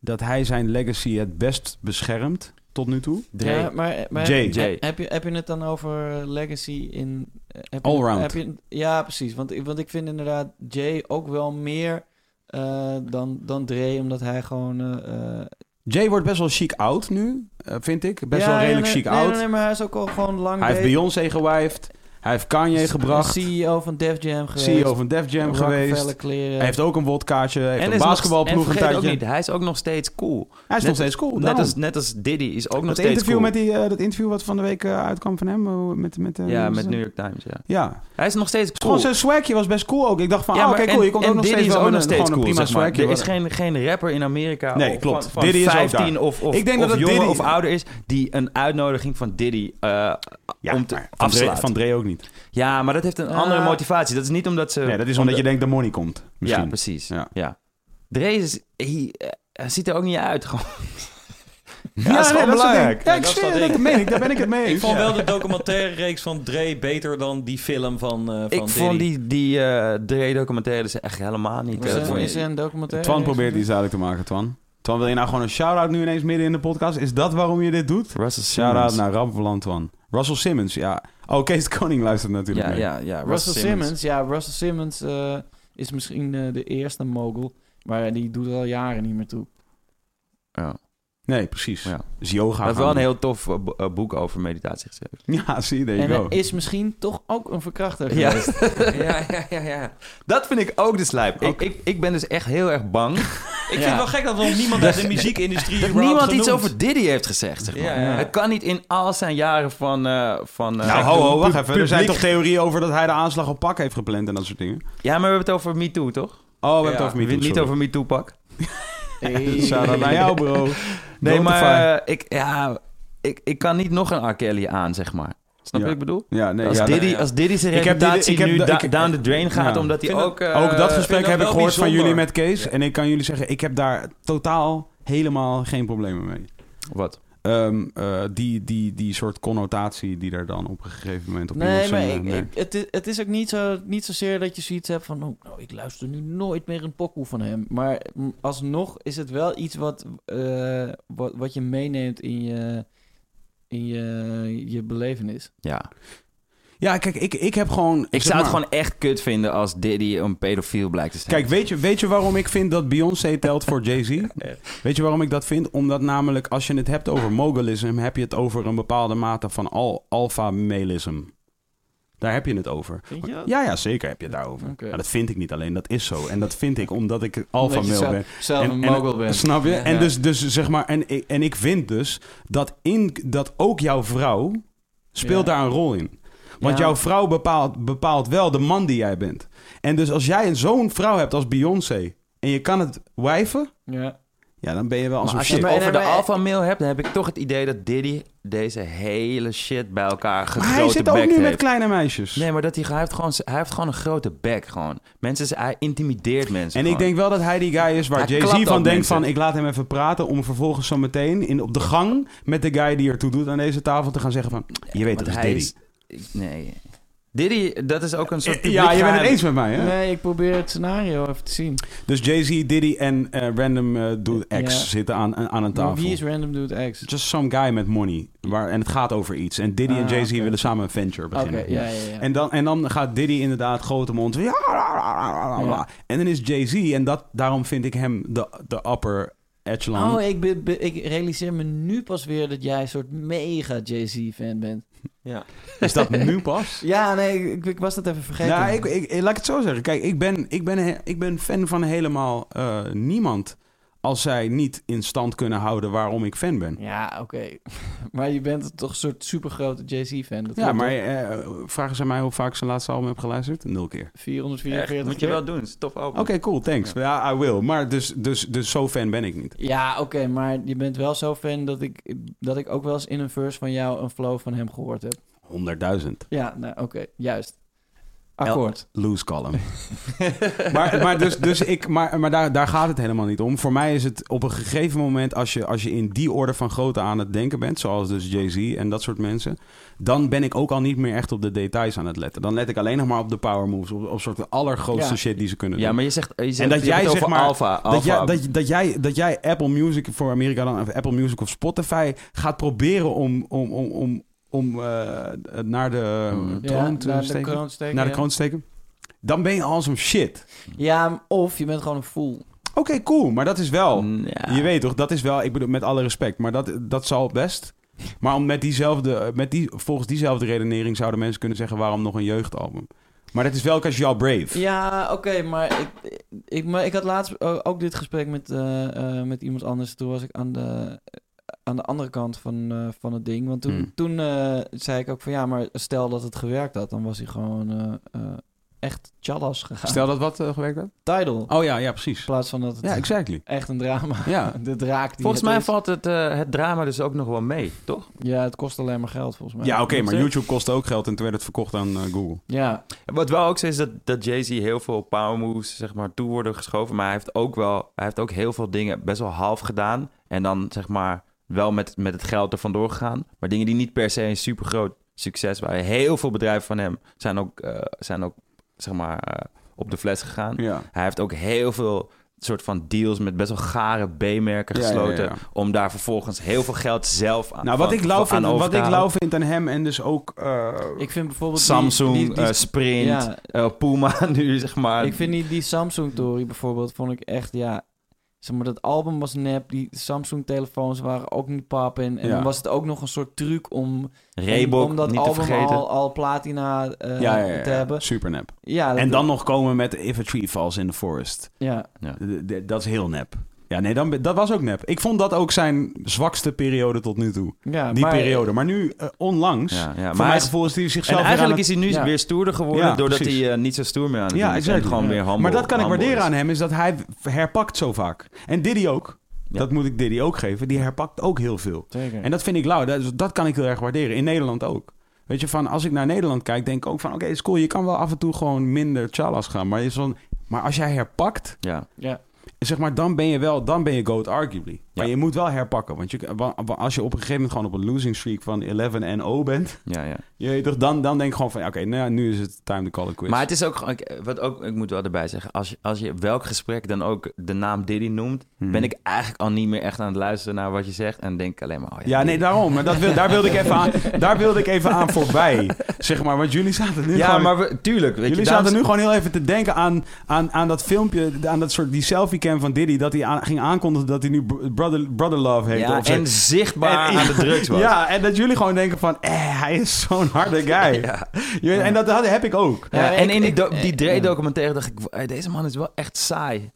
A: dat hij zijn legacy het best beschermt tot nu toe.
D: Dre.
B: Ja, maar, maar
A: Jay.
B: heb-
D: Jay.
B: Heb, je, heb je het dan over legacy in... Heb je-
A: Allround.
B: Heb je, ja, precies. Want, ik- want ik vind inderdaad Jay ook wel meer eh, dan, dan Dre, omdat hij gewoon... eh, eh,
A: Jay wordt best wel chic oud nu, eh, vind ik. Best
B: ja,
A: wel
B: ja,
A: redelijk
B: nee,
A: chic
B: nee,
A: oud.
B: Nee, nee, maar hij is ook al gewoon lang
A: Hij heeft
B: bezig.
A: Beyoncé gewived, hij heeft Kanye gebracht,
B: CEO E van Def Jam geweest.
A: CEO van Def Jam geweest.
B: Rockefeller kleren.
A: Hij heeft ook een wodkaartje, hij heeft
D: en
A: een
D: is nog- en
A: basketbalploeg een
D: vergeet ook
A: tijdje.
D: niet, hij is ook nog steeds cool.
A: Hij is nog
D: Net-
A: steeds cool.
D: Net
A: daarom.
D: als, net als Diddy is ook nog
A: Dat
D: steeds
A: interview,
D: cool.
A: met die, eh, dat interview wat van de week eh, uitkwam van hem. eh, met, met, eh,
D: Ja,
A: hoe is
D: met
A: dat?
D: New York Times, ja.
A: Ja.
D: Hij is nog steeds
A: Gewoon
D: cool.
A: zijn swagje was best cool ook. Ik dacht van,
D: Ja,
A: ah,
D: maar
A: oké,
D: en-
A: cool. Je komt
D: en
A: ook nog
D: Diddy
A: steeds
D: is
A: wel
D: ook
A: met
D: nog
A: een,
D: steeds
A: gewoon een prima
D: cool, zeg maar.
A: swagger.
D: Er is geen, geen rapper in Amerika
A: Nee,
D: of
A: klopt.
D: van, van
A: Diddy is ook
D: 15
A: daar.
D: of, of,
A: Ik denk
D: of
A: dat het
D: jonger
A: Diddy-
D: of ouder is... die een uitnodiging van Diddy eh,
A: Ja,
D: om te
A: maar van, Dre,
D: afslaat.
A: van Dre ook niet.
D: Ja, maar dat heeft een
B: Ah.
D: andere motivatie. Dat is niet omdat ze...
A: Eh. Nee, dat is omdat
D: om
A: je
D: de-
A: denkt de money komt. Misschien.
D: Ja, precies.
A: Ja.
D: Ja. Dre is... Hij, eh, hij ziet er ook niet uit, gewoon.
A: Ja,
D: dat is gewoon
A: nee, dat
D: belangrijk.
A: Ja, ik
C: Ja, dat is
A: zweer,
C: dat
A: dat
C: ding.
A: meen ik. Daar ben ik het mee
C: Ik
A: eens.
C: vond
A: Ja.
C: wel de documentaire reeks van Dre beter dan die film van, eh van
D: Ik vond
C: Diddy.
D: die, die eh Dre-documentaires echt helemaal niet...
B: Was
D: eh,
B: er-
C: vond
B: is er een documentaire.
A: Twan probeert iets duidelijk te maken, Twan. Twan, wil je nou gewoon een shout-out nu ineens midden in de podcast? Is dat waarom je dit doet?
D: Russell Simmons.
A: Shout-out naar Rampeland, Twan. Russell Simmons, ja. Oh, Kees de Koning luistert natuurlijk
D: Ja,
A: mee.
D: ja, ja.
B: Russell Simmons. Ja, Russell Simmons eh, is misschien eh, de eerste mogul. Maar die doet er al jaren niet meer toe.
D: Ja.
A: Nee, precies.
D: Ja.
A: Is yoga.
D: Hij
A: gaan
D: heeft wel een
A: doen.
D: heel tof eh, bo- eh, boek over meditatie geschreven.
A: Ja, zie je, there
B: En
A: you
B: hij
A: go.
B: is misschien toch ook een verkrachter
D: Ja.
B: geweest.
D: ja, ja, ja, ja. Dat vind ik ook de slijp. Ik,
A: Ook.
D: ik, ik ben dus echt heel erg bang
C: Ik vind het wel gek dat nog niemand uit de muziekindustrie
D: dat
C: überhaupt
D: niemand iets
C: genoemd.
D: over Diddy heeft gezegd. Zeg maar.
C: Ja, ja.
D: Het kan niet in al zijn jaren van. eh, van eh,
A: Nou, ho, ho, wacht even. Er zijn
D: publiek-
A: toch theorieën over dat hij de aanslag op Pak heeft gepland en dat soort dingen? Oh,
D: Ja, maar we hebben het over MeToo, toch? We
A: we hebben
C: Ja,
A: het over
D: hebben
A: MeToo,
D: het niet
A: sorry.
D: over MeToo pak.
B: Hey.
A: Shout-out naar jou, bro.
D: Nee,
A: Notify.
D: maar eh, ik, ja, ik, ik kan niet nog een R. Kelly aan, zeg maar. Snap je
A: Ja.
D: wat ik bedoel?
A: Ja, nee,
D: als,
A: ja,
D: Diddy,
A: nee.
D: als Diddy zijn
A: Ik heb Diddy-
D: reputatie
A: ik heb
D: nu
A: de-
D: da-
A: ik-
D: down the drain gaat,
A: Ja.
D: omdat hij
C: Vind dat-
D: ook... eh,
A: Ook dat
C: vind
A: gesprek
C: dat
A: heb ik
C: wel
A: gehoord van
C: bijzonder.
A: jullie met Kees. En ik kan jullie zeggen, ik heb daar totaal helemaal geen problemen mee.
D: Wat?
A: Ehm, eh, die, die, die soort connotatie die er dan op een gegeven moment op iemand
B: Nee, maar
A: zijn, eh,
B: ik,
A: nee.
B: ik- het, is, het is ook niet, zo, niet zozeer dat je zoiets hebt van... Oh, nou, ik luister nu nooit meer een pokoe van hem. Maar mm, alsnog is het wel iets wat, eh, wat, wat je meeneemt in je, in je, je belevenis.
D: Ja.
A: Ja, kijk, ik, ik heb gewoon...
D: Ik
A: zeg
D: zou het
A: maar-
D: gewoon echt kut vinden als Diddy een pedofiel blijkt te zijn.
A: Kijk, weet je, weet je waarom ik vind dat Beyoncé telt voor Jay-Z? Weet je waarom ik dat vind? Omdat namelijk als je het hebt over mogulism, heb je het over een bepaalde mate van al alpha-malism. Daar heb je het over.
B: Vind je dat?
A: Ja, ja, zeker heb je het daarover.
B: Oké.
A: Maar dat vind ik niet alleen, dat is zo. En dat vind ik omdat ik alpha-male
B: zelf,
A: ben.
B: zelf
A: En-
B: een
A: en-
B: mogul bent.
A: Snap je?
B: Ja.
A: En
B: Ja.
A: dus, dus zeg maar, en, ik- en ik vind dus dat, in, dat ook jouw vrouw speelt
B: Ja.
A: daar een rol in. Want
B: Ja.
A: jouw vrouw bepaalt, bepaalt wel de man die jij bent. En dus als jij een- zo'n vrouw hebt als Beyoncé en je kan het wijven,
B: Ja.
A: ja, dan ben je wel als
D: Maar
A: een
D: als je
A: shit.
D: het
B: Maar-
D: over de
B: nee, maar-
D: alpha mail hebt, dan heb ik toch het idee dat Diddy deze hele shit bij elkaar
A: Maar
D: gegrote
A: hij zit
D: bek
A: ook nu
D: heeft.
A: met kleine meisjes.
D: Nee, maar dat hij, hij, heeft gewoon, hij heeft gewoon een grote bek gewoon. Mensen, hij intimideert mensen
A: en ik
D: gewoon.
A: denk wel dat hij die guy is waar
D: Hij
A: Jay-Z van
D: klapt ook
A: denkt van...
D: mensen.
A: ik laat hem even praten om vervolgens zo meteen in, op de gang... met de guy die ertoe doet aan deze tafel te gaan zeggen van... je weet
D: Want
A: dat is
D: hij
A: Diddy.
D: is- nee. Diddy, dat is ook een soort publiek
A: Ja, je bent het
D: geheim.
A: eens met mij, hè?
B: Nee, ik probeer het scenario even te zien.
A: Dus Jay-Z, Diddy en eh, Random eh, Dude X
B: Ja.
A: zitten aan, aan een
B: Maar
A: tafel.
B: wie is Random Dude X?
A: Just some guy met money. Waar, en het gaat over iets. En Diddy en
B: Ah,
A: Jay-Z
B: oké.
A: willen samen een venture
B: Oké,
A: beginnen.
B: ja, ja, ja.
A: En, dan, en dan gaat Diddy inderdaad grote mond. Ja, la, la, la, la, la.
B: Ja.
A: En dan is Jay-Z. En dat, daarom vind ik hem de, de upper echelon.
B: Oh, ik, be- be- ik realiseer me nu pas weer dat jij een soort mega Jay-Z-fan bent.
A: Is dat nu pas?
B: Ja, nee, ik, ik was dat even vergeten.
A: Nou, ik, ik, ik- laat ik het zo zeggen. Kijk, ik ben, ik ben, he- ik ben fan van helemaal eh, niemand als zij niet in stand kunnen houden waarom ik fan ben.
B: Ja, oké. maar je bent toch een soort supergrote Jay-Z-fan. dat
A: Ja,
B: klopt,
A: maar
B: toch?
A: eh, vragen ze mij hoe vaak ik zijn laatste album heb geluisterd? Nul keer.
B: 444
D: moet je
B: keer?
D: wel doen. Het is tof album.
A: Oké, cool, thanks. Ja, I will. Maar dus, dus, dus zo fan ben ik niet.
B: Ja, oké, maar je bent wel zo fan dat ik, dat ik ook wel eens in een verse van jou een flow van hem gehoord heb.
A: 100.000.
B: Ja, nou, oké, juist. Akkoord.
A: Loose column. maar maar, dus, dus ik, maar, maar daar, daar gaat het helemaal niet om. Voor mij is het op een gegeven moment, als je, als je in die orde van grootte aan het denken bent, zoals dus Jay-Z en dat soort mensen, dan ben ik ook al niet meer echt op de details aan het letten. Dan let ik alleen nog maar op de power moves, op, op soort de allergrootste
B: Ja.
A: shit die ze kunnen
D: Ja,
A: doen.
D: maar je zegt, je zegt
A: En dat
D: je hebt
A: jij,
D: het
A: zeg
D: over
A: maar,
D: alpha,
A: Dat
D: alpha.
A: jij, dat, j- dat, jij, dat jij Apple Music voor Amerika dan, of Apple Music of Spotify gaat proberen om, om, om, om, om eh, naar de eh,
D: Mm.
B: Ja,
A: troon te
B: naar de
A: steken.
B: kroon steken,
A: naar de
B: ja.
A: kroon te steken. Dan ben je al zo'n shit.
B: Ja, of je bent gewoon een fool.
A: Oké, cool. Maar dat is wel.
D: Ja.
A: Je weet toch, dat is wel. Ik bedoel, met alle respect. Maar dat, dat zal best. Maar om met diezelfde, eh, met die, volgens diezelfde redenering zouden mensen kunnen zeggen: waarom nog een jeugdalbum? Maar dat is wel Casual Brave.
B: Ja, oké, maar, ik, ik, maar ik had laatst o- ook dit gesprek met, eh, eh, met iemand anders. Toen was ik aan de, aan de andere kant van, eh, van het ding. Want toen,
A: Hmm.
B: toen eh, zei ik ook van ja, maar stel dat het gewerkt had, dan was hij gewoon eh, eh, echt challas gegaan.
A: Stel dat wat eh, gewerkt had?
B: Tidal. In
A: Oh ja, ja, precies.
B: plaats van dat het
A: Ja, exactly.
B: echt een drama.
A: Ja.
B: De draak die
D: Volgens
B: het
D: mij
B: is.
D: valt het, eh, het drama dus ook nog wel mee, toch?
B: Ja, het kost alleen maar geld volgens mij.
A: Ja, oké, maar YouTube kostte ook geld en toen werd het verkocht aan eh, Google.
B: Ja,
D: Wat wel ook zo is dat, dat Jay-Z heel veel power moves zeg maar, toe worden geschoven. Maar hij heeft ook wel hij heeft ook heel veel dingen best wel half gedaan. En dan zeg maar wel met, met het geld er vandoor gegaan. Maar dingen die niet per se een super groot succes waren. Heel veel bedrijven van hem zijn ook, eh, zijn ook zeg maar, eh, op de fles gegaan.
A: Ja.
D: Hij heeft ook heel veel soort van deals met best wel gare B-merken gesloten.
A: Ja, ja, ja.
D: Om daar vervolgens heel veel geld zelf aan
A: Nou, wat
D: van-
A: ik, lauw
D: aan
A: vind, wat
D: over te
A: ik
D: halen.
A: lauw vind aan hem en dus ook... eh,
B: ik vind bijvoorbeeld... die-
D: Samsung,
B: die- die-
D: eh, Sprint,
B: ja,
D: eh, Puma nu, zeg maar.
A: Ah,
B: ik vind die, die Samsung-tory bijvoorbeeld, vond ik echt, ja... Zeg maar, dat album was nep, die Samsung-telefoons waren ook niet pap. En, en
A: Ja.
B: dan was het ook nog een soort truc om,
D: Reebok,
B: om dat
D: niet te
B: album
D: vergeten.
B: al, al platina eh,
A: ja, ja, ja,
B: te
A: ja.
B: hebben.
A: Super nep.
B: Ja, dat-
A: En dan nog komen met If a Tree Falls in the Forest.
B: Ja,
A: D- d- Dat is heel nep. Ja, nee, dan, dat was ook nep. Ik vond dat ook zijn zwakste periode tot nu toe.
B: ja,
A: die
B: maar-
A: periode. Maar nu, eh, onlangs,
D: Ja, ja, maar
A: voor
D: hij
A: mijn
D: is-
A: gevoel is hij zichzelf
D: En
A: weer
D: eigenlijk
A: aan
D: is hij nu
B: Ja.
D: weer stoerder geworden
A: Ja,
D: doordat
A: precies.
D: hij eh, niet zo stoer meer aan het
A: Ja,
D: doen is. En
A: exactly.
D: gewoon
A: Ja.
D: weer humble
A: Maar dat kan ik
D: humble
A: waarderen
D: is.
A: aan hem, is dat hij herpakt zo vaak. En Diddy ook.
D: Ja.
A: Dat moet ik Diddy ook geven. Die herpakt ook heel veel.
B: Zeker.
A: En dat vind ik lauw. Dat, dat kan ik heel erg waarderen. In Nederland ook. Weet je, van als ik naar Nederland kijk, denk ik ook van... Oké, is cool. Je kan wel af en toe gewoon minder chalas gaan. Maar, je is van, maar als jij herpakt,
D: Ja.
A: dus
B: ja.
A: zeg maar, dan ben je wel... Dan ben je goat, arguably. Maar
D: Ja.
A: je moet wel herpakken. Want je, wa- wa- als je op een gegeven moment gewoon op een losing streak van 11 en 0 bent...
D: Ja, ja.
A: Je, weet toch, dan, dan denk ik gewoon van... ja, Oké, nou ja, nu is het time to call it quits.
D: Maar het is ook, gewoon- ik- wat ook, ik moet wel erbij zeggen, als je, als je welk gesprek dan ook de naam Diddy noemt,
A: Hmm.
D: ben ik eigenlijk al niet meer echt aan het luisteren naar wat je zegt en denk ik alleen maar, oh ja,
A: Ja, nee,
D: Diddy.
A: daarom. Maar dat wil, daar, wilde ik even aan, daar wilde ik even aan voorbij. Zeg maar, want jullie zaten nu
D: ja,
A: gewoon...
D: maar we- tuurlijk. Weet
A: Jullie
D: je,
A: zaten
D: daarom-
A: nu gewoon heel even te denken aan, aan, aan dat filmpje, aan dat soort die selfie-cam van Diddy, dat hij aan- ging aankondigen dat hij nu br- brother, brother love heeft.
D: Ja,
A: of zo.
D: en zichtbaar
A: En-
D: aan de drugs was.
A: ja, en dat jullie gewoon denken van, eh, hij is zo'n harde guy. Je weet- en dat had- heb ik ook.
D: Ja,
B: Ja,
D: en
B: ik-
D: in die,
B: ik-
D: do- die
B: eh,
D: Dre
B: ja.
D: documentaire dacht ik, "Hey, deze man is wel echt saai.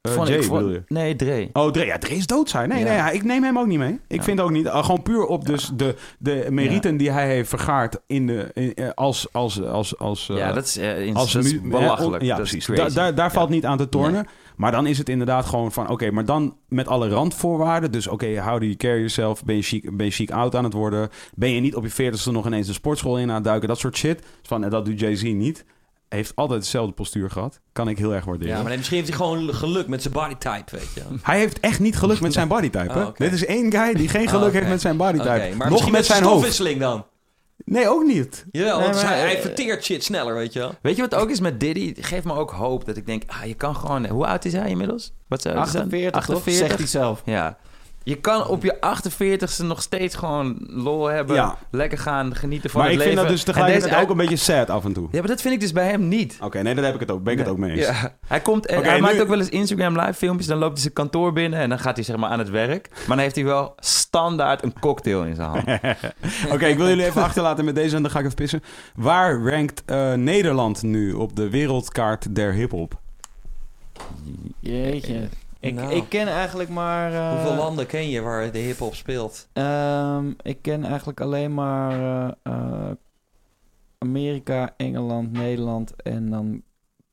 A: Eh,
D: Vond
A: Jay
D: ik, vond-
A: bedoel je?
D: Nee, Dre.
A: Oh, Dre, ja, Dre is dood zijn. Nee,
D: Ja.
A: nee, ja, ik neem hem ook niet mee. Ik
D: Ja.
A: vind ook niet. eh, gewoon puur op dus de, de merieten die hij heeft vergaard in de, in- eh, als, als, als, als, eh,
D: ja, dat is, eh, ins-
A: als
D: dat is
A: mu-
D: belachelijk.
A: Ja,
D: dat is
A: precies.
D: crazy.
A: Da- daar daar
D: Ja.
A: valt niet aan te tornen. Maar dan is het inderdaad gewoon van... Oké, maar dan met alle randvoorwaarden. Dus oké, how do you carry yourself? Ben je, chic, ben je chic oud aan het worden? Ben je niet op je veertigste nog ineens de sportschool in aan het duiken? Dat soort shit. Van, eh, dat doet Jay-Z niet. Heeft altijd hetzelfde postuur gehad. Kan ik heel erg waarderen.
C: Ja, maar nee, misschien heeft hij gewoon geluk met zijn body type, weet je.
A: Hij heeft echt niet geluk met zijn bodytype. hè?
C: Oh, oké.
A: Dit is één guy die geen
C: Oh,
A: geluk
C: oké.
A: heeft met zijn bodytype.
C: Oké, maar
A: nog
C: misschien
A: met zijn hoofd.
C: stofwisseling dan.
A: Nee, ook niet.
C: Jawel, want
B: Nee, maar,
C: hij, hij
B: eh,
C: verteert shit sneller, weet je wel.
D: Weet je wat ook is met Diddy? Het Geeft me ook hoop eh, dat ik denk, ah, je kan gewoon... Hoe oud is hij inmiddels? Wat zou het zijn?
B: 48, toch?
D: 48?
B: Zegt hij zelf.
D: Ja. Je kan op je 48ste nog steeds gewoon lol hebben.
A: Ja.
D: Lekker gaan genieten van
A: maar ik
D: het
A: vind
D: leven.
A: dat dus
D: En
A: tegelijkertijd
D: deze
A: ook een beetje sad af en toe.
D: Ja, maar dat vind ik dus bij hem niet.
A: Oké, nee, daar heb ik het ook, ben ik het ook mee eens.
D: Ja. Hij, komt, en
A: Oké,
D: hij
A: nu-
D: maakt ook wel eens Instagram live filmpjes. Dan loopt hij zijn kantoor binnen en dan gaat hij zeg maar aan het werk. Maar dan heeft hij wel standaard een cocktail in zijn hand.
A: Oké, ik wil jullie even achterlaten met deze en dan ga ik even pissen. Waar rankt eh, Nederland nu op de wereldkaart der hiphop?
B: Jeetje. Ik,
C: Nou.
B: ik ken eigenlijk maar... eh,
C: Hoeveel landen ken je waar de hip-hop speelt?
B: Ehm, ik ken eigenlijk alleen maar eh, eh, Amerika, Engeland, Nederland en dan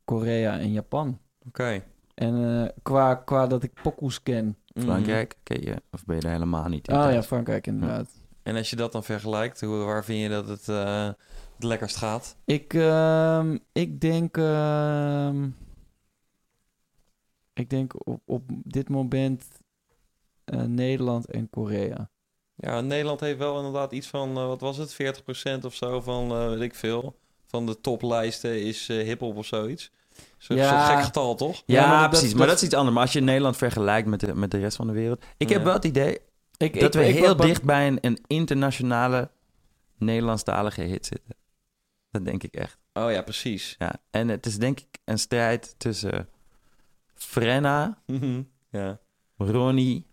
B: Korea en Japan.
C: Oké.
B: En eh, qua, qua dat ik pokoes ken.
C: Mm.
D: Frankrijk, ken je? Of ben je daar helemaal niet in?
B: Oh ja,
D: thuis?
B: Frankrijk inderdaad.
C: En als je dat dan vergelijkt, hoe, waar vind je dat het, eh, het lekkerst gaat?
B: Ik, ehm, ik denk... ehm, ik denk op, op dit moment eh, Nederland en Korea.
C: Ja, Nederland heeft wel inderdaad iets van, eh, wat was het, 40% of zo van, eh, weet ik veel, van de toplijsten is eh hip-hop of zoiets. Zo'n
B: Ja.
C: zo'n gek getal, toch?
D: Ja,
B: Ja, maar dat-
D: precies.
B: dat-
D: maar dat is iets anders. Maar als je Nederland vergelijkt met de, met de rest van de wereld. Ik heb
C: Ja.
D: wel het idee
B: Ik,
D: dat we heel
B: word bang-
D: dicht bij een, een internationale Nederlandstalige hit zitten. Dat denk ik echt.
C: Oh ja, precies.
D: Ja. En het is denk ik een strijd tussen Frenna,
C: Mhm. ja.
D: Ronnie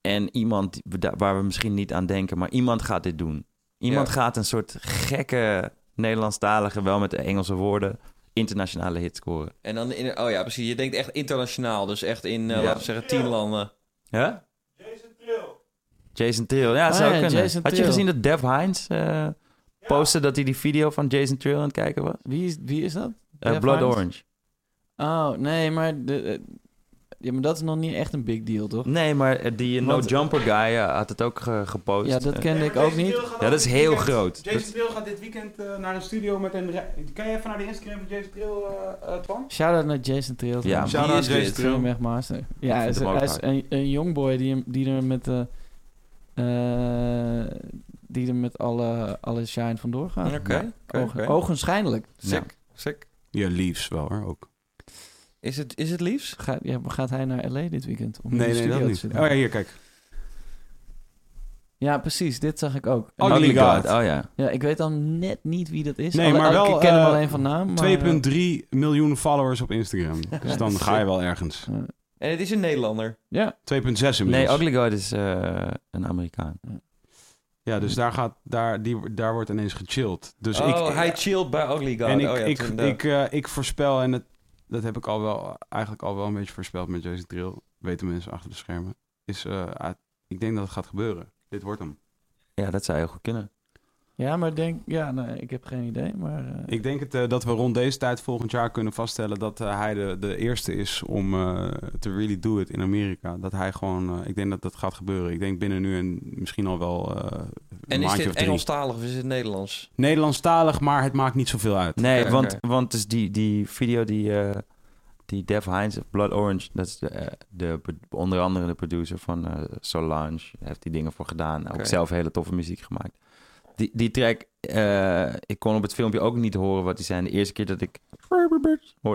D: en iemand die- da- waar we misschien niet aan denken. Maar iemand gaat dit doen. Iemand
C: Ja.
D: gaat een soort gekke Nederlandstalige, wel met Engelse woorden, internationale hit scoren.
C: En dan, in, oh ja, precies. Je denkt echt internationaal, dus echt in, eh,
D: Ja.
C: laten we zeggen, tien landen.
D: Ja? Jason Trill. Ja,
B: Ah,
D: zou
B: ja,
D: kunnen.
B: Jason
D: Had je
B: Trill.
D: gezien dat Dev Hines eh, postte dat hij die video van Jason Trill aan het kijken was?
B: Wie is, wie is dat?
D: Eh,
B: Dev
D: Blood
B: Hines?
D: Orange.
B: Oh, nee, maar... De, eh, ja, maar dat is nog niet echt een big deal, toch?
D: Nee, maar eh, die eh, No
B: Want-
D: Jumper guy eh, had het ook ge- gepost.
B: Ja, dat
D: Eh,
B: kende ik ook niet.
D: ja, dat is heel groot.
A: Jason
D: Dat-
A: Trill gaat dit weekend eh, naar een studio met een... re- Kan je even naar de Instagram van Jason Trill, eh eh, Twan?
B: Shout-out naar Jason Trail.
D: Ja,
B: man.
D: shout-out
C: Wie is
A: Jason
C: dit?
A: Trill.
B: Film echt master. Ja, hij is,
D: hem ook
B: hij is
D: hard.
B: een, een jongboy die, hem- die er met... eh eh, die er met alle, alle shine vandoor gaat.
C: Oké,
D: Ja.
C: oké,
B: Ogen-
C: oké.
B: Ogenschijnlijk.
D: Ja.
C: Sick, sick.
A: Ja, liefs wel hoor, ook.
C: Is het, is het liefst?
B: Ga, ja, gaat hij naar L.A. dit weekend? Om in
A: Nee,
B: de
A: nee,
B: studio
A: dat
B: te
A: niet. Oh
B: zitten?
A: ja, hier, kijk.
B: Ja, precies. Dit zag ik ook.
A: Ugly
D: Ugly
A: God.
D: God. Oh ja.
B: Ja, ik weet dan net niet wie dat is.
A: Nee,
B: Alle-
A: maar wel,
B: Ik ken hem
A: eh,
B: alleen van naam. maar, eh,
A: 2,3 miljoen followers op Instagram. Dus dan ga je wel ergens. 2,6
B: eh,
C: En het is een Nederlander.
B: ja,
A: inmiddels.
D: Nee, Ugly God is eh, een Amerikaan.
A: Ja, dus daar, gaat, daar, die, daar wordt ineens gechilled. Dus
C: oh,
A: ik,
C: hij chillt bij Ugly God.
A: en ik,
C: oh, ja,
A: ik,
C: toen, eh,
A: ik, eh, ik voorspel, en het, dat heb ik al wel, eigenlijk al wel een beetje voorspeld met Jason Trill, weten mensen achter de schermen, is, eh, ah, ik denk dat het gaat gebeuren. Dit wordt hem.
D: Ja, dat zou heel goed kunnen.
B: ja, maar denk... Ja, nee, ik heb geen idee, maar... eh,
A: Ik denk het, eh, dat we rond deze tijd volgend jaar kunnen vaststellen dat eh, hij de, de eerste is om eh, te really do it in Amerika. Dat hij gewoon, eh, ik denk dat dat gaat gebeuren. Ik denk binnen nu en misschien al wel eh een
C: en is
A: maandje of
C: dit
A: drie.
C: Engelstalig of is het Nederlands?
A: Nederlandstalig, maar het maakt niet zoveel uit.
D: Nee,
C: Oké,
D: want,
C: oké.
D: want dus die, die video die, eh, die Dev Hines, Blood Orange, dat is de, eh, de, pro- onder andere de producer van eh, Solange, heeft die dingen voor gedaan.
C: Oké.
D: Ook zelf hele toffe muziek gemaakt. Die, die track, eh, ik kon op het filmpje ook niet horen wat die zijn. De eerste keer dat ik hoorde,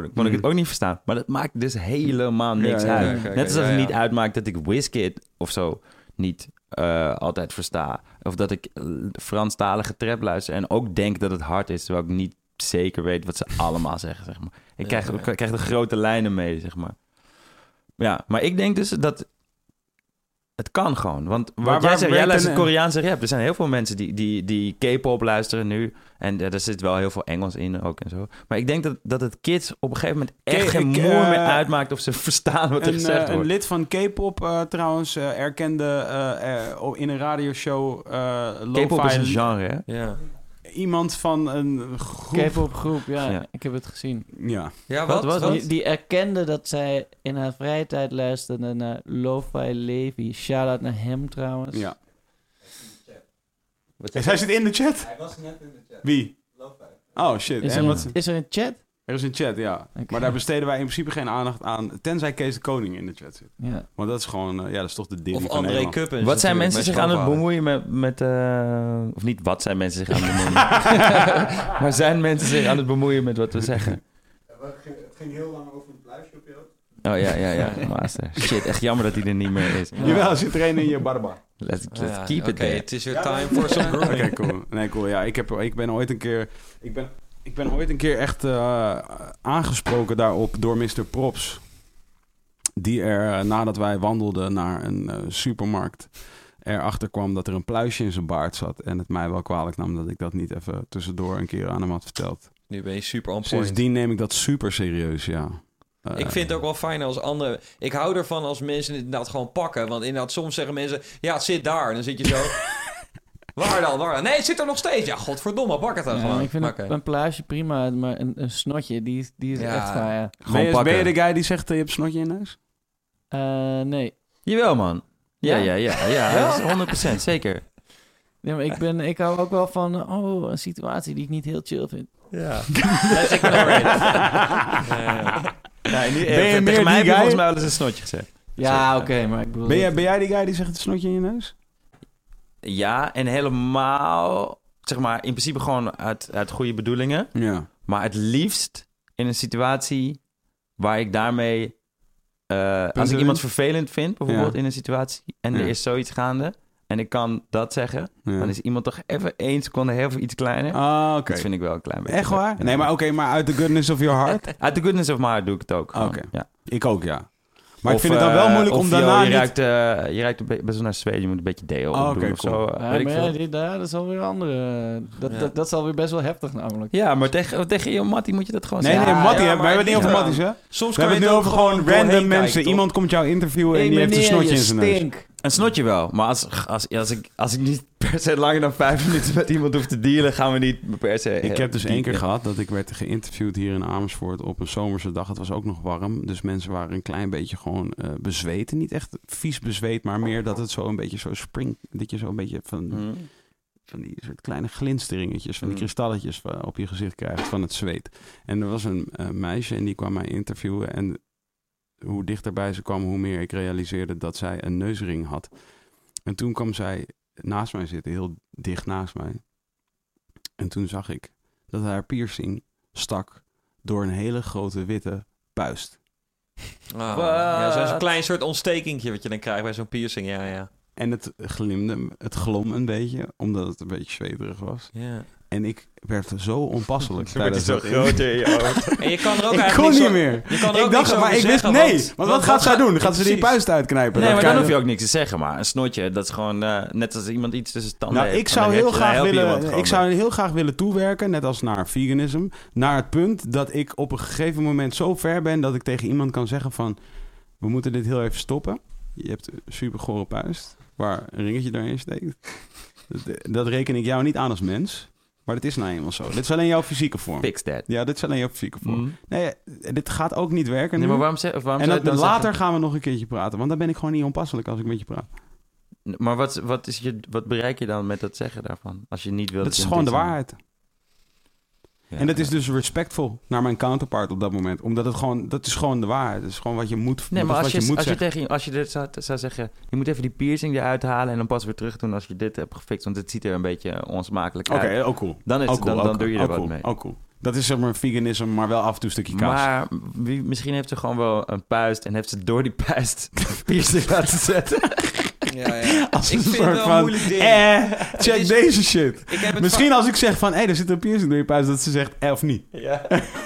D: kon ik het
A: Mhm.
D: ook niet verstaan. Maar dat maakt dus helemaal niks
A: Ja, ja,
D: uit.
A: ja,
C: oké, oké,
D: Net alsof
C: ja,
D: het
C: ja.
D: niet uitmaakt dat ik Wizkid of zo niet eh, altijd versta. Of dat ik eh, Franstalige trap luister en ook denk dat het hard is, terwijl ik niet zeker weet wat ze allemaal zeggen, zeg maar. Ik
C: Ja,
D: krijg,
C: ja.
D: ik krijg de grote lijnen mee, zeg maar. Ja, maar ik denk dus dat het kan gewoon. Want wat
A: Waar-
D: jij
A: waar
D: zegt, jij
A: werkt
D: luistert
A: een-
D: Koreaanse rap. Er zijn heel veel mensen die, die, die K-pop luisteren nu. En eh, er zit wel heel veel Engels in ook en zo. Maar ik denk dat, dat het kids op een gegeven moment echt
A: K-
D: geen
A: ik,
D: moer
A: eh,
D: meer uitmaakt of ze verstaan wat er
A: een, eh,
D: gezegd
A: een
D: wordt.
A: lid van K-pop eh, trouwens eh, erkende eh, eh, oh, in een radioshow eh
D: K-pop is een
A: lo-fi
D: genre, hè?
C: Ja,
A: iemand van een groep.
B: K-pop groep, ja,
D: Ja.
B: Ik heb het gezien.
A: Ja.
C: ja
D: Wat
C: wat?
D: was
C: wat?
B: Die, die erkende dat zij in haar vrije tijd luisterde naar Lo-Fi Levi. Shout-out naar hem trouwens.
A: ja.
C: Wat zeg
A: Zij
C: je?
A: zit in de chat? Hij was net in de chat. Wie? Oh shit.
B: Is,
A: en
B: er,
A: wat,
B: een, is er een chat?
A: er is een chat, ja.
B: Oké.
A: Maar daar besteden wij in principe geen aandacht aan. Tenzij Kees de Koning in de chat zit.
B: Ja.
A: Want dat is gewoon, eh, ja, dat is toch de ding.
C: Of André Kuppens.
D: Wat
C: natuurlijk,
D: zijn mensen zich
C: mijn
D: aan het
C: schoonvader.
D: bemoeien met... met eh, of niet, wat zijn mensen zich aan het bemoeien? maar zijn mensen zich aan het bemoeien met wat we zeggen? Oh ja, ja, ja. Master. Shit, echt jammer dat hij er niet meer is.
B: Ja.
A: Jawel, zit er een in je barba.
D: Let's, let's
C: Ja,
D: keep it
C: oké,
D: there.
C: Het is weer time for some
A: Oké,
C: grooming.
A: cool. Nee, cool. Ja, ik, heb, ik ben ooit een keer... Ik ben, ik ben ooit een keer echt eh, aangesproken daarop door Mr. Props. Die er, eh, nadat wij wandelden naar een eh, supermarkt... erachter kwam dat er een pluisje in zijn baard zat. En het mij wel kwalijk nam dat ik dat niet even tussendoor een keer aan hem had verteld.
C: Nu ben je super on point.
A: Sindsdien neem ik dat super serieus, ja. Eh,
C: Ik vind het ook wel fijn als anderen... Ik hou ervan als mensen het inderdaad gewoon pakken. Want inderdaad, soms zeggen mensen... Ja, het zit daar. En dan zit je zo... waar dan, waar dan? Nee, het zit er nog steeds. Ja, godverdomme, pak het dan
B: Ja,
C: gewoon.
B: ik vind
C: Maar
B: een,
C: oké.
B: een plaatje prima, maar een, een snotje, die, is- die is
C: Ja.
B: echt gaar. ja.
A: Ben
D: Gewoon
A: je, ben
D: pakken.
A: je de guy die zegt, eh, je hebt snotje in je neus?
B: Eh, nee.
D: Jawel, man. Ja,
B: Ja?
D: ja, ja. ja, dat is 100% zeker.
B: nee maar ik, ben, ik hou ook wel van, oh, een situatie die ik niet heel chill vind.
C: Ja. Let's ignore it. ja.
D: Nee, nu,
A: Ben je
D: Eh, tegen
A: meer die
D: mij heb je
A: guy?
D: volgens mij wel eens een snotje gezegd.
B: Ja, oké, maar ik bedoel...
A: Ben jij,
B: dat-
A: ben jij die guy die zegt, het snotje in je neus?
D: Ja, en helemaal, zeg maar, in principe gewoon uit, uit goede bedoelingen.
A: Ja.
D: Maar het liefst in een situatie waar ik daarmee... eh, als ik
A: wint?
D: iemand vervelend vind, bijvoorbeeld,
A: Ja.
D: in een situatie... en
A: Ja.
D: er is zoiets gaande en ik kan dat zeggen...
A: Ja.
D: dan is iemand toch even één seconde heel veel iets kleiner.
A: Ah, oké.
D: Dat vind ik wel een klein beetje.
A: Echt waar?
D: Ja.
A: Nee, maar oké, maar uit the goodness of your heart?
D: Uit the goodness of my heart doe ik het ook. gewoon,
A: Ah, Oké.
D: Ja.
A: ik ook, ja. Maar
D: Of,
A: ik vind het dan wel
D: eh,
A: moeilijk
D: of,
A: om
D: joh,
A: daarna
D: je
A: niet...
D: Ruikt, eh, je ruikt een be- best wel naar Zweden. Je moet een beetje deo
A: Ah,
D: doen
A: oké,
D: of
A: cool.
D: zo. eh,
B: Ja,
D: weet ik
B: maar
D: veel.
B: ja, dit, ja, dat is alweer een andere... eh, Dat,
C: Ja.
B: dat, dat is alweer best wel heftig namelijk.
D: Ja, maar tegen, tegen je mattie moet je dat gewoon
A: Nee, nee,
D: zeggen.
A: Mattie,
C: ja,
A: hè,
C: maar
A: we hebben het
C: het
A: niet over
C: ligt
A: Matties, hè?
C: Soms
A: We
C: kan
A: hebben het nu
C: je het
A: over gewoon
C: doorheen
A: random
C: kijken,
A: mensen.
C: toch?
A: Iemand komt jou interviewen en die heeft een snotje in zijn neus.
D: Een snotje wel. Maar als, als, als, ik, als ik niet per se langer dan vijf minuten met iemand hoef te dealen... gaan we niet per se... eh,
A: Ik heb dus
D: die-
A: één keer gehad dat ik werd geïnterviewd hier in Amersfoort op een zomerse dag. Het was ook nog warm, dus mensen waren een klein beetje gewoon eh bezweten. Niet echt vies bezweet, maar meer dat het zo een beetje zo springt. Dat je zo een beetje van
D: Hm.
A: van die soort kleine glinsteringetjes, van die
D: Mm.
A: kristalletjes van- op je gezicht krijgt van het zweet. En er was een eh, meisje en die kwam mij interviewen. En hoe dichterbij ze kwam, hoe meer ik realiseerde dat zij een neusring had. En toen kwam zij naast mij zitten, heel dicht naast mij. En toen zag ik dat haar piercing stak door een hele grote witte puist.
C: Ah,
D: Wat?
C: ja, zo'n zo'n klein soort ontstekingje wat je dan krijgt bij zo'n piercing. Ja, ja.
A: En het glimde, het glom een beetje, omdat het een beetje zweterig was.
C: ja.
A: En ik werd zo onpasselijk.
D: Toen wordt
A: tijdens
D: hij zo
A: dat
D: groot in je hoofd.
C: En je kan er ook
A: Ik
C: eigenlijk
A: kon
C: niks
A: niet
C: aan-
A: meer.
C: Je kan er
A: Ik dacht
C: ook niks
A: het, maar
C: over
A: ik wist
C: zeggen,
A: nee.
C: want-
A: Want, wat gaat zij doen? Gaat ze die
C: Precies.
A: puist uitknijpen?
D: Nee,
A: Dat
D: maar
A: kan
D: dan hoef je ook niks te zeggen. Maar een snotje, dat is gewoon eh, net als iemand iets tussen tanden
A: Nou,
D: heeft,
A: ik
D: dan
A: zou
D: heb
A: heel
D: je- dan
A: graag
D: help je iemand
A: willen,
D: gewoon
A: ik zou heel graag willen toewerken, net als naar veganisme, naar het punt dat ik op een gegeven moment zo ver ben dat ik tegen iemand kan zeggen van, we moeten dit heel even stoppen. Je hebt een supergore puist waar een ringetje doorheen steekt. Dat, dat reken ik jou niet aan als mens, maar dat is nou eenmaal zo. Dit is alleen jouw fysieke vorm.
D: mee. Fix that.
A: Ja, dit is alleen jouw fysieke vorm.
D: Mm.
A: Nee, dit gaat ook Hm? niet werken.
D: Nee,
A: nu.
D: maar waarom, zeg, of waarom
A: En
D: zou
A: dat,
D: je het dan
A: later gaan we nog een keertje praten, want dan ben ik gewoon niet onpasselijk als ik met je praat.
D: zeggen? Maar wat, wat, is je, wat bereik je dan met dat zeggen daarvan? Als je niet wil...
A: Dat is
D: iemand
A: gewoon de
D: iets aan-
A: waarheid.
D: Ja.
A: En dat is dus respectvol naar mijn counterpart op dat moment. Omdat het gewoon, dat is gewoon de waarheid. Dat is gewoon wat je moet,
D: Nee,
A: dat
D: maar
A: is
D: als
A: wat je,
D: je,
A: moet
D: als je
A: zeggen.
D: tegen als je dit zou, zou zeggen... je moet even die piercing eruit halen... en dan pas weer terug doen als je dit hebt gefixt... want het ziet er een beetje onsmakelijk
A: Oké,
D: uit.
A: ook cool.
D: Dan, is
A: Ook
D: het- dan,
A: cool,
D: dan
A: ook
D: doe je er
A: cool,
D: wat
A: ook cool,
D: mee.
A: Ook cool. Dat is zeg maar veganisme, maar wel af en toe een stukje kaas.
D: Maar wie, misschien heeft ze gewoon wel een puist... en heeft ze door die puist een piercing laten zetten.
C: Ja, ja.
A: Als
C: Ik
A: een
C: vind het
A: soort
C: wel
A: van,
C: een moeilijk ding.
A: Eh, check
C: is-
A: deze shit.
C: Ik heb het
A: Misschien als ik zeg van, hé, hey, er zit een piercing door je puist, dat ze zegt, eh, of niet.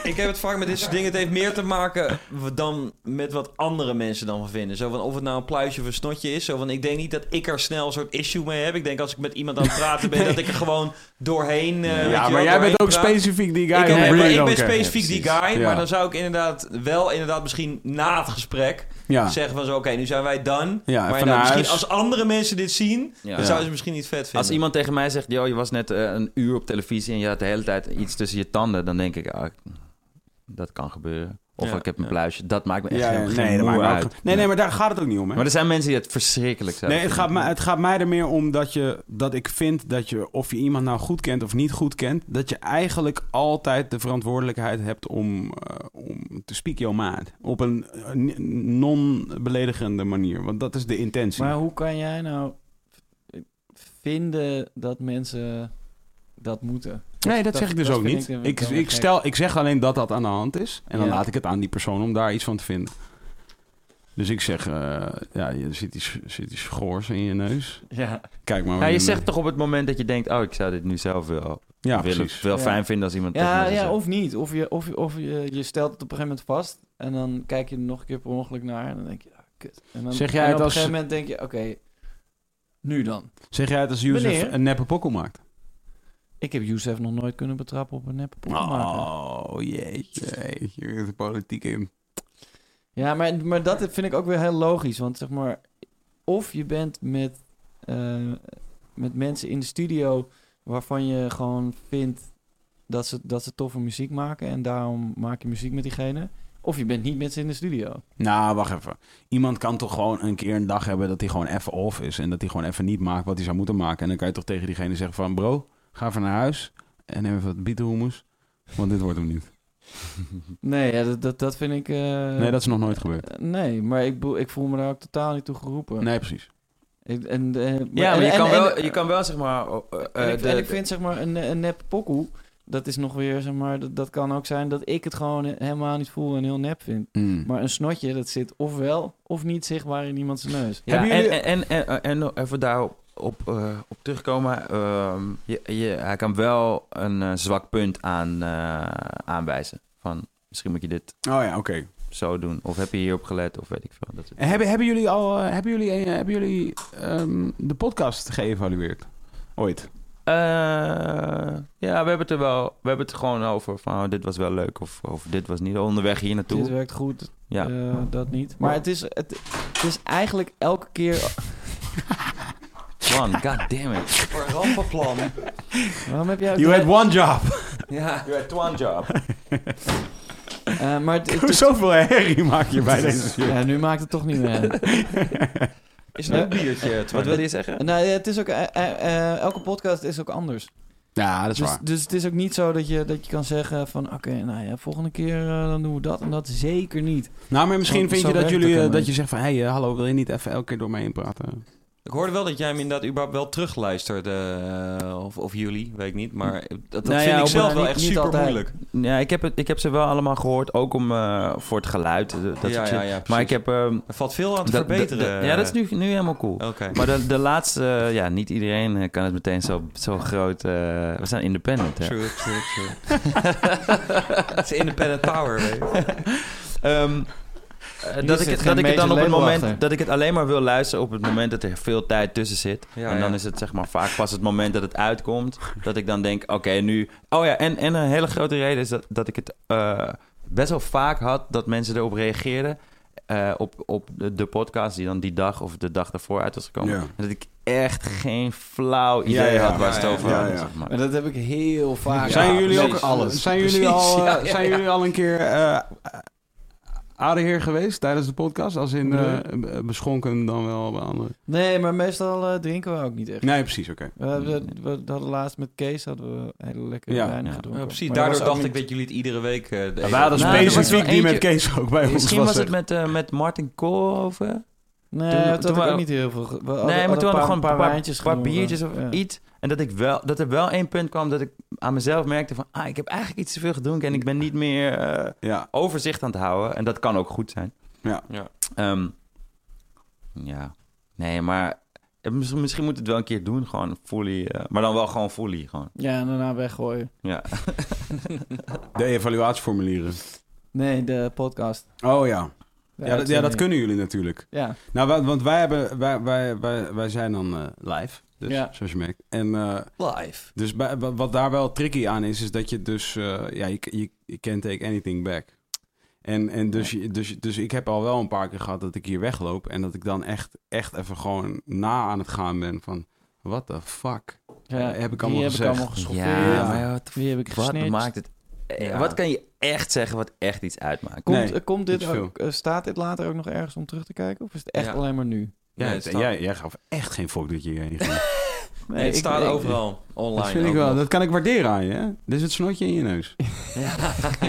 C: Ik heb het vaak met dit soort dingen. Het heeft meer te maken dan met wat andere mensen dan van vinden. Zo van of het nou een pluisje of een snotje is. Zo van ik denk niet dat ik er snel een soort issue mee heb. Ik denk als ik met iemand aan het praten ben, dat ik er gewoon doorheen. eh, weet je
A: ja,
C: wel,
A: maar jij bent
C: doorheen
A: ook
C: praat.
A: specifiek die guy.
C: Ik,
A: who
C: heb-
A: really
C: maar ik
A: don't
C: ben
A: care.
C: specifiek die
D: Ja,
C: guy,
A: Ja.
C: maar dan zou ik inderdaad wel inderdaad misschien na het gesprek
A: Ja,
C: zeggen van zo, oké, nu zijn wij dan.
A: Ja,
C: maar
A: van
C: inderdaad,
A: naar
C: misschien
A: huis.
C: als andere mensen dit zien,
D: Ja.
C: dan zouden ze misschien niet vet vinden.
D: Als iemand tegen mij zegt, joh, je was net eh, een uur op televisie en je had de hele tijd iets tussen je tanden, dan denk ik, ah, dat kan gebeuren. Of
C: Ja,
D: ik heb een
C: ja.
D: pluisje. Dat maakt me echt
A: Ja, ja,
D: helemaal geen
A: nee, dat maakt
D: moe
A: me ook-
D: uit.
A: nee, nee, maar daar gaat het ook niet om, hè.
D: Maar er zijn mensen die het verschrikkelijk zijn.
A: Nee, het gaat, mij, het gaat mij er meer om dat, je, dat ik vind dat je, of je iemand nou goed kent of niet goed kent, dat je eigenlijk altijd de verantwoordelijkheid hebt om, eh, om te speak your mind. Op een eh, ni- non-beledigende manier, want dat is de intentie.
B: Maar hoe kan jij nou v- vinden dat mensen dat moeten?
A: nee, dat,
B: dat-
A: zeg ik dus
B: dat
A: ook
B: vind
A: niet.
B: ik
A: Ik,
B: dan
A: ik,
B: weer gek.
A: stel, ik zeg alleen dat dat aan de hand is en dan
B: Ja.
A: laat ik het aan die persoon om daar iets van te vinden. Dus ik zeg, eh, ja, je zit die, zit die schors in je neus.
D: Ja.
A: Kijk maar. waar
D: je
A: je
D: zegt
A: mee-
D: toch op het moment dat je denkt... oh, ik zou dit nu zelf wel,
A: Ja,
D: willen,
A: Ah, precies.
D: wel
B: Ja.
D: fijn vinden als iemand... tegen
B: Ja,
D: me zou
B: ja,
D: zeggen.
B: of niet. Of, je, of, je- of je, je stelt het op een gegeven moment vast. En dan kijk je er nog een keer per ongeluk naar. En dan denk je, ah, kut. En dan,
A: Zeg jij
B: en
A: het
B: op
A: als-
B: een gegeven moment denk je, oké, nu dan.
A: Zeg jij het als Jozef
B: Meneer?
A: een neppe pokkel maakt?
B: Ik heb Youssef nog nooit kunnen betrappen op een neppe poppen maken.
E: Oh,
A: Dus-
E: jeetje. Je bent de politiek in.
B: Ja, maar, maar dat vind ik ook weer heel logisch. Want zeg maar, of je bent met, eh, met mensen in de studio waarvan je gewoon vindt dat ze, dat ze toffe muziek maken en daarom maak je muziek met diegene. Of je bent niet met ze in de studio.
A: Nou, wacht even. Iemand kan toch gewoon een keer een dag hebben dat hij gewoon even off is. En dat hij gewoon even niet maakt wat hij zou moeten maken. En dan kan je toch tegen diegene zeggen van... Bro, ga even naar huis en neem even wat bietenhummus. Want dit wordt hem niet.
B: Nee, ja, dat, dat, dat vind ik. eh,
A: Nee, dat is nog nooit gebeurd.
B: eh, Nee, maar ik, bedoel, ik voel me daar ook totaal niet toe geroepen.
A: Nee, precies.
B: Ik- en, eh,
D: Ja, maar
B: en-
D: je, kan
B: en-
D: wel,
B: en-
D: je kan wel, zeg maar... oh, eh,
B: En, ik,
D: de-
B: en ik vind zeg maar een, een nep pokoe, dat is nog weer zeg maar, dat, dat kan ook zijn dat ik het gewoon he- helemaal niet voel en heel nep vind.
A: Mm.
B: Maar een snotje, dat zit ofwel of niet zichtbaar in iemands neus.
D: Ja,
A: Hebben jullie-
D: en, en, en, en, en nog even daarop op, eh, op terugkomen. ehm, je, je, hij kan wel een eh, zwak punt aan, eh, aanwijzen. Van misschien moet je dit
A: Oh ja, oké.
D: zo doen. Of heb je hierop gelet, of weet ik veel. Dat soort-
A: En Hebben, hebben jullie al... eh, Hebben jullie, eh, hebben jullie ehm, de podcast geëvalueerd? Ooit?
D: Eh, ja, we hebben het er wel. We hebben het gewoon over van oh, dit was wel leuk of, of dit was niet. Onderweg hier
B: Dit
D: naartoe.
B: werkt goed,
D: Ja.
B: eh, dat niet. Maar het is, het, het is eigenlijk elke keer...
D: Man, god damn it.
C: Voor een rampenplan.
B: Waarom heb jij... het-
A: one job.
C: ja.
D: You had one job.
B: Eh, maar het, het is-
A: Zoveel herrie maak je bij deze shit.
B: ja, nu maakt het toch niet meer uit.
C: Is het ook een biertje? Twan?
D: Wat wilde je zeggen?
B: Nou, ja, het is ook, eh, eh, eh, elke podcast is ook anders.
A: Ja, dat is
B: Dus,
A: waar.
B: dus het is ook niet zo dat je, dat je kan zeggen van... Oké, nou ja, volgende keer eh, dan doen we dat en dat zeker niet.
A: Nou, maar
B: Zo-
A: misschien vind
B: zo
A: je dat
B: werkt het
A: jullie eh,
B: helemaal
A: dat je zegt van... Hé, hey, eh, hallo, wil je niet even elke keer door mij heen praten?
C: Ik hoorde wel dat jij hem inderdaad überhaupt wel terugluisterde. eh, of, of jullie, weet ik niet. Maar dat, dat
D: Nou ja,
C: vind ik
D: op-
C: zelf
B: nou,
C: wel
B: niet-
C: echt
B: niet
C: super
B: altijd.
C: moeilijk.
D: Ja, ik heb, het, ik heb ze wel allemaal gehoord. Ook om, eh, voor het geluid. eh, Dat soort
C: ja,
D: shit.
C: ja, ja,
D: maar
C: precies.
D: ik heb... ehm,
C: Er valt veel aan te
D: Dat-
C: verbeteren. Oh.
D: dat- dat- ja, dat is nu, nu helemaal cool.
C: Oké.
D: Maar de, de laatste, eh, ja, niet iedereen eh, kan het meteen zo, zo groot. eh, we zijn independent, hè?
C: True, true, true. Het is independent power, weet je.
D: Ehm, eh,
B: Hier
D: dat
B: zit
D: ik, het-
B: geen
D: dat ik het dan op het
B: major label
D: moment
B: achter.
D: dat ik het alleen maar wil luisteren op het moment dat er veel tijd tussen zit.
C: Ja,
D: en dan
C: ja.
D: is het zeg maar vaak pas het moment dat het uitkomt. Dat ik dan denk, oké, nu. Oh ja, en, en een hele grote reden is dat, dat ik het eh, best wel vaak had dat mensen erop reageerden. eh, op op de, de podcast die dan die dag of de dag daarvoor uit was gekomen.
A: Ja.
D: En Dat ik echt geen flauw idee
A: ja,
D: had waar ze het
C: ja,
D: over
A: ja,
D: hadden.
A: ja.
D: Zeg maar.
B: Maar dat heb ik heel vaak.
A: zijn
B: Ja,
A: jullie ook
B: precies.
A: alles? Zijn jullie,
C: Precies,
A: al, eh,
C: ja, ja,
A: zijn
C: ja.
A: jullie al een keer eh adeheer geweest tijdens de podcast? Als in eh, b- beschonken dan wel bij anderen?
B: Nee, maar meestal eh, drinken we ook niet echt.
A: Nee, precies, oké.
B: We, we- we hadden laatst met Kees hadden we hele lekker
A: Ja.
B: wijn
D: Ja.
B: gedronken.
C: Ja, precies,
B: Maar dat
C: daardoor
B: was ook
C: dacht ik
B: niet-
C: dat jullie het iedere week... eh, deden.
A: We hadden
D: Nou, er was
A: specifiek
D: wel
A: die met
D: eentje-
A: Kees ook bij ons.
D: Misschien was het
A: echt-
D: met, eh, met Martin Koolhoven.
B: Nee,
D: toen- toen
B: dat had ik
D: waren-
B: ook niet heel veel... ge- we
D: nee,
B: hadden-
D: maar toen hadden we gewoon een paar,
B: wijntjes
D: paar
B: gedronken.
D: biertjes of
B: Ja.
D: iets. En dat, ik wel, dat er wel één punt kwam dat ik aan mezelf merkte van... Ah, ik heb eigenlijk iets te veel gedronken en ik ben niet meer eh,
A: Ja,
D: overzicht aan het houden. En dat kan ook goed zijn.
A: Ja.
C: Ja.
D: Ehm, ja. Nee, maar eh, mis- misschien moet het wel een keer doen. Gewoon fully. eh, maar dan wel gewoon fully. Gewoon.
B: Ja, en daarna weggooien.
D: Ja.
A: de evaluatieformulieren.
B: Nee, de podcast.
A: Oh ja.
B: De
A: Ja, dat, ja, dat
B: uitzending.
A: kunnen jullie natuurlijk.
B: Ja,
A: Nou, wa- want wij, hebben, wij, wij, wij, wij zijn dan eh, live, dus,
B: Ja.
A: zoals je merkt. En eh,
C: Live.
A: Dus bij- wa- wat daar wel tricky aan is, is dat je dus... eh, ja, je, je, je can take anything back. En, en dus, je- dus, dus ik heb al wel een paar keer gehad dat ik hier wegloop... en dat ik dan echt, echt even gewoon na aan het gaan ben van... What the fuck?
B: ja.
A: Eh, heb ik
B: Die
A: allemaal
B: heb
A: gezegd.
B: ik allemaal geschoffeerd.
A: Ja.
D: maar wat,
B: Wie heb ik
D: wat
B: gesnitcht?
D: maakt het... eh,
A: Ja.
D: Wat kan je echt zeggen wat echt iets uitmaakt?
B: Komt,
A: Nee,
B: eh, komt dit
A: niet veel.
B: ook, eh, staat dit later ook nog ergens om terug te kijken? Of is het echt
C: Ja.
B: alleen maar nu?
A: Ja,
C: Nee,
A: het-
C: het staat-
A: jij, jij gaf echt geen fok dat je hierheen ging.
B: Nee,
C: Nee, het
B: ik-
C: staat
B: ik-
C: overal. Online
A: dat vind ik
C: ook
A: wel.
C: nog.
A: Dat kan ik waarderen aan je. hè? Dit is het snotje in je neus.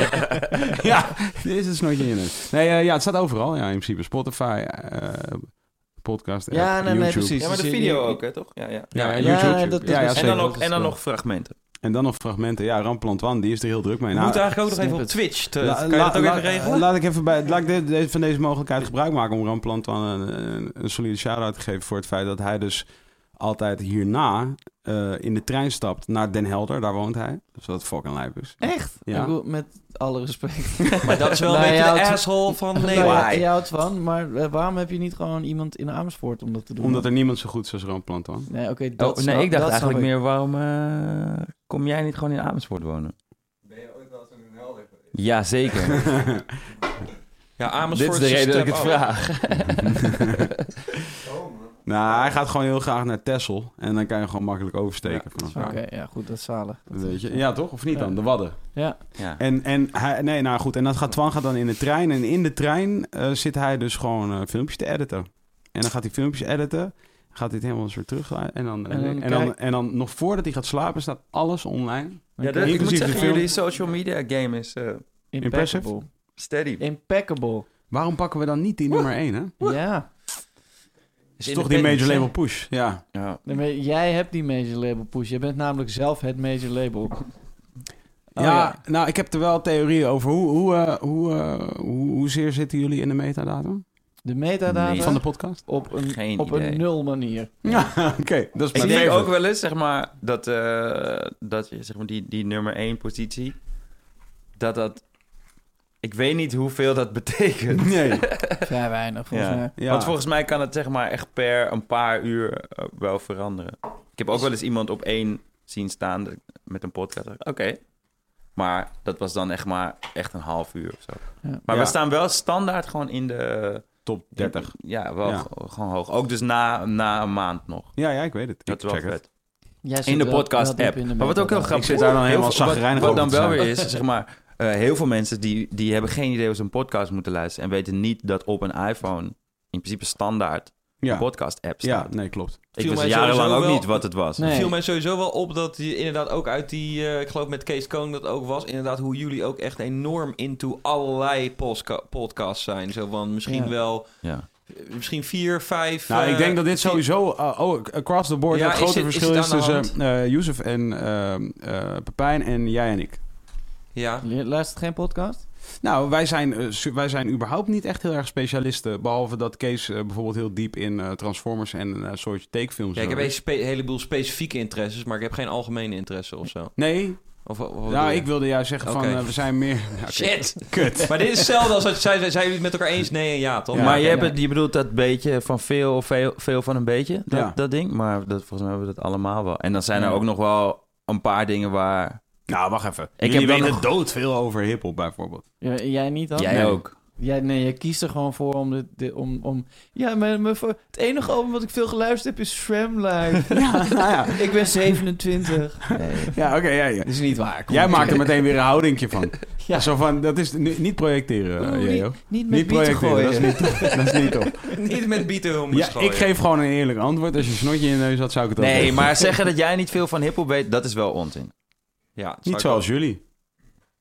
A: ja, dit is het snotje in je neus. Nee, eh, ja, het staat overal. Ja, in principe Spotify, eh, podcast,
B: Ja,
A: app,
B: nee, nee,
A: YouTube.
B: precies.
D: Ja, maar de
B: Dus je-
D: video
B: je-
D: ook, hè, toch? Ja, ja.
A: Ja,
B: Ja,
A: YouTube.
B: dat- dat
A: Ja, ja,
B: was-
D: en
A: zeker.
D: dan ook, en dan nog fragmenten.
A: En dan nog fragmenten. Ja, Ramplant Wan, die is er heel druk mee.
C: We
A: Nou,
C: moeten eigenlijk ook nog even op
B: snippet.
C: Twitch. Te,
A: La-
C: kan je
A: la-
C: dat ook
A: la-
C: even regelen?
A: Laat ik even bij, laat ik de- de- van deze mogelijkheid gebruik maken om Ramplant dan een, een, een solide shout-out te geven voor het feit dat hij dus altijd hierna eh, in de trein stapt naar Den Helder. Daar woont hij. Dus dat fucking lijp is.
B: Echt?
A: Ja.
B: Ik bedoel, met alle respect.
C: maar dat is wel een
B: Nou,
C: beetje
B: jij
C: de
B: houdt-
C: asshole van
B: Nou ja,
C: Nederland.
B: je houdt van, maar eh, waarom heb je niet gewoon iemand in Amersfoort om dat te doen?
A: Omdat er niemand zo goed is als Ramplant dan.
B: Nee, oké,
D: Oh,
B: dat
D: nee,
B: snap-
D: ik dacht
B: dat snap
D: eigenlijk
B: ik.
D: meer, waarom eh, kom jij niet gewoon in Amersfoort wonen? Ben je ooit wel eens in Den Helder Ja, zeker.
C: Ja,
D: Dit
C: Amersfoort
D: is de reden dat ik
C: step
D: het
C: up.
D: vraag.
A: Nou, hij gaat gewoon heel graag naar Texel. En dan kan je gewoon makkelijk oversteken. vanaf daar.
B: Oké, ja, goed, dat is zalig. Dat
A: Weet
B: is-
A: je? Ja, toch? Of niet dan? De Wadden.
B: Ja,
D: Ja.
A: En, en hij, nee, nou goed. En dat gaat, Twan gaat dan in de trein. En in de trein eh, zit hij dus gewoon eh, filmpjes te editen. En dan gaat hij filmpjes editen. Gaat dit helemaal een soort terug. En dan, en
B: En
A: dan,
B: dan
A: en dan,
B: kijk-
A: nog voordat hij gaat slapen staat alles online.
D: Ja,
B: dat-
D: dat, ik moet
A: Inclusief de
D: zeggen,
A: film.
D: jullie social media game is eh,
A: Impressive.
B: impeccable.
D: steady.
B: Impeccable.
A: Waarom pakken we dan niet die nummer 1, hè?
B: Ja.
A: Is toch die major label push. Ja.
D: Ja.
B: Nee, maar jij hebt die major label push. Je bent namelijk zelf het major label.
A: Ja,
B: ja.
A: nou, ik heb er wel theorieën over. Hoe, hoe, eh, hoe, eh, hoe, hoezeer zitten jullie in de metadatum
B: De metadata
D: Nee.
A: van de podcast?
B: op een,
D: Geen
B: op een
D: idee.
B: nul manier.
A: Ja, oké. Dat is
D: Ik
A: mijn
D: denk
A: favorite.
D: ook wel eens, zeg maar, dat, eh, dat je, zeg maar, die, die nummer 1 positie, dat dat... Ik weet niet hoeveel dat betekent.
A: Nee.
B: Vrij weinig, volgens
D: Ja.
B: mij.
A: Ja.
D: Want volgens mij kan het zeg maar echt per een paar uur eh, wel veranderen. Ik heb ook wel eens iemand op één zien staan dat ik- met een podcast. dacht ik, Oké. Maar dat was dan echt maar echt een half uur of zo.
B: Ja.
D: Maar
A: Ja.
D: we staan wel standaard gewoon in de...
A: top 30.
D: Ja, wel
A: Ja.
D: g- gewoon hoog. Ook dus na, na een maand nog.
A: Ja, ja, ik weet het.
D: Dat
A: Ik
D: is wel
A: check het.
D: vet.
B: Jij zit
D: In de
B: wel- wel diep
D: podcast-app.
B: in de
D: Maar wat ook heel
B: metadata.
D: grappig
A: Ik zit
D: is...
A: daar dan
D: heel
A: helemaal
D: veel- wat-
A: chagrijnig
D: Wat
A: over
D: dan
A: te
D: wel
A: zijn.
D: weer is, zeg maar... eh, heel veel mensen die, die hebben geen idee hoe ze een podcast moeten luisteren... en weten niet dat op een iPhone in principe standaard
A: Ja.
D: een podcast-app staat.
A: Ja, nee, klopt.
D: Ik
C: Viel
D: wist
C: mij
D: jarenlang ook
C: sowieso wel-
D: niet wat het was.
B: Nee.
C: viel mij sowieso wel op dat je inderdaad ook uit die, eh, ik geloof met Kees Koon dat ook was, inderdaad hoe jullie ook echt enorm into allerlei posca- podcasts zijn. Zo van misschien
B: Ja.
C: wel,
D: Ja.
C: eh, misschien vier, vijf.
A: Nou,
C: eh,
A: ik denk dat dit
C: vier-
A: sowieso eh, oh, across the board
C: Ja,
A: het
C: is
A: grote
C: het- is
A: verschil
C: het
A: is,
C: aan de
A: tussen eh Yusuf en eh, eh, Pepijn en jij en ik.
C: Ja,
B: Je luistert geen podcast?
A: Nou, wij zijn, eh, su- wij zijn überhaupt niet echt heel erg specialisten. Behalve dat Kees eh, bijvoorbeeld heel diep in eh, Transformers en eh soort takefilms
C: ja ik
A: zo
C: heb een
A: is.
C: spe- heleboel specifieke interesses, maar ik heb geen algemene interesse of zo.
A: Nee,
C: Of, of- wat bedoel
A: nou,
C: je?
A: ik wilde juist zeggen van
C: Oké.
A: eh, we zijn meer...
C: Shit!
A: Kut.
C: Maar dit is hetzelfde als dat zij, zij, zijn jullie het met elkaar eens nee en ja, toch?
A: Ja.
D: Oh, maar
A: oké,
D: je, hebt, het- je bedoelt dat beetje van veel of veel, veel van een beetje, dat,
A: Ja.
D: dat ding. Maar dat, volgens mij hebben we dat allemaal wel. En dan zijn er ook nog wel een paar dingen waar...
A: Nou, wacht even.
D: heb
A: Jullie
D: dan
A: weten
D: nog-
A: dood veel over hiphop bijvoorbeeld.
B: Ja, jij niet dan?
D: jij
A: nee.
D: ook.
B: Jij, nee, je kiest er gewoon voor om... Dit, dit- om, om ja, mijn, mijn, voor- het enige album wat ik veel geluisterd heb is Shram Live.
A: Nou
B: Ik ben 27.
A: Ja, oké, ja, ja.
B: Dat is niet waar. kom
A: Jij
B: op.
A: maakt er meteen weer een houdingje van.
B: Ja.
A: Zo van, dat is nu- niet projecteren, eh,
B: Oeh,
A: Jeo.
B: niet, niet met
A: Niet
B: bieten
A: projecteren, dat
B: gooien.
A: is niet, dat is niet top.
C: Niet met bieten hummus
A: Ja, ik geef gewoon een eerlijk antwoord. Als je een snotje in je neus had, zou ik het ook
D: Nee,
A: doen.
D: maar zeggen dat jij niet veel van hiphop weet, dat is wel onzin.
C: Ja, dat zou
A: Niet
C: ik
A: zoals jullie.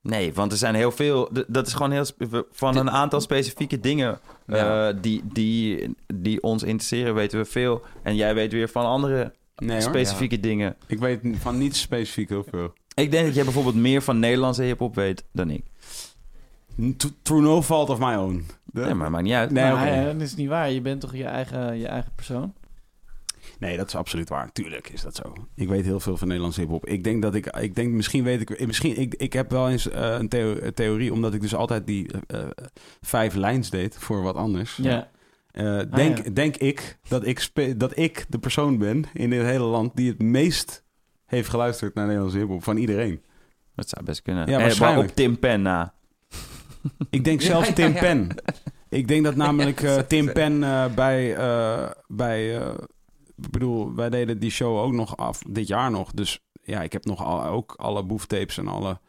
D: Nee, want er zijn heel veel... d- Dat is gewoon heel... spe- Van een aantal specifieke dingen eh,
C: Ja.
D: die, die, die ons interesseren, weten we veel. En jij weet weer van andere
A: Nee hoor.
D: specifieke dingen.
A: Ik weet van niets specifiek heel veel.
D: Ik denk dat jij bijvoorbeeld meer van Nederlandse hiphop weet dan ik.
A: T- Through no fault of my own. De-
D: Nee, maar maakt niet uit.
A: Nee,
B: Maar,
A: oké.
B: eh, dat is niet waar. Je bent toch je eigen, je eigen persoon?
A: Nee, dat is absoluut waar. Tuurlijk is dat zo. Ik weet heel veel van Nederlandse hiphop. Ik denk dat ik, ik denk misschien weet ik, misschien, ik, ik heb wel eens eh, een theo- een theorie, omdat ik dus altijd die eh, eh, vijf lijns deed voor wat anders.
B: Ja.
A: Eh, denk,
B: Ah, ja.
A: denk ik dat ik, spe- dat ik de persoon ben in dit hele land die het meest heeft geluisterd naar Nederlandse hiphop van iedereen.
D: Dat zou best kunnen.
A: Ja,
D: Eh, maar
A: waarschijnlijk.
D: op Tim Pen na.
A: Ik denk
C: Ja,
A: zelfs
C: ja,
A: Tim
C: ja.
A: Pen. Ik denk dat namelijk eh, Tim Pen eh, bij, eh, bij eh, ik bedoel, wij deden die show ook nog af, dit jaar nog. Dus ja, ik heb nog al, ook alle boeftapes en alle,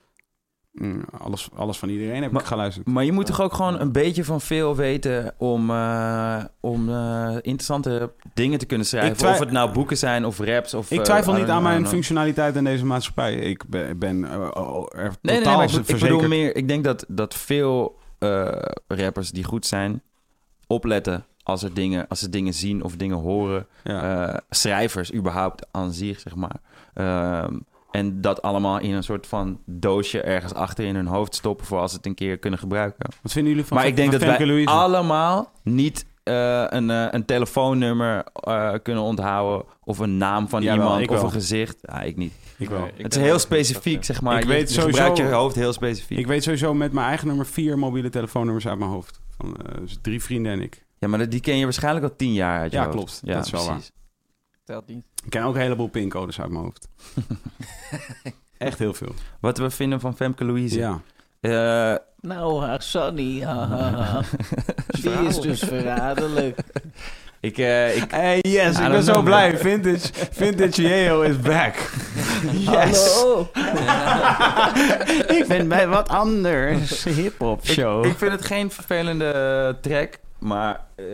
A: mm, alles, alles van iedereen heb
D: Maar-
A: ik geluisterd.
D: Maar je moet toch ook gewoon een beetje van veel weten om, eh, om eh, interessante dingen te kunnen schrijven.
A: Ik twi-
D: Of het nou boeken zijn of raps. Of,
A: Ik
D: eh,
A: twijfel
D: I
A: niet
D: don't
A: aan
D: know,
A: mijn
D: I don't know.
A: functionaliteit in deze maatschappij. Ik ben, ben eh, oh, er
D: Nee, nee, nee,
A: totaal
D: maar ik, bedoel- ik
A: verzekerd.
D: bedoel meer... Ik denk dat, dat veel eh, rappers die goed zijn, opletten als, er dingen, als ze dingen zien of dingen horen.
A: Ja.
D: eh, schrijvers überhaupt aan zich, zeg maar. Ehm, En dat allemaal in een soort van doosje ergens achter in hun hoofd stoppen voor als ze het een keer kunnen gebruiken.
A: Wat vinden jullie van
D: maar ik denk
A: van
D: dat wij
A: Femke Louise?
D: allemaal niet eh, een, eh, een telefoonnummer eh, kunnen onthouden of een naam van
A: Jawel,
D: iemand
A: ik
D: of
A: wel.
D: een gezicht. Ja, ik niet.
A: Ik wel.
C: Nee, ik
D: het is
C: ben
D: heel
C: ook-
D: specifiek, zeg maar.
A: Ik
D: je
A: weet
D: je
A: sowieso-
D: gebruikt je hoofd heel specifiek.
A: Ik weet sowieso met mijn eigen nummer vier mobiele telefoonnummers uit mijn hoofd. Van eh, dus drie vrienden en ik.
D: Ja, maar die ken je waarschijnlijk al tien jaar uit je
A: Ja,
D: hoofd.
A: klopt. Dat is wel waar.
D: precies.
B: Telt niet.
A: Ik ken ook een heleboel pincodes uit mijn hoofd. Echt heel veel.
D: Wat we vinden van Femke Louise.
A: Ja.
D: Eh,
B: Nou, haar Sunny, ha, ha, ha. die is dus verraderlijk.
D: ik, eh, ik,
A: Hey, yes,
D: I don't know, man.
A: Vintage, vintage Yale is back.
B: Hallo.
D: ik ben bij wat anders.
A: Hip-hop
D: Ik, ik vind het geen vervelende eh, track, maar eh,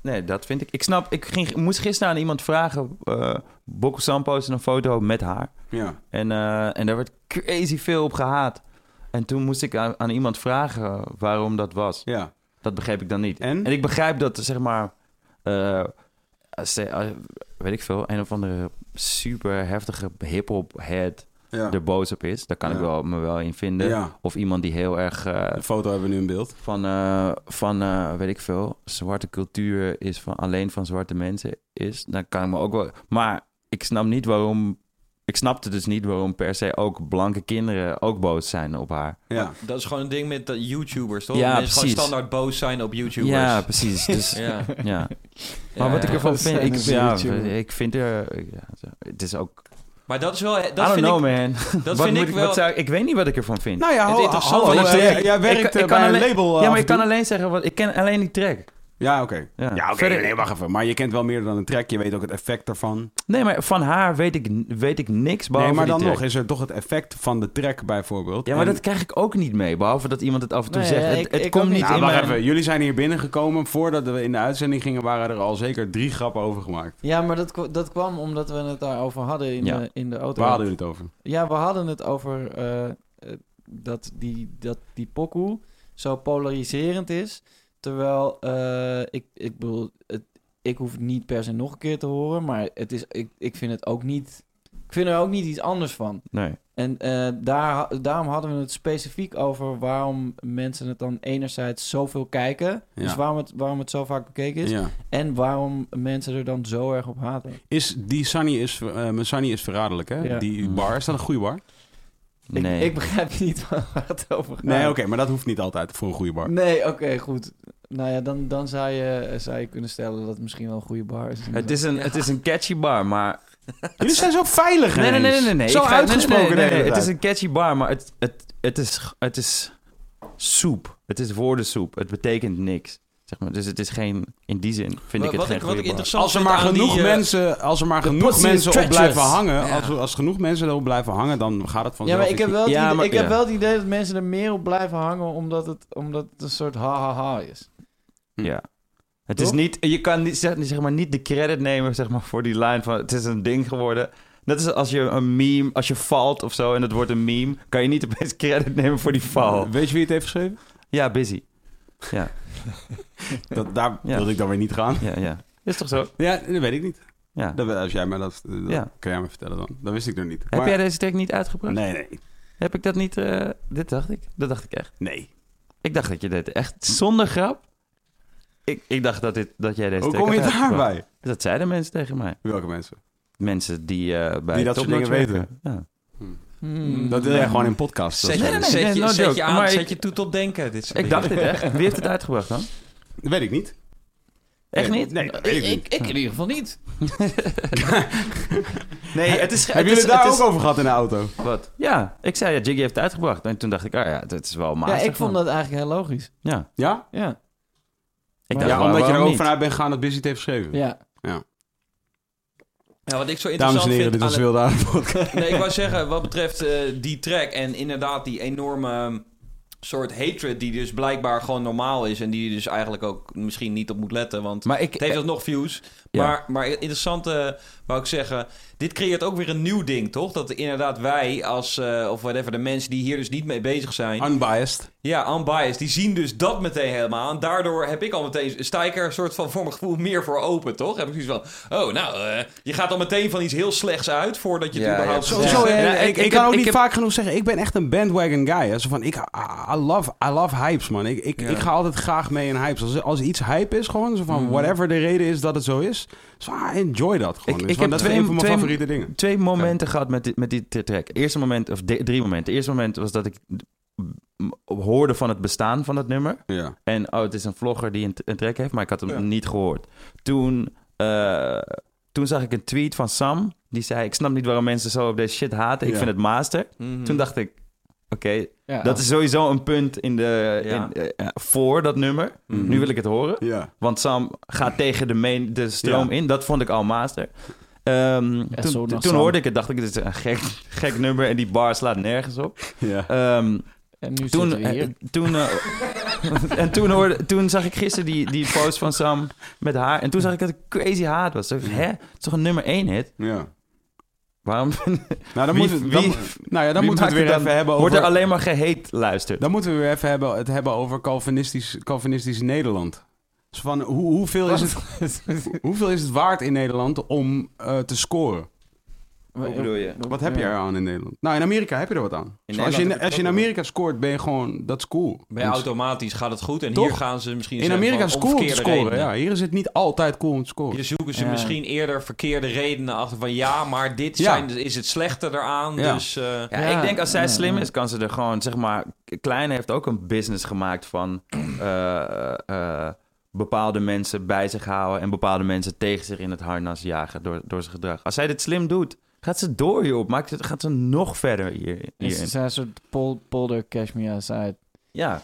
D: nee, dat vind ik. Ik snap, ik ging, moest gisteren aan iemand vragen. eh Bokko Sam postte een foto met haar.
A: Ja.
D: En, eh, en daar werd crazy veel op gehaat. En toen moest ik aan, aan iemand vragen waarom dat was.
A: ja.
D: Dat begreep ik dan niet.
A: En?
D: En ik begrijp dat, zeg maar, eh, als ze- als- weet ik veel, een of andere super heftige hip-hop head
A: Ja.
D: er boos op is. Daar kan ik
A: Ja.
D: wel, me wel in vinden.
A: ja.
D: Of iemand die heel erg eh,
A: De foto hebben we nu in beeld.
D: van, eh, van eh, weet ik veel, zwarte cultuur is van alleen van zwarte mensen is. Dan kan ik me ook wel. Maar ik snap niet waarom. Ik snapte dus niet waarom per se ook blanke kinderen ook boos zijn op haar.
A: Ja.
C: Dat is gewoon een ding met de YouTubers, toch?
D: Ja,
C: Mensen
D: precies.
C: gewoon standaard boos zijn op YouTubers.
D: Ja, precies. Dus
C: Ja.
D: ja.
C: Ja,
D: Maar wat
C: ja.
D: ik ervan
B: Dat
D: vind,
B: zijn
D: ik,
B: dus
D: ja,
B: YouTubers.
D: ik vind er, ja, zo. het is ook.
C: Maar dat is wel... Dat
D: I don't
C: vind
D: know,
C: ik,
D: man.
C: Dat
D: wat
C: vind
D: moet
C: ik wel...
D: wat zou, ik weet niet wat ik ervan vind.
A: Nou ja,
C: Het
A: ho-
C: interessante
A: hallo,
C: is
A: eh,
C: dat
A: jij,
C: ik-
A: jij werkt
D: ik
A: eh,
D: kan
A: bij
D: alleen-
A: een label. eh,
D: ja,
A: af
D: maar
A: en
D: ik kan
A: toe.
D: alleen zeggen wat ik ken alleen die track.
A: Ja, oké.
D: Ja,
A: Ja, oké.
D: Verder-
A: nee, wacht even. Maar je kent wel meer dan een track. Je weet ook het effect daarvan.
D: Nee, maar van haar weet ik, weet ik niks behalve
A: Nee, maar
D: die
A: dan
D: track.
A: nog is er toch het effect van de track bijvoorbeeld.
D: Ja, maar
A: En-
D: dat krijg ik ook niet mee. Behalve dat iemand het af en toe
B: Nee,
D: zegt.
B: ja,
D: het
B: ik-
D: het
B: ik
D: komt
B: ook
D: niet
B: niet.
A: Nou,
D: in
A: wacht
D: mijn...
A: even. Jullie zijn hier binnengekomen. Voordat we in de uitzending gingen, waren er al zeker drie grappen over gemaakt.
B: Ja, maar dat, kwa- dat kwam omdat we het daarover hadden in,
D: Ja.
B: de, in de auto.
A: Waar hadden jullie het over?
B: Ja, we hadden het over eh, eh, dat, die, dat die pokoe zo polariserend is. Terwijl, eh, ik, ik bedoel, het, ik hoef het niet per se nog een keer te horen. Maar het is, ik, ik vind het ook niet... Ik vind er ook niet iets anders van.
D: Nee.
B: En eh, daar, ha- daarom hadden we het specifiek over waarom mensen het dan enerzijds zoveel kijken. Dus
A: Ja.
B: waarom het, waarom het zo vaak bekeken is.
A: Ja.
B: En waarom mensen er dan zo erg op haten.
A: Is die Sunny is, eh, mijn Sunny is verraderlijk, hè?
B: Ja.
A: Die bar, is dat een goede bar?
D: Nee.
B: Ik, ik begrijp niet waar het over gaat.
A: Nee, oké, maar dat hoeft niet altijd voor een goede bar.
B: Nee, oké, goed. Nou ja, dan, dan zou, je, zou je kunnen stellen dat het misschien wel een goede bar is.
D: Het is, een, het is een catchy bar, maar...
A: Jullie zijn zo veilig,
D: Nee, nee, nee, nee. nee, nee.
A: Zo
D: Ik ga- nee,
A: uitgesproken
D: nee, nee, nee,
A: de hele
D: Het is
A: tijd.
D: een catchy bar, maar het, het, het, is, het is soep. Het is woordensoep. Het betekent niks. Zeg maar. Dus het is geen... In die zin vind ik het
C: wat
D: geen
C: ik, wat ik
D: goede bar.
C: interessant
A: Als er
C: vind
A: maar
C: aan die,
A: genoeg
C: eh,
A: mensen, als er maar genoeg
D: pussy is
A: mensen op
D: treacherous.
A: blijven hangen,
C: Ja.
A: als, als genoeg mensen erop blijven hangen, dan gaat het
B: Ja,
A: vanzelf.
B: maar ik heb wel, het
D: Ja,
B: idee,
D: maar-
B: ik heb
D: ja.
B: wel het idee dat mensen er meer op blijven hangen omdat het, omdat het een soort ha-ha-ha is.
A: Hm.
D: Ja. Het is
B: Toch?
D: niet... Je kan niet, zeg, zeg maar, niet de credit nemen zeg maar, voor die line van... Het is een ding geworden... Net als als je een meme, als je valt of zo en het wordt een meme, kan je niet opeens credit nemen voor die val.
A: Weet je wie het heeft geschreven?
D: Ja, busy.
A: Dat, daar
D: Ja.
A: wilde ik dan weer niet gaan.
D: Ja, ja. Is toch zo?
A: Ja, dat weet ik niet.
D: Ja.
A: Dat, als jij mij dat, dat
D: Ja.
A: kan jij me vertellen dan. Dat wist ik nog niet.
D: Heb
A: Maar-
D: jij deze track niet uitgebracht?
A: Nee, nee,
D: Heb ik dat niet... eh, dit dacht ik. Dat dacht ik echt.
A: nee.
D: Ik dacht dat je dit echt zonder grap... Ik, ik dacht dat, dit, dat jij deze
A: Hoe
D: track
A: kom je
D: had uitgebracht.
A: daarbij?
D: Dat zeiden mensen tegen mij.
A: Welke mensen?
D: Mensen die eh, bij
A: Die dat soort
D: Top
A: dingen
D: Notch
A: weten.
D: werken. Ja.
B: Hmm.
A: Dat wil jij gewoon in podcasts.
C: Zet,
D: Nee, nee, nee,
C: zet
D: nee,
C: je,
D: no
C: zet
D: joke.
C: je aan,
D: Maar
C: zet
D: ik-
C: je toe tot denken. Dit soort
D: Ik
C: dingen.
D: dacht dit echt. Wie heeft het uitgebracht dan?
A: Dat weet ik niet.
D: Echt
A: Nee,
D: niet?
A: Nee, dat weet ik niet.
B: ik in ieder geval niet.
D: Nee, het is...
A: Hebben jullie het daar ook over gehad in de auto?
D: Wat? Ja, ik zei ja, Jiggy heeft het uitgebracht. En toen dacht ik, ah ja, dat is wel
B: ja,
D: maastig.
B: ik vond
D: man.
B: dat eigenlijk heel logisch.
D: Ja,
A: Ja?
B: Ja,
D: ik
B: Ja,
D: dacht,
A: ja, omdat je er
D: waarom
A: ook
D: niet?
A: vanuit bent gegaan dat Busy het heeft geschreven.
B: ja.
C: Ja, wat ik zo
A: Dames en
C: interessant
A: heren, dit
C: vind aan
A: was
C: het-
A: Wilde Aarde Podcast.
C: Nee, ik wou zeggen, wat betreft eh, die track en inderdaad die enorme ehm, soort hatred die dus blijkbaar gewoon normaal is en die je dus eigenlijk ook misschien niet op moet letten, want
D: Maar ik... eh,
C: het heeft alsnog views.
D: Ja.
C: Maar, maar interessant, eh, wou ik zeggen. Dit creëert ook weer een nieuw ding, toch? Dat inderdaad wij als, eh, of whatever, de mensen die hier dus niet mee bezig zijn.
A: Unbiased.
C: ja, unbiased. Die zien dus dat meteen helemaal. En daardoor heb ik al meteen, sta ik er een soort van voor mijn gevoel meer voor open, toch? Heb ik zoiets van, oh, nou, eh, je gaat al meteen van iets heel slechts uit voordat je het
D: Ja,
C: überhaupt...
D: ja,
A: Zo,
C: gezegd
A: zo,
C: hebt.
A: hè.
D: Ja,
A: ik,
D: ik-
A: ik
D: ik
A: kan
D: heb-
A: ook
D: ik
A: niet
D: heb-
A: vaak genoeg zeggen, ik ben echt een bandwagon guy. Hè. Zo van, ik, I, I love, I love hypes, man. Ik, ik,
C: Ja.
A: ik ga altijd graag mee in hypes. Als, als iets hype is, gewoon, zo
D: Mhm.
A: van, whatever de reden is dat het zo is, zo, I enjoy dat gewoon.
D: Ik-
A: Dus
D: ik
A: van,
D: heb
A: dat is
D: twee-
A: een van mijn
D: twee-
A: favoriete dingen.
D: Twee momenten gehad met, dit- met die t- track. Eerste moment, of de- drie momenten. Eerste moment was dat ik m- hoorde van het bestaan van het nummer.
A: Ja.
D: En oh, het is een vlogger die een, een track heeft, maar ik had hem
C: Ja.
D: niet gehoord. Toen, eh, toen zag ik een tweet van Sam. Die zei, ik snap niet waarom mensen zo op deze shit haten. Ik
A: Ja.
D: vind het master.
C: Mhm.
D: Toen dacht ik, oké,
B: Ja.
D: dat is sowieso een punt in de,
C: Ja.
D: in, eh, eh, voor dat nummer.
A: Mhm.
D: Nu wil ik het horen.
A: Ja.
D: Want Sam gaat tegen de, main, de stroom
A: Ja.
D: in. Dat vond ik al master. Ehm,
B: zo
D: toen
B: nog
D: toen
B: Sam.
D: hoorde ik het, dacht ik, dit is een gek, gek nummer en die bar slaat nergens op.
A: ja.
D: Ehm,
B: En nu
D: toen,
B: zitten we hier.
D: eh, toen, eh, en toen, hoorde, toen zag ik gisteren die, die post van Sam met haar. En toen zag ik dat het crazy haat was. Toen dacht ik, hè? Het is toch een nummer 1 hit?
A: ja.
D: Waarom
A: Nou, dan
D: Wie-
A: moeten we- dan-
D: wie-
A: nou ja, dan moeten we
D: wie
A: het
D: maakt
A: weer
D: het
A: even hebben
D: wordt
A: over...
D: er alleen maar gehate luisterd?
A: Dan moeten we weer even hebben, het hebben over Calvinistisch, Calvinistisch Nederland. Dus van, hoe, hoeveel, is het, hoeveel is het waard in Nederland om eh, te scoren? eh,
D: Hoe eh, bedoel je?
A: Wat heb je er aan in Nederland? Nou, in Amerika heb je er wat aan.
D: In
A: Zo, als, je in,
D: Nederland heb je
A: als je in
D: het ook
A: Amerika scoort, ben je gewoon... Dat is cool.
C: Bij
A: Want
C: automatisch gaat het goed. En
A: Toch?
C: hier gaan ze misschien
A: in
C: zeggen
A: Amerika
C: van,
A: is
C: om
A: cool om te
C: verkeerde
A: scoren.
C: redenen.
A: Ja, hier is het niet altijd cool om te scoren.
C: Hier zoeken ze
D: Ja.
C: misschien eerder verkeerde redenen achter van ja, maar dit
A: Ja.
C: zijn, is het slechte eraan.
A: Ja.
C: Dus eh,
D: Ja,
B: Ja,
D: ik denk als zij
B: ja,
D: slim
B: ja.
D: is, kan ze er gewoon, zeg maar... Kleine heeft ook een business gemaakt van eh, eh, bepaalde mensen bij zich houden... en bepaalde mensen tegen zich in het harnas jagen door, door zijn gedrag. Als zij dit slim doet, gaat ze door, joh. Maakt het, gaat ze nog verder hier,
B: Is
D: hierin.
B: het een soort pol- polder cash me outside.
D: Ja.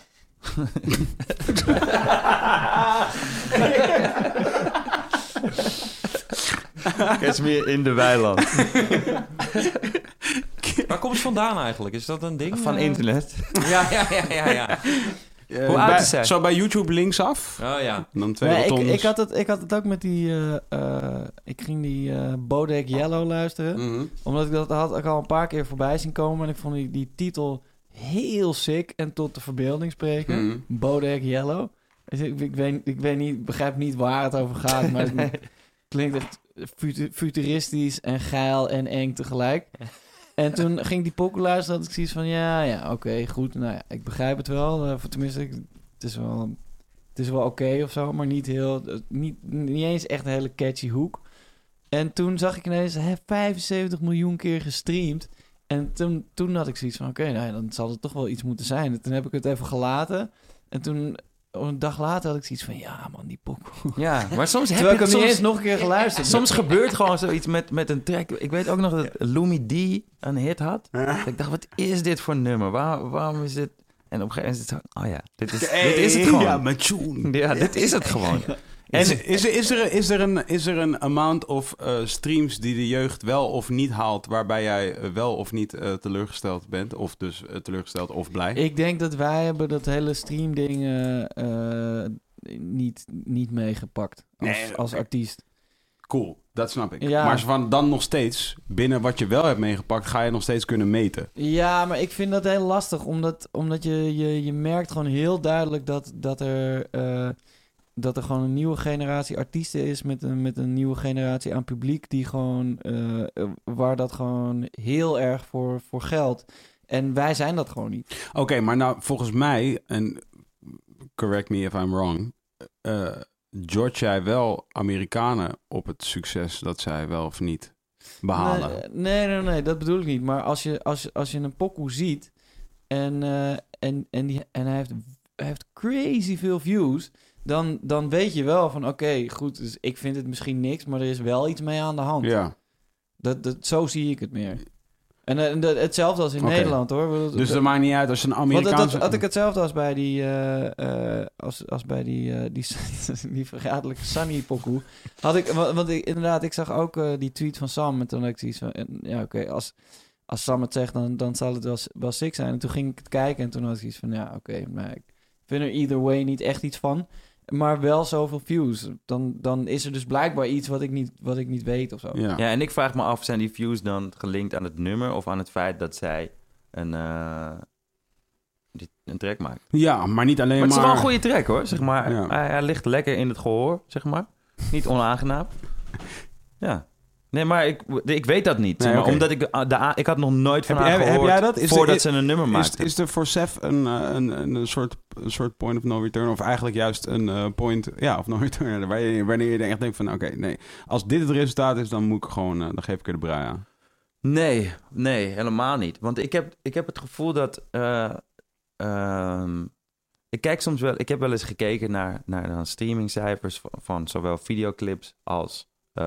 D: Kashmir in de weiland.
C: waar komt het vandaan eigenlijk? Is dat een ding?
D: Van
C: Eh,
D: internet.
C: Ja, ja, ja, ja. ja.
A: Eh,
D: Hoe oud
A: bij-
D: is zij?
A: Zo bij YouTube linksaf.
C: Oh ja.
A: En dan twee
B: Nee, ik,
A: rotondes.
B: ik, had het, ik had het ook met die... eh, eh, ik ging die eh Bodek Yellow luisteren.
A: Mhm.
B: Omdat ik dat had ik al een paar keer voorbij zien komen. En ik vond die, die titel heel sick en tot de verbeelding spreken.
A: Mhm.
B: Bodek Yellow. Dus ik, ik weet, ik weet niet, begrijp niet waar het over gaat, maar het klinkt echt futu- futuristisch en geil en eng tegelijk. En toen ging ik die pokken luisteren, had ik zoiets van, ja, ja, oké, goed. Nou ja, ik begrijp het wel. eh, voor tenminste, ik- het is wel, het is wel oké of zo, maar niet heel, eh, niet, niet eens echt een hele catchy hoek. En toen zag ik ineens, hè, 75 miljoen keer gestreamd. En toen, toen had ik zoiets van, oké, nou ja, dan zal het toch wel iets moeten zijn. En toen heb ik het even gelaten. En toen, een dag later had ik zoiets van, ja man, die pokoe.
D: Ja, maar soms heb
B: Terwijl ik
D: je het
B: hem niet
D: soms-
B: eens nog een keer geluisterd.
D: Soms gebeurt gewoon zoiets met, met een track. Ik weet ook nog dat Lumi D een hit had. Dat ik dacht, wat is dit voor nummer? Waar, waarom is dit... En op een gegeven moment is het zo... Oh ja, dit is, dit is het gewoon.
A: Ja,
D: Ja,
A: mijn tune.
D: dit is het gewoon.
A: Is, is, er- is, er, is, er een, is er een amount of eh, streams die de jeugd wel of niet haalt, waarbij jij eh, wel of niet eh, teleurgesteld bent? Of dus eh, teleurgesteld of blij?
B: Ik denk dat wij hebben dat hele streamding eh, eh, niet, niet meegepakt als,
A: Nee,
B: als
A: oké.
B: artiest.
A: Cool, dat snap ik.
B: Ja.
A: Maar van dan nog steeds, binnen wat je wel hebt meegepakt, ga je nog steeds kunnen meten.
B: Ja, maar ik vind dat heel lastig, omdat, omdat je, je, je merkt gewoon heel duidelijk dat, dat, er, eh, dat er gewoon een nieuwe generatie artiesten is met een, met een nieuwe generatie aan publiek die gewoon, eh, eh, waar dat gewoon heel erg voor, voor geldt. En wij zijn dat gewoon niet.
A: Oké, maar nou, volgens mij, en correct me if I'm wrong, eh judge jij wel Amerikanen op het succes dat zij wel of niet behalen?
B: Nee, eh, nee, nee, nee, dat bedoel ik niet. Maar als je, als, je- als je een pokoe ziet en, eh, en, en, die, en hij, heeft, hij heeft crazy veel views, dan, dan weet je wel van oké, goed, dus ik vind het misschien niks, maar er is wel iets mee aan de hand.
A: Ja,
B: Dat, dat, zo zie ik het meer. En eh, dat- hetzelfde als in
A: Oké.
B: Nederland hoor. Dat-
A: dus
B: dat-
A: dat maakt niet uit als een
B: want dat,
A: Amerikaanse...
B: dat had ik hetzelfde als bij die, eh, eh, als, als bij die, eh, die, die verraderlijke Sunny pokoe. Had ik, wa- want ik, inderdaad, ik zag ook eh, die tweet van Sam en toen had ik zoiets van, en, ja oké, als, als Sam het zegt, dan, dan zal het wel, wel sick zijn. En toen ging ik het kijken en toen had ik zoiets van, ja oké, maar ik vind er either way niet echt iets van. maar wel zoveel views. Dan, dan is er dus blijkbaar iets wat ik niet, wat ik niet weet of zo.
A: Ja.
D: Ja, en ik vraag me af, zijn die views dan gelinkt aan het nummer of aan het feit dat zij een, eh, die, een track maakt?
A: Ja, maar niet alleen
D: Maar
A: maar...
D: het is wel een goede track hoor, zeg maar.
A: Ja.
D: Hij, hij ligt lekker in het gehoor, zeg maar. Niet onaangenaam. Ja. Nee, maar ik, ik weet dat niet.
A: Nee,
D: maar
A: oké.
D: Omdat ik, de- de, a- ik had nog nooit van
A: Heb
D: haar
A: jij- heb
D: gehoord
A: jij dat? Is-
D: voordat
A: is-
D: ze een nummer
A: Is,
D: maakte.
A: is er voor Sef een, eh, een, een, een soort, een soort point of no return? Of eigenlijk juist een eh, point, ja, of no return. Waar je- Wanneer je echt denkt van, oké, nee. Als dit het resultaat is, dan moet ik gewoon, eh, dan geef ik er de brui aan.
D: Nee, nee, helemaal niet. Want ik heb, ik heb het gevoel dat. eh, ehm, ik kijk soms wel. Ik heb wel eens gekeken naar, naar dan streamingcijfers van, van zowel videoclips als, eh,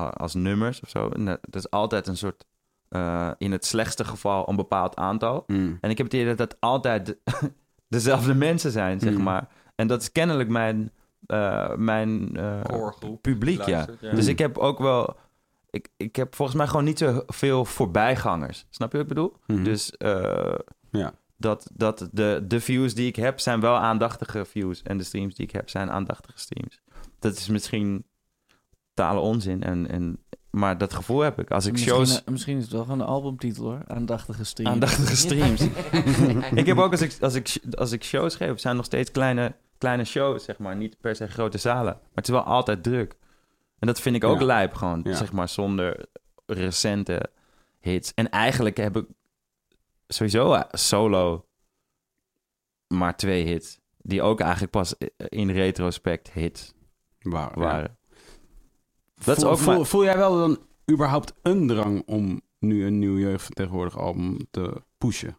D: a- als nummers of zo. En dat dat is altijd een soort. eh, in het slechtste geval een bepaald aantal.
A: Mm.
D: En ik heb het idee dat dat altijd de- dezelfde mensen zijn, zeg
A: Mm.
D: maar. En dat is kennelijk mijn, eh, mijn eh,
C: Koorgroep.
D: publiek, ja.
C: luistert,
A: Ja.
D: Dus ik heb ook wel. Ik, ik heb volgens mij gewoon niet zo veel voorbijgangers. Snap je wat ik bedoel?
A: Mhm.
D: Dus eh,
A: Ja.
D: dat, dat de, de views die ik heb zijn wel aandachtige views. En de streams die ik heb zijn aandachtige streams. Dat is misschien talen onzin. En, en, maar dat gevoel heb ik. Als ik
B: misschien,
D: shows.
B: eh, misschien is het wel gewoon een albumtitel hoor. Aandachtige stream.
D: Aandachtige streams. ik heb ook als ik, als ik, als ik shows geef, zijn nog steeds kleine, kleine shows, zeg maar. Niet per se grote zalen. Maar het is wel altijd druk. En dat vind ik ook
A: Ja.
D: lijp, gewoon.
A: Ja.
D: Zeg maar zonder recente hits. En eigenlijk heb ik sowieso eh, solo maar twee hits. Die ook eigenlijk pas in retrospect hits
A: Waar,
D: waren. Dat is
A: voel,
D: ook
A: voel,
D: maar-
A: voel jij wel dan überhaupt een drang om nu een nieuw jeugdvertegenwoordig album te pushen?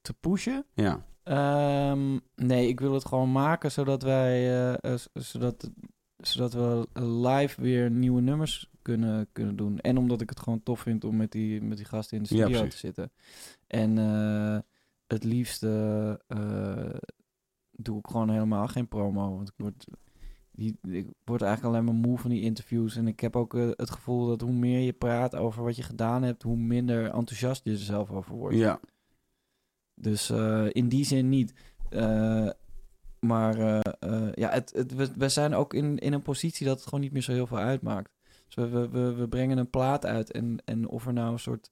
B: Te pushen?
A: Ja.
B: Ehm, nee, ik wil het gewoon maken zodat wij, eh, eh, z- zodat, zodat we live weer nieuwe nummers kunnen, kunnen doen. En omdat ik het gewoon tof vind om met die, met die gasten in de
A: Ja,
B: studio te
A: precies.
B: zitten. En eh, het liefste eh, doe ik gewoon helemaal geen promo. Want ik word, die, ik word eigenlijk alleen maar moe van die interviews. En ik heb ook eh, het gevoel dat hoe meer je praat over wat je gedaan hebt, hoe minder enthousiast je er zelf over wordt.
A: Ja.
B: Dus eh, in die zin niet. Eh, maar eh, eh, ja, het, het, we, we zijn ook in, in een positie dat het gewoon niet meer zo heel veel uitmaakt. Dus we, we, we, we brengen een plaat uit en, en of er nou een soort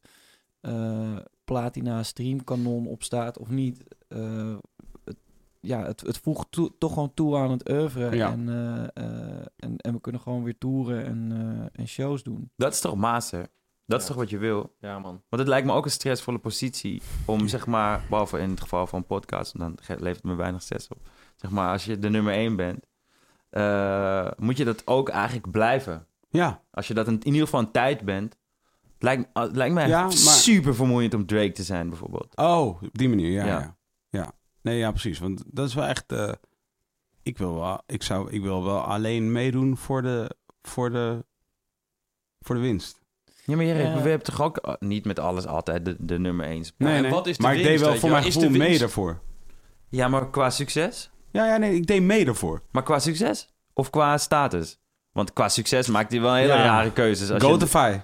B: eh, platina streamkanon op staat of niet. eh, het, ja, het, het voegt toe- toch gewoon toe aan het oeuvre.
A: Ja.
B: En, eh, eh, en, en we kunnen gewoon weer toeren en, eh, en shows doen.
D: Dat is toch master? Dat is
C: Ja.
D: toch wat je wil?
C: Ja, man.
D: Want het lijkt me ook een stressvolle positie om, zeg maar, behalve in het geval van podcast, dan ge- levert het me weinig stress op. Zeg maar, als je de nummer één bent, eh, moet je dat ook eigenlijk blijven.
A: Ja.
D: Als je dat in, in ieder geval een tijd bent, het lijkt, ah, het lijkt mij
A: Ja, maar-
D: super vermoeiend om Drake te zijn, bijvoorbeeld.
A: Oh, op die manier, ja.
D: Ja.
A: Ja. ja. Nee, ja, precies. Want dat is wel echt... eh, ik, wil wel, ik, zou, ik wil wel alleen meedoen voor de, voor de, voor de winst.
D: Ja, maar Jerry,
B: Ja.
D: we hebben toch ook ah, niet met alles altijd de, de nummer één. sp-
C: en wat is de
A: maar ik
C: winst,
A: deed wel
C: weet
A: voor
C: je wel?
A: mijn
C: Is de
A: gevoel mee
C: winst-
A: daarvoor.
D: Ja, maar qua succes?
A: Ja, ja, nee, ik deed mee daarvoor.
D: Maar qua succes? Of qua status? Want qua succes maakt hij wel hele
A: Ja.
D: rare keuzes.
C: Dus
D: Als je,
A: Gotify.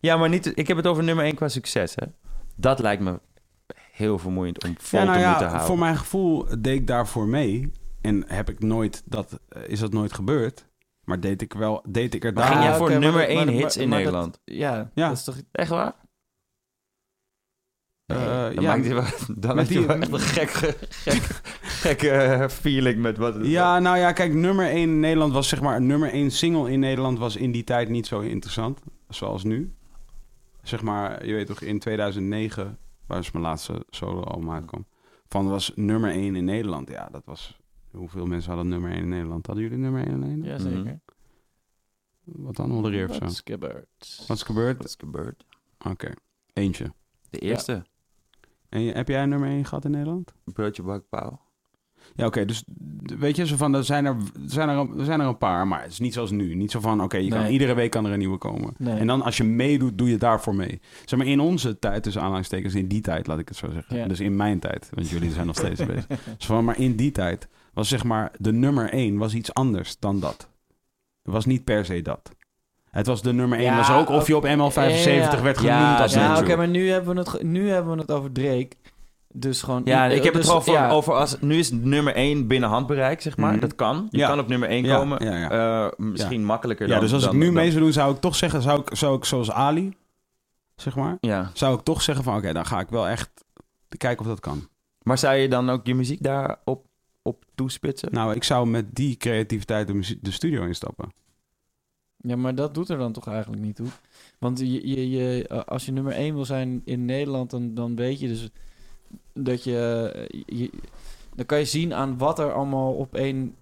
D: Ja, maar niet, ik heb het over nummer 1 qua succes, hè. Dat lijkt me heel vermoeiend om vol
A: Ja, nou
D: te
A: ja,
D: moeten houden.
A: voor mijn gevoel deed ik daarvoor mee. En heb ik nooit dat, eh, is dat nooit gebeurd. Maar deed ik, wel, deed ik er
D: Maar ging
A: daar-
D: jij voor
B: oké, maar
D: nummer
B: dat-
D: 1
B: maar-
D: hits
B: maar-
D: in
B: maar dat-
D: Nederland?
B: Ja,
A: Ja.
B: dat is toch...
D: Echt waar?
A: Eh,
D: Nee, dan
A: ja,
D: maakt hij wel, dan maakt
A: die-
D: hij wel echt een gek, gek, gekke eh, feeling met wat...
A: Ja, nou ja, kijk, nummer 1 in Nederland was zeg maar... Nummer 1 single in Nederland was in die tijd niet zo interessant. Zoals nu. Zeg maar, je weet toch, in 2009... Waar is mijn laatste solo album uitkwam. Van was nummer 1 in Nederland. Ja, dat was... Hoeveel mensen hadden nummer 1 in Nederland? Hadden jullie nummer 1 in Nederland?
B: Ja,
D: zeker.
B: zeker.
A: Wat dan? Hollereer of zo?
B: Wat gebeurt?
A: Wat is gebeurd?
D: Wat is gebeurd?
A: Eentje.
D: De eerste.
A: En je- heb jij een nummer 1 gehad in Nederland?
D: Broodje bakpauw.
A: Ja, oké, dus d- weet je, zo van, er zijn er, er zijn er, een- er zijn er een paar, maar het is niet zoals nu. Niet zo van, oké, je kan
B: Nee.
A: iedere week kan er een nieuwe komen.
B: Nee.
A: En dan als je meedoet, doe je daarvoor mee. Zeg maar in onze tijd, tussen aanhalingstekens, in die tijd, laat ik het zo zeggen.
B: Ja.
A: Dus in mijn tijd, want jullie zijn nog steeds bezig. Dus van, maar in die tijd was zeg maar de nummer één was iets anders dan dat. Het was niet per se dat. Het was de nummer één,
B: Ja,
A: was ook of je op ML75
B: ja, ja.
A: werd
D: Ja,
A: genoemd als
D: ja,
A: ja,
B: Ja, oké,
D: natuurlijk.
B: maar nu hebben, we het, ge- nu hebben we het over Drake. Dus gewoon...
D: Ja, ik heb
B: dus-
D: het gewoon
B: ja.
D: over als... Nu is nummer 1 binnen handbereik, zeg maar.
A: Mhm.
D: Dat kan. Je
A: Ja.
D: kan op nummer 1
A: Ja,
D: komen.
A: ja,
D: Eh, misschien makkelijker
A: Ja,
D: dan...
A: dus als ik
D: dan-
A: nu
D: dan-
A: mee zou doen, zou ik toch zeggen, zou ik, zou ik zoals Ali, zeg maar,
D: Ja.
A: zou ik toch zeggen van, oké, dan ga ik wel echt kijken of dat kan.
D: Maar zou je dan ook je muziek daarop op toespitsen?
A: Nou, ik zou met die creativiteit de, muzie- de studio instappen.
B: Ja, maar dat doet er dan toch eigenlijk niet toe. Want je, je, je, eh, als je nummer 1 wil zijn in Nederland, dan, dan weet je dus dat je, eh, je- Dan kan je zien aan wat er allemaal op één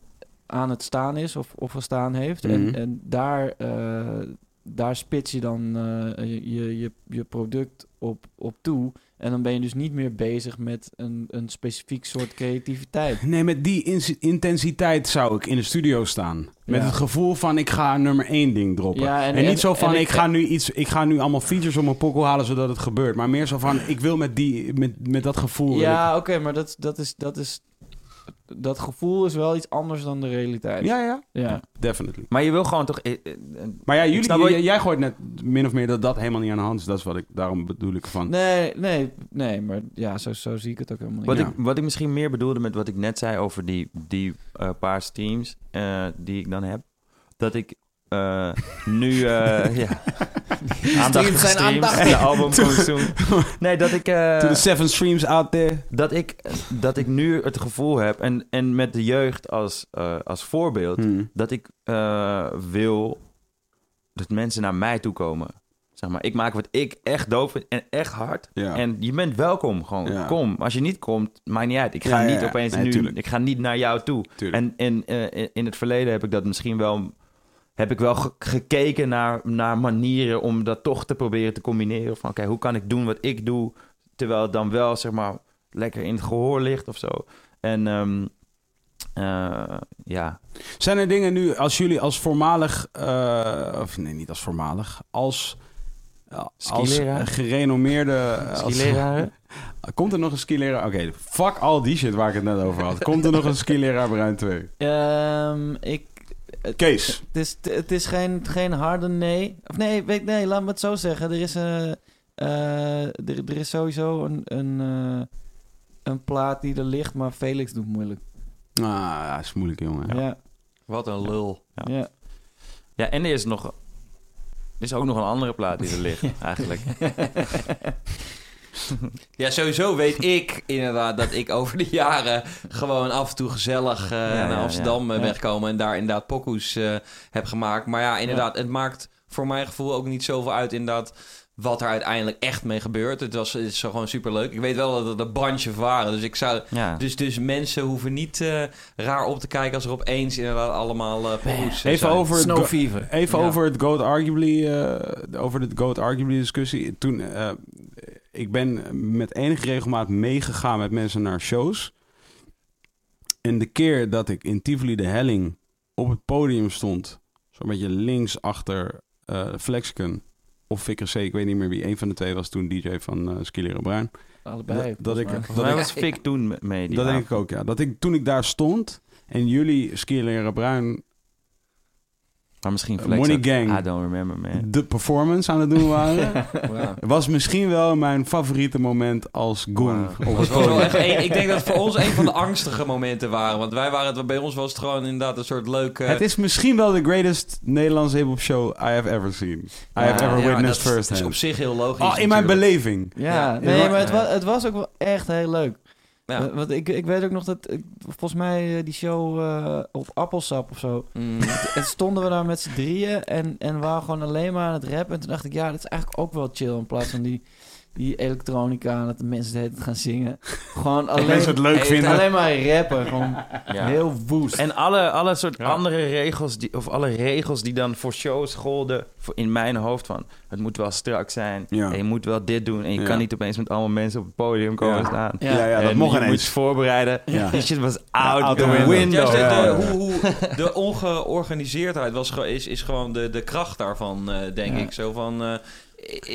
B: aan het staan is of, of gestaan heeft.
A: Mhm.
B: En, en daar, eh, daar spits je dan eh, je, je, je product op, op toe. En dan ben je dus niet meer bezig met een, een specifiek soort creativiteit.
A: Nee, met die ins- intensiteit zou ik in de studio staan. Met
B: Ja.
A: het gevoel van, ik ga nummer één ding droppen.
B: Ja,
A: en, niet zo van,
B: en
A: ik, ga nu iets, ik ga nu allemaal features op mijn pokkel halen zodat het gebeurt. Maar meer zo van, ik wil met, die, met, met dat gevoel... wil
B: Ja, oké, maar dat, dat, is, dat is. Dat gevoel is wel iets anders dan de
A: ik-
B: realiteit.
A: ja, ja,
B: ja.
A: definitely.
D: Maar je wil gewoon toch... eh, eh, eh,
A: Maar ja,
D: snap
A: jullie,
D: wel-
A: jij, jij gooit net min of meer dat dat helemaal niet aan de hand is. Dat is wat ik, daarom bedoel ik van...
B: Nee, nee, nee, maar ja, zo, zo zie ik het ook helemaal niet.
D: Wat,
A: Ja.
D: ik, wat ik misschien meer bedoelde met wat ik net zei over die, die eh, paar streams eh, die ik dan heb. Dat ik eh, nu eh ja, aandachtig
B: zijn aandachtig.
D: en de album consume. Nee, dat ik, eh,
A: To the seven streams out there.
D: dat, ik, dat ik nu het gevoel heb, en, en met de jeugd als, eh, als voorbeeld, dat ik eh, wil dat mensen naar mij toe komen. Zeg maar, ik maak wat ik echt doof vind en echt hard.
A: Ja.
D: En je bent welkom, gewoon.
A: Ja.
D: Kom. Als je niet komt, maakt niet uit. Ik ga
A: Ja, ja,
D: niet
A: ja.
D: opeens
A: Nee,
D: nu...
A: tuurlijk.
D: Ik ga niet naar jou toe.
A: Tuurlijk.
D: En, en eh, in het verleden heb ik dat misschien wel... Heb ik wel ge- gekeken naar, naar manieren om dat toch te proberen te combineren. Van oké, hoe kan ik doen wat ik doe... terwijl het dan wel, zeg maar, lekker in het gehoor ligt of zo. En ehm, eh, ja,
A: Zijn er dingen nu, als jullie als voormalig, eh, of nee, niet als voormalig, als, eh, als
D: Skileraar?
A: gerenommeerde... eh, als-
D: skileraren.
A: komt er nog een skileraar? Oké, fuck al die shit waar ik het net over had. Komt er nog een skileraar Bruin 2?
B: Ehm, ik,
A: Kees.
B: het is, het is geen, geen harde nee. Of nee, weet, nee, laat me het zo zeggen. Er is, eh, eh, er, er is sowieso een, een, eh, een plaat die er ligt, maar Felix doet moeilijk.
A: Ah, dat is moeilijk, jongen.
B: ja.
C: Wat een lul.
D: Ja.
B: ja.
D: Ja, en er is nog... Er is ook nog een andere plaat die er ligt, eigenlijk.
C: Ja, sowieso weet ik inderdaad dat ik over de jaren gewoon af en toe gezellig eh,
D: ja,
C: naar
D: ja.
C: Amsterdam eh,
B: Ja.
C: ben gekomen en daar inderdaad pokoes eh, heb gemaakt. Maar ja, inderdaad, het maakt voor mijn gevoel ook niet zoveel uit inderdaad wat er uiteindelijk echt mee gebeurt. Het, was, het is zo gewoon superleuk. Ik weet wel dat het een bandje waren, dus ik zou...
D: Ja.
C: Dus, dus mensen hoeven niet eh, raar op te kijken als er opeens inderdaad allemaal eh pokoes eh,
A: Even
C: zijn.
A: over het,
B: Snow
A: go-
B: Fever.
A: even
B: Ja.
A: over het Goat Arguably, eh, over de Goat Arguably discussie. Toen, eh, ik ben met enige regelmaat meegegaan met mensen naar shows. En de keer dat ik in Tivoli de Helling op het podium stond, zo'n beetje links achter eh Flexicon of Fikker C, ik weet niet meer wie, een van de twee was toen DJ van eh Skileren Bruin.
B: Allebei.
A: dat- dat ik-
B: volgens
D: Volgens
B: mij.
D: mij
A: ik-
D: was Fik toen me- mee. Die nou?
A: dat
D: avond.
A: denk ik ook, ja. Dat ik toen ik daar stond en jullie Skileren Bruin
D: Maar misschien
A: Eh,
D: Flex.
A: Money
D: ook.
A: Gang.
D: I don't remember, man.
A: de performance aan het doen waren.
C: Ja.
A: Was misschien wel mijn favoriete moment als Goon.
D: Wow.
A: op het
C: Was voor ons wel
A: podium.
C: echt één- ik denk dat het voor ons een van de angstige momenten waren. Want wij waren het, bij ons was het gewoon inderdaad een soort leuke...
A: Het is misschien wel de greatest Nederlandse hip-hop show I have ever seen. I have ever
C: Ja,
A: witnessed
C: dat
A: first
C: is op
A: hand.
C: zich heel logisch
A: Oh, in mijn
C: natuurlijk.
A: beleving.
B: Ja,
C: Ja.
B: nee,
A: Ja.
B: maar het,
C: Ja.
B: wa- het was ook wel echt heel leuk.
C: Ja.
B: Want- Want ik, ik weet ook nog dat, ik- volgens mij eh, die show eh, op Appelsap of zo.
C: Mm.
B: en stonden we daar met z'n drieën en, en waren gewoon alleen maar aan het rappen. En toen dacht ik, ja, dat is eigenlijk ook wel chill. In plaats van die, die elektronica en dat de mensen de hele tijd gaan zingen. Gewoon alleen,
A: mensen het leuk
B: eh,
A: vinden.
B: alleen maar rappen. Gewoon
D: Ja.
B: heel woest.
D: En alle, alle soort andere regels, die, of alle regels die dan voor shows golden, voor in mijn hoofd van, het moet wel strak zijn,
A: Ja.
D: en je moet wel dit doen, en je
A: Ja.
D: kan niet opeens met allemaal mensen op het podium komen
A: Ja.
D: staan.
A: Ja, ja, dat mocht
D: En je moet
A: ineens.
D: je voorbereiden.
A: Ja.
D: Die shit was out,
A: Out
D: the
A: the
D: window.
A: window.
C: Juist de,
A: Ja, ja, ja.
C: de- hoe, hoe, de ongeorganiseerdheid was, ge- is, is gewoon de, de kracht daarvan, eh, denk
B: Ja.
C: ik. Zo van... eh,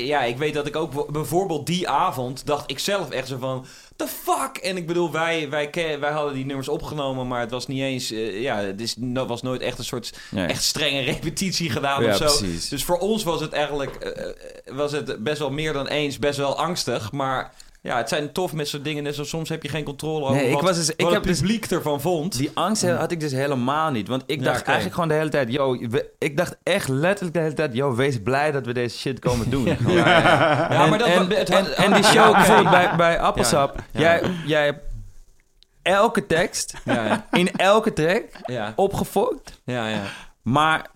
C: ja, ik weet dat ik ook w- bijvoorbeeld die avond dacht ik zelf echt zo van... The fuck? En ik bedoel, wij, wij, ken- wij hadden die nummers opgenomen, maar het was niet eens... eh, ja, het is, no- was nooit echt een soort
D: Nee.
C: echt strenge repetitie gedaan
D: Ja,
C: of zo.
D: precies.
C: Dus voor ons was het eigenlijk eh, eh, was het best wel meer dan eens, best wel angstig. Maar Ja, het zijn tof met zo'n dingen. Net zo soms heb je geen controle over
D: Nee, ik
C: wat,
D: was dus, ik
C: wat
D: heb
C: het
D: dus,
C: publiek ervan vond.
D: die angst he- had ik dus helemaal niet. Want ik
C: Ja,
D: dacht
C: oké.
D: eigenlijk gewoon de hele tijd, yo, we- ik dacht echt letterlijk de hele tijd, yo, wees blij dat we deze shit komen doen. Gewoon.
C: Ja, maar dat-
D: en,
C: het-
D: en, en die show
C: Ja, oké.
D: bijvoorbeeld bij, bij Appelsap,
C: Ja.
D: Jij, jij hebt elke tekst,
C: Ja, ja,
D: in elke track,
C: ja,
D: opgefokt.
C: ja, ja.
D: Maar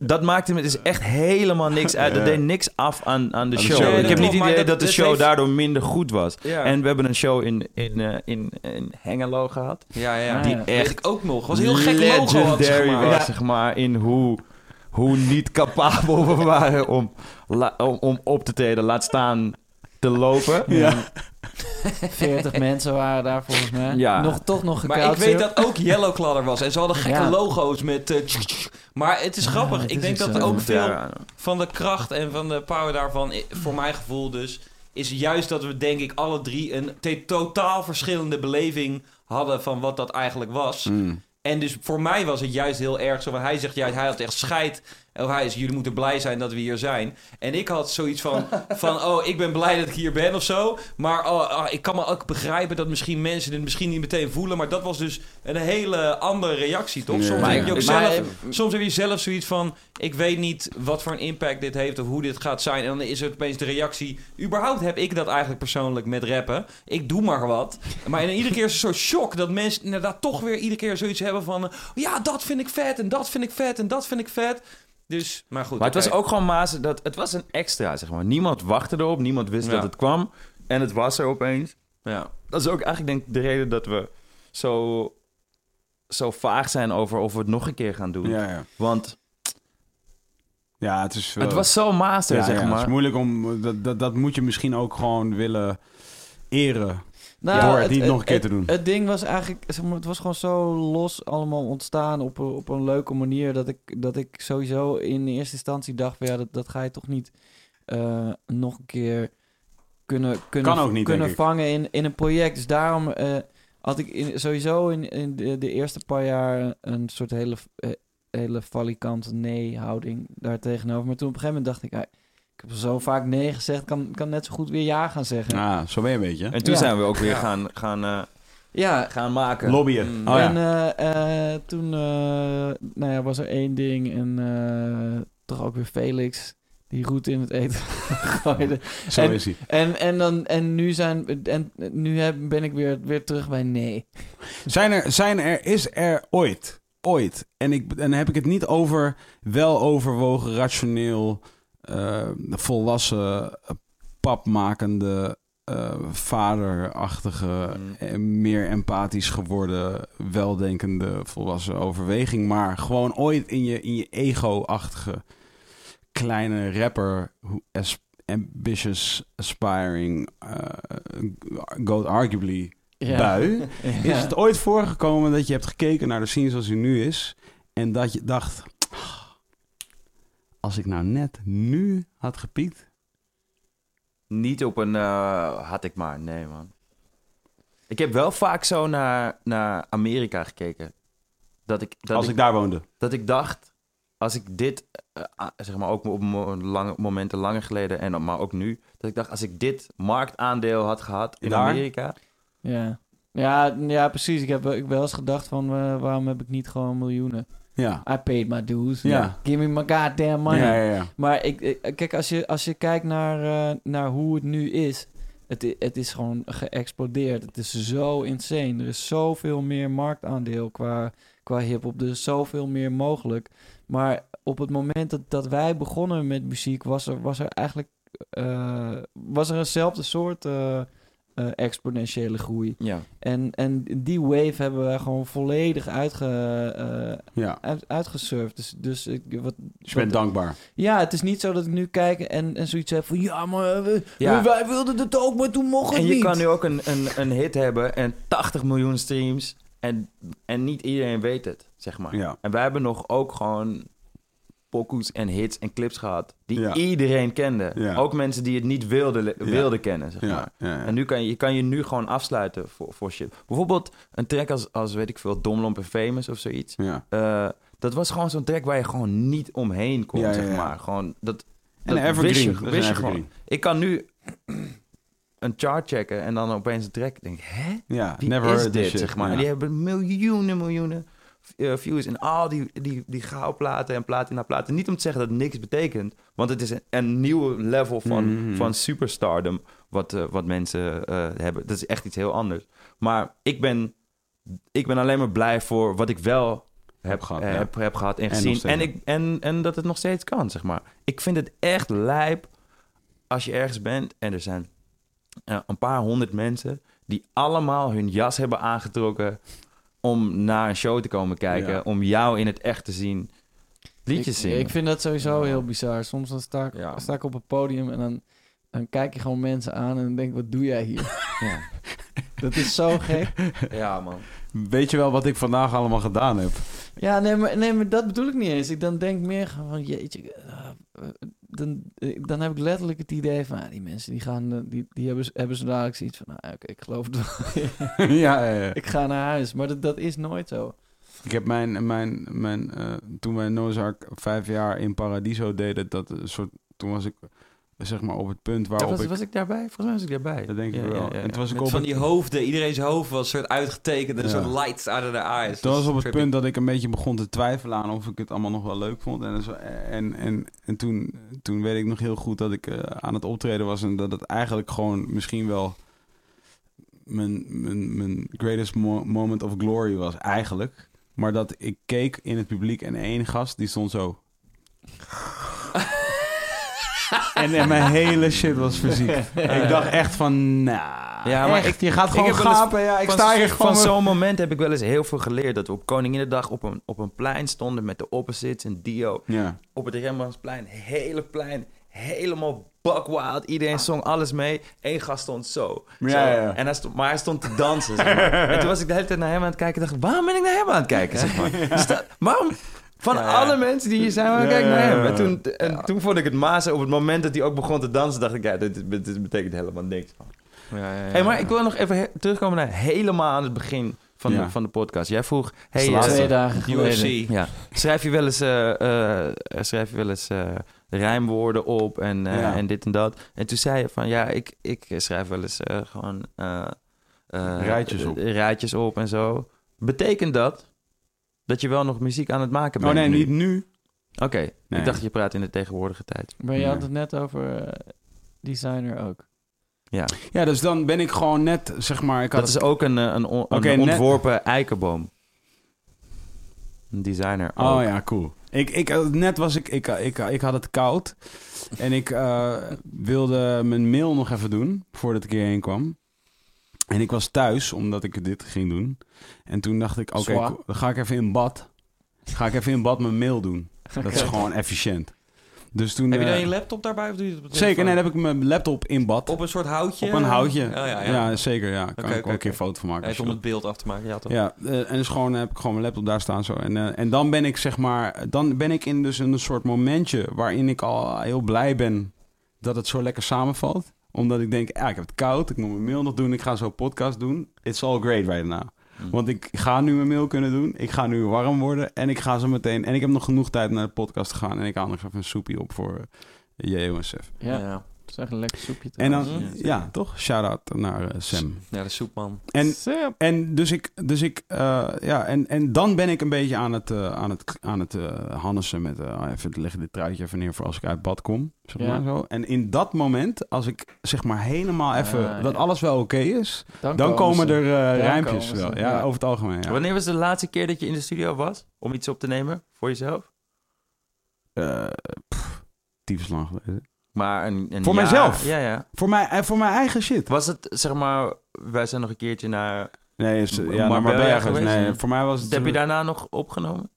D: dat maakte me dus echt helemaal niks uit. Dat
A: Ja.
D: deed niks af aan, aan de
A: Aan de
D: show.
A: show,
D: ik
A: ja.
D: heb niet het
C: Maar
D: idee dat,
C: dat-
D: de
C: dat
D: show
C: heeft-
D: daardoor minder goed was.
C: Ja.
D: En we hebben een show in, in, eh, in, in Hengelo gehad.
C: Ja, ja.
D: Die
C: Weet
D: echt
C: ik ook nog. Was een heel gek logo had ze
D: legendary
C: gemaakt.
D: was, zeg maar, in hoe, hoe niet capabel we waren om, la- om, om op te treden, laat staan te lopen.
B: Ja. 40 mensen waren daar volgens mij.
D: Ja.
B: Nog, toch nog
C: Maar ik
B: gekauwd.
C: weet dat ook Yellow Kladder was. En ze hadden gekke
B: Ja.
C: logo's met... eh, tsch, tsch. maar het is
B: Ja,
C: grappig.
B: het
C: ik
B: is
C: denk
B: ook
C: dat
B: zo.
C: ook veel
D: eh, Ja.
C: van de kracht en van de power daarvan... i- voor mijn gevoel dus... is juist dat we denk ik alle drie... een te- totaal verschillende beleving hadden... van wat dat eigenlijk was.
A: Mm.
C: En dus voor mij was het juist heel erg zo. Want hij zegt juist, hij had echt scheid. Of hij is, jullie moeten blij zijn dat we hier zijn. En ik had zoiets van, van oh, ik ben blij dat ik hier ben of zo. Maar oh, ah, ik kan me ook begrijpen dat misschien mensen het misschien niet meteen voelen. Maar dat was dus een hele andere reactie, toch?
A: Ja.
C: Soms,
A: Maar
C: heb je ook
D: ik-
C: zelf,
B: maar-
C: soms heb je zelf zoiets van, ik weet niet wat voor een impact dit heeft of hoe dit gaat zijn. En dan is het opeens de reactie, überhaupt heb ik dat eigenlijk persoonlijk met rappen. Ik doe maar wat. Maar en iedere keer is het zo'n shock dat mensen inderdaad toch weer iedere keer zoiets hebben van... eh, Ja, dat vind ik vet en dat vind ik vet en dat vind ik vet. Dus, maar goed.
D: Maar het was
C: oké.
D: ook gewoon mazen, dat het was een extra, zeg maar. Niemand wachtte erop, niemand wist
C: Ja.
D: dat het kwam. En het was er opeens.
C: Ja,
D: Dat is ook eigenlijk denk ik de reden dat we zo, zo vaag zijn over of we het nog een keer gaan doen.
A: Ja, ja.
D: Want
A: ja, het is wel...
D: het was zo master,
A: ja,
D: zeg
A: ja, Het is
D: maar.
A: moeilijk om... Dat, dat, dat moet je misschien ook gewoon willen eren.
B: Nou,
A: door het niet nog een keer
B: het-
A: te doen.
B: Het ding was eigenlijk, zeg maar, het was gewoon zo los allemaal ontstaan op, een- op een leuke manier. Dat ik, dat ik sowieso in eerste instantie dacht: van, ja, dat, dat ga je toch niet eh, nog een keer kunnen, kunnen,
A: Kan ook niet,
B: kunnen
A: denk ik.
B: vangen in, in een project. Dus daarom eh, had ik in, sowieso in, in de, de eerste paar jaar een soort hele, eh, hele valikante nee-houding daar tegenover. Maar toen op een gegeven moment dacht ik. ah, ik heb zo vaak nee gezegd, kan, kan net zo goed weer ja gaan zeggen. Ja,
A: Ja, Ah, zo ben je een beetje.
D: En toen
B: Ja.
D: zijn we ook weer
C: Ja.
D: gaan, gaan, eh, gaan maken.
A: Lobbyen.
C: Mm.
A: Oh ja.
B: en eh, eh, toen eh, nou ja, was er één ding en eh, toch ook weer Felix die roet in het eten gooide.
A: Zo
B: en-
A: is hij.
B: En, en, dan, en nu, zijn, en nu heb, ben ik weer, weer terug bij nee.
A: Zijn er, zijn er, is er ooit, ooit, en, ik, en dan heb ik het niet over wel overwogen, rationeel, eh, volwassen, eh, papmakende, eh, vaderachtige,
D: Mm.
A: eh, meer empathisch geworden, weldenkende, volwassen overweging, maar gewoon ooit in je, in je ego-achtige, kleine rapper, hoe- as- ambitious, aspiring, eh, goat arguably, bui.
B: Ja.
A: Is het ooit voorgekomen dat je hebt gekeken naar de scene zoals die nu is en dat je dacht, "Ah, als ik nou net nu had gepiekt,
D: Niet op een eh, had ik maar, nee man. Ik heb wel vaak zo naar, naar Amerika gekeken. Dat ik, dat,
A: als
D: ik,
A: ik daar woonde.
D: dat ik dacht, als ik dit, eh, ah, zeg maar ook op mo- lange, momenten langer geleden, en, maar ook nu, dat ik dacht, als ik dit marktaandeel had gehad in
A: Daar?
D: Amerika.
B: Ja. Ja, ja, precies. Ik heb wel- ik wel eens gedacht van eh, waarom heb ik niet gewoon miljoenen?
A: Ja.
B: I paid my dues.
A: Ja.
B: Give me my goddamn
A: Ja,
B: money.
A: ja, ja.
B: Maar ik, ik- kijk, als je, als je kijkt naar, eh, naar hoe het nu is. Het, i- het is gewoon geëxplodeerd. Het is zo insane. Er is zoveel meer marktaandeel qua, qua hip-hop. Er is zoveel meer mogelijk. Maar op het moment dat, dat wij begonnen met muziek, was er, was er eigenlijk eh, was er eenzelfde soort eh, eh, exponentiële groei.
D: Ja.
B: En, en die wave hebben wij gewoon volledig uitge, eh,
A: ja.
B: uit, uitgesurfd. Dus, dus ik, wat,
A: Dus je bent dankbaar.
B: ja, het is niet zo dat ik nu kijk en, en zoiets heb van... Ja, maar eh, we-
D: Ja.
B: wij wilden het ook, maar toen mocht het
D: En je
B: niet.
D: kan nu ook een, een, een hit hebben en 80 miljoen streams en, en niet iedereen weet het, zeg maar.
A: Ja.
D: En wij hebben nog ook gewoon pokoes en hits en clips gehad die
A: Ja.
D: iedereen kende.
A: Ja.
D: Ook mensen die het niet wilden, le-
A: Ja.
D: wilden kennen, zeg maar.
A: Ja, ja,
D: En nu kan je, je kan je nu gewoon afsluiten voor, voor shit. Bijvoorbeeld een track als, als, weet ik veel, Domlomp en Famous of zoiets.
A: ja.
D: Eh, dat was gewoon zo'n track waar je gewoon niet omheen kon,
A: Ja, ja,
D: zeg
A: ja.
D: maar. Gewoon, dat,
A: En
D: dat
A: evergreen.
D: wist je,
A: Dat is
D: wist
A: een
D: je gewoon.
A: evergreen.
D: Ik kan nu een chart checken en dan opeens een track. Denk ik, hè?
A: Ja,
D: Wie
A: never
D: is
A: heard
D: dit,
A: this shit.
D: zeg maar?
A: Ja.
D: En die hebben miljoenen, miljoenen eh, views. En al die, die, die goudplaten en platen na platen. Niet om te zeggen dat het niks betekent. Want het is een, een nieuw level van,
G: Mhm.
D: van superstardom wat, eh, wat mensen eh, hebben. Dat is echt iets heel anders. Maar ik ben, ik ben alleen maar blij voor wat ik wel heb,
G: Heb
D: gehad,
G: gehad, ja.
D: heb, heb gehad en
G: En
D: gezien.
G: nog
D: En,
G: steeds.
D: ik, en, en dat het nog steeds kan, zeg maar. Ik vind het echt lijp als je ergens bent en er zijn eh, een paar honderd mensen die allemaal hun jas hebben aangetrokken om naar een show te komen kijken,
G: Ja.
D: om jou in het echt te zien liedjes
B: ik,
D: zingen.
B: ik vind dat sowieso
D: Ja.
B: heel bizar. Soms dan sta, ik,
D: Ja.
B: sta ik op een podium en dan, dan kijk je gewoon mensen aan en dan denk ik, wat doe jij hier?
D: Ja.
B: dat is zo gek.
D: ja, man.
A: Weet je wel wat ik vandaag allemaal gedaan heb?
B: Ja, nee maar, nee, maar dat bedoel ik niet eens. Ik dan denk meer gewoon van, jeetje, eh, eh, dan, eh, dan heb ik letterlijk het idee van, ah, die mensen die gaan, eh, die, die hebben, z- hebben zo dadelijk zoiets van, nou, oké, ik geloof het wel.
A: ja, ja, ja.
B: ik ga naar huis. Maar dat, dat is nooit zo.
A: Ik heb mijn, mijn, mijn eh, toen wij Nozark vijf jaar in Paradiso deden, dat een soort, toen was ik zeg maar op het punt waarop
D: was,
A: ik,
D: was ik daarbij? Volgens mij was ik daarbij.
A: dat denk ik
D: Ja,
A: wel.
D: ja, ja, ja.
A: En toen was ik
C: Met
A: op
C: van
A: het-
C: die hoofden. Iedereen's hoofd was een soort uitgetekend. Een
A: Ja.
C: soort lights out of their eyes.
D: dus
A: Dat was op het
C: Trippy.
A: punt dat ik een beetje begon te twijfelen aan of ik het allemaal nog wel leuk vond. En, zo- en, en, en toen, toen weet ik nog heel goed dat ik eh, aan het optreden was en dat het eigenlijk gewoon misschien wel mijn, mijn, mijn greatest mo- moment of glory was, eigenlijk. Maar dat ik keek in het publiek en één gast die stond zo. en, en mijn hele shit was fysiek. ik dacht echt van, nou,
D: Ja, maar
A: echt, je gaat
D: ik
A: gewoon
D: heb wel eens
A: gapen. Ja, ik
D: van
A: sta
D: zo-
A: hier gewoon
D: Van
A: met-
D: zo'n moment heb ik wel eens heel veel geleerd. Dat we op Koninginnedag op een, op een plein stonden met de opposites en Dio.
A: Ja.
D: Op het Rembrandtsplein, hele plein, helemaal buckwild. Iedereen zong alles mee. Eén gast stond zo.
A: Ja,
D: Zo.
A: ja, ja.
D: En hij stond, maar hij stond te dansen. zeg maar. En toen was ik de hele tijd naar hem aan het kijken. en dacht ik, waarom ben ik naar hem aan het kijken? Zeg maar. Dus dat- waarom? Van
C: Ja, ja.
D: alle mensen die hier zijn, waarom
A: Ja,
D: kijk ik naar
A: ja, ja,
D: hem?
A: ja.
D: En toen, en toen vond ik het mazen. Op het moment dat hij ook begon te dansen, dacht ik, ja, dit, dit- dit betekent helemaal niks.
C: Ja, ja, ja.
D: Hey, maar ik wil nog even he- terugkomen naar helemaal aan het begin van, de,
A: Ja.
D: van de podcast. Jij vroeg, hey,
A: de laatste.
D: eh,
B: Twee dagen geleden.
C: UFC.
D: ja, schrijf je wel eens, eh, eh, schrijf je wel eens eh, rijmwoorden op en, eh,
A: Ja.
D: en dit en dat. En toen zei je van, ja, ik, ik schrijf wel eens eh, gewoon... eh, eh,
A: Rijtjes op.
D: Rijtjes op en zo. Betekent dat dat je wel nog muziek aan het maken
A: Oh
D: bent?
A: nee,
D: nu?
A: niet nu.
D: Oké,
A: Nee.
D: ik dacht je praat in de tegenwoordige tijd.
B: Maar je
A: Ja.
B: had het net over eh, designer ook.
D: Ja,
A: Ja, dus dan ben ik gewoon net, zeg maar... Ik had
D: dat is ook een, eh, een, on- een
A: Oké, net-
D: ontworpen eikenboom. Een designer ook.
A: Oh ja, cool. Ik, ik, eh, net was ik, ik, eh, ik, eh, ik had het koud. En ik eh, wilde mijn mail nog even doen, voordat ik hierheen kwam. En ik was thuis, omdat ik dit ging doen. En toen dacht ik, oké,
B: Zwa.
A: cool, dan ga ik even in bad. Ga ik even in bad mijn mail doen. Dat is gewoon efficiënt. Dus toen...
C: Heb je
A: eh,
C: dan je laptop daarbij? Of doe je het op de
A: zeker, nee,
C: telefoon?
A: dan heb ik mijn laptop in bad. Op,
C: Op een soort houtje?
A: een houtje.
C: Oh, ja, ja.
A: zeker, ja. Kan ik
C: Oké,
A: ook
C: oké,
A: een keer
C: oké.
A: foto van maken. als
C: Even
A: je
C: om
A: dat
C: het beeld af te maken. Ja, toch?
A: Ja, eh, en dus gewoon heb ik gewoon mijn laptop daar staan zo. En, eh, en dan ben ik zeg maar, dan ben ik in dus een soort momentje waarin ik al heel blij ben dat het zo lekker samenvalt. Omdat ik denk, ah, ik heb het koud, ik moet mijn mail nog doen, ik ga zo podcast doen. It's all great right now.
C: Mm.
D: Hm.
A: Want ik ga nu mijn mail kunnen doen, ik ga nu warm worden en ik ga zo meteen. En ik heb nog genoeg tijd naar de podcast te gaan en ik haal nog even een soepie op voor uh, JOSF.
B: Ja,
C: ja.
B: dat is echt een lekker soepje.
A: En dan,
C: Ja, zeker.
A: ja, toch? Shout-out naar eh, Sam.
C: Ja, de soepman.
A: En
B: Sam.
A: en dus ik, dus ik eh, ja, en, en dan ben ik een beetje aan het, eh, aan het, aan het eh hannesen met, eh, ah, even leg dit truitje even neer voor als ik uit bad kom, zeg
B: Ja.
A: maar zo. En in dat moment, als ik zeg maar helemaal even,
B: Ah,
A: dat
B: ja.
A: alles wel oké is,
B: Dan,
A: dan komen
B: ze.
A: er eh,
B: Dan
A: rijmpjes
B: komen ze,
A: wel, ja,
B: ja.
A: over het algemeen, ja.
D: Wanneer was de laatste keer dat je in de studio was om iets op te nemen voor jezelf?
A: Eh, pff, tyfus lang geleden.
D: Maar een, een
A: Voor
D: jaar-
A: mijzelf?
D: Ja, ja.
A: Voor, mij, eh, voor mijn eigen shit.
D: Was het, zeg maar, wij zijn nog een keertje naar...
A: Nee, is, ja,
D: M-
A: naar
D: Marbella
A: Marbella
D: geweest?
A: geweest. Nee, voor mij was het...
D: Heb je daarna nog opgenomen?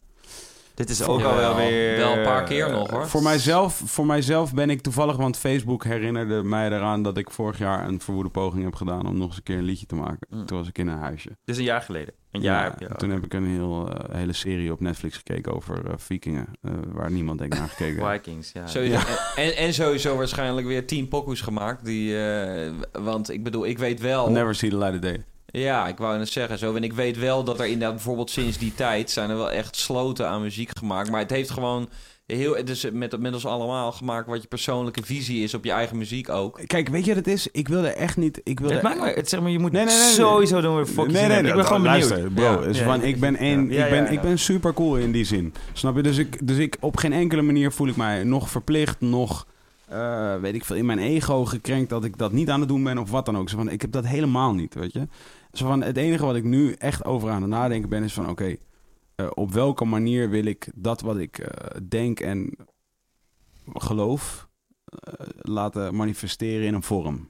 D: Dit is ook
C: Ja,
D: al
C: wel.
D: wel weer...
C: Wel een paar keer nog, hoor.
A: Voor mijzelf, voor mijzelf ben ik toevallig, want Facebook herinnerde mij eraan dat ik vorig jaar een verwoede poging heb gedaan om nog eens een keer een liedje te maken.
D: Mm.
A: Toen was ik in een huisje.
D: Dus een jaar geleden. Een jaar heb je al.
A: toen heb ik een heel, eh, hele serie op Netflix gekeken over eh, vikingen, eh, waar niemand denk ik naar gekeken heeft.
D: Vikings, ja.
C: Sowieso, en, en sowieso waarschijnlijk weer tien pokoes gemaakt. Die, eh, want ik bedoel, ik weet wel...
A: Never see the light of day.
C: Ja, ik wou net zeggen zo. En ik weet wel dat er inderdaad bijvoorbeeld sinds die tijd... zijn er wel echt sloten aan muziek gemaakt. Maar het heeft gewoon... heel, het is met, met ons allemaal gemaakt wat je persoonlijke visie is op je eigen muziek ook.
A: Kijk, weet je wat het is? Ik wilde echt niet... Ik wilde
D: Het maakt me, het, zeg maar, je moet
A: Nee, nee, nee, nee.
D: sowieso doen we fucking
A: nee, nee,
D: Ik ben gewoon benieuwd.
A: luister, Bro,
D: Ja.
A: is
D: Ja,
A: van,
D: ja,
A: ik ben één,
D: Ja,
A: ik ben,
D: ja, ja.
A: ik ben super cool in die zin. Snap je? Dus ik, dus ik op geen enkele manier voel ik mij nog verplicht, nog eh, weet ik veel, in mijn ego gekrenkt dat ik dat niet aan het doen ben of wat dan ook. Zo van, ik heb dat helemaal niet, weet je? Zo van, het enige wat ik nu echt over aan het nadenken ben is van, oké, eh, op welke manier wil ik dat wat ik eh, denk en geloof eh, laten manifesteren in een vorm?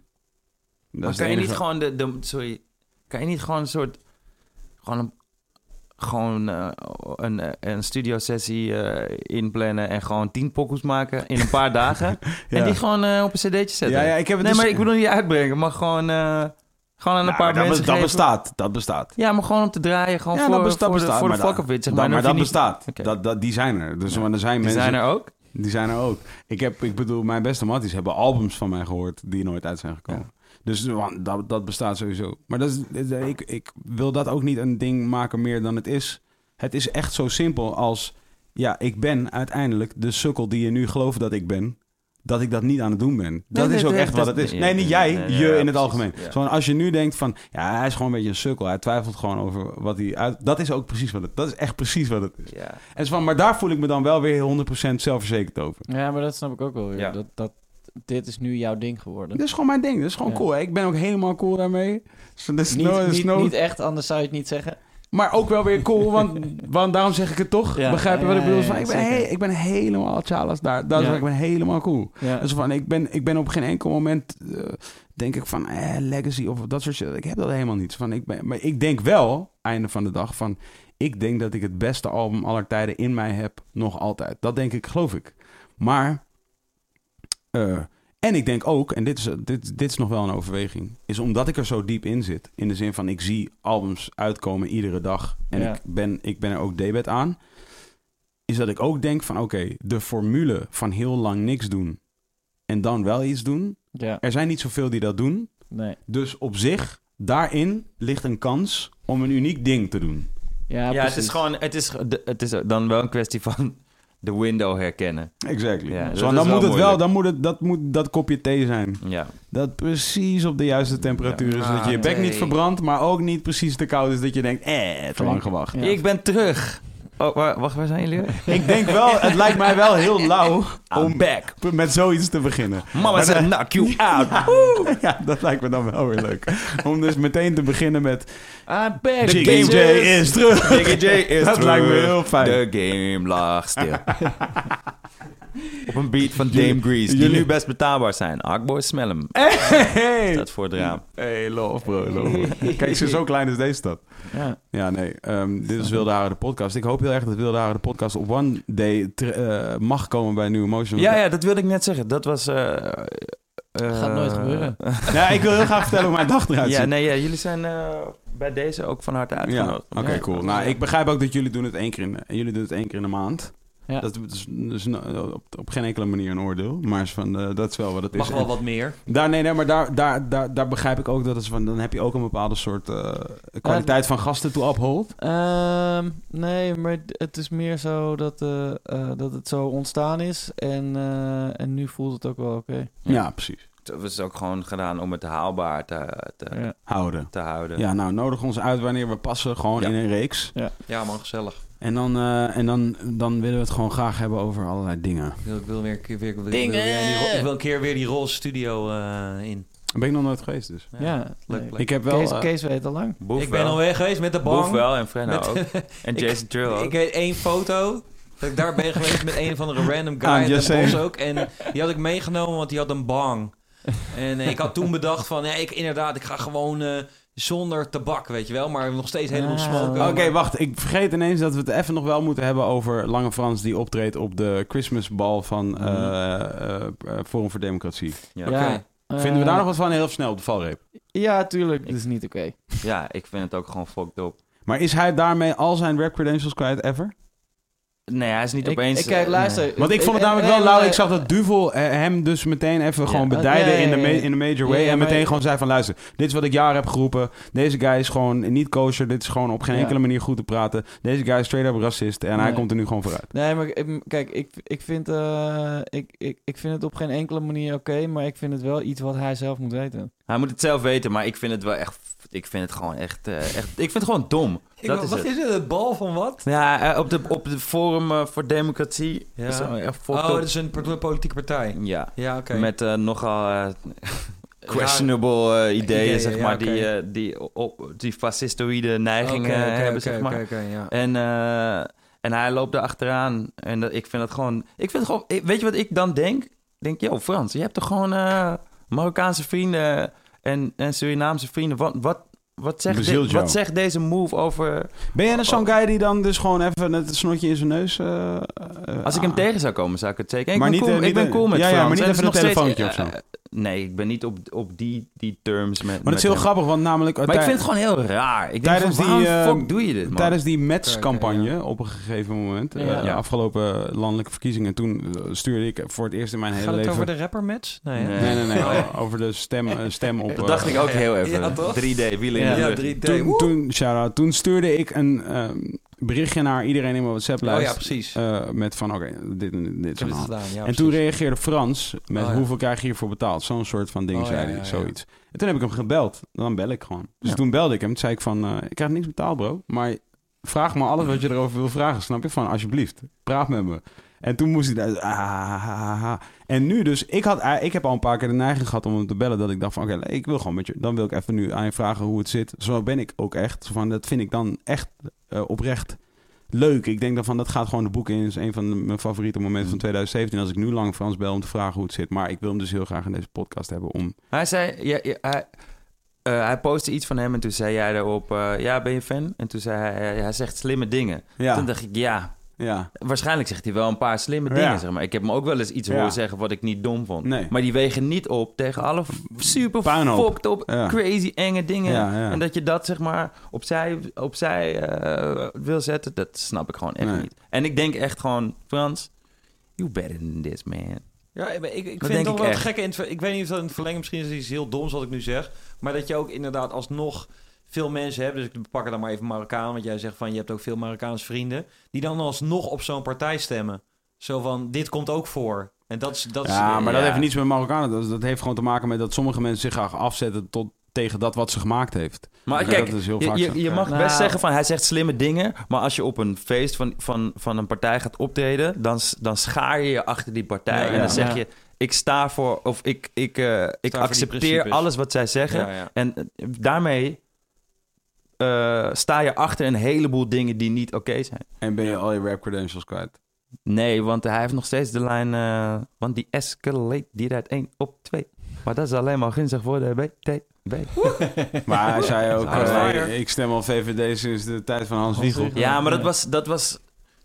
A: Dat
D: Maar
A: is de
D: kan je niet
A: enige-
D: gewoon de, de- Sorry. Kan je niet gewoon een soort... Gewoon een... Gewoon eh, een, eh, een studiosessie eh, inplannen en gewoon tien pokkels maken in een paar dagen. En
A: Ja.
D: die gewoon eh, op een cd'tje zetten.
A: Ja, ja, ik heb het
D: nee,
A: dus-
D: maar ik bedoel niet uitbrengen, maar gewoon, eh, gewoon aan een
A: Nou,
D: paar
A: dat,
D: mensen
A: be- dat
D: geven.
A: bestaat, dat bestaat.
D: Ja, maar gewoon om te draaien, gewoon
A: Ja,
D: voor,
A: dat bestaat,
D: voor,
A: bestaat,
D: de, voor de
A: maar
D: fuck
A: dat-
D: of it,
A: Dan-
D: zeg maar.
A: maar
D: Dan
A: dat
D: hoef je
A: bestaat.
D: Oké.
A: Dat, dat, die zijn er. Dus want er zijn
D: niet- Die
A: mensen.
D: zijn er ook.
A: Die zijn er ook. Ik, heb, ik bedoel, mijn beste matties hebben albums van mij gehoord die nooit uit zijn gekomen. Dus want dat, dat bestaat sowieso. Maar dat is, ik, ik wil dat ook niet een ding maken meer dan het is. Het is echt zo simpel als... Ja, ik ben uiteindelijk de sukkel die je nu gelooft dat ik ben. Dat ik dat niet aan het doen ben. dat
D: nee,
A: is ook
D: nee,
A: echt
D: dat-
A: wat het is.
D: nee,
A: Nee,
D: nee,
A: niet jij.
D: nee, nee,
A: je
D: ja,
A: in het
D: precies,
A: algemeen.
D: ja.
A: Zo'n als je nu denkt van... Ja, hij is gewoon een beetje een sukkel. Hij twijfelt gewoon over wat hij uit... Dat is ook precies wat het... Dat is echt precies wat het is.
D: Ja.
A: En zo van, maar daar voel ik me dan wel weer 100% zelfverzekerd over.
B: Ja, maar dat snap ik ook wel weer.
D: Ja.
B: Dat, dat, dit is nu jouw ding geworden.
A: Dat is gewoon mijn ding. Dat is gewoon
B: Ja.
A: cool. hè. Ik ben ook helemaal cool daarmee. Dus dat is
B: niet,
A: no- dat is
B: niet,
A: no-
B: niet echt, anders zou je het niet zeggen.
A: Maar ook wel weer cool, want, want daarom zeg ik het toch.
B: Ja.
A: Begrijp je wat ik
B: Ja,
A: bedoel?
B: ja,
A: Van, ik, ben
B: zeker.
A: he- ik ben helemaal Charles daar. Dat is
B: Ja.
A: waar, ik ben helemaal cool.
B: Ja.
A: Dus van, ik, ben, ik ben op geen enkel moment, eh, denk ik van, eh, legacy of dat soort shit. Ik heb dat helemaal niet. Van, ik ben, maar ik denk wel, einde van de dag, van... Ik denk dat ik het beste album aller tijden in mij heb, nog altijd. Dat denk ik, geloof ik. Maar, eh, en ik denk ook, en dit is, dit, dit is nog wel een overweging, is omdat ik er zo diep in zit. In de zin van, ik zie albums uitkomen iedere dag. En
B: Ja.
A: ik, ben, ik ben er ook debet aan. Is dat ik ook denk van, oké, de formule van heel lang niks doen en dan wel iets doen.
B: ja,
A: Er zijn niet zoveel die dat doen.
B: nee.
A: Dus op zich, daarin ligt een kans om een uniek ding te doen.
B: Ja,
D: Ja, het
B: precies.
D: is gewoon, het is, de- het is dan wel een kwestie van de window herkennen.
A: Exactly.
D: Ja, dat
A: Zo,
D: is
A: dan moet
D: wel
A: het wel,
D: moeilijk.
A: dan moet het, dat moet dat kopje thee zijn.
D: Ja.
A: Dat precies op de juiste temperatuur is.
D: Ja.
A: Dat je je bek
D: Ah,
A: niet
D: thee.
A: verbrandt, maar ook niet precies te koud is dat je denkt, eh, te lang gewacht.
B: Ja.
D: Ik ben terug. Oh, wa- wacht, waar zijn jullie?
A: Ik denk wel, het lijkt mij wel heel lauw
D: I'm
A: om
D: back.
A: met zoiets te beginnen.
D: Mama said knock you out.
A: Ja, dat lijkt me dan wel weer leuk. Om dus meteen te beginnen met
D: I'm back.
A: The Game J is terug.
D: Jiggy J is
A: Dat
D: terug.
A: lijkt me heel fijn.
D: The game lag stil. Op een beat van Dame
A: Jullie-
D: Grease, die
A: jullie-
D: nu best betaalbaar zijn. Akboy Smellem
A: Hey.
D: staat voor het raam.
A: Hey, love bro, love bro. Kijk, ze is zo klein als deze stad.
B: Ja.
A: Ja, nee. ehm, dit is Wilde Haren de podcast. Ik hoop heel erg dat Wilde Haren de podcast op one day ter- eh, mag komen bij New Emotion.
D: Ja, ja, dat wilde ik net zeggen. Dat was... eh, eh,
B: Gaat nooit gebeuren.
A: Nou, ik wil heel graag vertellen hoe mijn dag eruit ziet.
D: Ja, nee, ja, jullie zijn eh, bij deze ook van harte
A: Ja,
D: uitgenodigd.
A: oké, cool. Nou, ik begrijp ook dat jullie doen het één keer in, eh, jullie doen het één keer in de maand.
B: Ja.
A: Dat is, dus op, op geen enkele manier een oordeel, maar is van, eh, dat is wel wat het
C: Mag
A: is.
C: wel wat meer.
A: Daar, nee, nee, maar daar, daar, daar, daar begrijp ik ook dat is van, dan heb je ook een bepaalde soort eh, kwaliteit van gasten toe uphold.
B: Ehm, nee, maar d- het is meer zo dat, eh, eh, dat het zo ontstaan is. En, eh, en nu voelt het ook wel oké.
A: Ja, precies.
D: Het was ook gewoon gedaan om het haalbaar te, te,
B: Ja.
A: Houden.
D: te houden.
A: Ja, nou, nodig ons uit wanneer we passen, gewoon
D: Ja.
A: in een reeks.
C: Ja man, gezellig.
A: En, dan, eh, en dan, dan willen we het gewoon graag hebben over allerlei dingen.
C: Ik wil, ik wil weer een keer weer, ik wil, ik wil weer in die ro- ik wil een keer weer die roze studio eh, in.
A: Daar ben ik nog nooit geweest, dus.
B: Ja,
C: leuk
B: nee.
C: plek.
A: Ik heb wel...
B: Kees,
A: eh,
B: Kees weet al lang.
D: Boef
C: ik ben
D: wel.
C: alweer geweest met de
D: Boef
C: bank.
D: wel en Frenna
C: Met-
D: ook. En
C: Ik-
D: Jason Trill ook.
C: Ik weet één foto. Dat ik daar ben geweest met een van de random guy
A: Ah,
C: in
A: just
C: Den Bosch
A: saying.
C: ook. En die had ik meegenomen, want die had een bang. En eh, ik had toen bedacht van, ja, ik, inderdaad, ik ga gewoon eh, zonder tabak, weet je wel. Maar nog steeds helemaal
B: Ah.
C: smoken.
A: Oké,
C: Maar-
A: wacht. Ik vergeet ineens dat we het even nog wel moeten hebben over Lange Frans die optreedt op de Christmasbal van
B: Mhm.
A: eh eh, eh, Forum voor Democratie.
D: Ja.
C: Oké.
B: Ja.
A: Vinden we daar
B: Eh,
A: nog wat van heel snel op de valreep?
B: Ja, tuurlijk. Dit is niet oké.
D: Ja, ik vind het ook gewoon fucked up.
A: Maar is hij daarmee al zijn rap credentials kwijt ever?
D: Nee, hij is niet
B: Ik-
D: opeens...
B: Ik, kijk,
D: eh,
B: luister.
D: nee.
A: Want ik vond het
B: en-
A: namelijk
B: en-
A: wel lauw.
B: en-
A: Ik zag dat Duvel eh, hem dus meteen even gewoon
B: eh, Ja,
A: bedijden
B: ja, ja,
A: in, de
B: ja,
A: ma-
B: ja.
A: in de major way.
B: Ja, ja,
A: en meteen
B: maar-
A: gewoon zei van luister, dit is wat ik jaren heb geroepen. Deze guy is gewoon niet kosher. Dit is gewoon op geen
B: Ja.
A: enkele manier goed te praten. Deze guy is straight up racist. En hij
B: Nee.
A: komt er nu gewoon vooruit.
B: Nee, maar ik- kijk, ik, ik, vind, eh, ik, ik, ik vind het op geen enkele manier oké, maar ik vind het wel iets wat hij zelf moet weten.
D: Hij moet het zelf weten, maar ik vind het wel echt... Ik vind het gewoon echt... eh, echt ik vind het gewoon dom.
C: Ik
D: dat
C: wou-
D: is
C: wat
D: het.
C: is het? Het bal van wat?
D: Ja, eh, op de, op de Forum eh, voor Democratie.
C: Ja.
D: Is, eh, echt voor
C: Oh, dat is een part- politieke partij.
D: Ja,
C: Ja, oké.
D: met eh, nogal eh,
C: Raar-
D: questionable eh, ideeën,
C: Ideeën,
D: zeg
C: ja,
D: maar,
C: oké.
D: die, eh, die, op, die fascistoïde neigingen
C: Oké, oké,
D: eh, hebben,
C: oké,
D: zeg maar.
C: oké, oké, ja.
D: En, eh, en hij loopt daar achteraan. En dat, ik vind dat gewoon. Ik vind het gewoon. ik- weet je wat ik dan denk? Ik denk, yo, Frans, je hebt toch gewoon eh, Marokkaanse vrienden en, en Surinaamse vrienden. Wat, wat, wat, zegt
A: Bezielt
D: dit-
A: jou.
D: wat zegt deze move over.
A: Ben jij dus zo'n guy die dan dus gewoon even het snotje in zijn neus... eh, eh,
D: Als ik hem
A: ah.
D: tegen zou komen, zou ik het zeker. Ik,
A: Maar
D: ben,
A: niet, eh,
D: cool,
A: niet
D: ik ben
A: een-
D: cool met
A: ja, ja,
D: Frans.
A: maar niet
D: En het
A: even
D: is
A: een
D: nog steeds-
A: telefoontje of
D: eh, nee, ik ben niet op, op die, die terms met
A: Maar
D: met
A: dat is heel
D: hem.
A: grappig, want namelijk... eh,
D: Maar ik
A: tij-
D: vind het gewoon heel raar. Ik denk
A: Tijdens
D: van, waarom
A: die, eh,
D: fuck doe je dit, man?
A: Tijdens die
C: Oké,
A: Mets-campagne
C: oké,
A: op een gegeven moment, eh,
B: Ja.
A: de afgelopen landelijke verkiezingen, toen eh, stuurde ik voor het eerst in mijn hele
C: Gaat het
A: leven...
C: over de rappermatch? Nee, hè?
D: Nee.
A: Nee, nee, nee. eh, Over de stem, eh, stem op...
D: Oh. dat
A: eh,
D: dacht ik eh, ook heel even.
C: Ja, toch?
D: 3D, wielen in
C: Ja, Oh
D: de lucht.
C: 3D.
A: toen,
C: Woe!
A: toen, shout-out, toen stuurde ik een ehm, berichtje naar iedereen in mijn
C: Oh ja,
A: WhatsApp-lijst.
C: precies.
A: eh, met van, oké, dit, dit, dit
C: Ik
A: is aan
C: heb
A: de
C: het
A: hand.
C: gedaan, ja,
A: en toen
C: precies.
A: reageerde Frans met
C: Oh ja.
A: hoeveel krijg je hiervoor betaald? Zo'n soort van ding,
C: Oh ja,
A: zei hij,
C: ja, ja.
A: zoiets. En toen heb ik hem gebeld. Dan bel ik gewoon. Dus
D: Ja.
A: toen belde ik hem. Toen zei ik van, eh, ik krijg niks betaald, bro. Maar vraag me alles wat je erover wil vragen, snap je? Van, alsjeblieft, praat met me. En toen moest hij daar... ah, ah, ah, ah, ah. En nu dus, ik, had, ah, ik heb al een paar keer de neiging gehad om hem te bellen... dat ik dacht van, oké, ik wil gewoon met je... dan wil ik even nu aan je vragen hoe het zit. Zo ben ik ook echt. Zo Van, dat vind ik dan echt eh, oprecht leuk. Ik denk dan van, dat gaat gewoon de boeken in. Dat is een van de- mijn favoriete momenten
D: Mm.
A: van 2017... als ik nu lang Frans bel om te vragen hoe het zit. Maar ik wil hem dus heel graag in deze podcast hebben om...
D: Hij zei... Ja, ja, hij, eh, hij postte iets van hem en toen zei jij erop... eh, ja, ben je fan? En toen zei hij... eh, hij zegt slimme dingen. Toen
A: Ja,
D: dacht ik, ja...
A: ja.
D: Waarschijnlijk zegt hij wel een paar slimme
A: Ja.
D: dingen, zeg maar. Ik heb hem ook wel eens iets
A: Ja.
D: horen zeggen wat ik niet dom vond.
A: Nee.
D: Maar die wegen niet op tegen alle f- super
A: Puinhoop.
D: fucked op,
A: Ja.
D: crazy enge dingen.
A: Ja, ja.
D: En dat je dat, zeg maar, opzij, opzij eh, wil zetten, dat snap ik gewoon echt
A: Nee.
D: niet. En ik denk echt gewoon, Frans, you better than this, man.
C: Ja, ik, ik, ik
D: Dat
C: vind
D: denk
C: dat
D: ik
C: wel het
D: echt.
C: gekke. in het ver- ik weet niet of dat in het verlengde misschien is iets heel doms wat ik nu zeg. Maar dat je ook inderdaad alsnog veel mensen hebt. Dus ik pak er dan maar even Marokkaan. Want jij zegt van je hebt ook veel Marokkaanse vrienden. Die dan alsnog op zo'n partij stemmen. Zo van dit komt ook voor. En dat is. Dat is
A: ja, maar dat
D: ja.
A: heeft niets met Marokkanen. Dat, dat heeft gewoon te maken met dat sommige mensen zich graag afzetten tot, tegen dat wat ze gemaakt heeft.
D: Maar
A: Ja,
D: kijk,
A: dat is heel
D: je-
A: vaak zo.
D: je, je mag
B: Ja.
D: best
B: Nou.
D: zeggen van hij zegt slimme dingen, maar als je op een feest van, van, van een partij gaat optreden, dan, s- dan schaar je je achter die partij
C: Ja,
D: en
C: ja.
D: dan zeg
B: Ja.
D: je, ik sta voor, of ik, ik, eh, ik
C: die
D: accepteer
C: principes.
D: alles wat zij zeggen.
C: Ja, ja.
D: En eh, daarmee eh, sta je achter een heleboel dingen die niet oké zijn.
A: En ben je al je rap credentials kwijt.
D: Nee, want hij heeft nog steeds de lijn, eh, want die escalate, die rijdt 1 op 2. Maar dat is alleen maar gunstig voor de BTB.
A: Maar hij zei ook,
D: Hard
A: eh,
C: fire.
A: ik stem al VVD sinds de tijd van Hans
B: Hans
A: Wiegel.
B: Wiegel.
D: Ja, maar dat was, dat was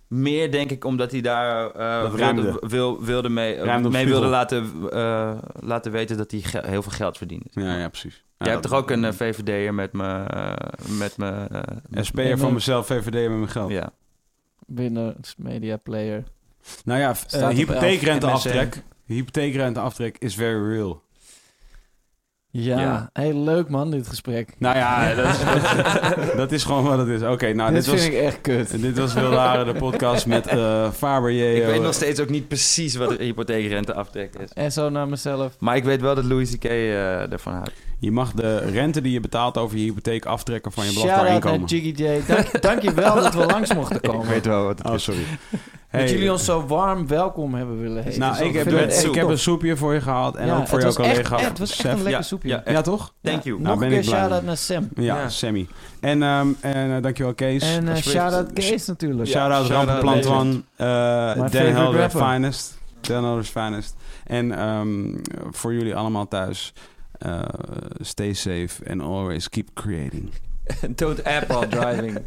D: meer, denk ik, omdat hij daar eh,
A: Dat ruimde.
D: wilde, wil, wilde mee, eh,
A: Ruimde op
D: mee
A: spiegel.
D: wilde laten, eh, laten weten dat hij ge- heel veel geld verdiende.
A: Ja, ja, precies.
D: Jij hebt toch ook een eh, VVD'er met me... eh, met me eh, met-
A: SP'er van mezelf, VVD met mijn geld.
D: Ja.
B: Binnen media player.
A: Nou ja,
B: Staat
A: eh,
B: op
A: hypotheekrenteaftrek. Hypotheekrenteaftrek is very real.
B: Ja,
D: Ja.
B: hey, leuk man, dit gesprek.
A: Nou ja, dat is, dat is gewoon wat het is. Oké, nou, dit,
B: dit vind
A: was,
B: ik echt kut.
A: dit was Wildare, de podcast met eh Faber J.
D: Ik weet nog steeds ook niet precies wat de hypotheekrenteaftrek is.
B: En zo naar mezelf.
D: Maar ik weet wel dat Louis C.K. eh, ervan houdt.
A: Je mag de rente die je betaalt over je hypotheek aftrekken van je
B: Shout-out
A: belastbaar inkomen.
B: naar Jiggy J. Dank, dank je wel dat we langs mochten komen.
D: wel wat
A: Oh, sorry.
B: Dat jullie ons zo warm welkom hebben willen heten.
A: nou, ik, heb,
D: vind
A: een-
D: het echt
A: ik heb een soepje voor je gehaald en
B: Ja,
A: ook voor jouw
B: het was echt-
A: collega.
B: echt, het was echt een
A: Sef.
B: lekker
D: Ja,
B: soepje.
D: ja,
A: Ja, toch?
D: Thank
B: Ja,
D: you.
A: Nou,
B: Nog
A: ben
B: een keer
A: ik blij
B: shout-out
A: mee.
B: naar Sam.
A: Ja,
D: Ja.
A: Sammy. En, ehm, en eh, dankjewel Kees.
B: En eh
A: Alsjeblieft.
B: shout-out Kees natuurlijk.
A: Shout-out
D: shout-out
A: Rampenplantuan, eh
B: My
A: Dan
B: favorite
A: Helder's
B: rapper.
A: Finest. Dan Helder's Finest. En ehm, voor jullie allemaal thuis, eh, stay safe and always keep creating.
C: Don't app while driving.